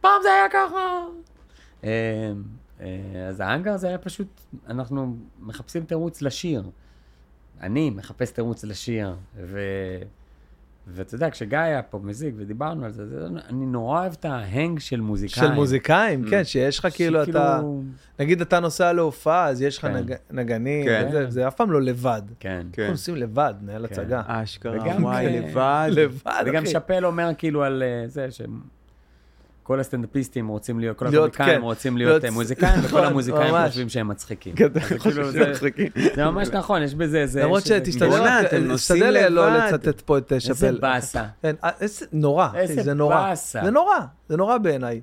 [SPEAKER 12] פעם זה היה ככה. אה, אה, אז ההאנגר זה היה פשוט, אנחנו מחפשים תירוץ לשיר. אני מחפש תירוץ לשיר, ו... ואתה יודע, כשגיא היה פה מזיק ודיברנו על זה, זה, אני נורא אוהב את ההנג של מוזיקאים.
[SPEAKER 1] של מוזיקאים,
[SPEAKER 12] Mm.
[SPEAKER 1] כן, שיש לך כאילו,
[SPEAKER 12] שכאילו-
[SPEAKER 1] אתה, נגיד אתה נוסע להופעה, אז יש לך
[SPEAKER 12] כן.
[SPEAKER 1] נג- נגנים,
[SPEAKER 3] כן.
[SPEAKER 1] וזה, זה אף פעם לא לבד.
[SPEAKER 12] כן.
[SPEAKER 1] אנחנו עושים לבד, מנהל
[SPEAKER 12] כן.
[SPEAKER 1] הצגה.
[SPEAKER 3] אשכרה,
[SPEAKER 12] וגם
[SPEAKER 3] וואי,
[SPEAKER 12] כן.
[SPEAKER 3] לבד.
[SPEAKER 1] לבד,
[SPEAKER 12] וגם
[SPEAKER 1] אחי.
[SPEAKER 12] שאפל אומר כאילו על אה, זה שהם... כל הסטנדאפיסטים רוצים להיות, כל
[SPEAKER 1] להיות,
[SPEAKER 12] המוזיקאים
[SPEAKER 1] כן.
[SPEAKER 12] רוצים להיות
[SPEAKER 1] להיות-
[SPEAKER 12] אה, מוזיקאים, וכל
[SPEAKER 1] נכון,
[SPEAKER 12] המוזיקאים
[SPEAKER 1] ממש.
[SPEAKER 12] חושבים שהם מצחיקים.
[SPEAKER 3] כן,
[SPEAKER 12] אז זה כאילו,
[SPEAKER 3] שהם
[SPEAKER 12] זה-
[SPEAKER 3] מצחיקים.
[SPEAKER 12] זה ממש נכון, יש בזה איזה...
[SPEAKER 1] למרות
[SPEAKER 12] שזה-
[SPEAKER 1] שתשתדל
[SPEAKER 3] בואנה, אתם
[SPEAKER 1] רק-
[SPEAKER 3] נוסעים
[SPEAKER 1] תשתדל לא
[SPEAKER 3] לבד.
[SPEAKER 1] לצטט פה את אה, שאפל.
[SPEAKER 12] איזה באסה.
[SPEAKER 1] כן, אה, איזה נורא, אחי,
[SPEAKER 12] איזה
[SPEAKER 1] זה נורא.
[SPEAKER 12] באסה.
[SPEAKER 1] זה נורא, זה נורא בעיניי.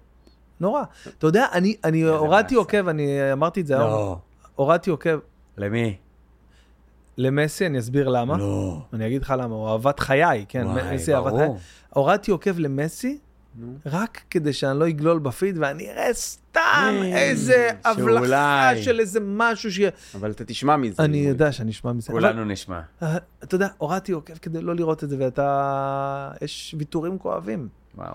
[SPEAKER 1] נורא. אתה יודע, אני- אני הורדתי
[SPEAKER 12] באסה.
[SPEAKER 1] עוקב, אני אמרתי את זה, היום.
[SPEAKER 12] לא.
[SPEAKER 1] הורדתי עוקב
[SPEAKER 12] למי?
[SPEAKER 1] למסי, אני אסביר למה.
[SPEAKER 12] לא.
[SPEAKER 1] אני אגיד לך למה, הוא אהבת חיי, כן,
[SPEAKER 12] וואי,
[SPEAKER 1] מסי אהבת חיי.
[SPEAKER 12] ברור.
[SPEAKER 1] הורדתי עוקב למסי, רק כדי שאני לא אגלול בפיד ואני אראה סתם איזה הבלחה
[SPEAKER 12] שאולי.
[SPEAKER 1] של איזה משהו ש...
[SPEAKER 3] אבל אתה תשמע מזה.
[SPEAKER 1] אני יודע שאני אשמע מזה. אבל-
[SPEAKER 2] לא.
[SPEAKER 12] כולנו נשמע.
[SPEAKER 1] אה, אתה יודע, הורדתי עוקב כדי לא לראות את זה, ואתה... יש ויתורים כואבים.
[SPEAKER 12] וואו.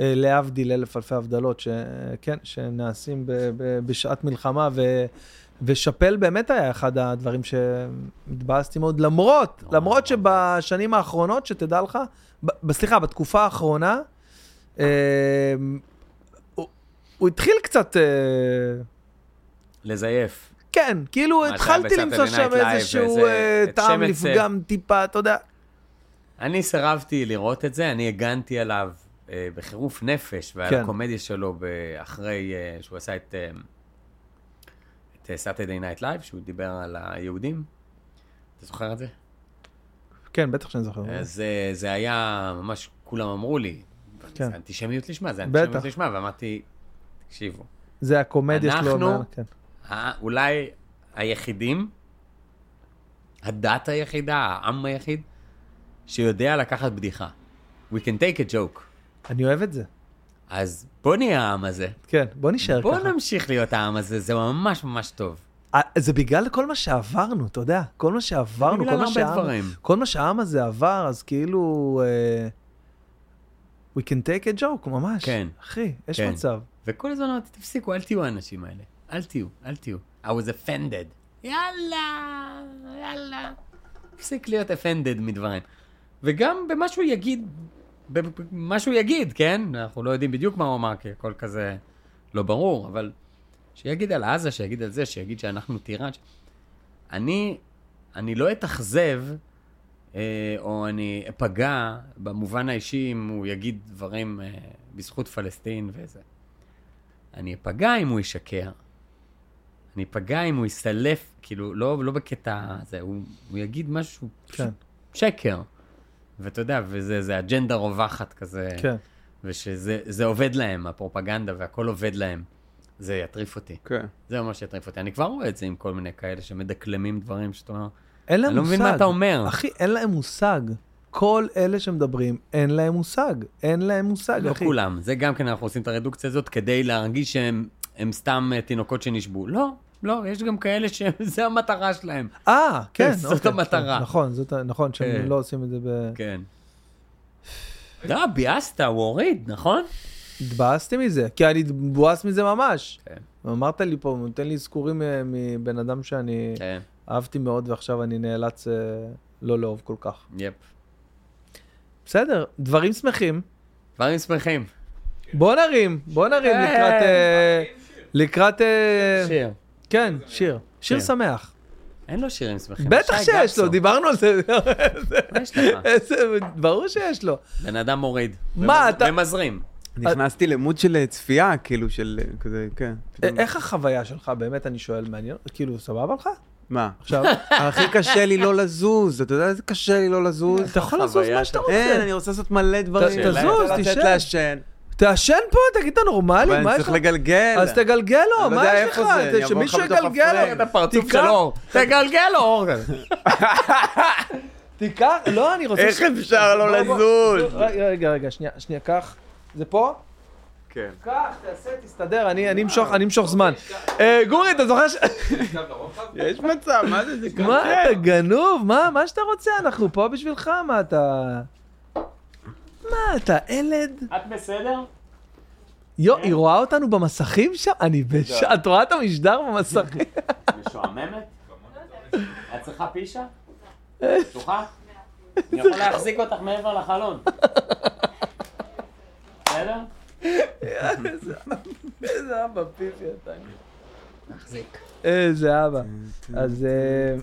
[SPEAKER 1] אה, להבדיל אלף אלפי הבדלות, שכן, שנעשים ב, ב, בשעת מלחמה, ו, ושאפל באמת היה אחד הדברים שהתבאסתי מאוד, למרות,
[SPEAKER 12] נורא,
[SPEAKER 1] למרות
[SPEAKER 12] נורא.
[SPEAKER 1] שבשנים האחרונות, שתדע לך, ב, ב- סליחה, בתקופה האחרונה, אה, הוא, הוא התחיל קצת, אה,
[SPEAKER 12] לזייף.
[SPEAKER 1] כן, כאילו
[SPEAKER 12] שהיה
[SPEAKER 1] התחלתי
[SPEAKER 12] בסאטרדי
[SPEAKER 1] למצוא
[SPEAKER 12] נייט
[SPEAKER 1] שם
[SPEAKER 12] לייב,
[SPEAKER 1] איזשהו
[SPEAKER 12] איזה-
[SPEAKER 1] אה,
[SPEAKER 12] את
[SPEAKER 1] טעם
[SPEAKER 12] שמץ, אה,
[SPEAKER 1] לפגם טיפה, אתה יודע.
[SPEAKER 12] אני סירבתי לראות את זה, אני הגנתי עליו אה, בחירוף נפש, ועל
[SPEAKER 1] כן.
[SPEAKER 12] הקומדיה שלו ב- אחרי אה, שהוא עשה את... אה, את אה, סאטרדי נייט לייב, שהוא דיבר על היהודים. אתה זוכר את זה?
[SPEAKER 1] כן, בטח שאני זוכר.
[SPEAKER 12] אז אה, זה היה ממש, כולם אמרו לי,
[SPEAKER 1] כן.
[SPEAKER 12] זה אנטישמיות לשמה, זה
[SPEAKER 1] בטח.
[SPEAKER 12] אנטישמיות לשמה, ואמרתי, תקשיבו,
[SPEAKER 1] זה הקומדיה שלו.
[SPEAKER 12] אנחנו-
[SPEAKER 1] אומר, כן.
[SPEAKER 12] ה- אולי היחידים, הדת היחידה, העם היחיד, שיודע לקחת בדיחה. We can take a joke.
[SPEAKER 1] אני אוהב את זה.
[SPEAKER 12] אז בוא נהיה העם הזה.
[SPEAKER 1] כן, בוא נישאר
[SPEAKER 12] בוא
[SPEAKER 1] ככה.
[SPEAKER 12] נמשיך להיות העם הזה, זה ממש ממש טוב.
[SPEAKER 1] אה, זה בגלל כל מה שעברנו, אתה יודע, כל מה שעברנו, כל
[SPEAKER 12] בגלל
[SPEAKER 1] מה,
[SPEAKER 12] הרבה
[SPEAKER 1] שהעם,
[SPEAKER 12] דברים.
[SPEAKER 1] כל מה שהעם הזה עבר, אז כאילו, אה, we can take a joke, ממש.
[SPEAKER 12] כן.
[SPEAKER 1] אחי, יש
[SPEAKER 12] כן.
[SPEAKER 1] מצב.
[SPEAKER 12] וכל הזמן אמרתי, תפסיקו, אל תהיו האנשים האלה. אל תהיו, אל תהיו. I was offended. יאללה, יאללה. תפסיק להיות offended מדברים. וגם במה שהוא יגיד, במה שהוא יגיד, כן? אנחנו לא יודעים בדיוק מה הוא אמר, כי הכל כזה לא ברור, אבל שיגיד על עזה, שיגיד על זה, שיגיד שאנחנו טיראן. ש- אני, אני לא אתאכזב, אה, או אני אפגע במובן האישי אם הוא יגיד דברים אה, בזכות פלסטין וזה. אני אפגע אם הוא ישקר. אני אפגע אם הוא יסלף, כאילו, לא, לא בקטע הזה, הוא, הוא יגיד משהו שהוא פשוט
[SPEAKER 1] כן.
[SPEAKER 12] שקר. ואתה יודע, וזה זה אג'נדה רווחת כזה,
[SPEAKER 1] כן.
[SPEAKER 12] ושזה זה עובד להם, הפרופגנדה והכל עובד להם. זה יטריף אותי.
[SPEAKER 3] כן.
[SPEAKER 12] זה ממש יטריף אותי. אני כבר רואה את זה עם כל מיני כאלה שמדקלמים דברים שאתה אומר,
[SPEAKER 1] אין להם
[SPEAKER 12] אני לא
[SPEAKER 1] מושג.
[SPEAKER 12] מבין מה אתה אומר.
[SPEAKER 1] אחי, אין להם מושג. כל אלה שמדברים, אין להם מושג. אין להם מושג,
[SPEAKER 12] לא
[SPEAKER 1] אחי.
[SPEAKER 12] כולם, זה גם כן, אנחנו עושים את הרדוקציה הזאת כדי להרגיש שהם הם סתם אה, תינוקות שנשבו. לא, לא, יש גם כאלה שזה המטרה שלהם.
[SPEAKER 1] אה, כן.
[SPEAKER 12] זאת
[SPEAKER 1] אוקיי,
[SPEAKER 12] המטרה.
[SPEAKER 1] כן, נכון, זאת ה- נכון,
[SPEAKER 12] כן.
[SPEAKER 1] שהם לא עושים את זה ב...
[SPEAKER 12] כן. לא, ביאסת, הוא הוריד, נכון?
[SPEAKER 1] התבאסתי מזה, כי אני מבואס מזה ממש.
[SPEAKER 12] כן.
[SPEAKER 1] אמרת לי פה, נותן לי אזכורים אה, מבן אדם שאני...
[SPEAKER 12] כן,
[SPEAKER 1] אהבתי מאוד, ועכשיו אני נאלץ אה, לא לאהוב כל כך.
[SPEAKER 12] יפ.
[SPEAKER 1] בסדר, דברים שמחים.
[SPEAKER 3] כן.
[SPEAKER 12] דברים שמחים.
[SPEAKER 1] בוא נרים, בוא נרים
[SPEAKER 12] אה.
[SPEAKER 1] לקראת... אה, לקראת... אה,
[SPEAKER 12] שיר.
[SPEAKER 1] כן, שיר. שיר
[SPEAKER 12] כן.
[SPEAKER 1] שמח.
[SPEAKER 12] אין לו שירים שמחים.
[SPEAKER 1] בטח
[SPEAKER 12] שי
[SPEAKER 1] שיש
[SPEAKER 12] גפסו,
[SPEAKER 1] לו, דיברנו על זה.
[SPEAKER 12] מה יש לך?
[SPEAKER 1] איזה... ברור שיש לו.
[SPEAKER 12] בן אדם מוריד.
[SPEAKER 1] מה,
[SPEAKER 12] ומז-
[SPEAKER 1] אתה-
[SPEAKER 12] ומזרים.
[SPEAKER 3] נכנסתי למוד של אה, צפייה, כאילו של אה, כזה, כן.
[SPEAKER 1] אה, איך החוויה שלך, באמת, אני שואל, מעניין? כאילו, סבבה לך?
[SPEAKER 3] מה? עכשיו, הכי קשה לי לא לזוז, אתה יודע איזה קשה לי לא לזוז? אה?
[SPEAKER 1] אתה יכול לעשות מה שאתה רוצה.
[SPEAKER 3] אין, אני רוצה לעשות מלא דברים.
[SPEAKER 1] ת- תזוז,
[SPEAKER 3] אני רוצה
[SPEAKER 1] תשב.
[SPEAKER 3] לתת לעשן.
[SPEAKER 1] תעשן פה, תגיד, אתה
[SPEAKER 3] אבל
[SPEAKER 1] נורמלי, מה
[SPEAKER 3] אני
[SPEAKER 1] יש
[SPEAKER 3] צריך
[SPEAKER 1] לך?
[SPEAKER 3] לגלגל.
[SPEAKER 1] אז תגלגל לו,
[SPEAKER 3] אני לא
[SPEAKER 1] מה
[SPEAKER 3] יודע
[SPEAKER 1] יש
[SPEAKER 3] איפה
[SPEAKER 1] לך?
[SPEAKER 3] זה, אני אבוא
[SPEAKER 1] שמישהו
[SPEAKER 3] לך בתוך
[SPEAKER 1] יגלגל
[SPEAKER 3] הפריים.
[SPEAKER 1] לו. תיקח-
[SPEAKER 12] תגלגל לו אור.
[SPEAKER 1] תיקח, לא, אני רוצה...
[SPEAKER 3] איך
[SPEAKER 1] ש-
[SPEAKER 3] אפשר לא
[SPEAKER 1] בוא, בוא,
[SPEAKER 3] לזוז?
[SPEAKER 1] רגע, רגע, רגע, שנייה, שנייה, קח. זה פה?
[SPEAKER 3] כן.
[SPEAKER 1] קח, תעשה, תסתדר, אני אני אמשוך אני אמשוך זמן. אה, גורי, אתה זוכר ש...
[SPEAKER 3] יש מצב, מה זה? זה
[SPEAKER 1] מה, אתה גנוב? מה, מה שאתה רוצה, אנחנו פה בשבילך, מה אתה... מה, אתה ילד?
[SPEAKER 12] את בסדר?
[SPEAKER 1] יו, היא רואה אותנו במסכים שם? אני בש... את רואה את המשדר במסכים?
[SPEAKER 12] משועממת? את צריכה פישה? בטוחה? אני יכול להחזיק אותך מעבר לחלון. בסדר?
[SPEAKER 1] איזה אבא פיפי אתה. כן, מחזיק. איזה אבא. אז... אה,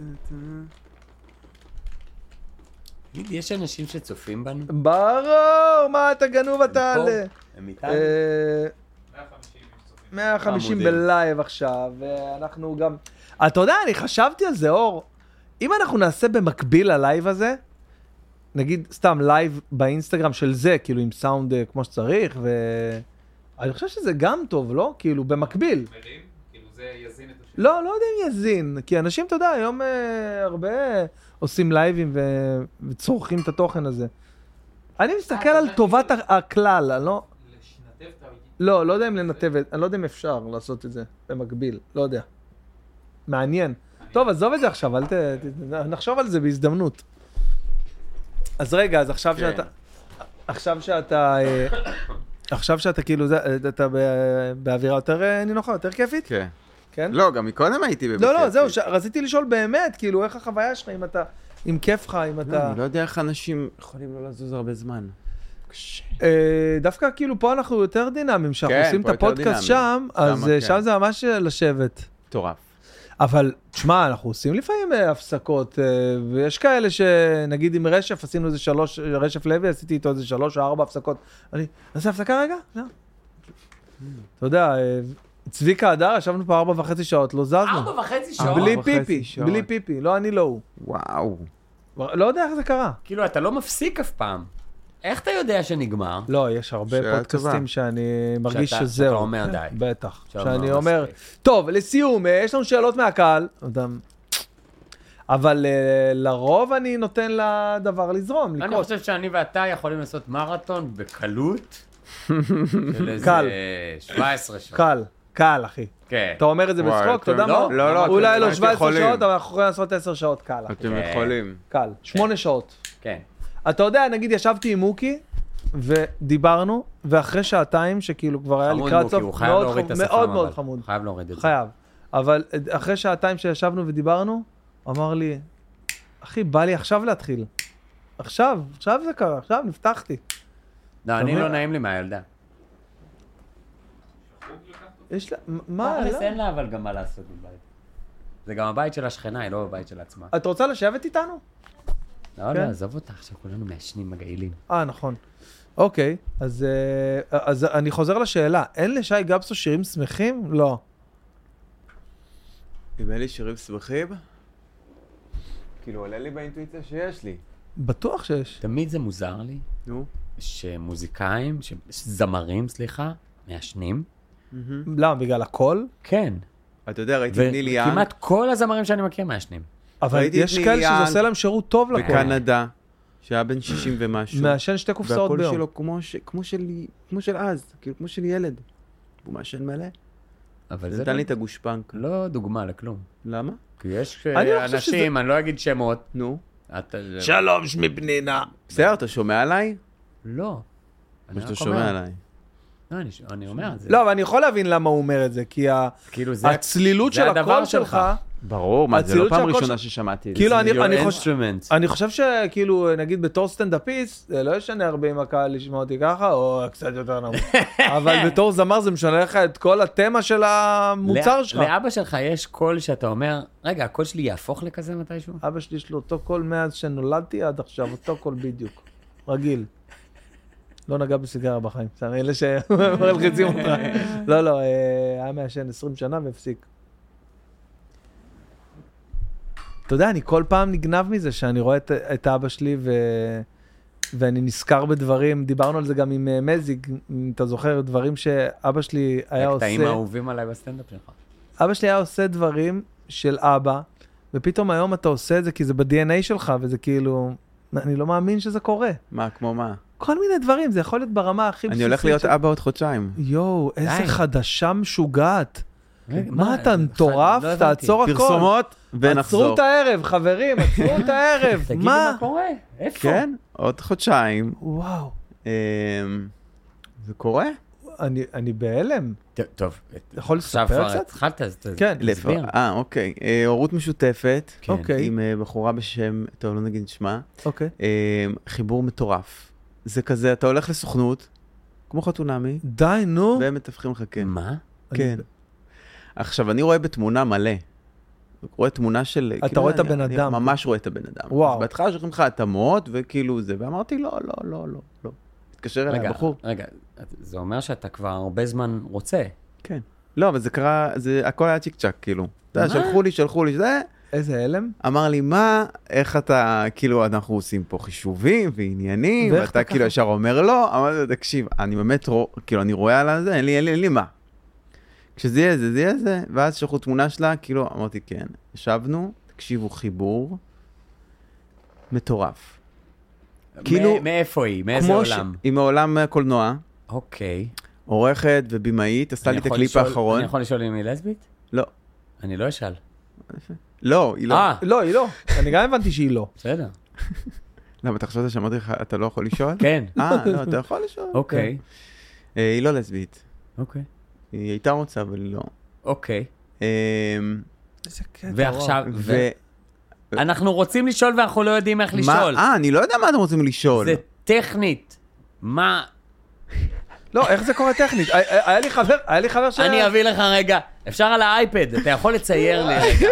[SPEAKER 12] תגיד, יש אנשים שצופים בנו?
[SPEAKER 1] ברור, מה אתה גנוב אתה
[SPEAKER 12] פה?
[SPEAKER 1] על...
[SPEAKER 12] הם איתנו?
[SPEAKER 1] אה, 150 בלייב עכשיו, ואנחנו גם... אתה יודע, אני חשבתי על זה, אור. אם אנחנו נעשה במקביל ללייב הזה, נגיד סתם לייב באינסטגרם של זה, כאילו עם סאונד אה, כמו שצריך, ו... אני חושב שזה גם טוב, לא? כאילו, במקביל.
[SPEAKER 9] מרים, כאילו זה יזין את השני.
[SPEAKER 1] לא, לא יודע אם יזין, כי אנשים, אתה יודע, היום אה, הרבה עושים לייבים ו... וצורכים את התוכן הזה. אני מסתכל על טובת ה- הכלל, אני לא...
[SPEAKER 9] לשנתב את ה...
[SPEAKER 1] לא, לא יודע אם לנתב את, אני לא יודע אם אפשר לעשות את זה במקביל, לא יודע. מעניין. טוב, עזוב את זה עכשיו, אל ת... ת- נחשוב על זה בהזדמנות. אז רגע, אז עכשיו שאתה... עכשיו שאתה... אה, עכשיו שאתה כאילו, זה- אה, אתה ב- באווירה יותר אה, נינוחה, יותר כיפית?
[SPEAKER 3] כן.
[SPEAKER 1] כן?
[SPEAKER 3] לא, גם מקודם הייתי בבית
[SPEAKER 1] לא, לא,
[SPEAKER 3] כיף.
[SPEAKER 1] זהו, ש- רציתי לשאול באמת, כאילו, איך החוויה שלך, אם אתה... אם כיף לך, אם
[SPEAKER 3] לא, לא.
[SPEAKER 1] אתה...
[SPEAKER 3] אני לא יודע איך אנשים יכולים לא לזוז הרבה זמן.
[SPEAKER 1] אה, דווקא כאילו פה אנחנו יותר דינאמיים, שאנחנו
[SPEAKER 3] כן,
[SPEAKER 1] עושים את
[SPEAKER 3] פה יותר
[SPEAKER 1] הפודקאסט שם,
[SPEAKER 3] דינאמיים.
[SPEAKER 1] אז
[SPEAKER 3] שמה,
[SPEAKER 1] אה,
[SPEAKER 3] כן.
[SPEAKER 1] שם זה ממש אה, לשבת.
[SPEAKER 3] מטורף.
[SPEAKER 1] אבל תשמע, אנחנו עושים לפעמים אה, הפסקות, אה, ויש כאלה שנגיד עם רשף, עשינו איזה שלוש, רשף לוי, עשיתי איתו איזה שלוש או ארבע הפסקות. אני, נעשה הפסקה רגע? לא. אתה יודע, אה, צביקה הדר, ישבנו פה ארבע וחצי שעות, לא זזנו.
[SPEAKER 12] ארבע וחצי שעות?
[SPEAKER 1] בלי
[SPEAKER 3] ארבע וחצי
[SPEAKER 1] פיפי,
[SPEAKER 3] שעות.
[SPEAKER 1] בלי פיפי, לא אני, לא הוא.
[SPEAKER 3] וואו.
[SPEAKER 1] לא יודע איך זה קרה.
[SPEAKER 12] כאילו, אתה לא מפסיק אף פעם. איך אתה יודע שנגמר?
[SPEAKER 1] לא, יש הרבה
[SPEAKER 3] שאלה
[SPEAKER 1] פודקאסטים
[SPEAKER 3] טובה.
[SPEAKER 1] שאני מרגיש
[SPEAKER 12] שאתה-
[SPEAKER 1] שזהו.
[SPEAKER 12] שאתה אומר די.
[SPEAKER 1] בטח.
[SPEAKER 12] שאתה אומר
[SPEAKER 1] שאני
[SPEAKER 12] מספיק.
[SPEAKER 1] אומר, טוב, לסיום, אה, יש לנו שאלות מהקהל. אדם- אבל אה, לרוב אני נותן לדבר לזרום,
[SPEAKER 12] אני
[SPEAKER 1] לקרות.
[SPEAKER 12] חושב שאני ואתה יכולים לעשות מרתון בקלות. של איזה
[SPEAKER 1] קל.
[SPEAKER 12] 17 שעות.
[SPEAKER 1] קל, קל, אחי.
[SPEAKER 12] כן.
[SPEAKER 1] אתה אומר את זה
[SPEAKER 3] וואי,
[SPEAKER 1] בצחוק, אתה יודע
[SPEAKER 3] אתם-
[SPEAKER 1] מה?
[SPEAKER 3] לא, לא, לא,
[SPEAKER 1] אולי
[SPEAKER 3] אתם
[SPEAKER 1] לא
[SPEAKER 3] באמת
[SPEAKER 1] 17
[SPEAKER 3] יכולים.
[SPEAKER 1] שעות, אבל אנחנו יכולים לעשות 10 שעות, קל, אחי.
[SPEAKER 3] אתם
[SPEAKER 12] כן.
[SPEAKER 3] יכולים.
[SPEAKER 1] קל. 8 שעות.
[SPEAKER 12] כן.
[SPEAKER 1] אתה יודע, נגיד ישבתי עם מוקי, ודיברנו, ואחרי שעתיים, שכאילו כבר היה
[SPEAKER 12] חמוד
[SPEAKER 1] לקראת
[SPEAKER 12] מוקי,
[SPEAKER 1] סוף,
[SPEAKER 12] הוא חייב
[SPEAKER 1] מאוד
[SPEAKER 12] להוריד את
[SPEAKER 1] חמוד,
[SPEAKER 12] השפם.
[SPEAKER 1] מאוד מאוד
[SPEAKER 12] אבל.
[SPEAKER 1] חמוד.
[SPEAKER 12] הוא חייב להוריד את זה.
[SPEAKER 1] חייב. אבל אה, אחרי שעתיים שישבנו ודיברנו, הוא אמר לי, אחי, בא לי עכשיו להתחיל. עכשיו, עכשיו זה קרה, עכשיו נפתחתי.
[SPEAKER 12] לא, אני
[SPEAKER 1] אומר?
[SPEAKER 12] לא נעים לי מהילדה.
[SPEAKER 1] יש לה, מה,
[SPEAKER 12] תכלס,
[SPEAKER 1] לא?
[SPEAKER 12] אין לה אבל גם מה לעשות בבית. זה גם הבית של השכנה, היא לא בבית של עצמה.
[SPEAKER 1] את רוצה לשבת איתנו?
[SPEAKER 12] לא,
[SPEAKER 1] כן.
[SPEAKER 12] לא, עזוב אותה, עכשיו כולנו מעשנים מגעילים.
[SPEAKER 1] אה, נכון. אוקיי, אז, אה, אז אני חוזר לשאלה, אין לשי גבסו שירים שמחים? לא.
[SPEAKER 3] אם אין לי שירים שמחים, כאילו עולה לי באינטואיציה שיש לי.
[SPEAKER 1] בטוח שיש.
[SPEAKER 12] תמיד זה מוזר לי
[SPEAKER 3] נו.
[SPEAKER 12] שמוזיקאים, ש- זמרים, סליחה, מעשנים.
[SPEAKER 3] Mm-hmm.
[SPEAKER 1] למה, בגלל הקול?
[SPEAKER 12] כן.
[SPEAKER 3] אתה יודע, ראיתי את ניל יאנג
[SPEAKER 12] וכמעט כל הזמרים שאני מכיר מעשנים.
[SPEAKER 1] אבל
[SPEAKER 3] ראיתי את
[SPEAKER 1] יש
[SPEAKER 3] ניל
[SPEAKER 1] כאלה שזה
[SPEAKER 3] יאנג
[SPEAKER 1] עושה להם שירות טוב
[SPEAKER 3] לא.
[SPEAKER 1] לקול.
[SPEAKER 3] בקנדה, שהיה בן 60 ומשהו.
[SPEAKER 1] מעשן שתי קופסאות
[SPEAKER 3] והקול
[SPEAKER 1] ביום.
[SPEAKER 3] שלו כמו ש- כמו שלי- כמו של אז, כאילו כמו של ילד. הוא מעשן מלא.
[SPEAKER 12] אבל
[SPEAKER 3] זה
[SPEAKER 12] זה
[SPEAKER 3] נתן
[SPEAKER 12] לא-
[SPEAKER 3] לי את הגושפנק.
[SPEAKER 12] לא דוגמה לכלום.
[SPEAKER 3] למה?
[SPEAKER 12] כי יש
[SPEAKER 1] אני לא
[SPEAKER 12] אה,
[SPEAKER 1] חושב
[SPEAKER 12] אנשים, אני לא אגיד שמות. אה,
[SPEAKER 3] נו.
[SPEAKER 12] אתה-
[SPEAKER 1] שלום, שמי פנינה.
[SPEAKER 3] בסדר, אתה שומע עליי?
[SPEAKER 12] לא.
[SPEAKER 3] או
[SPEAKER 12] אני
[SPEAKER 3] שאתה
[SPEAKER 12] רק
[SPEAKER 3] שומע
[SPEAKER 12] אומר.
[SPEAKER 3] עליי?
[SPEAKER 12] לא, אני ש- אני אומר, זה
[SPEAKER 1] לא, אבל אני יכול להבין למה הוא אומר את זה, כי ה-
[SPEAKER 12] כאילו זה...
[SPEAKER 1] הצלילות
[SPEAKER 12] זה
[SPEAKER 1] של
[SPEAKER 12] הדבר
[SPEAKER 1] הקול
[SPEAKER 12] שלך.
[SPEAKER 1] שלך,
[SPEAKER 3] ברור, מה, זה לא
[SPEAKER 1] הצלילות של
[SPEAKER 3] פעם
[SPEAKER 1] הקול
[SPEAKER 3] ראשונה ששמעתי את זה.
[SPEAKER 1] כאילו, אני-
[SPEAKER 12] your
[SPEAKER 1] אני חושב...
[SPEAKER 12] instrument.
[SPEAKER 1] אני חושב שכאילו, נגיד בתור סטנדאפיסט, זה לא ישנה הרבה אם הקהל ישמע אותי ככה, או קצת יותר נמוך. אבל בתור זמר זה משנה לך את כל התמה של המוצר
[SPEAKER 12] לא-
[SPEAKER 1] שלך.
[SPEAKER 12] לאבא שלך יש קול שאתה אומר, רגע, הקול שלי יהפוך לכזה מתישהו?
[SPEAKER 1] אבא שלי יש לו אותו קול מאז שנולדתי עד עכשיו, אותו קול בדיוק. רגיל. לא נגע בסיגריה בחיים, בסדר, אלה שמלחיצים אותך. לא, לא, אה, היה מעשן 20 שנה והפסיק. אתה יודע, אני כל פעם נגנב מזה שאני רואה את, את אבא שלי ו... ואני נזכר בדברים, דיברנו על זה גם עם אה, מזיג, אם אתה זוכר, דברים שאבא שלי היה עושה.
[SPEAKER 2] הקטעים האהובים עליי בסטנדאפ שלך.
[SPEAKER 1] אבא שלי היה עושה דברים של אבא, ופתאום היום אתה עושה את זה כי זה ב-DNA שלך, וזה כאילו, אני לא מאמין שזה קורה.
[SPEAKER 3] מה, כמו מה?
[SPEAKER 1] כל מיני דברים, זה יכול להיות ברמה הכי בסיסית.
[SPEAKER 3] אני הולך להיות
[SPEAKER 1] של-
[SPEAKER 3] אבא עוד חודשיים.
[SPEAKER 1] יואו, איזה
[SPEAKER 2] די.
[SPEAKER 1] חדשה משוגעת.
[SPEAKER 2] רגע,
[SPEAKER 1] מה אתה
[SPEAKER 2] אני-
[SPEAKER 1] מטורף?
[SPEAKER 2] לא הבנתי.
[SPEAKER 1] תעצור הכל.
[SPEAKER 3] פרסומות
[SPEAKER 1] עצרו
[SPEAKER 3] ונחזור.
[SPEAKER 1] את הערב, חברים, עצרו את הערב.
[SPEAKER 2] תגידו מה
[SPEAKER 1] מה?
[SPEAKER 2] קורה, איפה?
[SPEAKER 3] כן, עוד חודשיים.
[SPEAKER 1] וואו,
[SPEAKER 3] אמ, זה קורה?
[SPEAKER 1] אני- אני בהלם.
[SPEAKER 2] ט- טוב,
[SPEAKER 1] אתה יכול
[SPEAKER 2] עכשיו
[SPEAKER 1] לספר
[SPEAKER 2] כבר
[SPEAKER 1] קצת?
[SPEAKER 2] התחלת, אז ת-
[SPEAKER 1] כן.
[SPEAKER 2] תסביר.
[SPEAKER 3] לפ- אה, אוקיי. אה, הורות משותפת.
[SPEAKER 2] כן.
[SPEAKER 1] אוקיי.
[SPEAKER 3] עם אה, בחורה בשם, טוב, לא נגיד שמה.
[SPEAKER 1] אוקיי.
[SPEAKER 3] אה, חיבור מטורף. זה כזה, אתה הולך לסוכנות, כמו חתונמי,
[SPEAKER 1] די, נו.
[SPEAKER 3] והם מתווכים לך, כן.
[SPEAKER 2] מה?
[SPEAKER 3] כן. עכשיו, אני רואה בתמונה מלא. רואה תמונה של...
[SPEAKER 1] אתה
[SPEAKER 3] כאילו,
[SPEAKER 1] רואה את
[SPEAKER 3] אני-
[SPEAKER 1] הבן
[SPEAKER 3] אני
[SPEAKER 1] אדם.
[SPEAKER 3] ממש רואה את הבן אדם.
[SPEAKER 1] וואו.
[SPEAKER 3] אז בהתחלה שולחים לך התאמות, וכאילו זה, ואמרתי, לא, לא, לא, לא, לא. התקשר אליי
[SPEAKER 2] רגע,
[SPEAKER 3] הבחור.
[SPEAKER 2] רגע, זה אומר שאתה כבר הרבה זמן רוצה.
[SPEAKER 3] כן. לא, אבל זה קרה, זה הכל היה צ'יק צ'אק, כאילו. אתה יודע,
[SPEAKER 2] מה?
[SPEAKER 3] שלחו לי, שלחו לי, זה,
[SPEAKER 1] איזה הלם.
[SPEAKER 3] אמר לי, מה, איך אתה, כאילו, אנחנו עושים פה חישובים ועניינים,
[SPEAKER 1] ואיך
[SPEAKER 3] ואתה
[SPEAKER 1] אתה
[SPEAKER 3] כאילו ישר אומר לא, אמרתי לו, תקשיב, אני באמת, רוא, כאילו, אני רואה על הזה, אין לי, אין לי, אין לי מה. כשזה יהיה זה, זה יהיה זה, ואז שלחו תמונה שלה, כאילו, אמרתי, כן, ישבנו, תקשיבו, חיבור מטורף. כאילו-
[SPEAKER 2] מא- מאיפה היא? מאיזה
[SPEAKER 3] כמו ש-
[SPEAKER 2] עולם?
[SPEAKER 3] היא מעולם אה, קולנוע,
[SPEAKER 2] אוקיי.
[SPEAKER 3] עורכת ובימאית, עשתה
[SPEAKER 2] אני
[SPEAKER 3] לי את
[SPEAKER 2] יכול
[SPEAKER 3] הקליפ
[SPEAKER 2] לשאול-
[SPEAKER 3] האחרון.
[SPEAKER 2] אני יכול לשאול אם היא לסבית?
[SPEAKER 3] לא.
[SPEAKER 2] אני לא אשאל.
[SPEAKER 3] לא, היא לא. כן.
[SPEAKER 2] אה,
[SPEAKER 1] לא, היא לא. אני גם הבנתי שהיא לא.
[SPEAKER 2] בסדר.
[SPEAKER 3] למה, אתה חשבת שאמרתי לך, אתה לא יכול לשאול?
[SPEAKER 2] כן.
[SPEAKER 3] אה, לא, אתה יכול לשאול.
[SPEAKER 2] אוקיי.
[SPEAKER 3] אה, היא לא לסבית.
[SPEAKER 2] אוקיי.
[SPEAKER 3] היא הייתה רוצה, אבל היא לא.
[SPEAKER 2] אוקיי.
[SPEAKER 3] אמ,
[SPEAKER 1] איזה קטע.
[SPEAKER 2] ועכשיו,
[SPEAKER 3] ו...
[SPEAKER 2] אנחנו רוצים לשאול ואנחנו לא יודעים איך לשאול.
[SPEAKER 3] מה? אה, אני לא יודע מה אתם רוצים לשאול.
[SPEAKER 2] זה טכנית. מה?
[SPEAKER 1] לא, איך זה קורה טכנית? היה- היה לי חבר, היה לי חבר ש...
[SPEAKER 2] אני אביא לך רגע. אפשר על האייפד, אתה יכול לצייר לי רגע.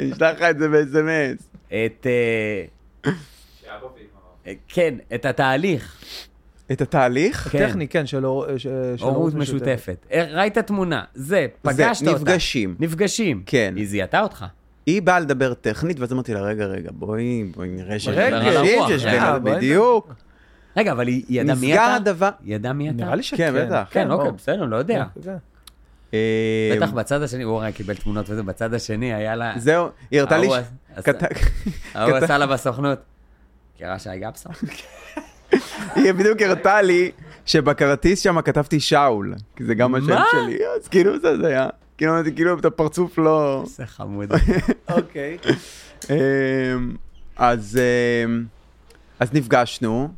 [SPEAKER 3] אני אשלח לך את זה ב-SMS.
[SPEAKER 2] את... אה, אה, כן, את התהליך.
[SPEAKER 3] את התהליך?
[SPEAKER 2] כן.
[SPEAKER 1] טכני, כן, של הור- ש- של
[SPEAKER 2] הורות משותפת. אה, ראית תמונה, זה, פגשת אותה.
[SPEAKER 3] נפגשים.
[SPEAKER 2] נפגשים.
[SPEAKER 3] כן.
[SPEAKER 2] היא זיהתה אותך.
[SPEAKER 3] היא באה לדבר טכנית, ואז אמרתי לה, רגע, רגע, בואי, בואי נראה ש...
[SPEAKER 2] רגע,
[SPEAKER 3] נפגשים, שיש
[SPEAKER 2] רגע,
[SPEAKER 3] בינינו,
[SPEAKER 1] בואי.
[SPEAKER 3] בדיוק.
[SPEAKER 2] רגע, אבל היא היא ידעה מי
[SPEAKER 3] נסגר
[SPEAKER 2] אתה?
[SPEAKER 3] הדבר.
[SPEAKER 2] היא ידעה מי אתה?
[SPEAKER 1] נראה לי שכן.
[SPEAKER 3] כן, בטח.
[SPEAKER 2] כן, אוקיי,
[SPEAKER 1] ברור.
[SPEAKER 2] בסדר, לא יודע.
[SPEAKER 1] כן.
[SPEAKER 3] אמ,
[SPEAKER 2] בטח בצד השני, הוא הרי קיבל תמונות וזה, בצד השני היה לה...
[SPEAKER 3] זהו, היא הראתה לי...
[SPEAKER 2] ההוא
[SPEAKER 3] ש-
[SPEAKER 2] עשה-
[SPEAKER 3] כת-
[SPEAKER 2] ההוא
[SPEAKER 3] כת-
[SPEAKER 2] עשה לה בסוכנות. מכירה שי גפסון?
[SPEAKER 3] היא בדיוק הראתה לי שבכרטיס שם כתבתי שאול, כי זה גם השם
[SPEAKER 2] מה?
[SPEAKER 3] שלי. אז כאילו זה זה היה. כאילו אמרתי, כאילו את הפרצוף לא...
[SPEAKER 2] זה חמוד.
[SPEAKER 1] אוקיי.
[SPEAKER 3] אמ, אז, אמ, אז נפגשנו,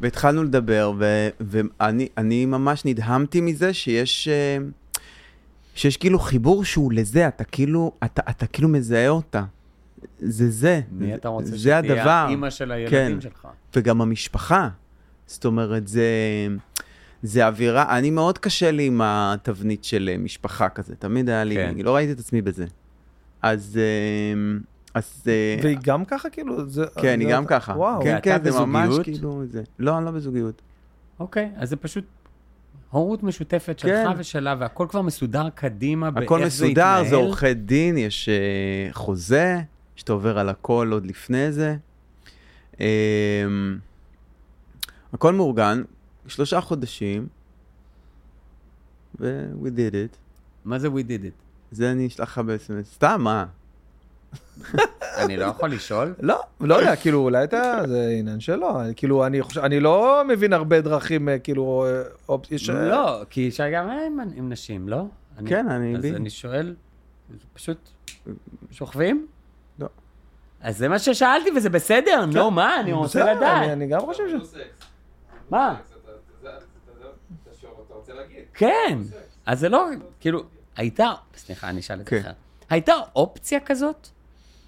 [SPEAKER 3] והתחלנו לדבר, ו, ואני אני ממש נדהמתי מזה שיש, אמ, שיש כאילו חיבור שהוא לזה, אתה כאילו, אתה, אתה כאילו מזהה אותה. זה זה,
[SPEAKER 2] מי אתה רוצה
[SPEAKER 3] זה הדבר,
[SPEAKER 2] אימא של
[SPEAKER 3] כן.
[SPEAKER 2] הילדים שלך?
[SPEAKER 3] וגם המשפחה. זאת אומרת, זה, זה אווירה, אני מאוד קשה לי עם התבנית של אה, משפחה כזה, תמיד היה לי,
[SPEAKER 2] כן.
[SPEAKER 3] כן. לא ראיתי את עצמי בזה. אז, אמ, אז אה,
[SPEAKER 1] והיא גם ככה, כאילו? זה-
[SPEAKER 3] כן, היא
[SPEAKER 1] זה-
[SPEAKER 3] גם ככה.
[SPEAKER 1] וואו.
[SPEAKER 3] כן,
[SPEAKER 2] ואתה
[SPEAKER 3] כן, זה ממש
[SPEAKER 2] בזוגיות?
[SPEAKER 3] כאילו... זה- לא, אני לא בזוגיות.
[SPEAKER 2] אוקיי, אז זה פשוט הורות משותפת שלך
[SPEAKER 3] כן.
[SPEAKER 2] ושלה, והכל כבר מסודר קדימה באיך זה
[SPEAKER 3] הכל מסודר,
[SPEAKER 2] יתנהל.
[SPEAKER 3] זה עורכי דין, יש אה, חוזה, שאתה עובר על הכל עוד לפני זה. אמ, הכל מאורגן, שלושה חודשים, ו-we did it.
[SPEAKER 2] מה זה we did it?
[SPEAKER 3] זה אני אשלח לך ב-SMS. סתם, מה?
[SPEAKER 2] אני לא יכול לשאול?
[SPEAKER 1] לא, לא יודע, כאילו, אולי אתה, זה עניין שלו. כאילו, אני חושב, אני לא מבין הרבה דרכים, אה, כאילו, אה, אופ- יש... אה,
[SPEAKER 2] לא, כי אישה גם עם- עם נשים, לא? אני-
[SPEAKER 3] כן, אני...
[SPEAKER 2] אז
[SPEAKER 3] בי.
[SPEAKER 2] אני שואל, זה פשוט שוכבים?
[SPEAKER 3] לא. כן.
[SPEAKER 2] אז זה מה ששאלתי וזה בסדר, נו, מה, אני רוצה
[SPEAKER 1] בסדר, אני-
[SPEAKER 2] לדעת.
[SPEAKER 1] אני גם חושב ש...
[SPEAKER 2] מה? כן. אז זה לא, כאילו, הייתה, סליחה, אני אשאל את זה
[SPEAKER 3] כן.
[SPEAKER 2] אחר. הייתה אופציה כזאת?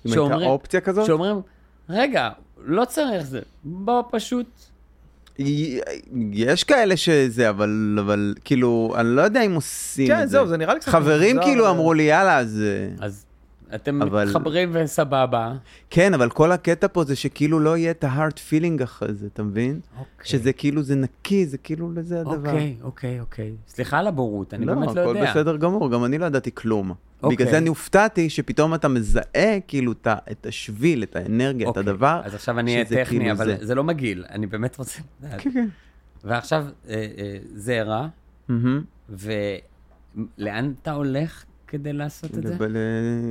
[SPEAKER 3] אם הייתה
[SPEAKER 2] שאומרים-
[SPEAKER 3] אופציה כזאת?
[SPEAKER 2] שאומרים, רגע, לא צריך זה, בוא פשוט...
[SPEAKER 3] יש כאלה שזה, אבל, אבל כאילו, אני לא יודע אם עושים
[SPEAKER 1] כן,
[SPEAKER 3] את זה.
[SPEAKER 1] זהו, זה נראה לי קצת...
[SPEAKER 3] חברים
[SPEAKER 1] מוזר,
[SPEAKER 3] כאילו
[SPEAKER 1] אה,
[SPEAKER 3] אמרו לי, יאללה, אז... אה,
[SPEAKER 2] אז אתם
[SPEAKER 3] אבל-
[SPEAKER 2] מתחברים וסבבה.
[SPEAKER 3] כן, אבל כל הקטע פה זה שכאילו לא יהיה את ה-hard feeling אחרי זה, אתה מבין? שזה כאילו, זה נקי, זה כאילו, זה הדבר.
[SPEAKER 2] אוקיי, אוקיי, אוקיי. סליחה אוקיי. על הבורות, אני באמת לא
[SPEAKER 3] הכל
[SPEAKER 2] יודע.
[SPEAKER 3] בסדר גמור, גם אני לא ידעתי כלום.
[SPEAKER 2] אוקיי.
[SPEAKER 3] בגלל זה אני הופתעתי שפתאום אתה מזהה כאילו את ה- את השביל, את האנרגיה, את
[SPEAKER 2] אוקיי,
[SPEAKER 3] הדבר.
[SPEAKER 2] אז עכשיו אני אהיה
[SPEAKER 3] שזה
[SPEAKER 2] טכני,
[SPEAKER 3] כאילו
[SPEAKER 2] אבל
[SPEAKER 3] זה.
[SPEAKER 2] זה לא מגעיל, אני באמת רוצה לדעת.
[SPEAKER 1] כן,
[SPEAKER 2] ועכשיו, אה, אה, זרע,
[SPEAKER 3] מהמם.
[SPEAKER 2] ולאן אתה הולך כדי לעשות את זה?
[SPEAKER 3] לב- ל-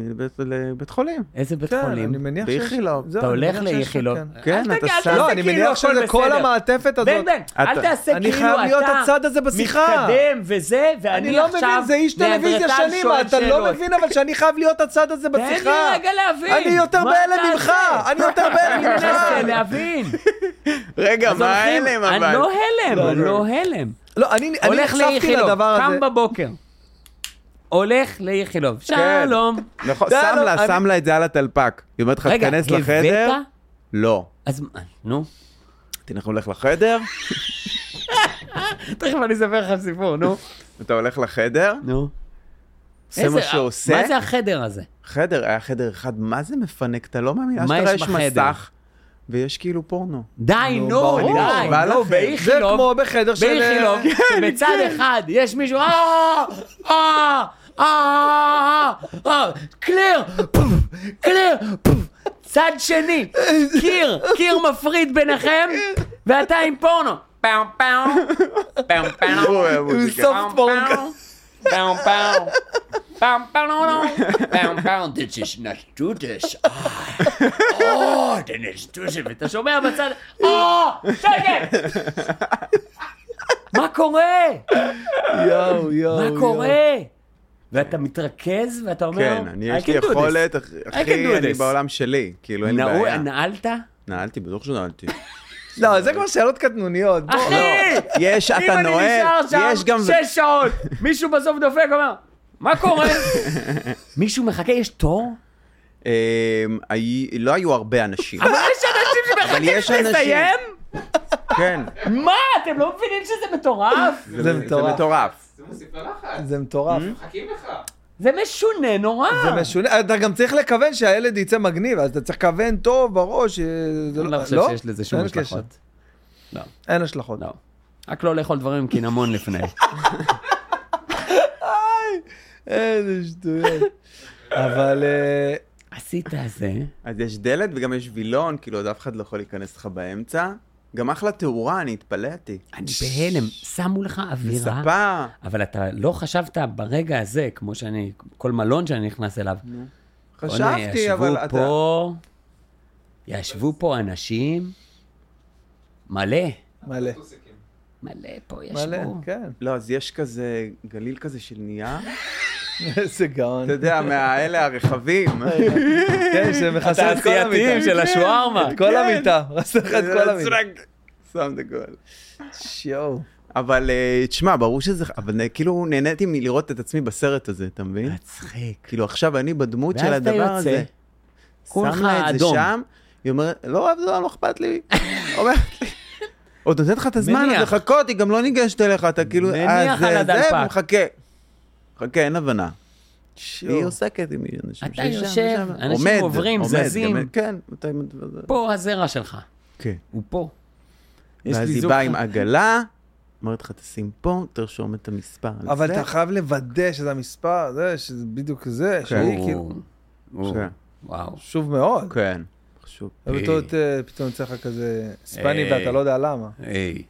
[SPEAKER 3] לבית- לבית חולים.
[SPEAKER 2] איזה בית
[SPEAKER 1] כן,
[SPEAKER 2] חולים?
[SPEAKER 1] אני מניח שיש...
[SPEAKER 3] באיכילוב.
[SPEAKER 1] זהו,
[SPEAKER 2] אתה
[SPEAKER 1] אני
[SPEAKER 2] הולך
[SPEAKER 1] מניח שיש-
[SPEAKER 2] לאיכילוב.
[SPEAKER 1] כן.
[SPEAKER 3] כן,
[SPEAKER 2] אל
[SPEAKER 3] אתה
[SPEAKER 2] תגיד, אל
[SPEAKER 3] שם.
[SPEAKER 2] תעשה
[SPEAKER 1] לא, אני
[SPEAKER 2] כאילו
[SPEAKER 1] מניח
[SPEAKER 2] הכל
[SPEAKER 1] שזה כל
[SPEAKER 2] בסדר.
[SPEAKER 1] המעטפת הזאת.
[SPEAKER 2] בן בן, אל
[SPEAKER 3] אתה-
[SPEAKER 2] תעשה
[SPEAKER 1] אני
[SPEAKER 2] כאילו אתה...
[SPEAKER 1] חייב להיות הצד הזה בשיחה.
[SPEAKER 2] מתקדם וזה,
[SPEAKER 1] אני
[SPEAKER 2] ואני
[SPEAKER 1] לא
[SPEAKER 2] עכשיו...
[SPEAKER 1] מבין, זה איש טלוויזיה
[SPEAKER 2] ניאנדרטל
[SPEAKER 1] שנים,
[SPEAKER 2] שואל
[SPEAKER 1] אתה לא
[SPEAKER 2] שאלות.
[SPEAKER 1] מבין אבל שאני חייב להיות הצד הזה
[SPEAKER 2] תן
[SPEAKER 1] בשיחה.
[SPEAKER 2] לי אה, רגע להבין.
[SPEAKER 1] אני יותר
[SPEAKER 2] מה
[SPEAKER 1] בהלם
[SPEAKER 2] אתה
[SPEAKER 1] ממך,
[SPEAKER 2] עושה?
[SPEAKER 1] אני יותר
[SPEAKER 2] אני
[SPEAKER 1] בהלם
[SPEAKER 2] מנסה
[SPEAKER 1] ממך.
[SPEAKER 2] להבין.
[SPEAKER 3] רגע,
[SPEAKER 2] אז
[SPEAKER 3] מה
[SPEAKER 2] הולכים-
[SPEAKER 3] ההלם
[SPEAKER 2] אני
[SPEAKER 3] אבל?
[SPEAKER 2] לא הלם, אני לא הלם.
[SPEAKER 1] לא, אני אני
[SPEAKER 2] הולך
[SPEAKER 1] נחשפתי
[SPEAKER 2] לאיכילוב,
[SPEAKER 1] לדבר הזה.
[SPEAKER 2] קם בבוקר. הולך לאיכילוב, שלום.
[SPEAKER 3] נכון,
[SPEAKER 1] לא,
[SPEAKER 3] שם
[SPEAKER 1] לא,
[SPEAKER 3] לה,
[SPEAKER 1] אני-
[SPEAKER 3] שם לה את זה על הטלפק. היא אומרת לך,
[SPEAKER 2] רגע,
[SPEAKER 3] תיכנס לחדר.
[SPEAKER 2] הבאת?
[SPEAKER 3] לא.
[SPEAKER 2] אז מה, נו.
[SPEAKER 3] תלך הולך לחדר,
[SPEAKER 2] תכף אני אספר לך סיפור, נו.
[SPEAKER 3] אתה הולך לחדר,
[SPEAKER 2] נו.
[SPEAKER 3] עושה מה שעושה.
[SPEAKER 2] מה זה החדר הזה?
[SPEAKER 3] חדר, היה חדר אחד, מה זה מפנק? אתה לא מאמין?
[SPEAKER 2] מה
[SPEAKER 3] אשכרה
[SPEAKER 2] יש
[SPEAKER 3] יש
[SPEAKER 2] בחדר?
[SPEAKER 3] מסך, ויש כאילו פורנו.
[SPEAKER 2] די, נו,
[SPEAKER 3] ברור,
[SPEAKER 2] די.
[SPEAKER 3] בא
[SPEAKER 2] נו,
[SPEAKER 3] לכם.
[SPEAKER 1] זה
[SPEAKER 2] באיכילוב.
[SPEAKER 1] כמו בחדר של...
[SPEAKER 2] באיכילוב, שבצד אחד יש מישהו, "אה, אה, אה, אה, קליר, פוף, קליר, פוף." צד שני, קיר, קיר מפריד ביניכם, ואתה עם פורנו. פאו פאו, פאו פאו,
[SPEAKER 3] הוא היה מוזיקה.
[SPEAKER 2] סוף פורנו. פאו פאו, פאו פאו, פאו פאו, this is not to this. אה, then it's to this. ואתה שומע בצד, אה, שקט! מה קורה?
[SPEAKER 3] Oh,
[SPEAKER 2] אה,
[SPEAKER 1] יואו, יואו,
[SPEAKER 2] מה
[SPEAKER 1] יואו.
[SPEAKER 2] קורה? ואתה מתרכז ואתה אומר,
[SPEAKER 3] כן, אני
[SPEAKER 2] "I
[SPEAKER 3] יש לי
[SPEAKER 2] can do this."
[SPEAKER 3] יכולת, אח-
[SPEAKER 2] do
[SPEAKER 3] אחי, אני
[SPEAKER 2] this.
[SPEAKER 3] בעולם שלי, כאילו, אין לי
[SPEAKER 2] נעול-
[SPEAKER 3] בעיה.
[SPEAKER 2] נעלת?
[SPEAKER 3] נעלתי, בטוח שנעלתי.
[SPEAKER 1] לא, זה כבר שאלות קטנוניות. בוא.
[SPEAKER 2] אחי!
[SPEAKER 3] יש,
[SPEAKER 2] אם
[SPEAKER 3] לא, אתה
[SPEAKER 2] אני
[SPEAKER 3] נועל,
[SPEAKER 2] נשאר שם
[SPEAKER 3] יש גם...
[SPEAKER 2] שש שעות, מישהו בסוף דופק, אומר, מה קורה? מישהו מחכה, יש תור?
[SPEAKER 3] אמ, היי- לא היו הרבה אנשים.
[SPEAKER 2] אבל יש אנשים
[SPEAKER 3] אבל
[SPEAKER 2] שמחכים
[SPEAKER 3] יש אנשים.
[SPEAKER 2] שתסיים?
[SPEAKER 3] כן,
[SPEAKER 2] מה, אתם לא מבינים שזה מטורף?
[SPEAKER 1] זה
[SPEAKER 3] זה
[SPEAKER 1] מטורף.
[SPEAKER 3] מטורף.
[SPEAKER 9] זה מוסיף ללחץ,
[SPEAKER 1] זה מטורף.
[SPEAKER 2] אה.
[SPEAKER 9] מחכים לך.
[SPEAKER 2] זה משונה נורא.
[SPEAKER 1] זה משונה. אתה גם צריך לכוון שהילד יצא מגניב, אז אתה צריך לכוון טוב בראש. אה, זה
[SPEAKER 2] אני לא חושב שיש לזה שום
[SPEAKER 1] אין
[SPEAKER 2] השלכות.
[SPEAKER 1] קשר.
[SPEAKER 2] לא.
[SPEAKER 1] אין השלכות.
[SPEAKER 2] לא. רק לא לאכול דברים עם קינמון לפני.
[SPEAKER 1] איזה שטויות. אבל... אה,
[SPEAKER 2] עשית זה.
[SPEAKER 3] אז יש דלת וגם יש וילון, כאילו, עוד אף אחד לא יכול להיכנס לך באמצע. גם אחלה תאורה, אני התפלאתי.
[SPEAKER 1] אה?
[SPEAKER 2] אני בהלם, שמו לך אווירה.
[SPEAKER 3] ספה.
[SPEAKER 2] אבל אתה לא חשבת ברגע הזה, כמו שאני, כל מלון שאני נכנס אליו. בוא'נה,
[SPEAKER 3] חשבתי, אבל
[SPEAKER 2] ישבו
[SPEAKER 3] אתה...
[SPEAKER 2] פה, ישבו פה אנשים, מלא,
[SPEAKER 1] מלא.
[SPEAKER 2] מלא פה
[SPEAKER 1] מלא,
[SPEAKER 2] ישבו.
[SPEAKER 1] כן.
[SPEAKER 3] לא, אז יש כזה גליל כזה של נייר.
[SPEAKER 1] איזה גאון.
[SPEAKER 3] אתה יודע, מהאלה הרחבים.
[SPEAKER 1] כן, שמכסה את כל
[SPEAKER 2] התעשייתיים
[SPEAKER 1] המיטה. כן,
[SPEAKER 2] של כן. השווארמה.
[SPEAKER 1] את כל המיטה. מכסה לך את כל המיטה.
[SPEAKER 3] צרק. שם את הכול.
[SPEAKER 1] יואו.
[SPEAKER 3] אבל אה, תשמע, ברור שזה... אבל אה, כאילו נהניתי מלראות את עצמי בסרט הזה, אתה מבין?
[SPEAKER 2] מצחיק.
[SPEAKER 3] כאילו עכשיו אני בדמות של
[SPEAKER 2] ואז אתה
[SPEAKER 3] הדבר הזה.
[SPEAKER 2] יוצא, כולך
[SPEAKER 3] שם לה את זה
[SPEAKER 2] אדום.
[SPEAKER 3] שם, היא אומרת, לא, אבל לא, לא אכפת לי. אומרת לי, עוד נותנת לך את הזמן,
[SPEAKER 2] מניח.
[SPEAKER 3] עוד לחכות, היא גם לא ניגשת אליך, אתה כאילו,
[SPEAKER 2] מניח
[SPEAKER 3] "אה, זה,
[SPEAKER 2] על
[SPEAKER 3] זה",
[SPEAKER 2] הדלפק.
[SPEAKER 3] ומחכה. חכה, אין הבנה. היא עוסקת עם אנשים
[SPEAKER 2] אתה
[SPEAKER 3] ששם
[SPEAKER 2] יושב,
[SPEAKER 3] ושם.
[SPEAKER 2] אנשים
[SPEAKER 3] עומד,
[SPEAKER 2] עוברים,
[SPEAKER 3] עומד,
[SPEAKER 2] זזים.
[SPEAKER 3] גם- כן, אתה עם זה.
[SPEAKER 2] פה הזרע שלך,
[SPEAKER 3] כן.
[SPEAKER 2] הוא פה. יש
[SPEAKER 3] ואז
[SPEAKER 2] לי
[SPEAKER 3] היא
[SPEAKER 2] זוג
[SPEAKER 3] באה עם
[SPEAKER 2] חבר-
[SPEAKER 3] עגלה, אומרת לך, תשים פה, תרשום את המספר. על
[SPEAKER 1] אבל
[SPEAKER 3] זה."
[SPEAKER 1] אתה
[SPEAKER 2] אוקיי.
[SPEAKER 1] חייב לוודא שזה המספר, זה, שזה בדיוק זה,
[SPEAKER 2] כן.
[SPEAKER 1] שהיא כאילו...
[SPEAKER 2] הוא- הוא-
[SPEAKER 3] כן.
[SPEAKER 2] וואו.
[SPEAKER 1] חשוב מאוד.
[SPEAKER 2] אוקיי.
[SPEAKER 3] כן, חשוב.
[SPEAKER 1] ובטעות אה, פתאום יוצא לך כזה היספני
[SPEAKER 2] היי.
[SPEAKER 1] ואתה לא יודע למה.
[SPEAKER 2] היי.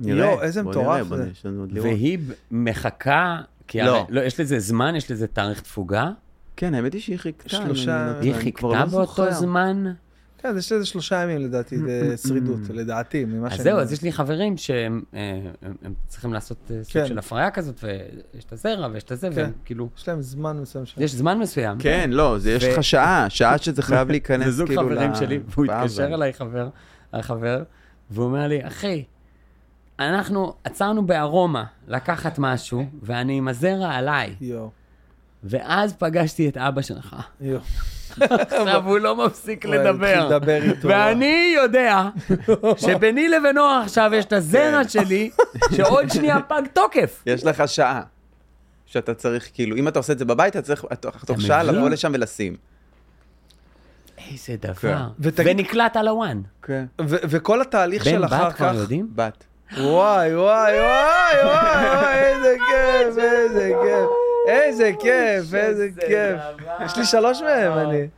[SPEAKER 3] נראה,
[SPEAKER 1] יואו, איזה
[SPEAKER 3] בוא
[SPEAKER 1] מטורף
[SPEAKER 3] נראה, בוא
[SPEAKER 1] זה.
[SPEAKER 3] נראה, יש לנו עוד לראות.
[SPEAKER 2] והיא מחכה, כי
[SPEAKER 3] לא.
[SPEAKER 2] הרי- לא, יש לזה זמן, יש לזה תאריך תפוגה.
[SPEAKER 3] כן, האמת היא שהיא חיכתה.
[SPEAKER 1] שלושה-
[SPEAKER 3] אני- אני-
[SPEAKER 2] היא
[SPEAKER 3] אני
[SPEAKER 2] חיכתה
[SPEAKER 3] כבר לא
[SPEAKER 2] באותו
[SPEAKER 3] זוכר.
[SPEAKER 2] זמן.
[SPEAKER 1] כן, יש לזה שלושה ימים לדעתי, זה שרידות, לדעתי, ממה
[SPEAKER 2] אז
[SPEAKER 1] שאני...
[SPEAKER 2] זהו, אז יש לי חברים שהם אה, הם- הם צריכים לעשות אה, סוג
[SPEAKER 1] כן.
[SPEAKER 2] של הפריה כזאת, ויש את הזרע ויש את הזה, והם כאילו,
[SPEAKER 1] יש להם זמן מסוים שם.
[SPEAKER 2] יש זמן מסוים.
[SPEAKER 3] כן, לא, זה יש לך שעה, שעה שזה חייב להיכנס
[SPEAKER 2] זה זוג
[SPEAKER 3] כאילו
[SPEAKER 2] חברים שלי, והוא
[SPEAKER 3] לפאב.
[SPEAKER 2] התקשר אליי חבר, החבר, והוא אומר לי, אחי, אנחנו עצרנו בארומה לקחת משהו, ואני עם הזרע עליי,
[SPEAKER 1] יואו.
[SPEAKER 2] ואז פגשתי את אבא שלך.
[SPEAKER 1] יואו.
[SPEAKER 2] עכשיו הוא לא מפסיק
[SPEAKER 1] הוא התחיל
[SPEAKER 2] לדבר.
[SPEAKER 1] לדבר איתו.
[SPEAKER 2] ואני יודע שביני לבינו עכשיו יש את
[SPEAKER 3] כן.
[SPEAKER 2] הזרע שלי, שעוד שנייה פג תוקף.
[SPEAKER 3] יש לך שעה. שאתה צריך, כאילו, אם אתה עושה את זה בבית, אתה צריך אתה- תוך שעה
[SPEAKER 2] מבין?
[SPEAKER 3] לבוא לשם ולשים.
[SPEAKER 2] איזה דבר.
[SPEAKER 1] ותגיד-
[SPEAKER 2] אה. ונקלט על הוואן.
[SPEAKER 3] כן.
[SPEAKER 1] ו- וכל התהליך
[SPEAKER 2] בן
[SPEAKER 1] של אחר
[SPEAKER 2] בת
[SPEAKER 1] כך...
[SPEAKER 2] כבר יודעים?
[SPEAKER 3] בת.
[SPEAKER 1] וואי, וואי, וואי, וואי, וואי, איזה כיף, איזה כיף. איזה כיף, איזה כיף. יש לי שלוש מהם, אני.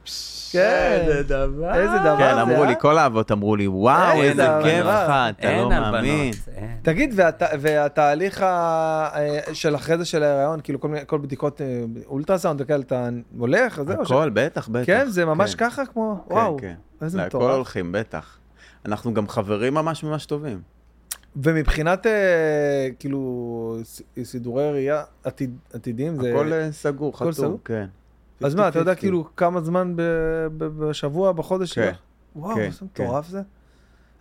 [SPEAKER 1] כן,
[SPEAKER 8] איזה דבר.
[SPEAKER 1] איזה דבר
[SPEAKER 3] כן,
[SPEAKER 1] זה,
[SPEAKER 3] אמרו
[SPEAKER 1] אה?
[SPEAKER 3] לי, כל האבות אמרו לי, וואו,
[SPEAKER 1] איזה
[SPEAKER 3] איזה
[SPEAKER 1] הבנות.
[SPEAKER 3] כיף לך, אתה לא
[SPEAKER 2] אין על
[SPEAKER 3] מאמין.
[SPEAKER 2] בנות. אין.
[SPEAKER 1] תגיד, והת- והתהליך ה- אה, של אחרי זה של ההיריון, כאילו כל מיני- כל בדיקות אה, אולטרסאונד וכאלה, אתה הולך, אז זהו.
[SPEAKER 3] הכל, בטח, בטח.
[SPEAKER 1] כן, זה ממש
[SPEAKER 3] כן,
[SPEAKER 1] ככה כמו,
[SPEAKER 3] כן,
[SPEAKER 1] וואו,
[SPEAKER 3] כן.
[SPEAKER 1] איזה
[SPEAKER 3] להכל
[SPEAKER 1] מטורף.
[SPEAKER 3] הולכים, בטח. אנחנו גם חברים ממש ממש טובים.
[SPEAKER 1] ומבחינת, אה, כאילו, ס- סידורי ראייה עתיד- עתידיים, זה...
[SPEAKER 3] הכל אה, סגור, חתום,
[SPEAKER 1] הכל סגור?
[SPEAKER 3] כן.
[SPEAKER 1] אז מה, אתה יודע
[SPEAKER 3] 50-50.
[SPEAKER 1] כאילו כמה זמן ב- ב- בשבוע, בחודש
[SPEAKER 3] כן.
[SPEAKER 1] שלך? וואו,
[SPEAKER 3] כן,
[SPEAKER 1] איזה מטורף זה.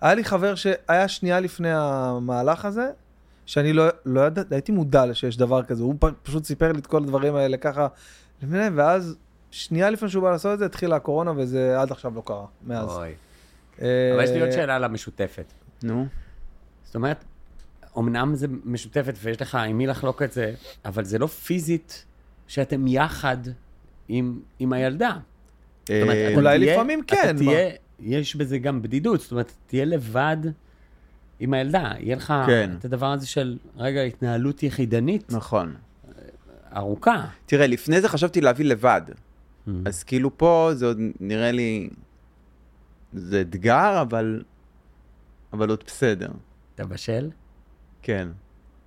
[SPEAKER 1] היה לי חבר שהיה שנייה לפני המהלך הזה, שאני לא, לא ידעתי, הייתי מודע שיש דבר כזה, הוא פ- פשוט סיפר לי את כל הדברים האלה ככה, למיניהם, ואז שנייה לפני שהוא בא לעשות את זה, התחילה הקורונה, וזה עד עכשיו לא קרה, מאז.
[SPEAKER 2] אוי.
[SPEAKER 1] אה,
[SPEAKER 2] אבל יש לי עוד שאלה על המשותפת.
[SPEAKER 3] נו.
[SPEAKER 2] זאת אומרת, אמנם זה משותפת ויש לך עם מי לחלוק את זה, אבל זה לא פיזית שאתם יחד עם, עם הילדה. זאת אומרת,
[SPEAKER 3] אה,
[SPEAKER 2] אתה
[SPEAKER 1] אולי
[SPEAKER 2] תהיה-
[SPEAKER 1] לפעמים כן,
[SPEAKER 2] אתה
[SPEAKER 1] מה?
[SPEAKER 2] תהיה, יש בזה גם בדידות, זאת אומרת, תהיה לבד עם הילדה. יהיה לך
[SPEAKER 3] כן.
[SPEAKER 2] את הדבר הזה של, רגע, התנהלות יחידנית
[SPEAKER 3] נכון.
[SPEAKER 2] ארוכה.
[SPEAKER 3] תראה, לפני זה חשבתי להביא לבד. אז כאילו פה זה עוד נראה לי... זה אתגר, אבל... אבל עוד בסדר.
[SPEAKER 2] אתה בשל?
[SPEAKER 3] כן.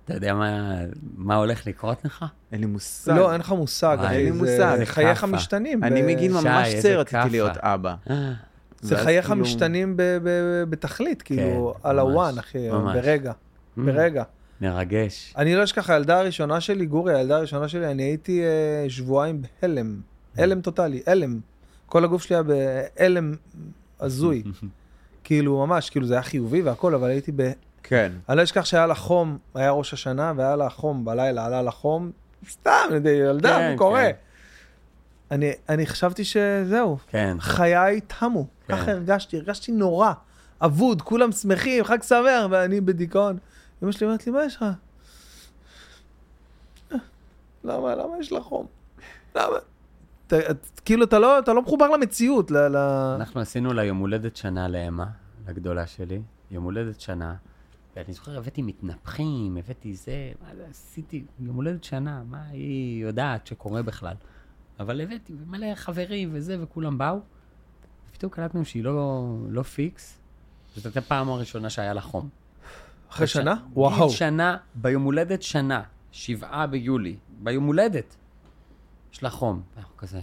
[SPEAKER 2] אתה יודע מה, מה הולך לקרות לך?
[SPEAKER 3] אין לי מושג.
[SPEAKER 1] לא, אין לך מושג,
[SPEAKER 2] וואי,
[SPEAKER 1] אחי,
[SPEAKER 3] אין לי
[SPEAKER 1] זה-
[SPEAKER 3] מושג.
[SPEAKER 1] זה
[SPEAKER 3] זה
[SPEAKER 1] חייך
[SPEAKER 2] כאפה.
[SPEAKER 1] משתנים.
[SPEAKER 3] אני
[SPEAKER 1] ב-
[SPEAKER 3] מגיל ממש
[SPEAKER 2] שי, איזה
[SPEAKER 3] צעיר רציתי
[SPEAKER 2] כאפה.
[SPEAKER 3] להיות אבא.
[SPEAKER 2] אה,
[SPEAKER 1] זה
[SPEAKER 3] ואז
[SPEAKER 1] חייך
[SPEAKER 3] כאילו-
[SPEAKER 1] משתנים ב- ב- בתכלית, כאילו,
[SPEAKER 2] כן,
[SPEAKER 1] על
[SPEAKER 2] ממש,
[SPEAKER 1] הוואן, אחי,
[SPEAKER 2] ממש.
[SPEAKER 1] ברגע,
[SPEAKER 3] Mm.
[SPEAKER 1] ברגע.
[SPEAKER 2] מרגש.
[SPEAKER 1] אני לא אשכח, הילדה הראשונה שלי, גורי, הילדה הראשונה שלי, אני הייתי אה, שבועיים בהלם. הלם טוטאלי, הלם. כל הגוף שלי היה בהלם הזוי. כאילו, ממש, כאילו זה היה חיובי והכל, אבל הייתי ב...
[SPEAKER 3] כן.
[SPEAKER 1] אני לא אשכח שהיה לה חום, היה ראש השנה, והיה לה חום בלילה, עלה לה חום, סתם, אני יודע, ילדה,
[SPEAKER 2] כן,
[SPEAKER 1] מה קורה?
[SPEAKER 2] כן.
[SPEAKER 1] אני, אני חשבתי שזהו,
[SPEAKER 2] כן.
[SPEAKER 1] חיי תמו.
[SPEAKER 2] כן.
[SPEAKER 1] ככה הרגשתי, הרגשתי נורא. אבוד, כולם שמחים, חג שמח, ואני בדיכאון. אמא שלי אומרת לי, מה יש לך? "אה, למה, למה יש לך חום? למה? אתה- את- כאילו, אתה לא, אתה לא מחובר למציאות, ל... ל...
[SPEAKER 2] אנחנו עשינו לה יום הולדת שנה לאמה, לגדולה שלי, יום הולדת שנה, ואני זוכר הבאתי מתנפחים, הבאתי זה, מה זה עשיתי, יום הולדת שנה, מה היא יודעת שקורה בכלל. אבל הבאתי מלא חברים וזה, וכולם באו, ופתאום קלטנו שהיא לא, לא פיקס, זאת הייתה פעם הראשונה שהיה לה חום.
[SPEAKER 1] אחרי שנה?
[SPEAKER 2] ש-
[SPEAKER 1] וואו.
[SPEAKER 2] גיל שנה, ביום הולדת שנה, שבעה ביולי, ביום הולדת, יש לה חום, ואנחנו כזה.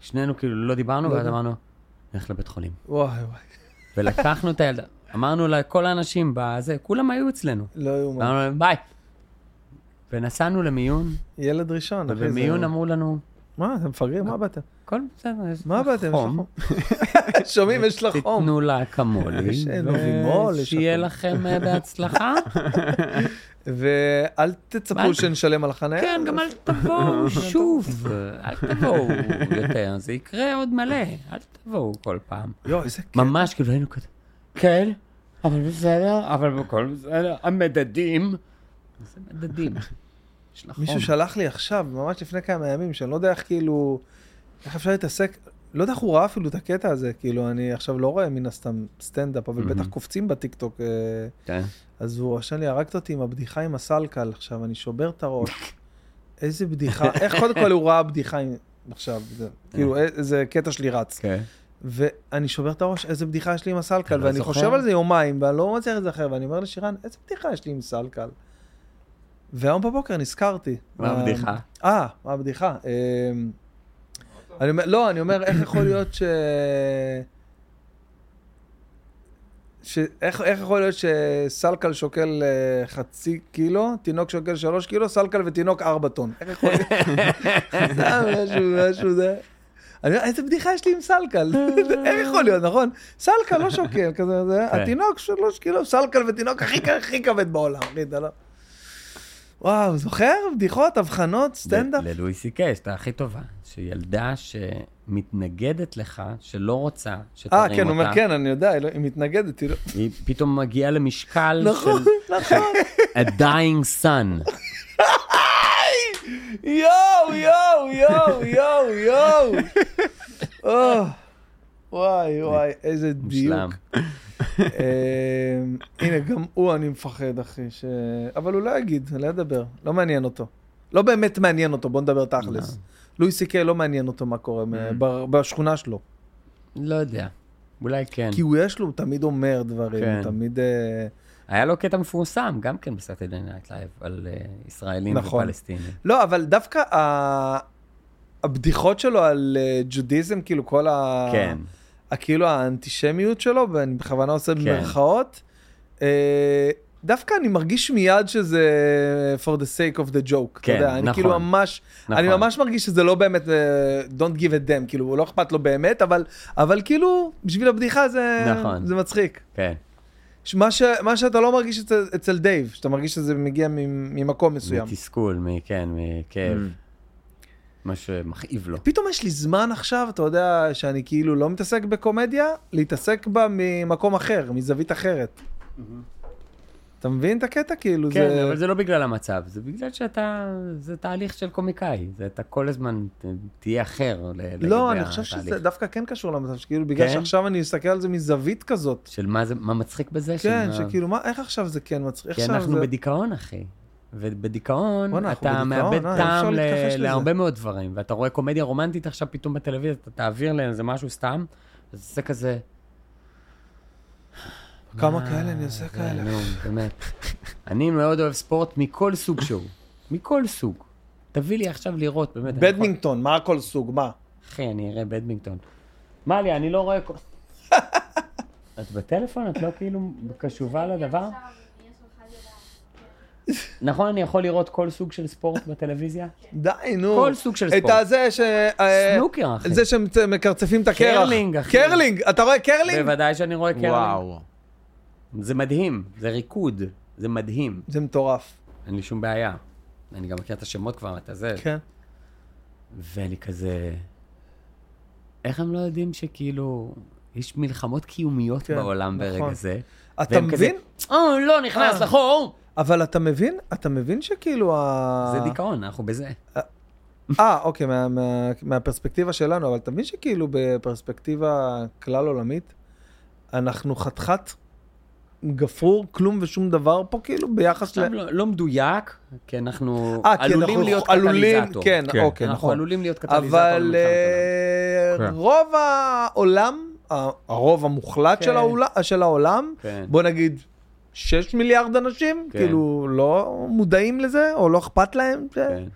[SPEAKER 2] שנינו כאילו לא דיברנו, ואז אמרנו, נלך לבית חולים.
[SPEAKER 1] וואי וואי,
[SPEAKER 2] ולקחנו את הילדה, אמרנו לכל האנשים בזה, כולם היו אצלנו.
[SPEAKER 1] לא יאומן.
[SPEAKER 2] אמרנו להם, ביי. ונסענו למיון,
[SPEAKER 1] ילד ראשון, אחי. זה-
[SPEAKER 2] ובמיון אמרו לנו,
[SPEAKER 1] מה, אתם מפגרים? מה באתם?
[SPEAKER 2] הכל בסדר, יש
[SPEAKER 1] מה
[SPEAKER 2] לך
[SPEAKER 1] באתם? יש לך
[SPEAKER 2] חום,
[SPEAKER 1] חום." שומעים, יש לך חום.
[SPEAKER 2] תיתנו לה אקמולי,
[SPEAKER 1] יש לנו רימול, יש
[SPEAKER 2] ושיהיה
[SPEAKER 1] הכל."
[SPEAKER 2] לכם אה, בהצלחה.
[SPEAKER 1] ואל תצפו
[SPEAKER 2] מה?
[SPEAKER 1] שנשלם על החניה.
[SPEAKER 2] כן, גם אל תבואו שוב, אל תבואו יותר, זה יקרה עוד מלא, אל תבואו כל פעם.
[SPEAKER 1] יואו, איזה כיף.
[SPEAKER 2] ממש כאילו היינו כזה, כן, אבל בסדר, אבל הכל בסדר, המדדים. איזה מדדים? יש
[SPEAKER 12] נכון.
[SPEAKER 2] לך
[SPEAKER 1] מישהו
[SPEAKER 2] חום.
[SPEAKER 1] שלח לי עכשיו, ממש לפני כמה ימים, שאני לא יודע איך כאילו, איך אפשר להתעסק, לא יודע איך הוא ראה אפילו את הקטע הזה, כאילו, אני עכשיו לא רואה מן הסתם סטנדאפ, אבל בטח קופצים בטיקטוק. אה,
[SPEAKER 2] כן.
[SPEAKER 1] אז הוא רשם לי, הרגת אותי עם הבדיחה עם הסלקל, עכשיו אני שובר את הראש. איזה בדיחה, איך קודם כל הוא ראה בדיחה עם... עכשיו, זה, כאילו, אה, איזה קטע שלי רץ.
[SPEAKER 2] כן.
[SPEAKER 1] ואני שובר את הראש, איזה בדיחה יש לי עם הסלקל,
[SPEAKER 2] לא
[SPEAKER 1] ואני
[SPEAKER 2] זוכר?
[SPEAKER 1] חושב על זה יומיים, ואני לא מצליח לזכר, ואני אומר לשירן, איזה בדיחה יש לי עם סלקל? והיום בבוקר נזכרתי.
[SPEAKER 2] מה הבדיחה?
[SPEAKER 1] אה, מה הבדיחה? אה, אני אומר, לא, אני אומר, איך יכול להיות ש... ש... איך, איך יכול להיות שסלקל שוקל אה, חצי קילו, תינוק שוקל שלוש קילו, סלקל ותינוק ארבע טון? איך יכול להיות? סתם משהו, משהו זה. אני אומר, איזה בדיחה יש לי עם סלקל, איך יכול להיות, נכון? סלקל לא שוקל, כזה, זה,
[SPEAKER 2] כן.
[SPEAKER 1] התינוק שלוש קילו, סלקל ותינוק הכי כ- הכי כבד בעולם, אחי, אתה לא... וואו, זוכר? בדיחות, הבחנות, סטנדאפ.
[SPEAKER 2] ל- ללואי סי קיי, שאתה הכי טובה. שילדה שמתנגדת לך, שלא רוצה שתרים
[SPEAKER 1] אה,
[SPEAKER 2] אותה,
[SPEAKER 1] כן, הוא אומר, כן, אני יודע, היא לא- היא מתנגדת, היא לא...
[SPEAKER 2] היא פתאום מגיעה למשקל
[SPEAKER 1] נכון,
[SPEAKER 2] של
[SPEAKER 1] נכון.
[SPEAKER 2] a dying sun.
[SPEAKER 1] יואו, יואו, יואו, יואו, יואו. אה, וואי, וואי, איזה דיוק.
[SPEAKER 2] מושלם.
[SPEAKER 1] אה, הנה, גם הוא אני מפחד, אחי, ש... אבל הוא לא יגיד, לא ידבר, לא מעניין אותו. לא באמת מעניין אותו, בוא נדבר תכלס. לואי סי קיי לא מעניין אותו מה קורה
[SPEAKER 2] Mm.
[SPEAKER 1] ב- בשכונה שלו.
[SPEAKER 2] לא יודע. אולי כן.
[SPEAKER 1] כי הוא יש לו, הוא תמיד אומר דברים,
[SPEAKER 2] כן.
[SPEAKER 1] הוא תמיד... אה,
[SPEAKER 2] היה לו קטע מפורסם, גם כן בסאטרדי נייט לייב, על אה, ישראלים
[SPEAKER 1] נכון.
[SPEAKER 2] ופלסטינים.
[SPEAKER 1] לא, אבל דווקא ה- הבדיחות שלו על אה, ג'ודיזם, כאילו כל ה...
[SPEAKER 2] כן.
[SPEAKER 1] ה- כאילו האנטישמיות שלו, ואני בכוונה עושה במרכאות, אה, דווקא אני מרגיש מיד שזה for the sake of the joke.
[SPEAKER 2] כן,
[SPEAKER 1] אתה יודע, אני
[SPEAKER 2] נכון.
[SPEAKER 1] כאילו ממש,
[SPEAKER 2] נכון.
[SPEAKER 1] אני ממש מרגיש שזה לא באמת, אה, don't give a damn, כאילו, הוא לא אכפת לו באמת, אבל, אבל כאילו, בשביל הבדיחה זה,
[SPEAKER 2] נכון.
[SPEAKER 1] זה מצחיק.
[SPEAKER 2] כן.
[SPEAKER 1] ש- מה, ש, מה שאתה לא מרגיש אצל, אצל דייב, שאתה מרגיש שזה מגיע ממ- ממקום מסוים.
[SPEAKER 2] מתסכול, מ- כן, מכאב.
[SPEAKER 1] Mm.
[SPEAKER 2] מה שמכאיב לו.
[SPEAKER 1] פתאום יש לי זמן עכשיו, אתה יודע, שאני כאילו לא מתעסק בקומדיה, להתעסק בה ממקום אחר, מזווית אחרת. אתה מבין את הקטע? כאילו
[SPEAKER 2] כן,
[SPEAKER 1] זה...
[SPEAKER 2] אבל זה לא בגלל המצב, זה בגלל שאתה, זה תהליך של קומיקאי, זה אתה כל הזמן ת- תהיה אחר. ל- לגבי
[SPEAKER 1] לא, אני חושב שזה
[SPEAKER 2] התהליך.
[SPEAKER 1] דווקא כן קשור למצב, שכאילו בגלל
[SPEAKER 2] כן?
[SPEAKER 1] שעכשיו אני מסתכל על זה מזווית כזאת.
[SPEAKER 2] של מה זה, מה מצחיק בזה? של
[SPEAKER 1] כן,
[SPEAKER 2] מה-
[SPEAKER 1] שכאילו, מה, איך עכשיו זה כן מצחיק?
[SPEAKER 2] כי
[SPEAKER 1] איך עכשיו
[SPEAKER 2] אנחנו
[SPEAKER 1] זה...
[SPEAKER 2] בדיכאון, אחי. ובדיכאון
[SPEAKER 1] בואנה, אנחנו
[SPEAKER 2] אתה
[SPEAKER 1] בדיכאון,
[SPEAKER 2] מאבד
[SPEAKER 1] אה, אי אפשר
[SPEAKER 2] טעם ל-
[SPEAKER 1] להתכחש לזה.
[SPEAKER 2] להרבה מאוד דברים, ואתה רואה קומדיה רומנטית עכשיו פתאום בטלוויזיה, אתה תעביר לאיזה משהו סתם, אז זה כזה,
[SPEAKER 1] כמה כאלה אני
[SPEAKER 2] אה,
[SPEAKER 1] עושה כאלה?
[SPEAKER 2] נו, באמת. אני מאוד אוהב ספורט מכל סוג שהוא, מכל סוג. תביא לי עכשיו לראות, באמת. אני יכול-
[SPEAKER 1] בדמינגטון, מה כל סוג, מה?
[SPEAKER 2] אחי, אני אראה בדמינגטון. מה לי, אני לא רואה... כל- את בטלפון? את לא כאילו קשובה לדבר? נכון, אני יכול לראות כל סוג של ספורט בטלוויזיה?
[SPEAKER 1] די, נו.
[SPEAKER 2] כל סוג של ספורט.
[SPEAKER 1] את הזה ש... אה,
[SPEAKER 2] סנוקר, אחי.
[SPEAKER 1] זה שמקרצפים את הקרח.
[SPEAKER 2] קרלינג, אחי.
[SPEAKER 1] קרלינג, אתה רואה קרלינג?
[SPEAKER 2] בוודאי שאני רואה קרלינג.
[SPEAKER 3] וואו.
[SPEAKER 2] זה מדהים, זה ריקוד, זה מדהים.
[SPEAKER 1] זה מטורף.
[SPEAKER 2] אין לי שום בעיה. אני גם מכיר את השמות כבר, אתה זה.
[SPEAKER 1] כן.
[SPEAKER 2] ואני כזה... איך הם לא יודעים שכאילו... יש מלחמות קיומיות
[SPEAKER 1] כן,
[SPEAKER 2] בעולם ברגע
[SPEAKER 1] נכון.
[SPEAKER 2] זה.
[SPEAKER 1] אתה
[SPEAKER 2] והם כזה,
[SPEAKER 1] מבין?
[SPEAKER 2] או, לא נכנס
[SPEAKER 1] אה.
[SPEAKER 2] לחור!
[SPEAKER 1] אבל אתה מבין? אתה מבין שכאילו ה...
[SPEAKER 2] זה דיכאון, אנחנו בזה.
[SPEAKER 1] אה, אוקיי, מה, מה, מהפרספקטיבה שלנו, אבל אתה מבין שכאילו בפרספקטיבה כלל עולמית, אנחנו חתיכת גפרור, כלום ושום דבר פה, כאילו, ביחס ל...
[SPEAKER 2] עכשיו לא- לא מדויק, כי אנחנו
[SPEAKER 1] אה, כי
[SPEAKER 2] עלולים
[SPEAKER 1] אנחנו
[SPEAKER 2] להיות
[SPEAKER 1] עלולים-
[SPEAKER 2] קטליזטור.
[SPEAKER 1] כן,
[SPEAKER 3] כן.
[SPEAKER 1] אוקיי,
[SPEAKER 2] אנחנו
[SPEAKER 1] נכון.
[SPEAKER 2] עלולים להיות קטליזטור.
[SPEAKER 1] אבל
[SPEAKER 2] למלחמת
[SPEAKER 1] אה,
[SPEAKER 3] כן.
[SPEAKER 1] רוב העולם, ה- הרוב המוחלט של
[SPEAKER 2] כן.
[SPEAKER 1] העול- של העולם,
[SPEAKER 2] כן.
[SPEAKER 1] בוא נגיד 6 מיליארד אנשים,
[SPEAKER 2] כן.
[SPEAKER 1] כאילו, לא מודעים לזה, או לא אכפת להם. זה-
[SPEAKER 2] העולם. כן.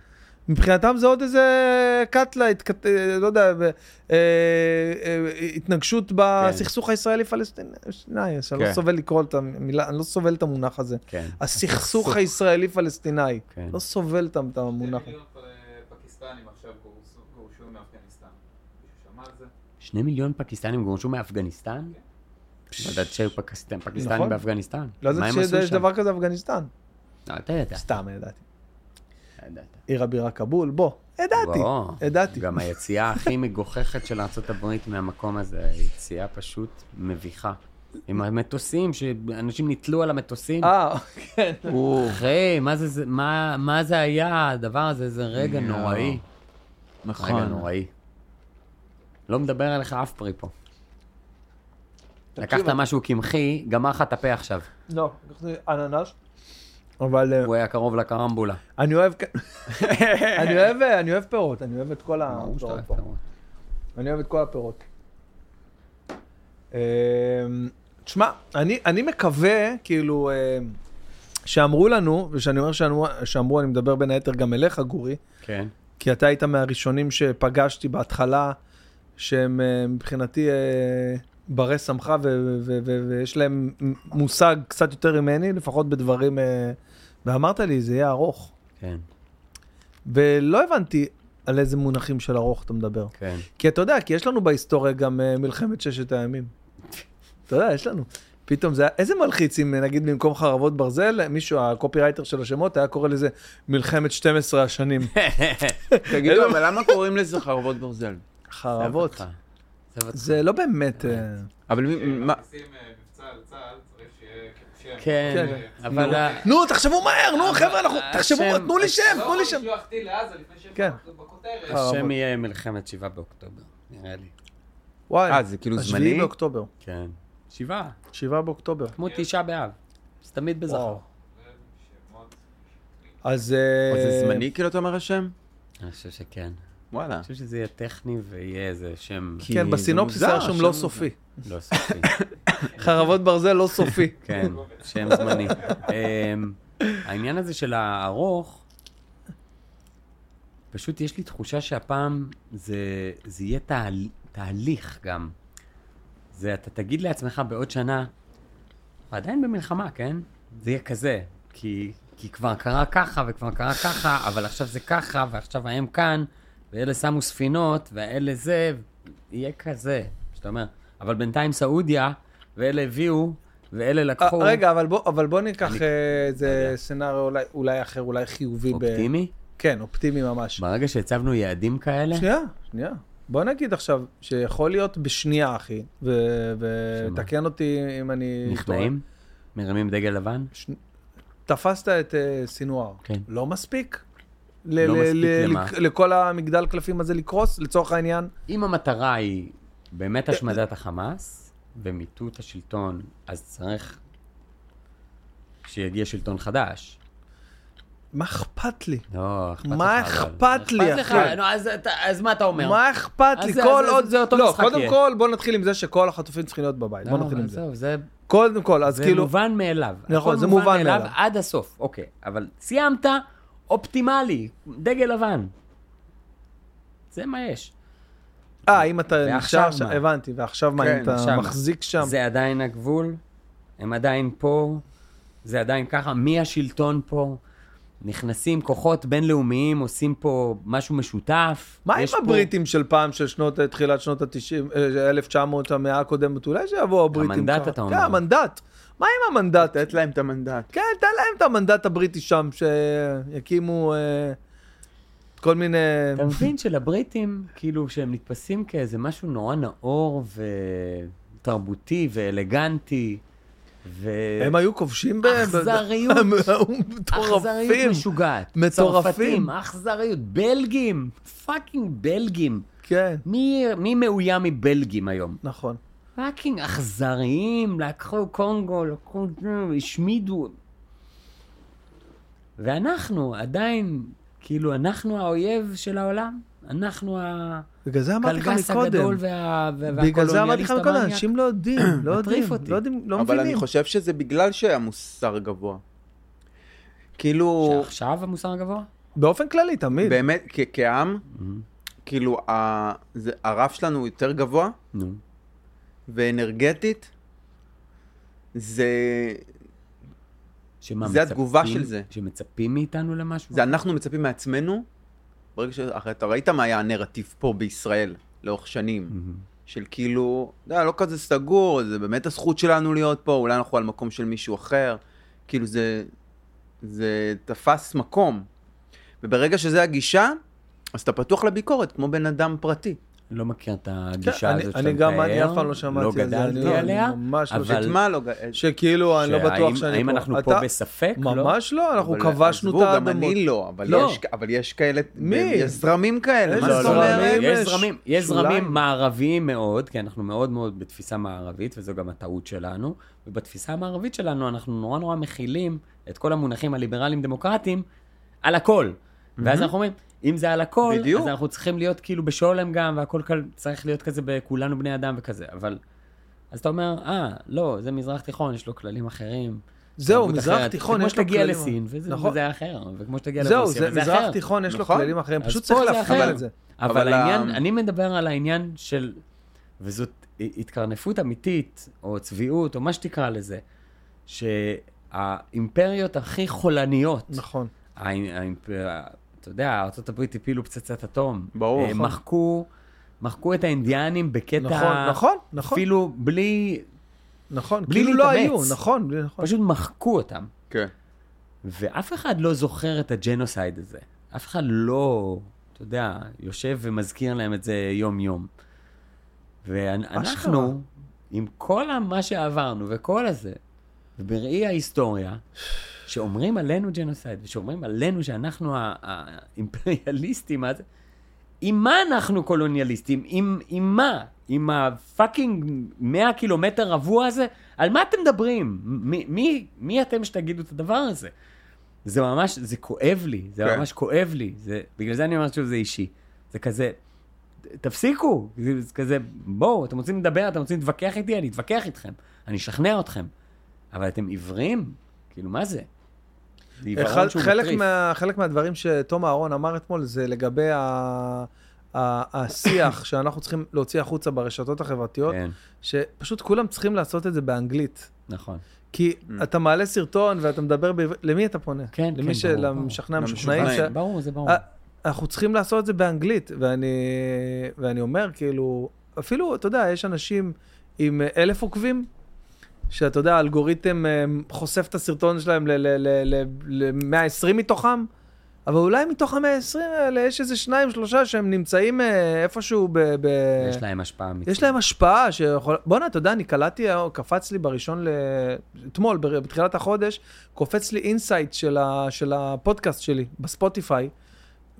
[SPEAKER 1] מבחינתם זה עוד איזה קאטלה, התק- אה, לא יודע, ב- אה, אה,
[SPEAKER 2] כן.
[SPEAKER 1] התנגשות בסכסוך הישראלי-פלסטיני, שאני
[SPEAKER 3] כן.
[SPEAKER 1] לא סובל לקרוא את המילה, אני לא סובל את המונח הזה.
[SPEAKER 2] כן.
[SPEAKER 1] הסכסוך הישראלי-פלסטיני,
[SPEAKER 2] כן.
[SPEAKER 1] לא סובל את את המונח.
[SPEAKER 13] מיליון אה, פקיסטנים עכשיו גורשו- גורשו מאפגניסטן. מישהו שמע על זה?
[SPEAKER 2] שני מיליון פקיסטנים גורשו מאפגניסטן? לא ידעת שהיו פקיסט- פקיסטנים
[SPEAKER 1] נכון.
[SPEAKER 2] באפגניסטן?
[SPEAKER 1] לא
[SPEAKER 2] מה
[SPEAKER 1] ידעתי
[SPEAKER 2] הם עשו
[SPEAKER 1] שיש
[SPEAKER 2] שם?
[SPEAKER 1] דבר כזה אפגניסטן.
[SPEAKER 2] לא, אתה ידעת.
[SPEAKER 1] סתם, ידעתי.
[SPEAKER 2] ידעת.
[SPEAKER 1] עיר הבירה כבול, בוא. ידעתי,
[SPEAKER 2] בוא.
[SPEAKER 1] ידעתי.
[SPEAKER 2] גם היציאה הכי מגוחכת של ארה"ב מהמקום הזה, היציאה פשוט מביכה. עם המטוסים, שאנשים נתלו על המטוסים.
[SPEAKER 1] אה,
[SPEAKER 2] אחי, אוקיי, מה זה- זה, מה- מה זה היה הדבר הזה? זה רגע
[SPEAKER 3] יואו.
[SPEAKER 2] נוראי. רגע
[SPEAKER 3] נכון.
[SPEAKER 2] נוראי. לא מדבר עליך אף פרי פה. לקחת משהו קמחי, גמר לך את הפה עכשיו.
[SPEAKER 1] לא, לקחתי אננס. אבל אה,
[SPEAKER 2] הוא היה קרוב לקרמבולה.
[SPEAKER 1] אני אוהב, אני אוהב, אה, אני אוהב פירות, אני אוהב את כל
[SPEAKER 2] ברור שאתה
[SPEAKER 1] הפירות
[SPEAKER 2] אוהב
[SPEAKER 1] פה.
[SPEAKER 2] פירות.
[SPEAKER 1] אני אוהב את כל הפירות. אמ, תשמע, אני, אני מקווה, כאילו, אמ, שאמרו לנו, וכשאני אומר שאמרו, שאמרו, אני מדבר בין היתר גם אליך, גורי,
[SPEAKER 2] כן.
[SPEAKER 1] כי אתה היית מהראשונים שפגשתי בהתחלה, שהם אה, מבחינתי אה, ברי סמכה ו- ו- ו- ו- ויש להם מ- מושג קצת יותר ממני, לפחות בדברים, אה, ואמרת לי, זה יהיה ארוך.
[SPEAKER 2] כן,
[SPEAKER 1] ולא הבנתי על איזה מונחים של ארוך אתה מדבר.
[SPEAKER 2] כן.
[SPEAKER 1] כי אתה יודע, כי יש לנו בהיסטוריה גם אה, מלחמת ששת הימים. אתה יודע, יש לנו. פתאום זה היה, איזה מלחיץ אם אה, נגיד במקום חרבות ברזל, מישהו, הקופירייטר של השמות היה קורא לזה מלחמת 12 השנים.
[SPEAKER 3] תגידו, אבל למה קוראים לזה חרבות ברזל?
[SPEAKER 1] חרבות.
[SPEAKER 2] אותך. עזוב אותך.
[SPEAKER 1] זה לא באמת... אה,
[SPEAKER 3] אבל מי- מה...
[SPEAKER 13] כשמכניסים אה, מבצע על צה"ל, צריך שיהיה כבשם.
[SPEAKER 2] כן,
[SPEAKER 13] לא
[SPEAKER 1] כן.
[SPEAKER 2] אבל... ה-
[SPEAKER 1] נו, תחשבו מהר, נו חבר'ה, אנחנו...
[SPEAKER 2] השם-
[SPEAKER 1] תחשבו, תנו לי שם,
[SPEAKER 13] לא
[SPEAKER 1] תנו
[SPEAKER 13] יכול
[SPEAKER 1] לי שם.
[SPEAKER 13] לשלוח טיל לעזה לפני שהם
[SPEAKER 1] כן.
[SPEAKER 13] בכותרת.
[SPEAKER 2] השם יהיה מלחמת 7 באוקטובר, נראה לי.
[SPEAKER 1] וואי,
[SPEAKER 3] אה, זה כאילו
[SPEAKER 1] השביעי
[SPEAKER 3] זמני?
[SPEAKER 1] באוקטובר.
[SPEAKER 2] כן. שבעה,
[SPEAKER 1] שבעה באוקטובר.
[SPEAKER 2] כמו תשעה באב. אז תמיד בזכר.
[SPEAKER 1] אז...
[SPEAKER 3] אבל
[SPEAKER 1] אה,
[SPEAKER 3] זה זמני כאילו אתה אומר השם?
[SPEAKER 2] אני חושב שכן. אני
[SPEAKER 3] וואלה.
[SPEAKER 2] חושב שזה יהיה טכני ויהיה איזה שם
[SPEAKER 3] כי
[SPEAKER 1] כן,
[SPEAKER 3] זה
[SPEAKER 1] בסינופסיס
[SPEAKER 3] מוזר,
[SPEAKER 1] היה שם
[SPEAKER 3] השם
[SPEAKER 1] לא
[SPEAKER 3] הזה.
[SPEAKER 1] סופי.
[SPEAKER 2] לא סופי.
[SPEAKER 1] חרבות ברזל לא סופי.
[SPEAKER 2] כן, שם זמני. אמ, העניין הזה של הארוך, פשוט יש לי תחושה שהפעם זה, זה יהיה תהל, תהליך גם. זה, אתה תגיד לעצמך בעוד שנה, "אנחנו עדיין במלחמה, כן? זה יהיה כזה. כי, כי כבר קרה ככה וכבר קרה ככה, אבל עכשיו זה ככה, ועכשיו ההם כאן, ואלה שמו ספינות, ואלה זה, יהיה כזה. שאתה אומר, אבל בינתיים סעודיה, ואלה הביאו, ואלה
[SPEAKER 1] אה,
[SPEAKER 2] לקחו.
[SPEAKER 1] רגע, אבל בוא- אבל בוא ניקח אה, איזה סצנריו אולי- אולי אחר, אולי חיובי. ב-
[SPEAKER 2] אופטימי?
[SPEAKER 1] כן, אופטימי ממש.
[SPEAKER 2] ברגע שהצבנו יעדים כאלה,
[SPEAKER 1] שנייה, שנייה. בוא נגיד עכשיו, שיכול להיות בשנייה, אחי, ו- ותקן אותי אם אני...
[SPEAKER 2] נכנעים? מרימים דגל לבן?
[SPEAKER 1] תפסת את אה, סינואר.
[SPEAKER 2] כן.
[SPEAKER 1] לא מספיק?
[SPEAKER 2] לא
[SPEAKER 1] ל-
[SPEAKER 2] מספיק
[SPEAKER 1] ל-
[SPEAKER 2] למה?
[SPEAKER 1] לק- לכל המגדל קלפים הזה לקרוס, לצורך העניין?
[SPEAKER 2] אם המטרה היא באמת
[SPEAKER 1] אה,
[SPEAKER 2] השמדת החמאס ומיטוט השלטון, אז צריך שיגיע שלטון חדש.
[SPEAKER 1] מה אכפת לי?
[SPEAKER 2] לא, אכפת לך.
[SPEAKER 1] מה
[SPEAKER 2] אבל.
[SPEAKER 1] אכפת לי,
[SPEAKER 2] אכפת
[SPEAKER 1] אחי?
[SPEAKER 2] לך, נו, אז אתה- אז מה אתה אומר?
[SPEAKER 1] כן. מה אכפת
[SPEAKER 2] אז
[SPEAKER 1] לי?
[SPEAKER 2] זה-
[SPEAKER 1] כל
[SPEAKER 2] אז-
[SPEAKER 1] עוד...
[SPEAKER 2] אז זה אותו
[SPEAKER 1] לא,
[SPEAKER 2] משחק
[SPEAKER 1] קודם
[SPEAKER 2] יהיה.
[SPEAKER 1] כל, בוא נתחיל עם זה שכל החטופים צריכים להיות בבית.
[SPEAKER 2] לא,
[SPEAKER 1] בוא נתחיל
[SPEAKER 2] אבל
[SPEAKER 1] עם זה.
[SPEAKER 2] עזוב, זה
[SPEAKER 1] קודם כל, אז
[SPEAKER 2] זה
[SPEAKER 1] כאילו...
[SPEAKER 2] מובן מאליו.
[SPEAKER 1] נכון,
[SPEAKER 2] הכל
[SPEAKER 1] זה מובן מאליו.
[SPEAKER 2] עד הסוף, אוקיי. אבל סיימת, אופטימלי, דגל לבן. זה מה יש.
[SPEAKER 1] אה, אם אתה
[SPEAKER 2] ועכשיו
[SPEAKER 1] נשאר שם,
[SPEAKER 2] מה?
[SPEAKER 1] הבנתי, ועכשיו מה, אם
[SPEAKER 2] כן,
[SPEAKER 1] אתה
[SPEAKER 2] שם.
[SPEAKER 1] מחזיק שם?
[SPEAKER 2] זה עדיין הגבול, הם עדיין פה, זה עדיין ככה, מי השלטון פה? נכנסים כוחות בינלאומיים, עושים פה משהו משותף.
[SPEAKER 1] מה עם
[SPEAKER 2] יש פה-
[SPEAKER 1] הבריטים של פעם, של שנות, תחילת שנות אה, ה-90, 1900, המאה הקודמת? אולי שיבואו הבריטים.
[SPEAKER 2] המנדט,
[SPEAKER 1] ככה.
[SPEAKER 2] אתה
[SPEAKER 1] כן,
[SPEAKER 2] אומר.
[SPEAKER 1] המנדט. מה עם המנדט?
[SPEAKER 3] לתת להם את המנדט.
[SPEAKER 1] כן, תן להם את המנדט הבריטי שם, שיקימו אה, כל מיני...
[SPEAKER 2] אתה
[SPEAKER 3] כן.
[SPEAKER 2] מבין שלבריטים, כאילו, שהם נתפסים כאיזה משהו נורא נאור ותרבותי ואלגנטי, ו...
[SPEAKER 1] הם היו כובשים ב...
[SPEAKER 2] אכזריות.
[SPEAKER 1] הם היו מטורפים.
[SPEAKER 2] אכזריות משוגעת.
[SPEAKER 1] מטורפים.
[SPEAKER 2] צרפתים, אכזריות. בלגים. פאקינג בלגים.
[SPEAKER 1] כן,
[SPEAKER 2] מי, מי מאוים מבלגים היום?
[SPEAKER 1] נכון.
[SPEAKER 2] פאקינג אכזריים, לקחו קונגו, לקחו, השמידו. ואנחנו עדיין, כאילו, אנחנו האויב של העולם. אנחנו ה-
[SPEAKER 1] בגלל זה אמרתי לך
[SPEAKER 2] הקלגס
[SPEAKER 1] מקודם.
[SPEAKER 2] הגדול וה... וה-
[SPEAKER 1] בגלל זה אמרתי
[SPEAKER 2] והקולוניאליסט
[SPEAKER 1] לך מקודם,
[SPEAKER 2] המניאק.
[SPEAKER 1] אנשים לא יודעים,
[SPEAKER 2] מטריף
[SPEAKER 1] לא יודעים,
[SPEAKER 2] אותי.
[SPEAKER 1] לא יודעים, לא
[SPEAKER 3] אבל אני
[SPEAKER 1] מבינים.
[SPEAKER 3] חושב שזה בגלל שהמוסר גבוה. כאילו,
[SPEAKER 2] שעכשיו המוסר הגבוה?
[SPEAKER 1] באופן כללי, תמיד.
[SPEAKER 3] באמת, כ- כעם, כאילו, ה- זה- הרף שלנו הוא יותר גבוה,
[SPEAKER 2] נו.
[SPEAKER 3] ואנרגטית, זה...
[SPEAKER 2] שמה,
[SPEAKER 3] זה התגובה
[SPEAKER 2] מצפים-
[SPEAKER 3] של זה.
[SPEAKER 2] שמצפים מאיתנו למשהו?
[SPEAKER 3] זה אנחנו מצפים מעצמנו, ברגע ש... אחרי, אתה ראית מה היה הנרטיב פה בישראל, לאורך שנים,
[SPEAKER 2] מהמם.
[SPEAKER 3] של כאילו, אתה יודע, לא כזה סגור, זה באמת הזכות שלנו להיות פה, אולי אנחנו על מקום של מישהו אחר, כאילו זה, זה תפס מקום. וברגע שזה הגישה, אז אתה פתוח לביקורת, כמו בן אדם פרטי.
[SPEAKER 2] לא מכיר את
[SPEAKER 1] כן,
[SPEAKER 2] הגישה
[SPEAKER 1] אני-
[SPEAKER 2] הזאת
[SPEAKER 1] אני גם, אני אף פעם לא שמעתי על זה.
[SPEAKER 2] לא
[SPEAKER 1] אני
[SPEAKER 2] גדלתי עליה.
[SPEAKER 1] ממש לא.
[SPEAKER 2] אבל-
[SPEAKER 3] את מה לא... ג-
[SPEAKER 1] שכאילו, אני לא
[SPEAKER 2] שהאם-
[SPEAKER 1] בטוח שאני פה.
[SPEAKER 2] האם אנחנו
[SPEAKER 1] אתה-
[SPEAKER 2] פה בספק? לא?
[SPEAKER 1] ממש לא, אנחנו
[SPEAKER 3] אבל
[SPEAKER 1] כבשנו
[SPEAKER 3] עזבו,
[SPEAKER 1] את האדמות.
[SPEAKER 3] גם אני לא, אבל,
[SPEAKER 2] לא.
[SPEAKER 3] יש, אבל יש כאלה,
[SPEAKER 1] מי?
[SPEAKER 3] יש זרמים כאלה,
[SPEAKER 1] איזה
[SPEAKER 3] מה זאת
[SPEAKER 1] זרמים?
[SPEAKER 3] אומרת?
[SPEAKER 2] יש
[SPEAKER 1] יש
[SPEAKER 2] זרמים, יש
[SPEAKER 1] שוליים.
[SPEAKER 2] זרמים מערביים מאוד, כי אנחנו מאוד מאוד בתפיסה מערבית, וזו גם הטעות שלנו. ובתפיסה המערבית שלנו אנחנו נורא נורא מכילים את כל המונחים הליברליים-דמוקרטיים על הכל. ואז אנחנו אומרים, אם זה על הכל,
[SPEAKER 3] בדיוק.
[SPEAKER 2] אז אנחנו צריכים להיות כאילו בשולם גם, והכל כל- צריך להיות כזה בכולנו בני אדם וכזה. אבל, אז אתה אומר, אה, לא, זה מזרח תיכון, יש לו כללים אחרים.
[SPEAKER 1] זהו,
[SPEAKER 2] תרבות
[SPEAKER 1] מזרח
[SPEAKER 2] אחרת.
[SPEAKER 1] תיכון,
[SPEAKER 2] זה
[SPEAKER 1] יש לו
[SPEAKER 2] כמו
[SPEAKER 1] כללים.
[SPEAKER 2] שתגיע לסין, וזה
[SPEAKER 1] נכון.
[SPEAKER 2] וזה אחר, וכמו שתגיע
[SPEAKER 1] זהו,
[SPEAKER 2] לרוסיה,
[SPEAKER 1] זה
[SPEAKER 2] וזה
[SPEAKER 1] מזרח
[SPEAKER 2] אחר.
[SPEAKER 1] תיכון, יש לו
[SPEAKER 3] נכון.
[SPEAKER 1] כללים אחרים.
[SPEAKER 2] אז
[SPEAKER 1] פשוט
[SPEAKER 2] פה
[SPEAKER 1] צריך
[SPEAKER 2] זה
[SPEAKER 1] להפריד
[SPEAKER 2] אחר.
[SPEAKER 1] את זה.
[SPEAKER 2] אבל
[SPEAKER 3] אבל
[SPEAKER 2] העניין,
[SPEAKER 3] ה-
[SPEAKER 2] אני מדבר על העניין של, וזאת התקרנפות אמיתית, או צביעות, או מה שתקרא לזה, שהאימפריות הכי חולניות,
[SPEAKER 1] נכון.
[SPEAKER 2] האימ- האימפריה, אתה יודע, ארה"ב הפילו פצצת אטום.
[SPEAKER 3] ברור.
[SPEAKER 2] אה, מחקו, מחקו את האינדיאנים בקטע...
[SPEAKER 1] נכון, נכון, נכון.
[SPEAKER 2] אפילו בלי,
[SPEAKER 1] נכון,
[SPEAKER 2] בלי
[SPEAKER 1] כאילו לא היו,
[SPEAKER 2] להתאמץ.
[SPEAKER 1] נכון, בלי- נכון.
[SPEAKER 2] פשוט מחקו אותם.
[SPEAKER 3] כן.
[SPEAKER 2] ואף אחד לא זוכר את הג'נוסייד הזה. אף אחד לא, אתה יודע, יושב ומזכיר להם את זה יום-יום.
[SPEAKER 1] אשכרה.
[SPEAKER 2] ואנחנו, עם כל ה- מה שעברנו וכל הזה, ובראי ההיסטוריה, שאומרים עלינו ג'נוסייד, ושאומרים עלינו שאנחנו ה- האימפריאליסטים, אז עם מה אנחנו קולוניאליסטים? עם, עם מה? עם הפאקינג 100 קילומטר רבוע הזה? על מה אתם מדברים? מי, מי, מי אתם שתגידו את הדבר הזה? זה ממש, זה כואב לי, זה
[SPEAKER 3] כן.
[SPEAKER 2] כן. ממש כואב לי. זה, בגלל זה אני אומר שזה אישי. זה כזה, תפסיקו, זה זה כזה, בואו, אתם רוצים לדבר, אתם רוצים להתווכח איתי, אני אתווכח איתכם, אני אשכנע אתכם. אבל אתם עיוורים? כאילו, מה זה? זה
[SPEAKER 1] חל-
[SPEAKER 2] עיוורון שהוא
[SPEAKER 1] חלק
[SPEAKER 2] מטריף.
[SPEAKER 1] מה- חלק מהדברים שתום אהרון אמר אתמול זה לגבי ה- ה- השיח שאנחנו צריכים להוציא החוצה ברשתות החברתיות,
[SPEAKER 2] כן,
[SPEAKER 1] שפשוט כולם צריכים לעשות את זה באנגלית.
[SPEAKER 2] נכון.
[SPEAKER 1] כי אתה מעלה סרטון ואתה מדבר בעברית, למי אתה פונה?
[SPEAKER 2] כן,
[SPEAKER 1] למי
[SPEAKER 2] כן,
[SPEAKER 1] ש-
[SPEAKER 2] ברור,
[SPEAKER 1] למשכנע
[SPEAKER 3] ברור.
[SPEAKER 1] המשוכנעים.
[SPEAKER 3] למשוכנעים.
[SPEAKER 1] ש-
[SPEAKER 2] ברור, זה ברור.
[SPEAKER 1] אה, אנחנו צריכים לעשות את זה באנגלית, ואני, ואני אומר, כאילו, אפילו, אתה יודע, יש אנשים עם אה, אלף עוקבים, שאתה יודע, האלגוריתם אה, חושף את הסרטון שלהם ל-120 ל- ל- ל- 120 מתוכם, אבל אולי מתוך ה-120 האלה יש איזה שניים, שלושה שהם נמצאים אה, איפשהו ב... ב-
[SPEAKER 2] יש להם השפעה אמיתית.
[SPEAKER 1] אה, יש להם השפעה שיכול... בואנה, אתה יודע, אני קלטתי, אה, קפץ לי בראשון ל... אתמול, ב- בתחילת החודש, קופץ לי אינסייט של, ה... של הפודקאסט שלי בספוטיפיי,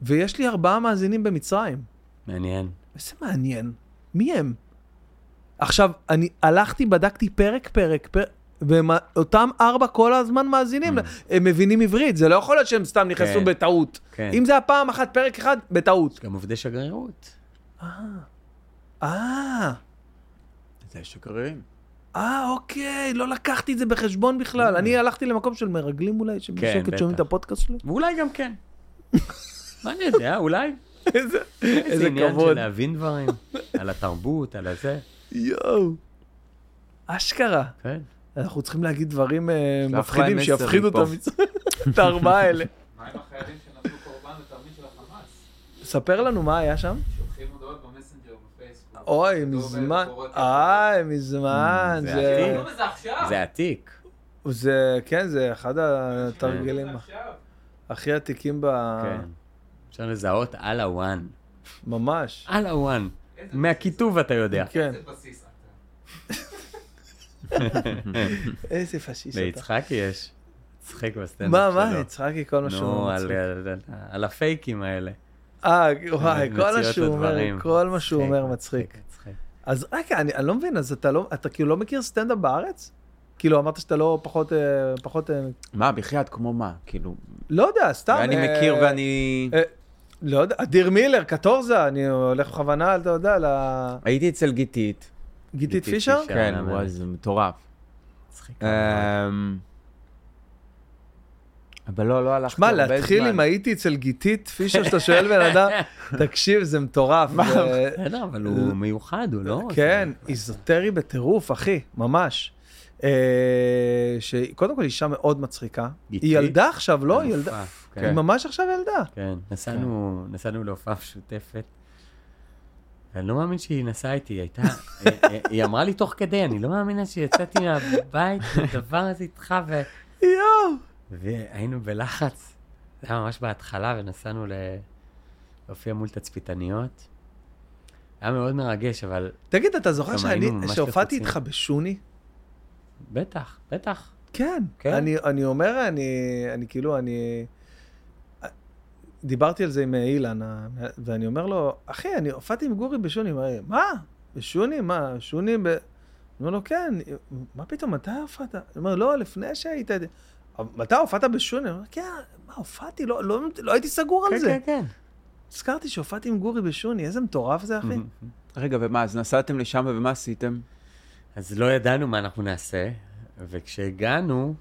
[SPEAKER 1] ויש לי ארבעה מאזינים במצרים.
[SPEAKER 2] מעניין.
[SPEAKER 1] איזה מעניין. מי הם? עכשיו, אני הלכתי, בדקתי פרק, פרק, פרק. ואותם ארבע כל הזמן מאזינים, הם מבינים עברית, זה לא יכול להיות שהם סתם נכנסו
[SPEAKER 2] Mm. כן.
[SPEAKER 1] בטעות.
[SPEAKER 2] כן.
[SPEAKER 1] אם זה היה פעם אחת, פרק אחד, בטעות.
[SPEAKER 2] גם עובדי שגרירות.
[SPEAKER 1] אה,
[SPEAKER 3] זה שגרירים.
[SPEAKER 1] אה, אוקיי, לא לקחתי את זה בחשבון בכלל. אני הלכתי למקום של מרגלים אולי,
[SPEAKER 2] כן,
[SPEAKER 1] שבשקט
[SPEAKER 2] בטח.
[SPEAKER 1] שומעים את הפודקאסט שלי.
[SPEAKER 2] ואולי גם כן. מה אני יודע, אולי. איזה
[SPEAKER 1] איזה
[SPEAKER 2] עניין של
[SPEAKER 1] כבוד.
[SPEAKER 2] להבין דברים, על התרבות, על הזה.
[SPEAKER 1] יואו. אשכרה.
[SPEAKER 2] כן.
[SPEAKER 1] אנחנו צריכים להגיד דברים אה,
[SPEAKER 3] שלח להם
[SPEAKER 1] מפחידים
[SPEAKER 3] מסר
[SPEAKER 1] שיפחידו
[SPEAKER 3] מפה.
[SPEAKER 1] אותם את הארבעה האלה.
[SPEAKER 9] מה עם החיילים שנפלו קורבן לתרמית של החמאס?
[SPEAKER 1] ספר לנו מה היה שם.
[SPEAKER 9] שולחים הודעות במסנג'ר לא ובפייסבוק.
[SPEAKER 1] אוי,
[SPEAKER 9] כתוב,
[SPEAKER 1] מזמן.
[SPEAKER 9] "בורות יפות".
[SPEAKER 1] אה, מזמן.
[SPEAKER 2] זה
[SPEAKER 1] זה-
[SPEAKER 2] עתיק.
[SPEAKER 9] תראו בזה עכשיו!
[SPEAKER 2] זה עתיק.
[SPEAKER 1] זה, כן, זה אחד התרגלים
[SPEAKER 9] זה עכשיו.
[SPEAKER 1] הכי עתיקים ב... אה.
[SPEAKER 2] כן. אפשר לזהות על הוואן.
[SPEAKER 1] ממש.
[SPEAKER 2] על הוואן.
[SPEAKER 9] איזה
[SPEAKER 2] מהכיתוב אתה יודע.
[SPEAKER 1] כן.
[SPEAKER 9] איזה בסיס אתה.
[SPEAKER 1] איזה פשיסט אתה.
[SPEAKER 2] ליצחקי יש. צחיק בסטנדאפ
[SPEAKER 1] מה,
[SPEAKER 2] שלו.
[SPEAKER 1] מה, יצחקי, כל מה שהוא...
[SPEAKER 2] נו,
[SPEAKER 1] אומר.
[SPEAKER 2] על- על- על- על הפייקים האלה.
[SPEAKER 1] אה, וואי, כל מה
[SPEAKER 2] מציאות
[SPEAKER 1] שהוא אומר,
[SPEAKER 2] הדברים.
[SPEAKER 1] כל מה שהוא אומר מצחיק.
[SPEAKER 2] מצחיק, מצחיק.
[SPEAKER 1] אז רגע, אני, אני לא מבין, אז אתה לא, אתה כאילו לא מכיר סטנדאפ בארץ? כאילו, אמרת שאתה לא פחות, אה, פחות, אה,
[SPEAKER 3] מה, בחייאת, כמו מה? כאילו,
[SPEAKER 1] לא יודע, סתם.
[SPEAKER 3] אני
[SPEAKER 1] אה,
[SPEAKER 3] מכיר ואני...
[SPEAKER 1] אה, לא יודע, אדיר מילר, קטורזה, אני הולך בכוונה, אתה יודע,
[SPEAKER 3] הייתי אצל גיתית.
[SPEAKER 1] לגיטית פישר?
[SPEAKER 2] פישר.
[SPEAKER 3] כן,
[SPEAKER 2] למה?
[SPEAKER 3] וואי, זה מטורף.
[SPEAKER 2] מצחיק.
[SPEAKER 3] אמ, אבל לא, לא הלכתי
[SPEAKER 1] שמע,
[SPEAKER 3] הרבה זמן.
[SPEAKER 1] להתחיל עם הייתי אצל גיטית פישר, שאתה שואל בן אדם, תקשיב, זה מטורף. זה-
[SPEAKER 2] בסדר, אבל הוא מיוחד, הוא לא...
[SPEAKER 1] כן, איזוטרי בטירוף, אחי, ממש. אה, שקודם כל אישה מאוד מצחיקה.
[SPEAKER 2] גיטית?
[SPEAKER 1] היא ילדה עכשיו, לא? היא ילדה.
[SPEAKER 2] אלופה,
[SPEAKER 1] היא
[SPEAKER 2] כן,
[SPEAKER 1] ממש עכשיו ילדה.
[SPEAKER 2] כן. נסענו, נסענו להופעה משותפת. ואני לא מאמין שהיא נסעה איתי, היא הייתה, היא- היא- היא אמרה לי תוך כדי, אני לא מאמינה שיצאתי מהבית, הדבר הזה איתך, ו...
[SPEAKER 1] יואו.
[SPEAKER 2] והיינו בלחץ. זה היה ממש בהתחלה, ונסענו ל... להופיע מול תצפיתניות. היה מאוד מרגש, אבל
[SPEAKER 1] תגיד, אתה זוכר
[SPEAKER 2] גם
[SPEAKER 1] שאני,
[SPEAKER 2] היינו ממש
[SPEAKER 1] שהופעתי
[SPEAKER 2] לחוצים.
[SPEAKER 1] איתך בשוני?
[SPEAKER 2] בטח, בטח.
[SPEAKER 1] כן.
[SPEAKER 2] כן.
[SPEAKER 1] אני, אני אומר, אני, אני כאילו, אני... דיברתי על זה עם אילן, ה- ואני אומר לו, אחי, אני הופעתי עם גורי בשוני, הוא אומר, מה? בשוני? מה? שוני ב... אני אומר לו, כן, מה פתאום, מתי הופעת? הוא אומר, לא, לפני שהיית... איתי." "אבל אתה הופעת בשוני? אני אומר, כן, מה, הופעתי? לא, לא, לא הייתי סגור על
[SPEAKER 2] כן,
[SPEAKER 1] זה.
[SPEAKER 2] כן, כן.
[SPEAKER 1] הזכרתי שהופעתי עם גורי בשוני, איזה מטורף זה, אחי.
[SPEAKER 3] רגע, ומה, אז נסעתם לשם ומה עשיתם?
[SPEAKER 2] אז לא ידענו מה אנחנו נעשה, וכשהגענו,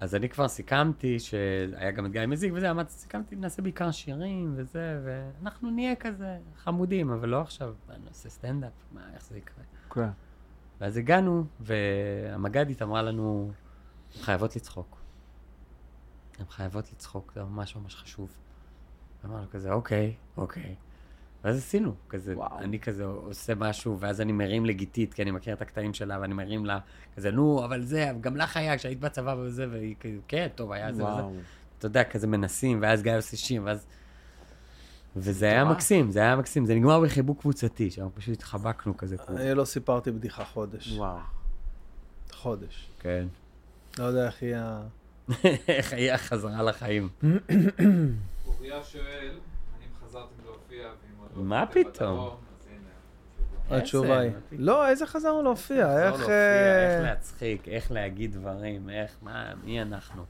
[SPEAKER 2] אז אני כבר סיכמתי, שהיה גם את גיא מזיק וזה, אמרתי, סיכמתי, נעשה בעיקר שירים וזה, ואנחנו נהיה כזה חמודים, אבל לא עכשיו, מה, נעשה סטנדאפ, מה, איך זה יקרה?
[SPEAKER 3] כן.
[SPEAKER 2] ואז הגענו, והמג"דית אמרה לנו, הן חייבות לצחוק. הן חייבות לצחוק, זה ממש ממש חשוב. אמרנו כזה, אוקיי, אוקיי. ואז עשינו, כזה, וואו. אני כזה עושה משהו, ואז אני מרים לגיטית, כי אני מכיר את הקטעים שלה, ואני מרים לה, כזה, נו, אבל זה, גם לך היה כשהיית בצבא וזה, והיא כזה, כן, טוב, היה זה וזה.
[SPEAKER 3] וואו.
[SPEAKER 2] אתה יודע, כזה מנסים, ואז גיא עושה שיר, ואז... וזה היה מקסים, זה היה מקסים, זה נגמר בחיבוק קבוצתי, שאנחנו פשוט התחבקנו כזה. כמו-
[SPEAKER 1] אני לא סיפרתי בדיחה חודש.
[SPEAKER 3] וואו.
[SPEAKER 1] חודש.
[SPEAKER 2] כן.
[SPEAKER 1] לא יודע איך היא ה...
[SPEAKER 2] חיי החזרה לחיים.
[SPEAKER 9] אוריה שואל, האם חזרת
[SPEAKER 14] חזרתם להופיע, ואם עוד לא
[SPEAKER 2] מה
[SPEAKER 14] הופעתם
[SPEAKER 2] פתאום?
[SPEAKER 14] בדרום, אז הנה.
[SPEAKER 1] התשובה היא. לא, איזה חזרנו להופיע,
[SPEAKER 2] לא
[SPEAKER 1] איך...
[SPEAKER 2] להופיע,
[SPEAKER 1] אה,
[SPEAKER 2] איך להצחיק, איך להגיד דברים, איך, מה, מי אנחנו?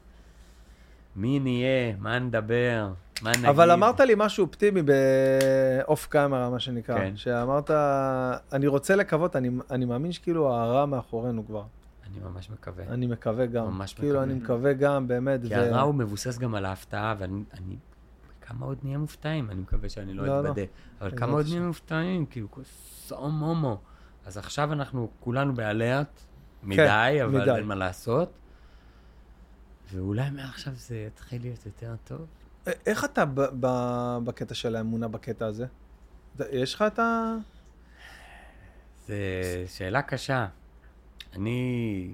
[SPEAKER 2] מי נהיה? מה נדבר? מה נגיד?
[SPEAKER 1] אבל אמרת לי משהו אופטימי באוף קאמרה, מה שנקרא.
[SPEAKER 2] כן.
[SPEAKER 1] שאמרת, אני רוצה לקוות, אני- אני מאמין שכאילו הרע מאחורינו כבר.
[SPEAKER 2] אני ממש מקווה.
[SPEAKER 1] אני מקווה גם.
[SPEAKER 2] ממש
[SPEAKER 1] כאילו,
[SPEAKER 2] מקווה.
[SPEAKER 1] אני מקווה גם, באמת.
[SPEAKER 2] כי
[SPEAKER 1] ו-
[SPEAKER 2] הרע הוא מבוסס גם על ההפתעה, ואני... אני- כמה עוד נהיה מופתעים? אני מקווה שאני
[SPEAKER 1] לא,
[SPEAKER 2] לא
[SPEAKER 1] לא.
[SPEAKER 2] אתבדה. אבל
[SPEAKER 1] בעזרת
[SPEAKER 2] כמה עוד
[SPEAKER 1] השם.
[SPEAKER 2] נהיה מופתעים? כאילו, סום הומו. אז עכשיו אנחנו כולנו באלרט, מדי, אבל
[SPEAKER 1] כן, מדי.
[SPEAKER 2] אין מה לעשות. ואולי מעכשיו זה יתחיל להיות יותר טוב.
[SPEAKER 1] א- איך אתה ב- ב- בקטע של האמונה בקטע הזה? ד- יש לך את ה...
[SPEAKER 2] זו שאלה קשה. אני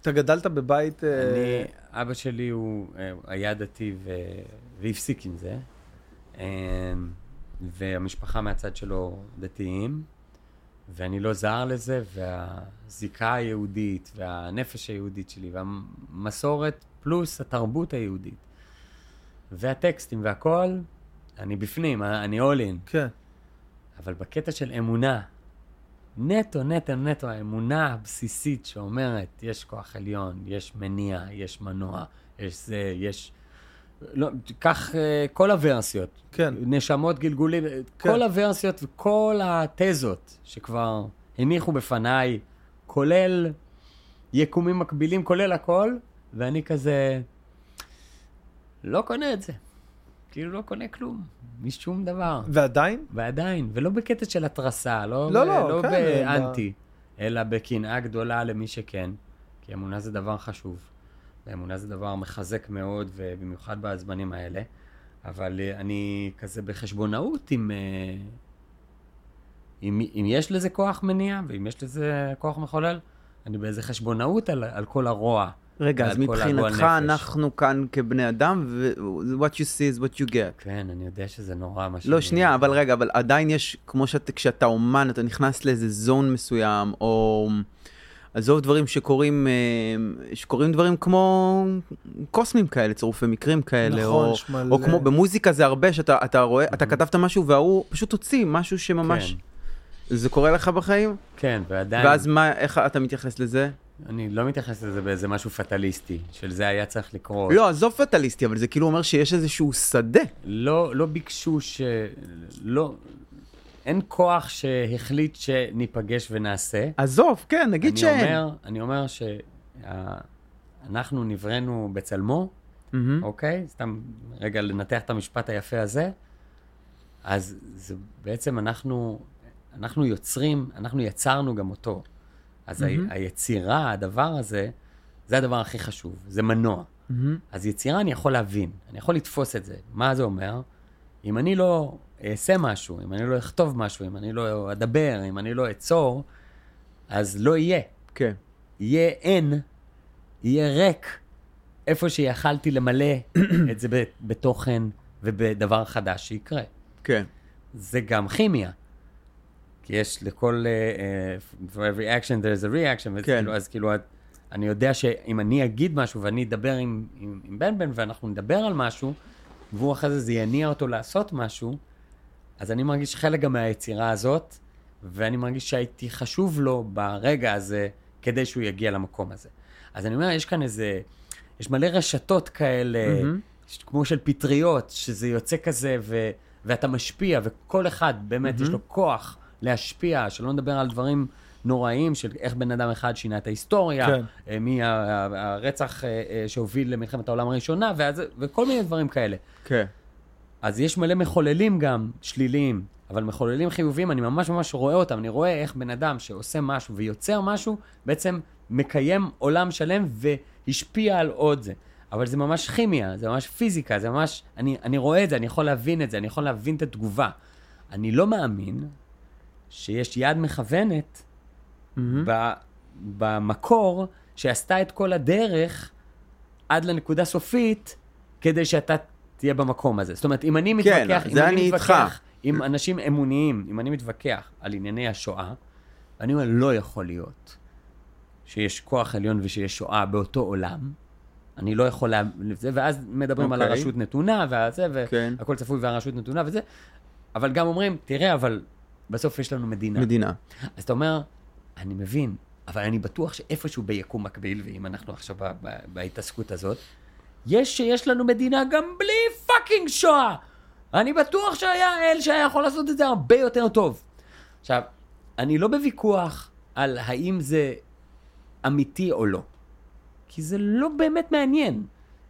[SPEAKER 1] אתה גדלת בבית... אה,
[SPEAKER 2] אני, אבא שלי הוא אה, היה דתי ו... והפסיק עם זה. אה, והמשפחה מהצד שלו דתיים, ואני לא זר לזה, והזיקה היהודית, והנפש היהודית שלי, והמסורת פלוס התרבות היהודית, והטקסטים והכל, אני בפנים, אה, אני all in.
[SPEAKER 1] כן.
[SPEAKER 2] אבל בקטע של אמונה, נטו, נטו, נטו, האמונה הבסיסית שאומרת, יש כוח עליון, יש מניע, יש מנוע, יש זה, יש... לא, קח אה, כל הוורסיות.
[SPEAKER 1] כן.
[SPEAKER 2] נשמות גלגולים, אה,
[SPEAKER 1] כן.
[SPEAKER 2] כל הוורסיות וכל התזות שכבר הניחו בפניי, כולל יקומים מקבילים, כולל הכל, ואני כזה לא קונה את זה. כאילו לא קונה כלום, משום דבר.
[SPEAKER 1] ועדיין?
[SPEAKER 2] ועדיין, ולא בקטע של התרסה, לא,
[SPEAKER 1] לא,
[SPEAKER 2] לא,
[SPEAKER 1] לא,
[SPEAKER 2] לא, לא
[SPEAKER 1] כן,
[SPEAKER 2] באנטי, אלא בקנאה גדולה למי שכן, כי אמונה זה דבר חשוב, ואמונה זה דבר מחזק מאוד, ובמיוחד בזמנים האלה, אבל אה, אני כזה בחשבונאות עם... אה, אם, אם יש לזה כוח מניע, ואם יש לזה כוח מחולל, אני באיזה חשבונאות על, על כל הרוע.
[SPEAKER 3] רגע, אז
[SPEAKER 2] ועל כל הגועל
[SPEAKER 3] מבחינתך
[SPEAKER 2] נפש.
[SPEAKER 3] אנחנו כאן כבני אדם, ו- what you see is what you get.
[SPEAKER 2] כן, אני יודע שזה נורא מה
[SPEAKER 3] לא, שנייה, אבל רגע, אבל עדיין יש, כמו שאת, כשאתה אומן, אתה נכנס לאיזה זון מסוים, או עזוב דברים שקורים, אה, שקורים דברים כמו קוסמים כאלה, צירופי מקרים כאלה,
[SPEAKER 1] נכון,
[SPEAKER 3] או,
[SPEAKER 1] יש מלא. Mhm.
[SPEAKER 3] או כמו במוזיקה זה הרבה, שאתה אתה רואה, אתה כתבת משהו וההוא פשוט הוציא משהו שממש,
[SPEAKER 1] כן.
[SPEAKER 3] זה קורה לך בחיים?
[SPEAKER 2] כן, ועדיין...
[SPEAKER 3] ואז מה, איך אתה מתייחס לזה?
[SPEAKER 2] אני לא מתייחס לזה באיזה משהו פטליסטי, של זה היה צריך לקרות.
[SPEAKER 3] לא, עזוב פטליסטי, אבל זה כאילו אומר שיש איזשהו שדה.
[SPEAKER 2] לא, לא ביקשו ש... לא... אין כוח שהחליט שניפגש ונעשה.
[SPEAKER 3] עזוב, כן, נגיד
[SPEAKER 2] אני
[SPEAKER 3] שאין.
[SPEAKER 2] אומר, אני אומר שאנחנו נבראנו בצלמו,
[SPEAKER 3] מהמם.
[SPEAKER 2] אוקיי? סתם רגע לנתח את המשפט היפה הזה. אז זה בעצם אנחנו, אנחנו יוצרים, אנחנו יצרנו גם אותו. אז mm-hmm. היצירה, הדבר הזה, זה הדבר הכי חשוב, זה מנוע. Mm-hmm. אז יצירה אני יכול להבין, אני יכול לתפוס את זה. מה זה אומר? אם אני לא אעשה משהו, אם אני לא אכתוב משהו, אם אני לא אדבר, אם אני לא אצור, אז לא יהיה.
[SPEAKER 3] כן.
[SPEAKER 2] יהיה אין, יהיה ריק, איפה שיכלתי למלא את זה ב- בתוכן ובדבר חדש שיקרה.
[SPEAKER 3] כן.
[SPEAKER 2] זה גם כימיה. כי יש לכל, uh, for every action there is a reaction,
[SPEAKER 3] כן.
[SPEAKER 2] וזה כאילו, אז כאילו, את- אני יודע שאם אני אגיד משהו ואני אדבר עם, עם, עם בן בן ואנחנו נדבר על משהו, והוא אחרי זה זה יניע אותו לעשות משהו, אז אני מרגיש חלק גם מהיצירה הזאת, ואני מרגיש שהייתי חשוב לו ברגע הזה, כדי שהוא יגיע למקום הזה. אז אני אומר, יש כאן איזה, יש מלא רשתות כאלה, mm-hmm. כמו של פטריות, שזה יוצא כזה, ו, ואתה משפיע, וכל אחד באמת mm-hmm. יש לו כוח להשפיע, שלא נדבר על דברים נוראים, של איך בן אדם אחד שינה את ההיסטוריה,
[SPEAKER 1] כן.
[SPEAKER 2] כן. מהרצח אה, אה, שהוביל למלחמת העולם הראשונה, ואז, וכל מיני דברים כאלה.
[SPEAKER 3] כן.
[SPEAKER 2] אז יש מלא מחוללים גם שליליים, אבל מחוללים חיוביים, אני ממש ממש רואה אותם. אני רואה איך בן אדם שעושה משהו ויוצר משהו, בעצם מקיים עולם שלם והשפיע על עוד זה. אבל זה ממש כימיה, זה ממש פיזיקה, זה ממש... אני, אני רואה את זה, אני יכול להבין את זה, אני יכול להבין את התגובה. אני לא מאמין שיש יד מכוונת ב- במקור שעשתה את כל הדרך עד לנקודה סופית, כדי שאתה תהיה במקום הזה. זאת אומרת, אם אני
[SPEAKER 3] כן,
[SPEAKER 2] מתווכח,
[SPEAKER 3] זה
[SPEAKER 2] אם אני
[SPEAKER 3] אני איתך.
[SPEAKER 2] מתווכח עם אנשים אמוניים, אם אני מתווכח על ענייני השואה, אני אומר, לא יכול להיות שיש כוח עליון ושיש שואה באותו עולם. אני לא יכול לה... זה, ואז מדברים okay. על
[SPEAKER 3] אוקיי.
[SPEAKER 2] הרשות נתונה, וזה,
[SPEAKER 3] כן.
[SPEAKER 2] והכל צפוי והרשות נתונה וזה. אבל גם אומרים, תראה, אבל בסוף יש לנו מדינה.
[SPEAKER 3] מדינה.
[SPEAKER 2] אז אתה אומר, אני מבין, אבל אני בטוח שאיפשהו ביקום מקביל, ואם אנחנו עכשיו ב- ב- בהתעסקות הזאת, יש שיש לנו מדינה גם בלי פאקינג שואה. אני בטוח שהיה אל שהיה יכול לעשות את זה הרבה יותר טוב. עכשיו, אני לא בוויכוח על האם זה אמיתי או לא, כי זה לא באמת מעניין,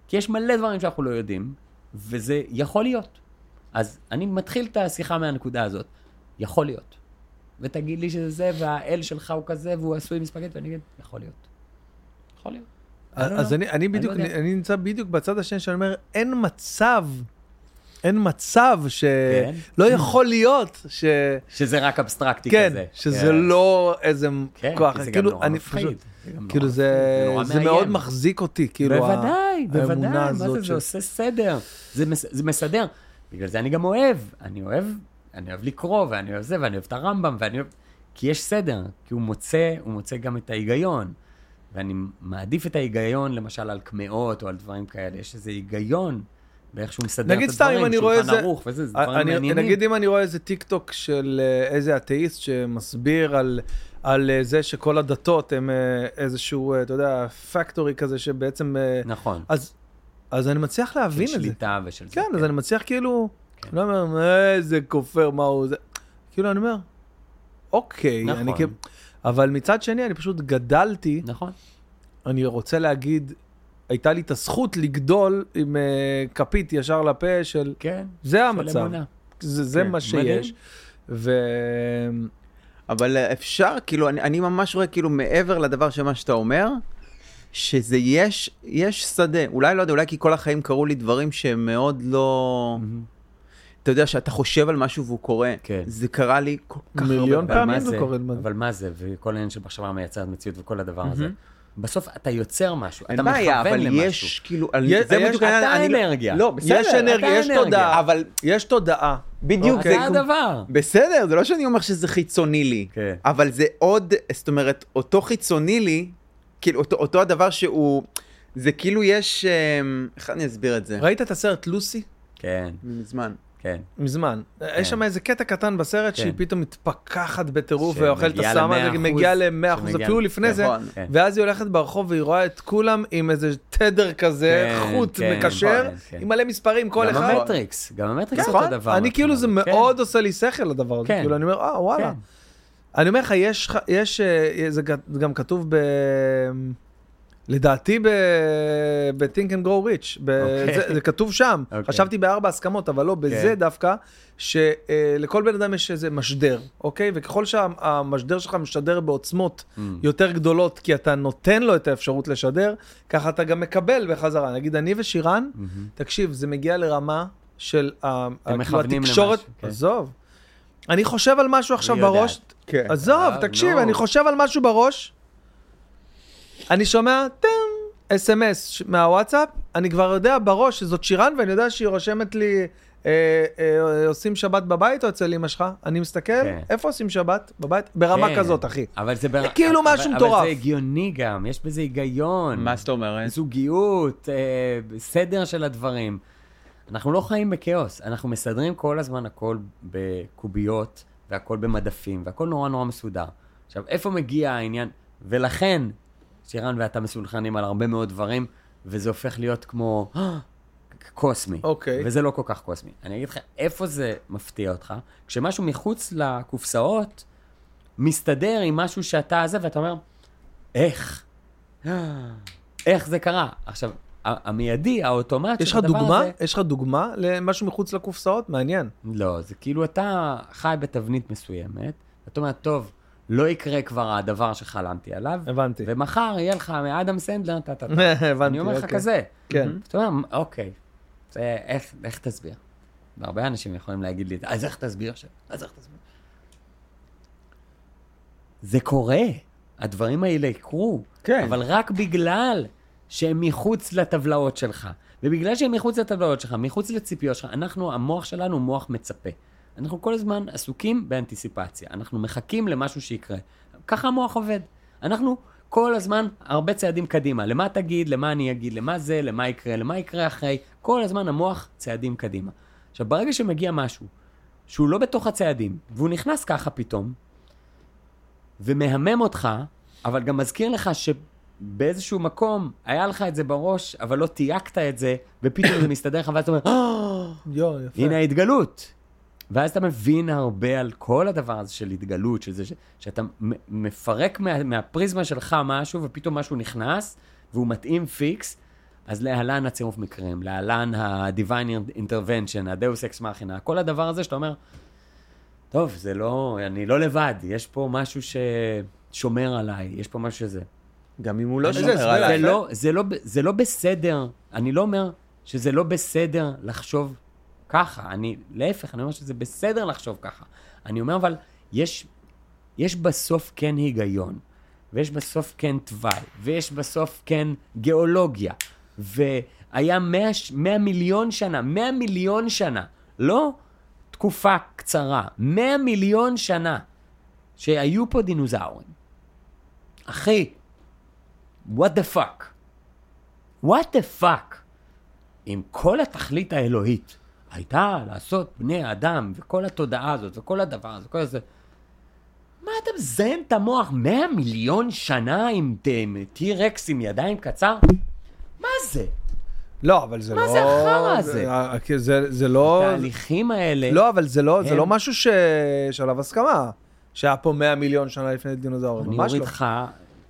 [SPEAKER 2] כי יש מלא דברים שאנחנו לא יודעים, וזה יכול להיות. אז אני מתחיל את השיחה מהנקודה הזאת. יכול להיות. ותגיד לי שזה זה, והאל שלך הוא כזה, והוא עשוי מספגט, ואני אגיד, יכול להיות. יכול להיות.
[SPEAKER 1] אז
[SPEAKER 2] לא,
[SPEAKER 1] אז
[SPEAKER 2] לא.
[SPEAKER 1] אני, אני בדיוק,
[SPEAKER 2] יודע.
[SPEAKER 1] אני, אני נמצא בדיוק בצד השני שאני אומר, אין מצב, אין מצב ש...
[SPEAKER 2] כן.
[SPEAKER 1] לא יכול להיות ש...
[SPEAKER 2] שזה רק אבסטרקטי
[SPEAKER 1] כן,
[SPEAKER 2] כזה.
[SPEAKER 1] שזה
[SPEAKER 2] כן.
[SPEAKER 1] לא איזה
[SPEAKER 2] כן,
[SPEAKER 1] כוח,
[SPEAKER 2] כי זה גם
[SPEAKER 1] כאילו,
[SPEAKER 2] נורא
[SPEAKER 1] אני
[SPEAKER 2] מפחיד.
[SPEAKER 1] פשוט,
[SPEAKER 2] זה גם
[SPEAKER 1] כאילו
[SPEAKER 2] נורא מפחיד,
[SPEAKER 1] זה,
[SPEAKER 2] נורא
[SPEAKER 1] זה
[SPEAKER 2] מאיים.
[SPEAKER 1] מאוד מחזיק אותי, כאילו, ה-
[SPEAKER 2] בוודאי, בוודאי,
[SPEAKER 1] האמונה
[SPEAKER 2] מה
[SPEAKER 1] הזאת
[SPEAKER 2] זה,
[SPEAKER 1] ש-
[SPEAKER 2] זה עושה סדר. זה, מס, זה מסדר. בגלל זה אני גם אוהב. אני אוהב, אני אוהב לקרוא, ואני אוהב זה, ואני אוהב את הרמב"ם, ואני אוהב... כי יש סדר, כי הוא מוצא, הוא מוצא גם את ההיגיון. ואני מעדיף את ההיגיון, למשל, על קמעות או על דברים כאלה. יש איזה היגיון באיך שהוא מסדר את הדברים.
[SPEAKER 1] נגיד סתם, אם אני רואה
[SPEAKER 2] שולחן
[SPEAKER 1] איזה- אה,
[SPEAKER 2] ערוך וזה, זה דברים
[SPEAKER 1] אני,
[SPEAKER 2] מעניינים.
[SPEAKER 1] נגיד אם אני רואה איזה טיק טוק של אה, איזה אתאיסט שמסביר על, על אה, זה שכל הדתות הם אה, איזשהו, אה, אתה יודע, פקטורי כזה שבעצם... אה,
[SPEAKER 2] נכון.
[SPEAKER 1] אז, אז אני מצליח
[SPEAKER 2] של
[SPEAKER 1] להבין את זה.
[SPEAKER 2] שליטה ושל זה.
[SPEAKER 1] כן, אז אני מצליח כאילו, לא אומר, איזה כופר, מה הוא זה. כאילו, אני אומר, אוקיי,
[SPEAKER 2] נכון.
[SPEAKER 1] אני כאילו... אבל מצד שני, אני פשוט גדלתי,
[SPEAKER 2] נכון.
[SPEAKER 1] אני רוצה להגיד, הייתה לי את הזכות לגדול עם אה, כפית ישר לפה של,
[SPEAKER 2] כן.
[SPEAKER 1] זה
[SPEAKER 2] של
[SPEAKER 1] המצב,
[SPEAKER 2] אמונה. כן,
[SPEAKER 1] זה זה מה
[SPEAKER 2] מדהים.
[SPEAKER 1] שיש. ו-
[SPEAKER 3] אבל אה, אפשר, כאילו, אני, אני ממש רואה, כאילו, מעבר לדבר שמה שאתה אומר, שזה יש, יש שדה. אולי, לא יודע, אולי כי כל החיים קרו לי דברים שהם מאוד לא... אתה יודע שאתה חושב על משהו והוא קורה.
[SPEAKER 2] כן.
[SPEAKER 3] זה קרה לי כל כך הרבה
[SPEAKER 1] מיליון
[SPEAKER 2] אבל
[SPEAKER 1] פעמים
[SPEAKER 2] מה
[SPEAKER 1] זה קורה לנו.
[SPEAKER 2] אבל מה זה, וכל העניין של מחשבה מייצרת מציאות וכל הדבר הזה. בסוף אתה יוצר משהו, אתה
[SPEAKER 3] אין בעיה,
[SPEAKER 2] מכוון
[SPEAKER 3] אבל
[SPEAKER 2] למשהו.
[SPEAKER 3] יש, כאילו, על-
[SPEAKER 1] יש-
[SPEAKER 3] זה
[SPEAKER 1] יש-
[SPEAKER 3] בדיוק
[SPEAKER 1] אתה
[SPEAKER 3] העניין, אני לא-
[SPEAKER 2] אנרגיה.
[SPEAKER 3] לא, בסדר.
[SPEAKER 1] יש אנרגיה, יש
[SPEAKER 2] אנרגיה.
[SPEAKER 1] תודעה, אוקיי.
[SPEAKER 3] אבל
[SPEAKER 1] יש תודעה.
[SPEAKER 3] בדיוק,
[SPEAKER 2] זה
[SPEAKER 3] זה...
[SPEAKER 2] הדבר.
[SPEAKER 3] בסדר, זה לא שאני אומר שזה חיצוני לי,
[SPEAKER 2] כן.
[SPEAKER 3] אבל זה עוד, זאת אומרת, אותו חיצוני לי, כאילו, אותו, אותו הדבר שהוא, זה כאילו יש, אמ, איך אני אסביר את זה?
[SPEAKER 1] ראית את הסרט לוסי?
[SPEAKER 2] כן,
[SPEAKER 3] מזמן.
[SPEAKER 2] כן.
[SPEAKER 1] מזמן. יש שם איזה קטע קטן בסרט
[SPEAKER 2] כן.
[SPEAKER 1] שהיא פתאום מתפקחת בטירוף
[SPEAKER 2] שמגיעה
[SPEAKER 1] ואוכלת את
[SPEAKER 2] ל-
[SPEAKER 1] הסמה,
[SPEAKER 2] 100%,
[SPEAKER 1] מגיעה ל-100%,
[SPEAKER 2] שמגיעה-
[SPEAKER 1] אפילו לפני זה,
[SPEAKER 3] נכון.
[SPEAKER 2] כן.
[SPEAKER 1] ואז היא הולכת ברחוב והיא רואה את כולם עם איזה תדר כזה,
[SPEAKER 2] כן,
[SPEAKER 1] חוט
[SPEAKER 2] כן,
[SPEAKER 1] מקשר,
[SPEAKER 2] כן, כן.
[SPEAKER 1] עם מלא מספרים, כל
[SPEAKER 2] גם
[SPEAKER 1] אחד.
[SPEAKER 2] המטריקס, גם המטריקס זה
[SPEAKER 1] נכון?
[SPEAKER 2] אותו דבר.
[SPEAKER 1] אני כאילו זה
[SPEAKER 2] כן,
[SPEAKER 1] מאוד עושה לי שכל הדבר הזה,
[SPEAKER 2] כן.
[SPEAKER 1] כאילו אני אומר, אה וואלה.
[SPEAKER 2] כן.
[SPEAKER 1] אני אומר לך, יש, ח- יש, אה, זה ג- זה גם כתוב ב... לדעתי ב-Think and Grow Rich, ב-
[SPEAKER 2] אוקיי.
[SPEAKER 1] זה, זה כתוב שם,
[SPEAKER 2] אוקיי. כן.
[SPEAKER 1] חשבתי בארבע הסכמות, אבל לא, בזה דווקא, שלכל בן אדם יש איזה משדר, אוקיי? וככל שהמשדר שלך משדר בעוצמות
[SPEAKER 2] Mm.
[SPEAKER 1] יותר גדולות, כי אתה נותן לו את האפשרות לשדר, ככה אתה גם מקבל בחזרה. נגיד, אני
[SPEAKER 2] Mm-hmm.
[SPEAKER 1] ושירן, תקשיב, זה מגיע לרמה של ה- כאילו,
[SPEAKER 2] מכוונים
[SPEAKER 1] התקשורת,
[SPEAKER 2] למשהו, כן.
[SPEAKER 1] עזוב. אני חושב על משהו עכשיו
[SPEAKER 2] יודעת.
[SPEAKER 1] בראש,
[SPEAKER 3] כן.
[SPEAKER 1] עזוב,
[SPEAKER 2] אה,
[SPEAKER 1] תקשיב,
[SPEAKER 2] נו.
[SPEAKER 1] אני חושב על משהו בראש, אני שומע טם, אס.אם.אס מהוואטסאפ, אני כבר יודע בראש שזאת שירן, ואני יודע שהיא רושמת לי, אה, אה, עושים שבת בבית או אצל אמא שלך? אני מסתכל,
[SPEAKER 2] כן.
[SPEAKER 1] איפה עושים שבת? בבית? ברמה
[SPEAKER 2] כן.
[SPEAKER 1] כזאת, אחי.
[SPEAKER 2] אבל זה בר-
[SPEAKER 1] זה כאילו
[SPEAKER 2] אבל-
[SPEAKER 1] משהו מטורף.
[SPEAKER 2] אבל זה הגיוני גם, יש בזה היגיון.
[SPEAKER 3] מה זאת אומרת?
[SPEAKER 2] זוגיות, אה, סדר של הדברים. אנחנו לא חיים בכאוס, אנחנו מסדרים כל הזמן הכל בקוביות, והכל במדפים, והכל נורא נורא מסודר. עכשיו, איפה מגיע העניין? ולכן, שירן ואתה מסונכנים על הרבה מאוד דברים, וזה הופך להיות כמו "אה, קוסמי.
[SPEAKER 1] אוקיי.
[SPEAKER 2] וזה לא כל כך קוסמי. אני אגיד לך, איפה זה מפתיע אותך? כשמשהו מחוץ לקופסאות מסתדר עם משהו שאתה זה, ואתה אומר, איך? איך זה קרה? עכשיו, ה- המיידי, האוטומט
[SPEAKER 1] יש
[SPEAKER 2] של
[SPEAKER 1] לך
[SPEAKER 2] הדבר
[SPEAKER 1] דוגמה?
[SPEAKER 2] הזה...
[SPEAKER 1] יש לך דוגמה למשהו מחוץ לקופסאות? מעניין.
[SPEAKER 2] לא, זה כאילו אתה חי בתבנית מסוימת, אתה אומר, טוב, לא יקרה כבר הדבר שחלמתי עליו,
[SPEAKER 1] הבנתי.
[SPEAKER 2] ומחר יהיה לך מאדם סנדלר, טה טה טה.
[SPEAKER 1] הבנתי,
[SPEAKER 2] אני אומר לך
[SPEAKER 1] אוקיי.
[SPEAKER 2] כזה.
[SPEAKER 1] כן.
[SPEAKER 2] אתה אומר, אוקיי, זה, איך, איך תסביר? והרבה אנשים יכולים להגיד לי, אז איך תסביר עכשיו? אז איך תסביר? זה קורה, הדברים האלה יקרו,
[SPEAKER 3] כן.
[SPEAKER 2] אבל רק בגלל שהם מחוץ לטבלאות שלך. ובגלל שהם מחוץ לטבלאות שלך, מחוץ לציפיות שלך, אנחנו, המוח שלנו הוא מוח מצפה. אנחנו כל הזמן עסוקים באנטיסיפציה, אנחנו מחכים למשהו שיקרה. ככה המוח עובד. אנחנו כל הזמן הרבה צעדים קדימה. למה תגיד, למה אני אגיד, למה זה, למה יקרה, למה יקרה אחרי. כל הזמן המוח צעדים קדימה. עכשיו, ברגע שמגיע משהו שהוא לא בתוך הצעדים, והוא נכנס ככה פתאום, ומהמם אותך, אבל גם מזכיר לך שבאיזשהו מקום היה לך את זה בראש, אבל לא תייקת את זה, ופתאום זה מסתדר לך, ואז אתה אומר, "אה,
[SPEAKER 1] יואו, יפה.
[SPEAKER 2] הנה ההתגלות. ואז אתה מבין הרבה על כל הדבר הזה של התגלות, של זה ש... שאתה מ- מפרק מה... מהפריזמה שלך משהו, ופתאום משהו נכנס, והוא מתאים פיקס, אז להלן הצירוף מקרים, להלן ה-Divine Intervention, הדאוס אקס מכינה, כל הדבר הזה שאתה אומר, טוב, זה לא, אני לא לבד, יש פה משהו ששומר עליי, יש פה משהו שזה.
[SPEAKER 3] גם אם הוא לא
[SPEAKER 1] איזה
[SPEAKER 3] שומר
[SPEAKER 1] הסבר
[SPEAKER 3] עליי.
[SPEAKER 2] זה לא, זה, לא, ב- זה לא בסדר, אני לא אומר שזה לא בסדר לחשוב ככה, אני, להפך, אני אומר שזה בסדר לחשוב ככה. אני אומר, אבל יש, יש בסוף כן היגיון, ויש בסוף כן תוואי, ויש בסוף כן גיאולוגיה, והיה 100, 100 מיליון שנה, 100 מיליון שנה, לא תקופה קצרה, 100 מיליון שנה שהיו פה דינוזאורים. אחי, what the fuck? what the fuck? אם כל התכלית האלוהית הייתה לעשות בני אדם, וכל התודעה הזאת, וכל הדבר הזה, כל זה... מה אתה מזיין את המוח 100 מיליון שנה עם ת- עם T-Rex עם ידיים קצר? מה זה?
[SPEAKER 1] לא, אבל זה לא...
[SPEAKER 2] מה זה החרא הזה?
[SPEAKER 1] זה- אה, כי זה- זה לא...
[SPEAKER 2] התהליכים כן. האלה...
[SPEAKER 1] לא, אבל זה לא, זה
[SPEAKER 2] הם-
[SPEAKER 1] לא משהו ש... שעליו הסכמה, שהיה פה 100 מיליון שנה לפני דינוזאורים,
[SPEAKER 2] אני
[SPEAKER 1] ממש
[SPEAKER 2] אוריד
[SPEAKER 1] לא.
[SPEAKER 2] לך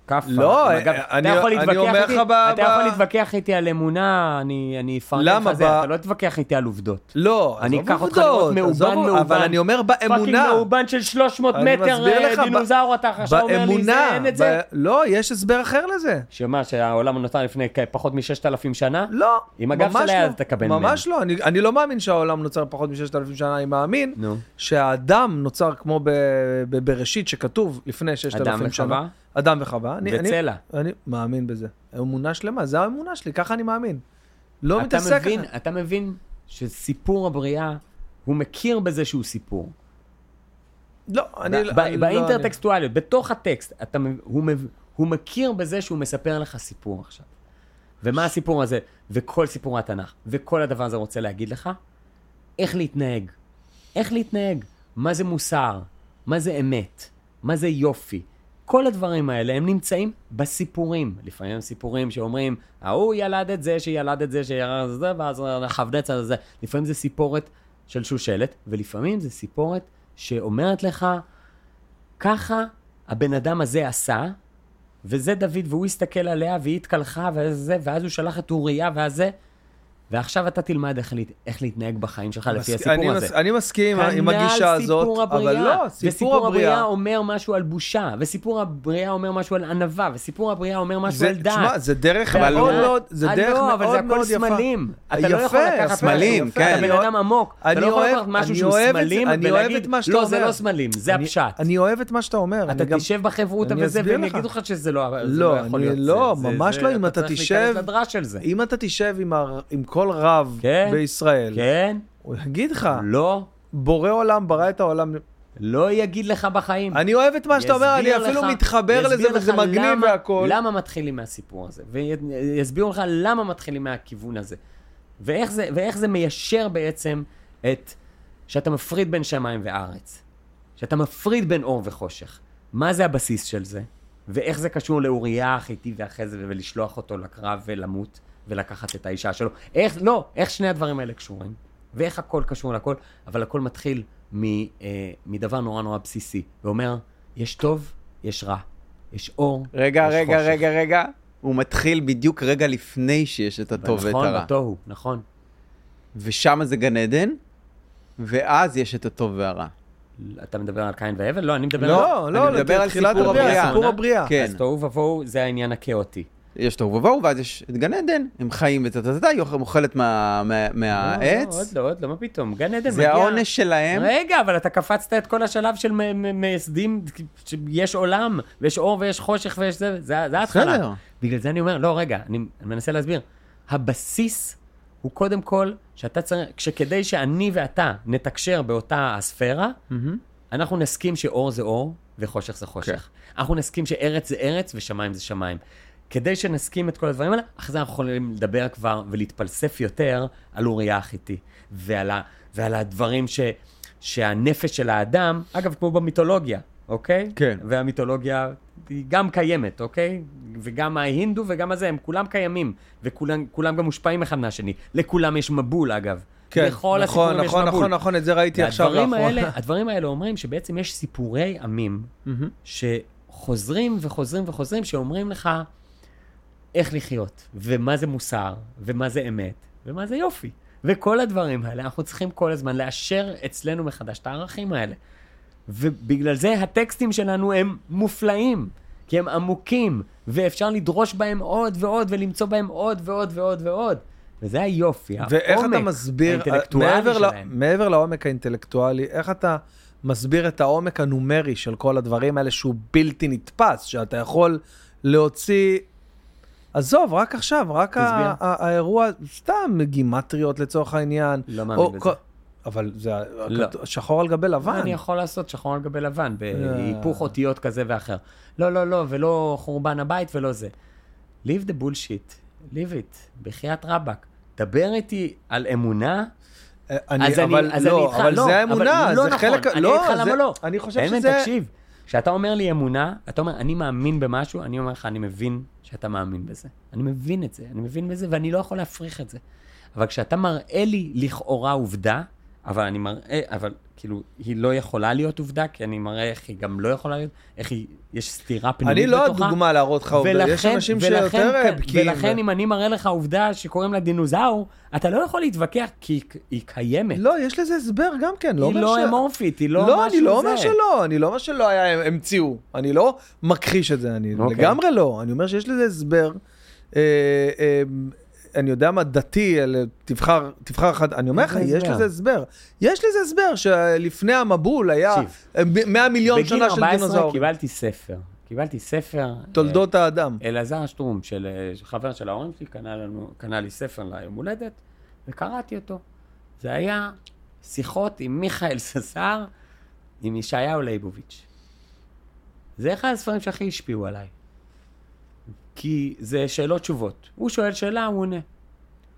[SPEAKER 2] כאפה.
[SPEAKER 1] לא,
[SPEAKER 2] אגב,
[SPEAKER 1] אה,
[SPEAKER 2] אתה
[SPEAKER 1] אני-
[SPEAKER 2] יכול
[SPEAKER 1] אני
[SPEAKER 2] להתווכח
[SPEAKER 1] אומר
[SPEAKER 2] איתי-
[SPEAKER 1] לך ב-
[SPEAKER 2] אתה
[SPEAKER 1] ב-
[SPEAKER 2] יכול להתווכח איתי על אמונה, אני אני אפרגן
[SPEAKER 1] למה?
[SPEAKER 2] לך זה,
[SPEAKER 1] ב-
[SPEAKER 2] אתה לא תתווכח איתי על עובדות.
[SPEAKER 1] לא,
[SPEAKER 2] אני
[SPEAKER 1] עזוב
[SPEAKER 2] אקח אותך לראות
[SPEAKER 1] עובדות,
[SPEAKER 2] מאובן,
[SPEAKER 1] עזוב, אבל
[SPEAKER 2] מאובן.
[SPEAKER 1] אני אומר
[SPEAKER 2] פאקינג לא
[SPEAKER 1] באמונה.
[SPEAKER 2] מאובן של 300
[SPEAKER 1] אני
[SPEAKER 2] מטר
[SPEAKER 1] מסביר
[SPEAKER 2] אה,
[SPEAKER 1] לך, ב-
[SPEAKER 2] דינוזאור, אתה עכשיו אומר לי, זה
[SPEAKER 1] באמונה,
[SPEAKER 2] אין את זה?
[SPEAKER 1] ב- לא, יש הסבר אחר לזה.
[SPEAKER 2] שמה, שהעולם נותר לפני כ- פחות מ-6,000 שנה?
[SPEAKER 1] לא,
[SPEAKER 2] עם הגב
[SPEAKER 1] ממש
[SPEAKER 2] של היד
[SPEAKER 1] לא.
[SPEAKER 2] תקבל
[SPEAKER 1] ממש לא, אני, אני לא מאמין שהעולם נוצר פחות מ-6,000 שנה, אני מאמין
[SPEAKER 2] נו.
[SPEAKER 1] שהאדם נוצר כמו ב, ב, בראשית, שכתוב לפני 6,000
[SPEAKER 2] אדם
[SPEAKER 1] שנה.
[SPEAKER 2] וחווה?
[SPEAKER 1] אדם וחווה. אני- אני-
[SPEAKER 2] וצלע.
[SPEAKER 1] אני מאמין בזה. אמונה שלמה, זה האמונה שלי, ככה אני מאמין. לא
[SPEAKER 2] אתה
[SPEAKER 1] מתעסק...
[SPEAKER 2] מבין, אתה מבין שסיפור הבריאה, הוא מכיר בזה שהוא סיפור.
[SPEAKER 1] לא, אני...
[SPEAKER 2] ב-
[SPEAKER 1] לא-
[SPEAKER 2] ב-
[SPEAKER 1] אני- לא, אני-
[SPEAKER 2] באינטרטקסטואליות, בתוך הטקסט, אתה, מב- הוא, מב- הוא מכיר בזה שהוא מספר לך סיפור עכשיו. ומה הסיפור הזה, וכל סיפור התנ"ך, וכל הדבר הזה רוצה להגיד לך, איך להתנהג. איך להתנהג, מה זה מוסר, מה זה אמת, מה זה יופי. כל הדברים האלה, הם נמצאים בסיפורים. לפעמים הם סיפורים שאומרים, ההוא ילד את זה, שילד את זה, שירד את זה, ואז חבדץ על זה. לפעמים זה סיפורת של שושלת, ולפעמים זה סיפורת שאומרת לך, ככה הבן אדם הזה עשה, וזה דוד, והוא הסתכל עליה, והיא התקלחה, וזה, ואז הוא שלח את אוריה, ואז זה, ועכשיו אתה תלמד איך, להת- איך להתנהג בחיים שלך לפי
[SPEAKER 1] מסכים-
[SPEAKER 2] הסיפור
[SPEAKER 1] אני
[SPEAKER 2] הזה.
[SPEAKER 1] מס- אני מסכים עם ה- עם הגישה הזאת, אבל לא, סיפור הבריאה...
[SPEAKER 2] אומר משהו על בושה, וסיפור הבריאה אומר משהו על ענווה, וסיפור הבריאה אומר משהו
[SPEAKER 1] זה-
[SPEAKER 2] על דעת.
[SPEAKER 1] תשמע, זה דרך
[SPEAKER 2] והכל-
[SPEAKER 1] מאוד מאוד, זה
[SPEAKER 2] כן, אה,
[SPEAKER 1] דרך
[SPEAKER 2] לא,
[SPEAKER 1] מאוד
[SPEAKER 2] אבל
[SPEAKER 1] מאוד
[SPEAKER 2] זה
[SPEAKER 1] יפה.
[SPEAKER 2] הכל סמלים. אתה לא
[SPEAKER 1] יפה,
[SPEAKER 2] יכול לקחת
[SPEAKER 3] סמלים,
[SPEAKER 2] משהו,
[SPEAKER 3] כן.
[SPEAKER 2] אתה בן
[SPEAKER 1] אני-
[SPEAKER 2] אדם עמוק. אתה
[SPEAKER 1] אני
[SPEAKER 2] לא יכול
[SPEAKER 1] אוהב-
[SPEAKER 2] לקחת משהו
[SPEAKER 1] אני
[SPEAKER 2] שהוא
[SPEAKER 1] אוהב את זה,
[SPEAKER 2] סמלים
[SPEAKER 1] אני אוהב
[SPEAKER 2] ולהגיד,
[SPEAKER 1] את מה שאתה
[SPEAKER 2] לא,
[SPEAKER 1] אומר.
[SPEAKER 2] זה לא סמלים, זה
[SPEAKER 1] אני-
[SPEAKER 2] הפשט.
[SPEAKER 1] אני אוהב את מה שאתה אומר.
[SPEAKER 2] אתה
[SPEAKER 1] אני גם-
[SPEAKER 2] תשב בחברותא
[SPEAKER 1] אני
[SPEAKER 2] וזה,
[SPEAKER 1] אסביר
[SPEAKER 2] והם
[SPEAKER 1] לך.
[SPEAKER 2] יגידו לך שזה לא זה
[SPEAKER 1] לא,
[SPEAKER 2] יכול
[SPEAKER 1] אני-
[SPEAKER 2] להיות, זה-
[SPEAKER 1] לא,
[SPEAKER 2] זה-
[SPEAKER 1] ממש
[SPEAKER 2] זה-
[SPEAKER 1] לא, אם אתה
[SPEAKER 2] צריך
[SPEAKER 1] תשב-
[SPEAKER 2] להיכנס לדרש של זה.
[SPEAKER 1] אם אתה תשב עם ה- עם כל רב
[SPEAKER 2] כן.
[SPEAKER 1] בישראל,
[SPEAKER 2] כן,
[SPEAKER 1] הוא יגיד לך,
[SPEAKER 2] לא,
[SPEAKER 1] בורא עולם ברא את העולם.
[SPEAKER 2] לא יגיד לך בחיים.
[SPEAKER 1] אני אוהב את מה שאתה אומר, אני
[SPEAKER 2] יסביר
[SPEAKER 1] אפילו
[SPEAKER 2] לך-
[SPEAKER 1] מתחבר
[SPEAKER 2] יסביר
[SPEAKER 1] לזה
[SPEAKER 2] לך
[SPEAKER 1] וזה מגניב
[SPEAKER 2] למה-
[SPEAKER 1] והכל.
[SPEAKER 2] למה מתחילים מהסיפור הזה? ויסבירו לך למה מתחילים מהכיוון הזה. ואיך זה, ואיך זה מיישר בעצם את... שאתה מפריד בין שמיים וארץ. שאתה מפריד בין אור וחושך. מה זה הבסיס של זה? ואיך זה קשור לאוריה החיתי ואחרי זה, ולשלוח אותו לקרב ולמות, ולקחת את האישה שלו. איך, לא, איך שני הדברים האלה קשורים, ואיך הכל קשור לכל, אבל הכל מתחיל מ, אה, מדבר נורא נורא בסיסי, ואומר, יש טוב, יש רע, יש אור,
[SPEAKER 3] רגע,
[SPEAKER 2] יש
[SPEAKER 3] רגע,
[SPEAKER 2] חושך.
[SPEAKER 3] רגע, רגע. הוא מתחיל בדיוק רגע לפני שיש את הטוב ואת
[SPEAKER 2] נכון,
[SPEAKER 3] הרע.
[SPEAKER 2] בתוהו, נכון.
[SPEAKER 3] ושם זה גן עדן, ואז יש את הטוב והרע.
[SPEAKER 2] אה, אתה מדבר על קין והבל? לא, אני מדבר על...
[SPEAKER 1] לא, לא,
[SPEAKER 3] אני מדבר
[SPEAKER 1] לא,
[SPEAKER 3] על
[SPEAKER 1] תחילת
[SPEAKER 3] סיפור
[SPEAKER 1] הבריאה,
[SPEAKER 3] הבריאה.
[SPEAKER 1] סיפור הבריאה.
[SPEAKER 3] כן.
[SPEAKER 2] אז תוהו ובוהו זה העניין הכאוטי.
[SPEAKER 3] יש תוהו ובוהו, ואז יש את גן עדן, הם חיים וטטטטה, היא אוכלת מה- מה-
[SPEAKER 2] לא, עוד
[SPEAKER 3] מהעץ,
[SPEAKER 2] לא, עוד לא, מה פתאום? גן עדן מגיע...
[SPEAKER 3] זה העונש שלהם.
[SPEAKER 2] רגע, אבל אתה קפצת את כל השלב של מ- מ- מייסדים, שיש עולם, ויש אור ויש חושך ויש זה, זה זה ההתחלה.
[SPEAKER 3] בסדר.
[SPEAKER 2] בגלל זה אני אומר, לא, רגע, אני אני מנסה להסביר. הבסיס הוא קודם כל, שאתה צריך, שכדי שאני ואתה נתקשר באותה הספירה, אנחנו נסכים שאור זה אור וחושך זה חושך.
[SPEAKER 1] כן.
[SPEAKER 2] אנחנו נסכים שארץ זה ארץ ושמיים זה שמיים. כדי שנסכים את כל הדברים האלה, אחרי זה אנחנו יכולים לדבר כבר ולהתפלסף יותר על אוריה החיתי, ועל, ה, ועל הדברים ש... שהנפש של האדם, אגב, כמו במיתולוגיה, אוקיי?
[SPEAKER 3] כן.
[SPEAKER 2] והמיתולוגיה היא גם קיימת, אוקיי? וגם ההינדו וגם הזה, הם כולם קיימים, וכולם כולם גם מושפעים אחד מהשני. לכולם יש מבול, אגב.
[SPEAKER 1] כן,
[SPEAKER 2] לכל
[SPEAKER 1] נכון,
[SPEAKER 2] הסיפורים יש
[SPEAKER 1] נכון,
[SPEAKER 2] מבול.
[SPEAKER 1] נכון, נכון, את זה ראיתי עכשיו
[SPEAKER 2] והדברים
[SPEAKER 1] לאחרונה.
[SPEAKER 2] האלה, הדברים האלה אומרים שבעצם יש סיפורי עמים שחוזרים וחוזרים וחוזרים, שאומרים לך איך לחיות, ומה זה מוסר, ומה זה אמת, ומה זה יופי. וכל הדברים האלה, אנחנו צריכים כל הזמן לאשר אצלנו מחדש את הערכים האלה. ובגלל זה הטקסטים שלנו הם מופלאים, כי הם עמוקים, ואפשר לדרוש בהם עוד ועוד, ולמצוא בהם עוד ועוד ועוד ועוד. וזה היופי, העומק
[SPEAKER 1] ואיך אתה מסביר, אה,
[SPEAKER 2] האינטלקטואלי
[SPEAKER 1] מעבר ל-
[SPEAKER 2] שלהם.
[SPEAKER 1] מעבר לעומק האינטלקטואלי, איך אתה מסביר את העומק הנומרי של כל הדברים האלה שהוא בלתי נתפס, שאתה יכול להוציא... עזוב, רק עכשיו, רק ה-
[SPEAKER 2] תסביר.
[SPEAKER 1] ה- האירוע, סתם גימטריות לצורך העניין.
[SPEAKER 2] לא מאמין
[SPEAKER 1] או
[SPEAKER 2] בזה.
[SPEAKER 1] כל- אבל זה
[SPEAKER 2] לא.
[SPEAKER 1] שחור על גבי
[SPEAKER 2] מה
[SPEAKER 1] לבן.
[SPEAKER 2] אני יכול לעשות שחור על גבי לבן, בהיפוך
[SPEAKER 1] אה.
[SPEAKER 2] אותיות כזה ואחר. לא, לא, לא, ולא חורבן הבית ולא זה. Leave the bullshit, leave it, בחייאת רבאק. דבר איתי על אמונה,
[SPEAKER 1] אה,
[SPEAKER 2] אז אני,
[SPEAKER 1] אבל
[SPEAKER 2] אז אני
[SPEAKER 1] לא,
[SPEAKER 2] איתך,
[SPEAKER 1] אבל
[SPEAKER 2] לא,
[SPEAKER 1] זה האמונה,
[SPEAKER 2] אבל
[SPEAKER 1] זה
[SPEAKER 2] לא נכון,
[SPEAKER 1] חלק...
[SPEAKER 2] אני
[SPEAKER 1] לא,
[SPEAKER 2] איתך למה
[SPEAKER 1] זה-
[SPEAKER 2] לא.
[SPEAKER 1] אני חושב
[SPEAKER 2] איימן,
[SPEAKER 1] שזה...
[SPEAKER 2] תקשיב, כשאתה אומר לי אמונה, אתה אומר, אני מאמין במשהו, אני אומר לך, אני מבין שאתה מאמין בזה. אני מבין את זה, אני מבין בזה, ואני לא יכול להפריך את זה. אבל כשאתה מראה לי לכאורה עובדה, אבל אני מראה, אבל כאילו, היא לא יכולה להיות עובדה, כי אני מראה איך היא גם לא יכולה להיות, איך היא, יש סתירה פנימית
[SPEAKER 1] אני
[SPEAKER 2] בתוכה.
[SPEAKER 1] לא הדוגמה להראות לך עובדה, יש
[SPEAKER 2] ולכן-
[SPEAKER 1] אנשים
[SPEAKER 2] ולכן
[SPEAKER 1] שיותר
[SPEAKER 2] כן,
[SPEAKER 1] אה, בקיאים.
[SPEAKER 2] ולכן אם אני מראה לך עובדה שקוראים לה דינוזאור, אתה לא יכול להתווכח, כי היא- היא קיימת.
[SPEAKER 1] לא, יש לזה הסבר גם כן, לא
[SPEAKER 2] היא
[SPEAKER 1] אומר
[SPEAKER 2] לא
[SPEAKER 1] ש-
[SPEAKER 2] אמורפית, היא לא משהו זה.
[SPEAKER 1] לא, אני לא אומר שלא, אני לא אומר שלא היה, המציאו. אני לא מכחיש את זה, אני
[SPEAKER 2] אוקיי.
[SPEAKER 1] לגמרי לא. אני אומר שיש לזה הסבר. אה, אה, אני יודע מה, דתי, אל- תבחר, תבחר אחד, אני אומר לך,
[SPEAKER 2] איזה
[SPEAKER 1] יש
[SPEAKER 2] הסבר?
[SPEAKER 1] לזה הסבר. יש לזה הסבר שלפני המבול היה
[SPEAKER 2] תקשיב.
[SPEAKER 1] אה, ב- 100 מיליון
[SPEAKER 2] בגיל
[SPEAKER 1] שנה של
[SPEAKER 2] 14
[SPEAKER 1] דינוזאורים.
[SPEAKER 2] קיבלתי ספר. קיבלתי ספר.
[SPEAKER 1] תולדות האדם.
[SPEAKER 2] אה, אלעזר שטרום, של אה, של חבר של ההורים שלי, קנה לנו- קנה לי ספר ליום הולדת, וקראתי אותו. זה היה שיחות עם מיכאל ססר, עם ישעיהו ליבוביץ'. זה אחד הספרים שהכי השפיעו עליי. כי זה שאלות תשובות. הוא שואל שאלה, הוא עונה.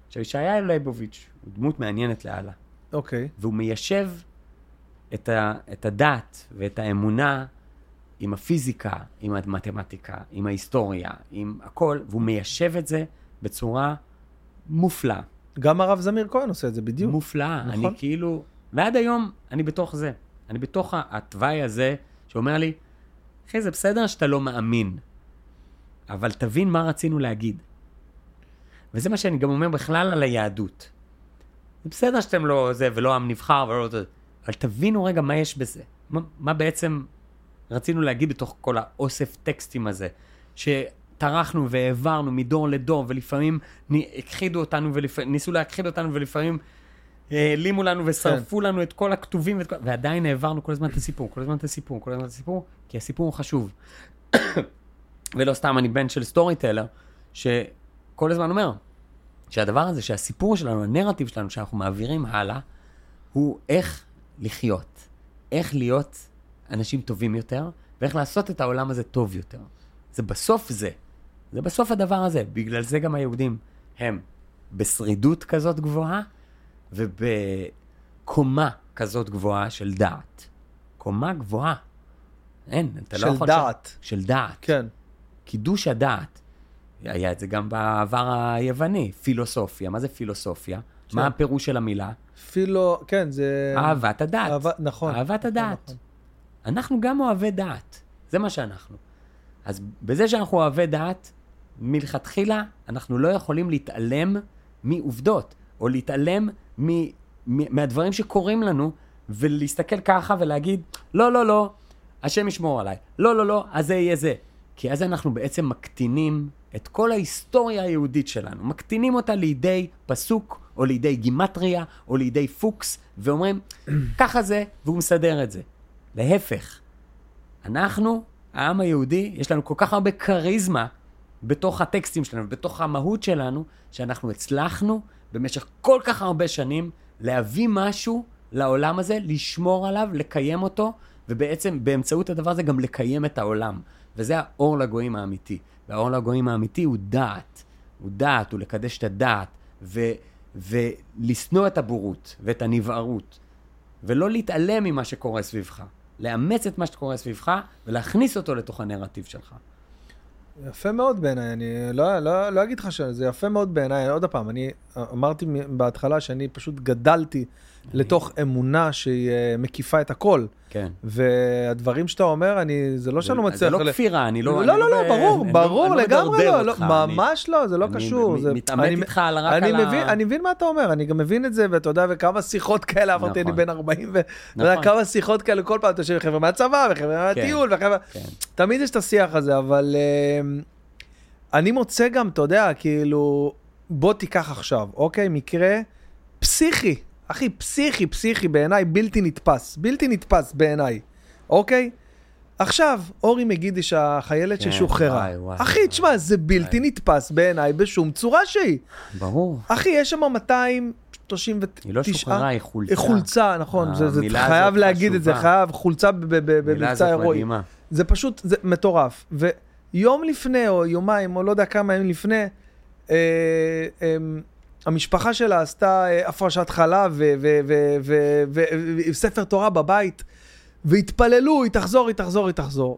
[SPEAKER 2] עכשיו, ישעיהו ליבוביץ' הוא דמות מעניינת לאללה.
[SPEAKER 1] אוקיי.
[SPEAKER 2] והוא מיישב את, ה, את הדת ואת האמונה עם הפיזיקה, עם המתמטיקה, עם ההיסטוריה, עם הכל, והוא מיישב את זה בצורה מופלאה.
[SPEAKER 1] גם הרב זמיר כהן עושה את זה בדיוק.
[SPEAKER 2] מופלאה.
[SPEAKER 1] נכון.
[SPEAKER 2] נכון. אני כאילו, ועד היום אני בתוך זה. אני בתוך ה- התוואי הזה שאומר לי, אחי, זה בסדר שאתה לא מאמין, אבל תבין מה רצינו להגיד. וזה מה שאני גם אומר בכלל על היהדות. זה בסדר שאתם לא זה, ולא עם נבחר, ולא זה, אבל תבינו רגע מה יש בזה. מה, מה בעצם רצינו להגיד בתוך כל האוסף טקסטים הזה, שטרחנו והעברנו מדור לדור, ולפעמים נ- הכחידו אותנו, ולפ... ניסו להכחיד אותנו, ולפעמים העלימו לנו ושרפו כן. לנו את כל הכתובים, ואת... כל- ועדיין העברנו כל הזמן את הסיפור, כל הזמן את הסיפור, כל הזמן את הסיפור, כי הסיפור הוא חשוב. ולא סתם, אני בן של סטורי טלר, שכל הזמן אומר שהדבר הזה, שהסיפור שלנו, הנרטיב שלנו, שאנחנו מעבירים הלאה, הוא איך לחיות, איך להיות אנשים טובים יותר, ואיך לעשות את העולם הזה טוב יותר. זה בסוף זה. זה בסוף הדבר הזה. בגלל זה גם היהודים הם בשרידות כזאת גבוהה, ובקומה כזאת גבוהה של דעת. קומה גבוהה. אין, אתה לא
[SPEAKER 1] של
[SPEAKER 2] יכול...
[SPEAKER 1] דעת.
[SPEAKER 2] של דעת.
[SPEAKER 1] כן.
[SPEAKER 2] קידוש הדעת. היה את זה גם בעבר היווני, פילוסופיה. מה זה פילוסופיה? מה הפירוש של המילה?
[SPEAKER 1] פילו, כן, זה...
[SPEAKER 2] אהבת הדעת.
[SPEAKER 1] אהבה- נכון.
[SPEAKER 2] אהבת
[SPEAKER 1] נכון,
[SPEAKER 2] הדעת.
[SPEAKER 1] נכון.
[SPEAKER 2] אנחנו גם אוהבי דעת, זה מה שאנחנו. אז בזה שאנחנו אוהבי דעת, מלכתחילה אנחנו לא יכולים להתעלם מעובדות, או להתעלם מ, מ, מהדברים שקורים לנו, ולהסתכל ככה ולהגיד, לא, לא, לא, השם ישמור עליי, לא, לא, לא, אז זה יהיה זה. כי אז אנחנו בעצם מקטינים את כל ההיסטוריה היהודית שלנו, מקטינים אותה לידי פסוק, או לידי גימטריה, או לידי פוקס, ואומרים, ככה זה, והוא מסדר את זה. להפך, אנחנו, העם היהודי, יש לנו כל כך הרבה כריזמה בתוך הטקסטים שלנו, בתוך המהות שלנו, שאנחנו הצלחנו במשך כל כך הרבה שנים להביא משהו לעולם הזה, לשמור עליו, לקיים אותו, ובעצם באמצעות הדבר הזה גם לקיים את העולם. וזה האור לגויים האמיתי. והאור לגויים האמיתי הוא דעת. הוא דעת, הוא לקדש את הדעת, ו, ולשנוא את הבורות ואת הנבערות. ולא להתעלם ממה שקורה סביבך. לאמץ את מה שקורה סביבך ולהכניס אותו לתוך הנרטיב שלך.
[SPEAKER 1] יפה מאוד בעיניי, אני לא, לא, לא אגיד לך שזה יפה מאוד בעיניי, עוד פעם, אני אמרתי מ- בהתחלה שאני פשוט גדלתי לתוך אמונה שהיא אה, מקיפה את הכל,
[SPEAKER 2] כן.
[SPEAKER 1] והדברים שאתה אומר, אני, זה לא שאני לא
[SPEAKER 2] זה- זה
[SPEAKER 1] מצליח...
[SPEAKER 2] לא
[SPEAKER 1] ל-
[SPEAKER 2] כפירה, אני לא...
[SPEAKER 1] לא,
[SPEAKER 2] אני
[SPEAKER 1] לא, לא,
[SPEAKER 2] ב-
[SPEAKER 1] ברור,
[SPEAKER 2] אני לא-
[SPEAKER 1] ברור
[SPEAKER 2] אני לא
[SPEAKER 1] לגמרי
[SPEAKER 2] מדרדר
[SPEAKER 1] לא, לא,
[SPEAKER 2] אותך, אני-
[SPEAKER 1] ממש לא, זה לא
[SPEAKER 2] אני
[SPEAKER 1] קשור.
[SPEAKER 2] מ-
[SPEAKER 1] זה-
[SPEAKER 2] מתעמת
[SPEAKER 1] אני-
[SPEAKER 2] איתך על- רק
[SPEAKER 1] אני
[SPEAKER 2] על ה-
[SPEAKER 1] מבין- אני מבין מה אתה אומר, אני גם מבין את זה, ואתה יודע, וכמה שיחות כאלה עברתי, אני
[SPEAKER 2] נכון.
[SPEAKER 1] בן 40, ואתה יודע,
[SPEAKER 2] נכון.
[SPEAKER 1] כמה שיחות כאלה, כל פעם אתה יושב עם חבר'ה מהצבא, וחבר'ה מהטיול, וחבר'ה...
[SPEAKER 2] כן.
[SPEAKER 1] תמיד יש את השיח הזה, אבל אמ, אני מוצא גם, אתה יודע, כאילו, בוא תיקח עכשיו, אוקיי? מקרה פסיכי, אחי, פסיכי, פסיכי בעיניי, בלתי נתפס, בלתי נתפס בעיניי, אוקיי? עכשיו, אורי מגידיש, החיילת
[SPEAKER 2] כן,
[SPEAKER 1] ששוחררה.
[SPEAKER 2] וואי, וואי,
[SPEAKER 1] אחי,
[SPEAKER 2] וואי,
[SPEAKER 1] תשמע, זה בלתי נתפס בעיניי בשום צורה שהיא.
[SPEAKER 2] ברור.
[SPEAKER 1] אחי, יש שם 239...
[SPEAKER 2] היא לא שוחררה, היא חולצה.
[SPEAKER 1] אה, חולצה, נכון, זה, זה
[SPEAKER 2] המילה הזאת
[SPEAKER 1] חייב להגיד את זה,
[SPEAKER 2] חשובה.
[SPEAKER 1] חייב, חולצה ב- ב- ב-
[SPEAKER 2] המילה
[SPEAKER 1] במבצע
[SPEAKER 2] הזאת
[SPEAKER 1] הירואי.
[SPEAKER 2] מדהימה.
[SPEAKER 1] זה פשוט, זה מטורף. ויום לפני, או יומיים, או לא יודע כמה ימים לפני, אה, אה, המשפחה שלה עשתה אה, הפרשת חלב ו- ו- ו- ו- ו- ו- ספר תורה בבית, והתפללו, היא תחזור, היא תחזור, היא תחזור.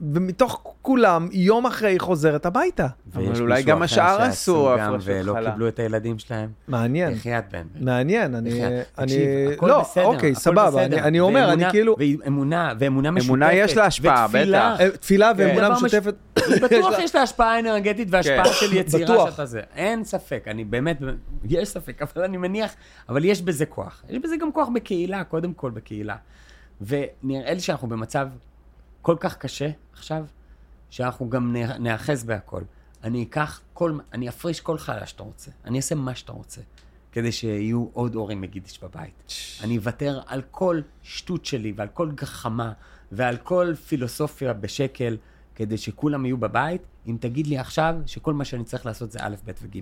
[SPEAKER 1] ומתוך כולם, יום אחרי היא חוזרת הביתה.
[SPEAKER 3] אבל
[SPEAKER 2] ויש
[SPEAKER 3] אולי
[SPEAKER 2] מישהו
[SPEAKER 3] גם
[SPEAKER 2] אחר
[SPEAKER 3] השאר
[SPEAKER 2] שעשו
[SPEAKER 3] עשו
[SPEAKER 2] גם
[SPEAKER 3] הפרשות
[SPEAKER 2] ולא
[SPEAKER 3] חלה.
[SPEAKER 2] קיבלו את הילדים שלהם.
[SPEAKER 1] מעניין,
[SPEAKER 2] בחייאת בן. בן.
[SPEAKER 1] מעניין, אני...
[SPEAKER 2] בחייאת.
[SPEAKER 1] אה, אני...
[SPEAKER 2] תקשיב, הכל
[SPEAKER 1] לא,
[SPEAKER 2] בסדר,
[SPEAKER 1] אוקיי,
[SPEAKER 2] הכל
[SPEAKER 1] סבבה,
[SPEAKER 2] בסדר.
[SPEAKER 1] אני- אני אומר, אני
[SPEAKER 2] ואמונה-
[SPEAKER 1] כאילו...
[SPEAKER 2] ואמונה, ואמונה משותפת.
[SPEAKER 3] אמונה יש לה השפעה,
[SPEAKER 2] ותפילה.
[SPEAKER 3] בטח.
[SPEAKER 1] אה, תפילה ואמונה
[SPEAKER 2] דבר מש-
[SPEAKER 1] משותפת.
[SPEAKER 2] בטוח יש לה השפעה אנרגטית והשפעה
[SPEAKER 3] כן.
[SPEAKER 2] של יצירה
[SPEAKER 1] בטוח.
[SPEAKER 2] שאתה זה. אין ספק, אני באמת, יש ספק, אבל אני מניח, אבל יש בזה כוח. יש בזה גם כוח בקהילה, קודם כל בקהילה. ונראה לי שאנחנו במצב כל כך קשה עכשיו, שאנחנו גם נא- נאחז בהכל. אני אקח כל, אני אפריש כל חלה שאתה רוצה. אני אעשה מה שאתה רוצה, כדי שיהיו עוד הורים מגידיש בבית. אני אוותר על כל שטות שלי ועל כל גחמה ועל כל פילוסופיה בשקל, כדי שכולם יהיו בבית, אם תגיד לי עכשיו שכל מה שאני צריך לעשות זה א', ב' וג'.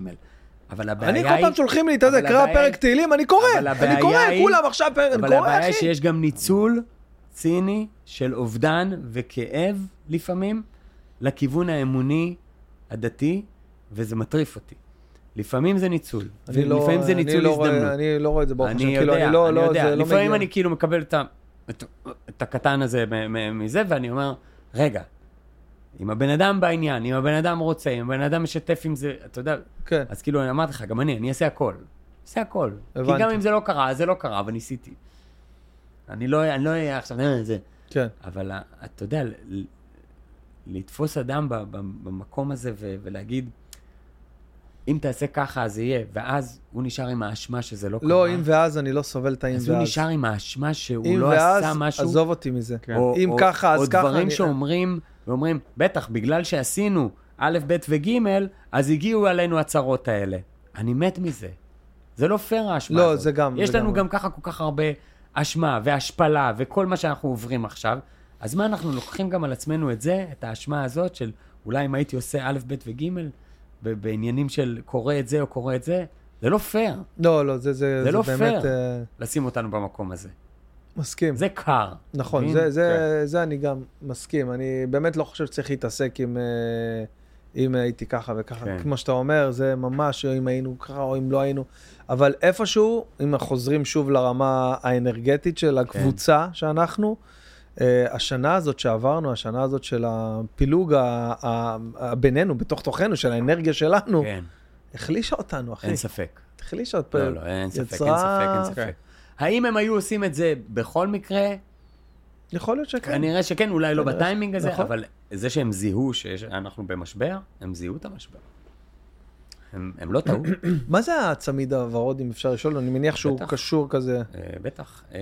[SPEAKER 2] אבל הבעיה
[SPEAKER 1] אני
[SPEAKER 2] היא...
[SPEAKER 1] כל פעם שולחים לי, אתה יודע,
[SPEAKER 2] אבל
[SPEAKER 1] קרא
[SPEAKER 2] הבעיה
[SPEAKER 1] פרק
[SPEAKER 2] היא-
[SPEAKER 1] תהילים, אני קורא,
[SPEAKER 2] אבל
[SPEAKER 1] אני
[SPEAKER 2] הבעיה
[SPEAKER 1] קורא,
[SPEAKER 2] היא-
[SPEAKER 1] כולם עכשיו פרק, אני
[SPEAKER 2] אבל
[SPEAKER 1] קורא,
[SPEAKER 2] הבעיה היא
[SPEAKER 1] אחי.
[SPEAKER 2] שיש גם ניצול ציני של אובדן וכאב לפעמים לכיוון האמוני הדתי, וזה מטריף אותי. לפעמים זה ניצול,
[SPEAKER 1] אני לא-
[SPEAKER 2] ולפעמים זה
[SPEAKER 1] אני
[SPEAKER 2] ניצול
[SPEAKER 1] לא
[SPEAKER 2] הזדמנות.
[SPEAKER 1] רואה- אני לא רואה את זה, ברוך השם,
[SPEAKER 2] אני
[SPEAKER 1] כאילו,
[SPEAKER 2] יודע,
[SPEAKER 1] אני לא,
[SPEAKER 2] אני
[SPEAKER 1] לא,
[SPEAKER 2] יודע.
[SPEAKER 1] זה לא
[SPEAKER 2] לפעמים
[SPEAKER 1] מגיע.
[SPEAKER 2] אני כאילו מקבל את ה- את- את הקטן הזה מ- מ- מזה, ואני אומר, רגע, אם הבן אדם בעניין, אם הבן אדם רוצה, אם הבן אדם משתף עם זה, אתה יודע,
[SPEAKER 1] כן.
[SPEAKER 2] אז כאילו, אני אמרתי לך, גם אני, אני אעשה הכל. אעשה הכל. כי
[SPEAKER 1] הבנתי.
[SPEAKER 2] גם אם זה לא קרה, אז זה לא קרה, אבל ניסיתי. אני לא אני לא אהיה עכשיו, "אה, זה.
[SPEAKER 1] כן.
[SPEAKER 2] אבל ה- אתה יודע, ל- ל- לתפוס אדם ב- ב- במקום הזה ו- ולהגיד, אם תעשה ככה, אז יהיה, ואז הוא נשאר עם האשמה שזה לא קרה.
[SPEAKER 1] לא, אם ואז, אני לא סובל את האם
[SPEAKER 2] אז הוא
[SPEAKER 1] ואז.
[SPEAKER 2] נשאר עם האשמה שהוא
[SPEAKER 1] אם
[SPEAKER 2] לא
[SPEAKER 1] ואז,
[SPEAKER 2] עשה משהו. כן.
[SPEAKER 1] עזוב אותי מזה.
[SPEAKER 2] או-
[SPEAKER 1] אם
[SPEAKER 2] או-
[SPEAKER 1] ככה, אז
[SPEAKER 2] או
[SPEAKER 1] ככה.
[SPEAKER 2] דברים
[SPEAKER 1] אני-
[SPEAKER 2] שאומרים, ואומרים, בטח, בגלל שעשינו א', ב' וג', אז הגיעו עלינו הצרות האלה. אני מת מזה. זה לא פייר האשמה
[SPEAKER 1] לא,
[SPEAKER 2] הזאת.
[SPEAKER 1] זה גם-
[SPEAKER 2] יש
[SPEAKER 1] זה
[SPEAKER 2] לנו
[SPEAKER 1] גם-
[SPEAKER 2] גם ככה כל כך הרבה אשמה והשפלה וכל מה שאנחנו עוברים עכשיו. אז מה, אנחנו לוקחים גם על עצמנו את זה, את האשמה הזאת של אולי אם הייתי עושה א', ב' וג', ב- בעניינים של קורא את זה או קורא את זה, זה לא פייר
[SPEAKER 1] לא, לא, זה-
[SPEAKER 2] זה
[SPEAKER 1] זה זה
[SPEAKER 2] לא
[SPEAKER 1] באמת...
[SPEAKER 2] פייר.
[SPEAKER 1] אה,
[SPEAKER 2] לשים אותנו במקום הזה.
[SPEAKER 1] מסכים.
[SPEAKER 2] זה קר.
[SPEAKER 1] נכון,
[SPEAKER 2] מבין?
[SPEAKER 1] זה- זה-
[SPEAKER 2] כן.
[SPEAKER 1] זה אני גם מסכים. אני באמת לא חושב שצריך להתעסק עם... אה, אם הייתי ככה וככה,
[SPEAKER 2] כן.
[SPEAKER 1] כמו שאתה אומר, זה ממש, אם היינו ככה או אם לא היינו. אבל איפשהו, אם אנחנו חוזרים שוב לרמה האנרגטית
[SPEAKER 2] כן.
[SPEAKER 1] של הקבוצה שאנחנו, אה, השנה הזאת שעברנו, השנה הזאת של הפילוג ה- ה- ה- בינינו, בתוך תוכנו, של האנרגיה שלנו,
[SPEAKER 2] כן,
[SPEAKER 1] החלישה אותנו, אחי.
[SPEAKER 2] אין ספק.
[SPEAKER 1] החלישה אותנו.
[SPEAKER 2] לא, לא, אין ספק, אין ספק,
[SPEAKER 1] יצרה-
[SPEAKER 2] אין ספק.
[SPEAKER 3] כן.
[SPEAKER 2] האם הם היו עושים את זה בכל מקרה?
[SPEAKER 1] יכול להיות שכן.
[SPEAKER 2] כנראה שכן, אולי לא
[SPEAKER 1] כן. כנראה ש-
[SPEAKER 2] בטיימינג הזה,
[SPEAKER 1] נכון.
[SPEAKER 2] אבל זה שהם זיהו שאנחנו במשבר, הם זיהו את המשבר. הם הם לא טעו,
[SPEAKER 1] מה זה הצמיד הוורוד, אם אפשר לשאול? אני מניח שהוא
[SPEAKER 2] בטח.
[SPEAKER 1] קשור כזה.
[SPEAKER 2] אה, בטח. אה,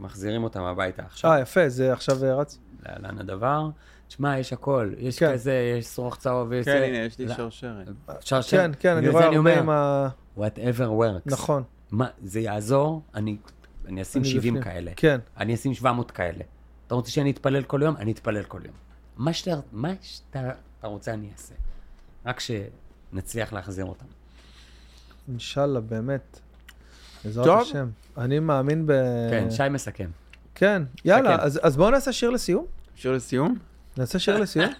[SPEAKER 2] מחזירים אותם הביתה עכשיו, כן.
[SPEAKER 1] אה, יפה, זה עכשיו אה, רץ.
[SPEAKER 2] להלן הדבר. תשמע, יש הכל, יש
[SPEAKER 1] כן.
[SPEAKER 2] כזה, יש שרוך צהוב, יש...
[SPEAKER 3] כן,
[SPEAKER 2] זה.
[SPEAKER 3] הנה, יש לי
[SPEAKER 2] לא,
[SPEAKER 3] שרשרת.
[SPEAKER 2] שרשרת.
[SPEAKER 1] כן, כן, אני
[SPEAKER 2] בגלל
[SPEAKER 1] רואה
[SPEAKER 2] זה
[SPEAKER 1] הרבה עם
[SPEAKER 2] אומר,
[SPEAKER 1] ה...
[SPEAKER 2] whatever works.
[SPEAKER 1] נכון.
[SPEAKER 2] מה, זה יעזור? אני אני אשים
[SPEAKER 1] אני
[SPEAKER 2] 70
[SPEAKER 1] בפנים.
[SPEAKER 2] כאלה.
[SPEAKER 1] כן.
[SPEAKER 2] אני אשים 700 כאלה. אתה רוצה שאני אתפלל כל יום? אני אתפלל כל יום. מה שאתה, מה שאתה אתה רוצה אני אעשה. רק שנצליח להחזיר אותם.
[SPEAKER 1] אה. אינשאללה, באמת. בעזרת
[SPEAKER 3] טוב.
[SPEAKER 1] השם. אני מאמין ב...
[SPEAKER 2] כן, שי מסכם.
[SPEAKER 1] כן, יאללה,
[SPEAKER 2] כן.
[SPEAKER 1] אז אז בואו נעשה שיר לסיום.
[SPEAKER 3] אפשר לסיום?
[SPEAKER 1] נעשה שיר לסיום.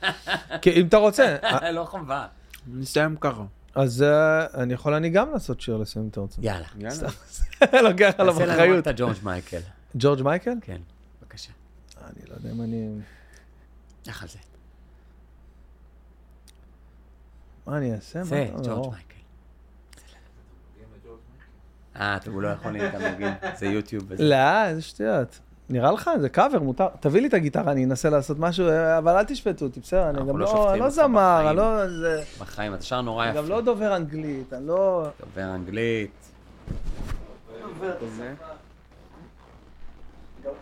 [SPEAKER 1] כי אם אתה רוצה. אה,
[SPEAKER 2] אה, לא חובה.
[SPEAKER 3] נסיים ככה.
[SPEAKER 1] אז אה, אני יכול אני גם לעשות שיר לסיים אם אתה רוצה.
[SPEAKER 2] יאללה.
[SPEAKER 3] יאללה.
[SPEAKER 1] לוקח עליו
[SPEAKER 2] תעשה לנו
[SPEAKER 1] אחריות.
[SPEAKER 2] את הג'ורג' מייקל.
[SPEAKER 1] ג'ורג' מייקל?
[SPEAKER 2] כן, בבקשה.
[SPEAKER 1] אני לא יודע אם אני...
[SPEAKER 2] לך על זה.
[SPEAKER 1] אה, מה אני אעשה? מה
[SPEAKER 2] זה
[SPEAKER 1] אתה אומר,
[SPEAKER 2] ג'ורג'
[SPEAKER 1] אור?
[SPEAKER 2] מייקל. אה, טוב, הוא לא יכול להיות המוגים, זה יוטיוב וזה.
[SPEAKER 1] לא, איזה שטויות. נראה לך? זה קאבר, מותר. תביא לי את הגיטרה, אני אנסה לעשות משהו, אבל אל תשפטו אותי, בסדר? אני
[SPEAKER 2] אנחנו
[SPEAKER 1] גם
[SPEAKER 2] לא
[SPEAKER 1] לא,
[SPEAKER 2] שופטים
[SPEAKER 1] אני לא
[SPEAKER 2] אותך
[SPEAKER 1] זמר,
[SPEAKER 2] בחיים.
[SPEAKER 1] אני לא... זה-
[SPEAKER 2] בחיים, אתה שר נורא
[SPEAKER 1] אני גם
[SPEAKER 2] יפה.
[SPEAKER 1] לא דובר אנגלית, אני לא...
[SPEAKER 2] דובר אנגלית.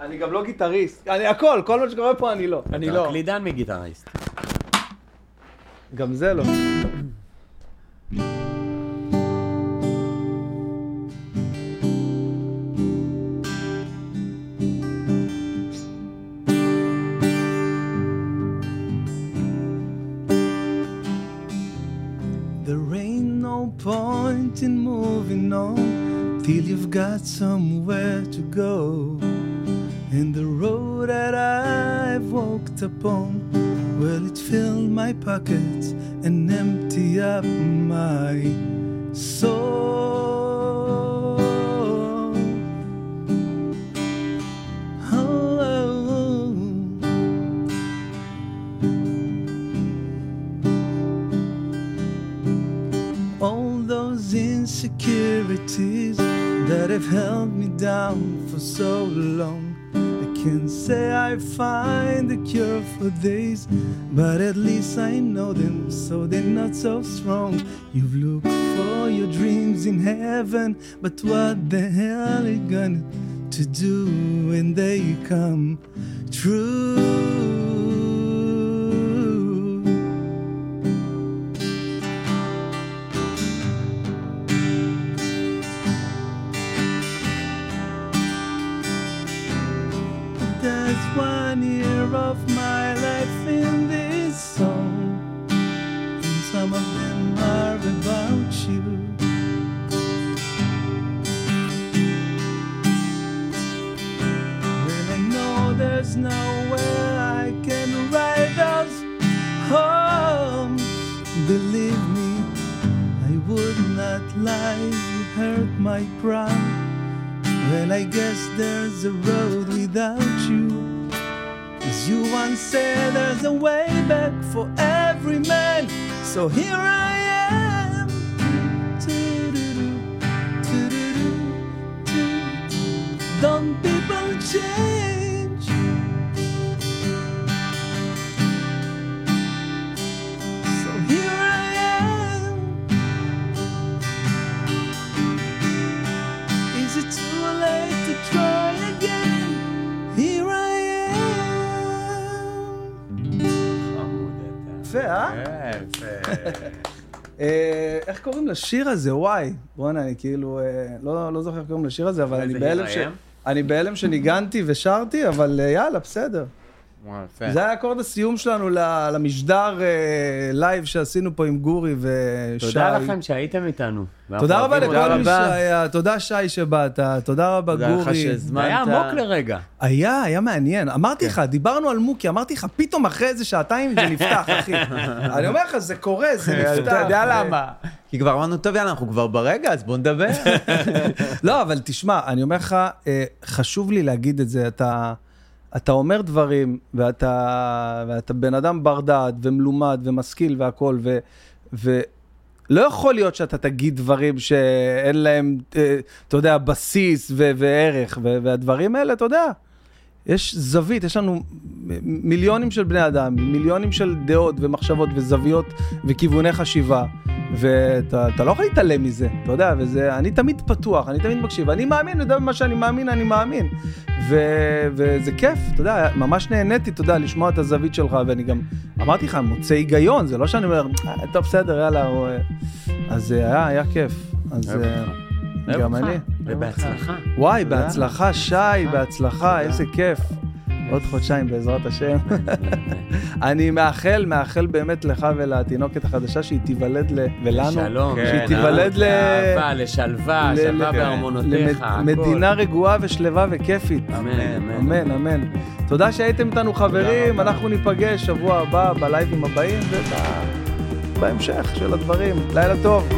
[SPEAKER 1] אני גם לא גיטריסט. אני הכל, כל מה שקורה פה אני לא. אני
[SPEAKER 2] אתה
[SPEAKER 1] לא.
[SPEAKER 2] קלידן מגיטריסט.
[SPEAKER 1] גם זה לא.
[SPEAKER 15] There ain't no point in moving on till you've got somewhere to go. And the road that I've walked upon, well, it filled my pockets and emptied up my soul. Oh. all those insecurities that have held me down for so long. I can't say I find a cure for these, but at least I know them, so they're not so strong. You've looked for your dreams in heaven, but what the hell are you gonna to do when they come true? That's one year of my life in this song. And some of them are about you. Well, I know there's nowhere I can ride those home. Believe me, I would not lie. You hurt my pride. Well, I guess there's a road without you. As you once said, there's a way back for every man. So here I am. Doo-doo-doo, doo-doo-doo, doo. Don't people change? So here I am. Is it too late to try again? Here I am.
[SPEAKER 1] יפה, אה? אה, איך קוראים לשיר הזה? וואי. בואנה, אני כאילו... אה, לא לא זוכר איך קוראים לשיר הזה, אבל אני
[SPEAKER 2] איזה
[SPEAKER 1] בהלם
[SPEAKER 2] hit
[SPEAKER 1] ש...
[SPEAKER 2] I am?
[SPEAKER 1] אני בהלם שניגנתי ושרתי, אבל אה, יאללה, בסדר.
[SPEAKER 3] וואו, יפה.
[SPEAKER 1] זה היה אקורד הסיום שלנו ל- למשדר אה, לייב שעשינו פה עם גורי ושי.
[SPEAKER 2] תודה לכם שהייתם איתנו. ואנחנו
[SPEAKER 1] תודה רבה
[SPEAKER 2] אוהבים אתכם.
[SPEAKER 1] לכל מי
[SPEAKER 3] רבה.
[SPEAKER 1] שהיה, תודה שי שבאת, תודה רבה
[SPEAKER 3] תודה לך
[SPEAKER 1] גורי.
[SPEAKER 3] שהזמנת.
[SPEAKER 2] זה היה עמוק לרגע.
[SPEAKER 1] היה, היה מעניין.
[SPEAKER 3] כן.
[SPEAKER 1] אמרתי לך, דיברנו על מוקי, אמרתי לך, פתאום אחרי איזה שעתיים זה נפתח, אחי. אני אומר לך, זה קורה, זה נפתח.
[SPEAKER 3] אתה יודע למה? כי כבר אמרנו, טוב, יאללה, אנחנו כבר ברגע, אז בוא נדבר.
[SPEAKER 1] לא, אבל תשמע, אני אומר לך, אה, חשוב לי להגיד את זה, אתה... אתה אומר דברים, ואתה, ואתה בן אדם בר דעת, ומלומד, ומשכיל, והכול, ו, ולא יכול להיות שאתה תגיד דברים שאין להם, אה, אתה יודע, בסיס ו, וערך, ו, והדברים האלה, אתה יודע, יש זווית, יש לנו מ- מיליונים של בני אדם, מיליונים של דעות ומחשבות וזוויות וכיווני חשיבה, ואתה אתה לא יכול להתעלם מזה, אתה יודע, וזה, אני תמיד פתוח, אני תמיד מקשיב, אני מאמין, אני יודע, במה שאני מאמין, אני מאמין. ו, וזה כיף, אתה יודע, ממש נהניתי, אתה יודע, לשמוע את הזווית שלך, ואני גם אמרתי לך, מוצא היגיון, זה לא שאני אומר, "אה, טוב, בסדר, יאללה, הוא... אה." אז אה, היה, היה כיף. אז
[SPEAKER 2] אוהב
[SPEAKER 1] אה, גם אני.
[SPEAKER 2] ובהצלחה.
[SPEAKER 1] וואי, בהצלחה, שי, בהצלחה, איזה כיף. עוד חודשיים בעזרת השם. אני מאחל, מאחל באמת לך ולתינוקת החדשה שהיא תיוולד ל... ולנו.
[SPEAKER 2] שלום.
[SPEAKER 1] שהיא
[SPEAKER 2] כן,
[SPEAKER 1] תיוולד ל...
[SPEAKER 2] לאהבה, לשלווה,
[SPEAKER 1] ל-
[SPEAKER 2] שלווה
[SPEAKER 1] ל-
[SPEAKER 2] בארמונותיך, הכל.
[SPEAKER 1] למדינה רגועה ושלווה וכיפית.
[SPEAKER 2] אמן, אמן.
[SPEAKER 1] אמן, אמן. תודה שהייתם איתנו חברים, אנחנו ניפגש שבוע הבא בלייבים הבאים וב... בהמשך של הדברים. לילה טוב.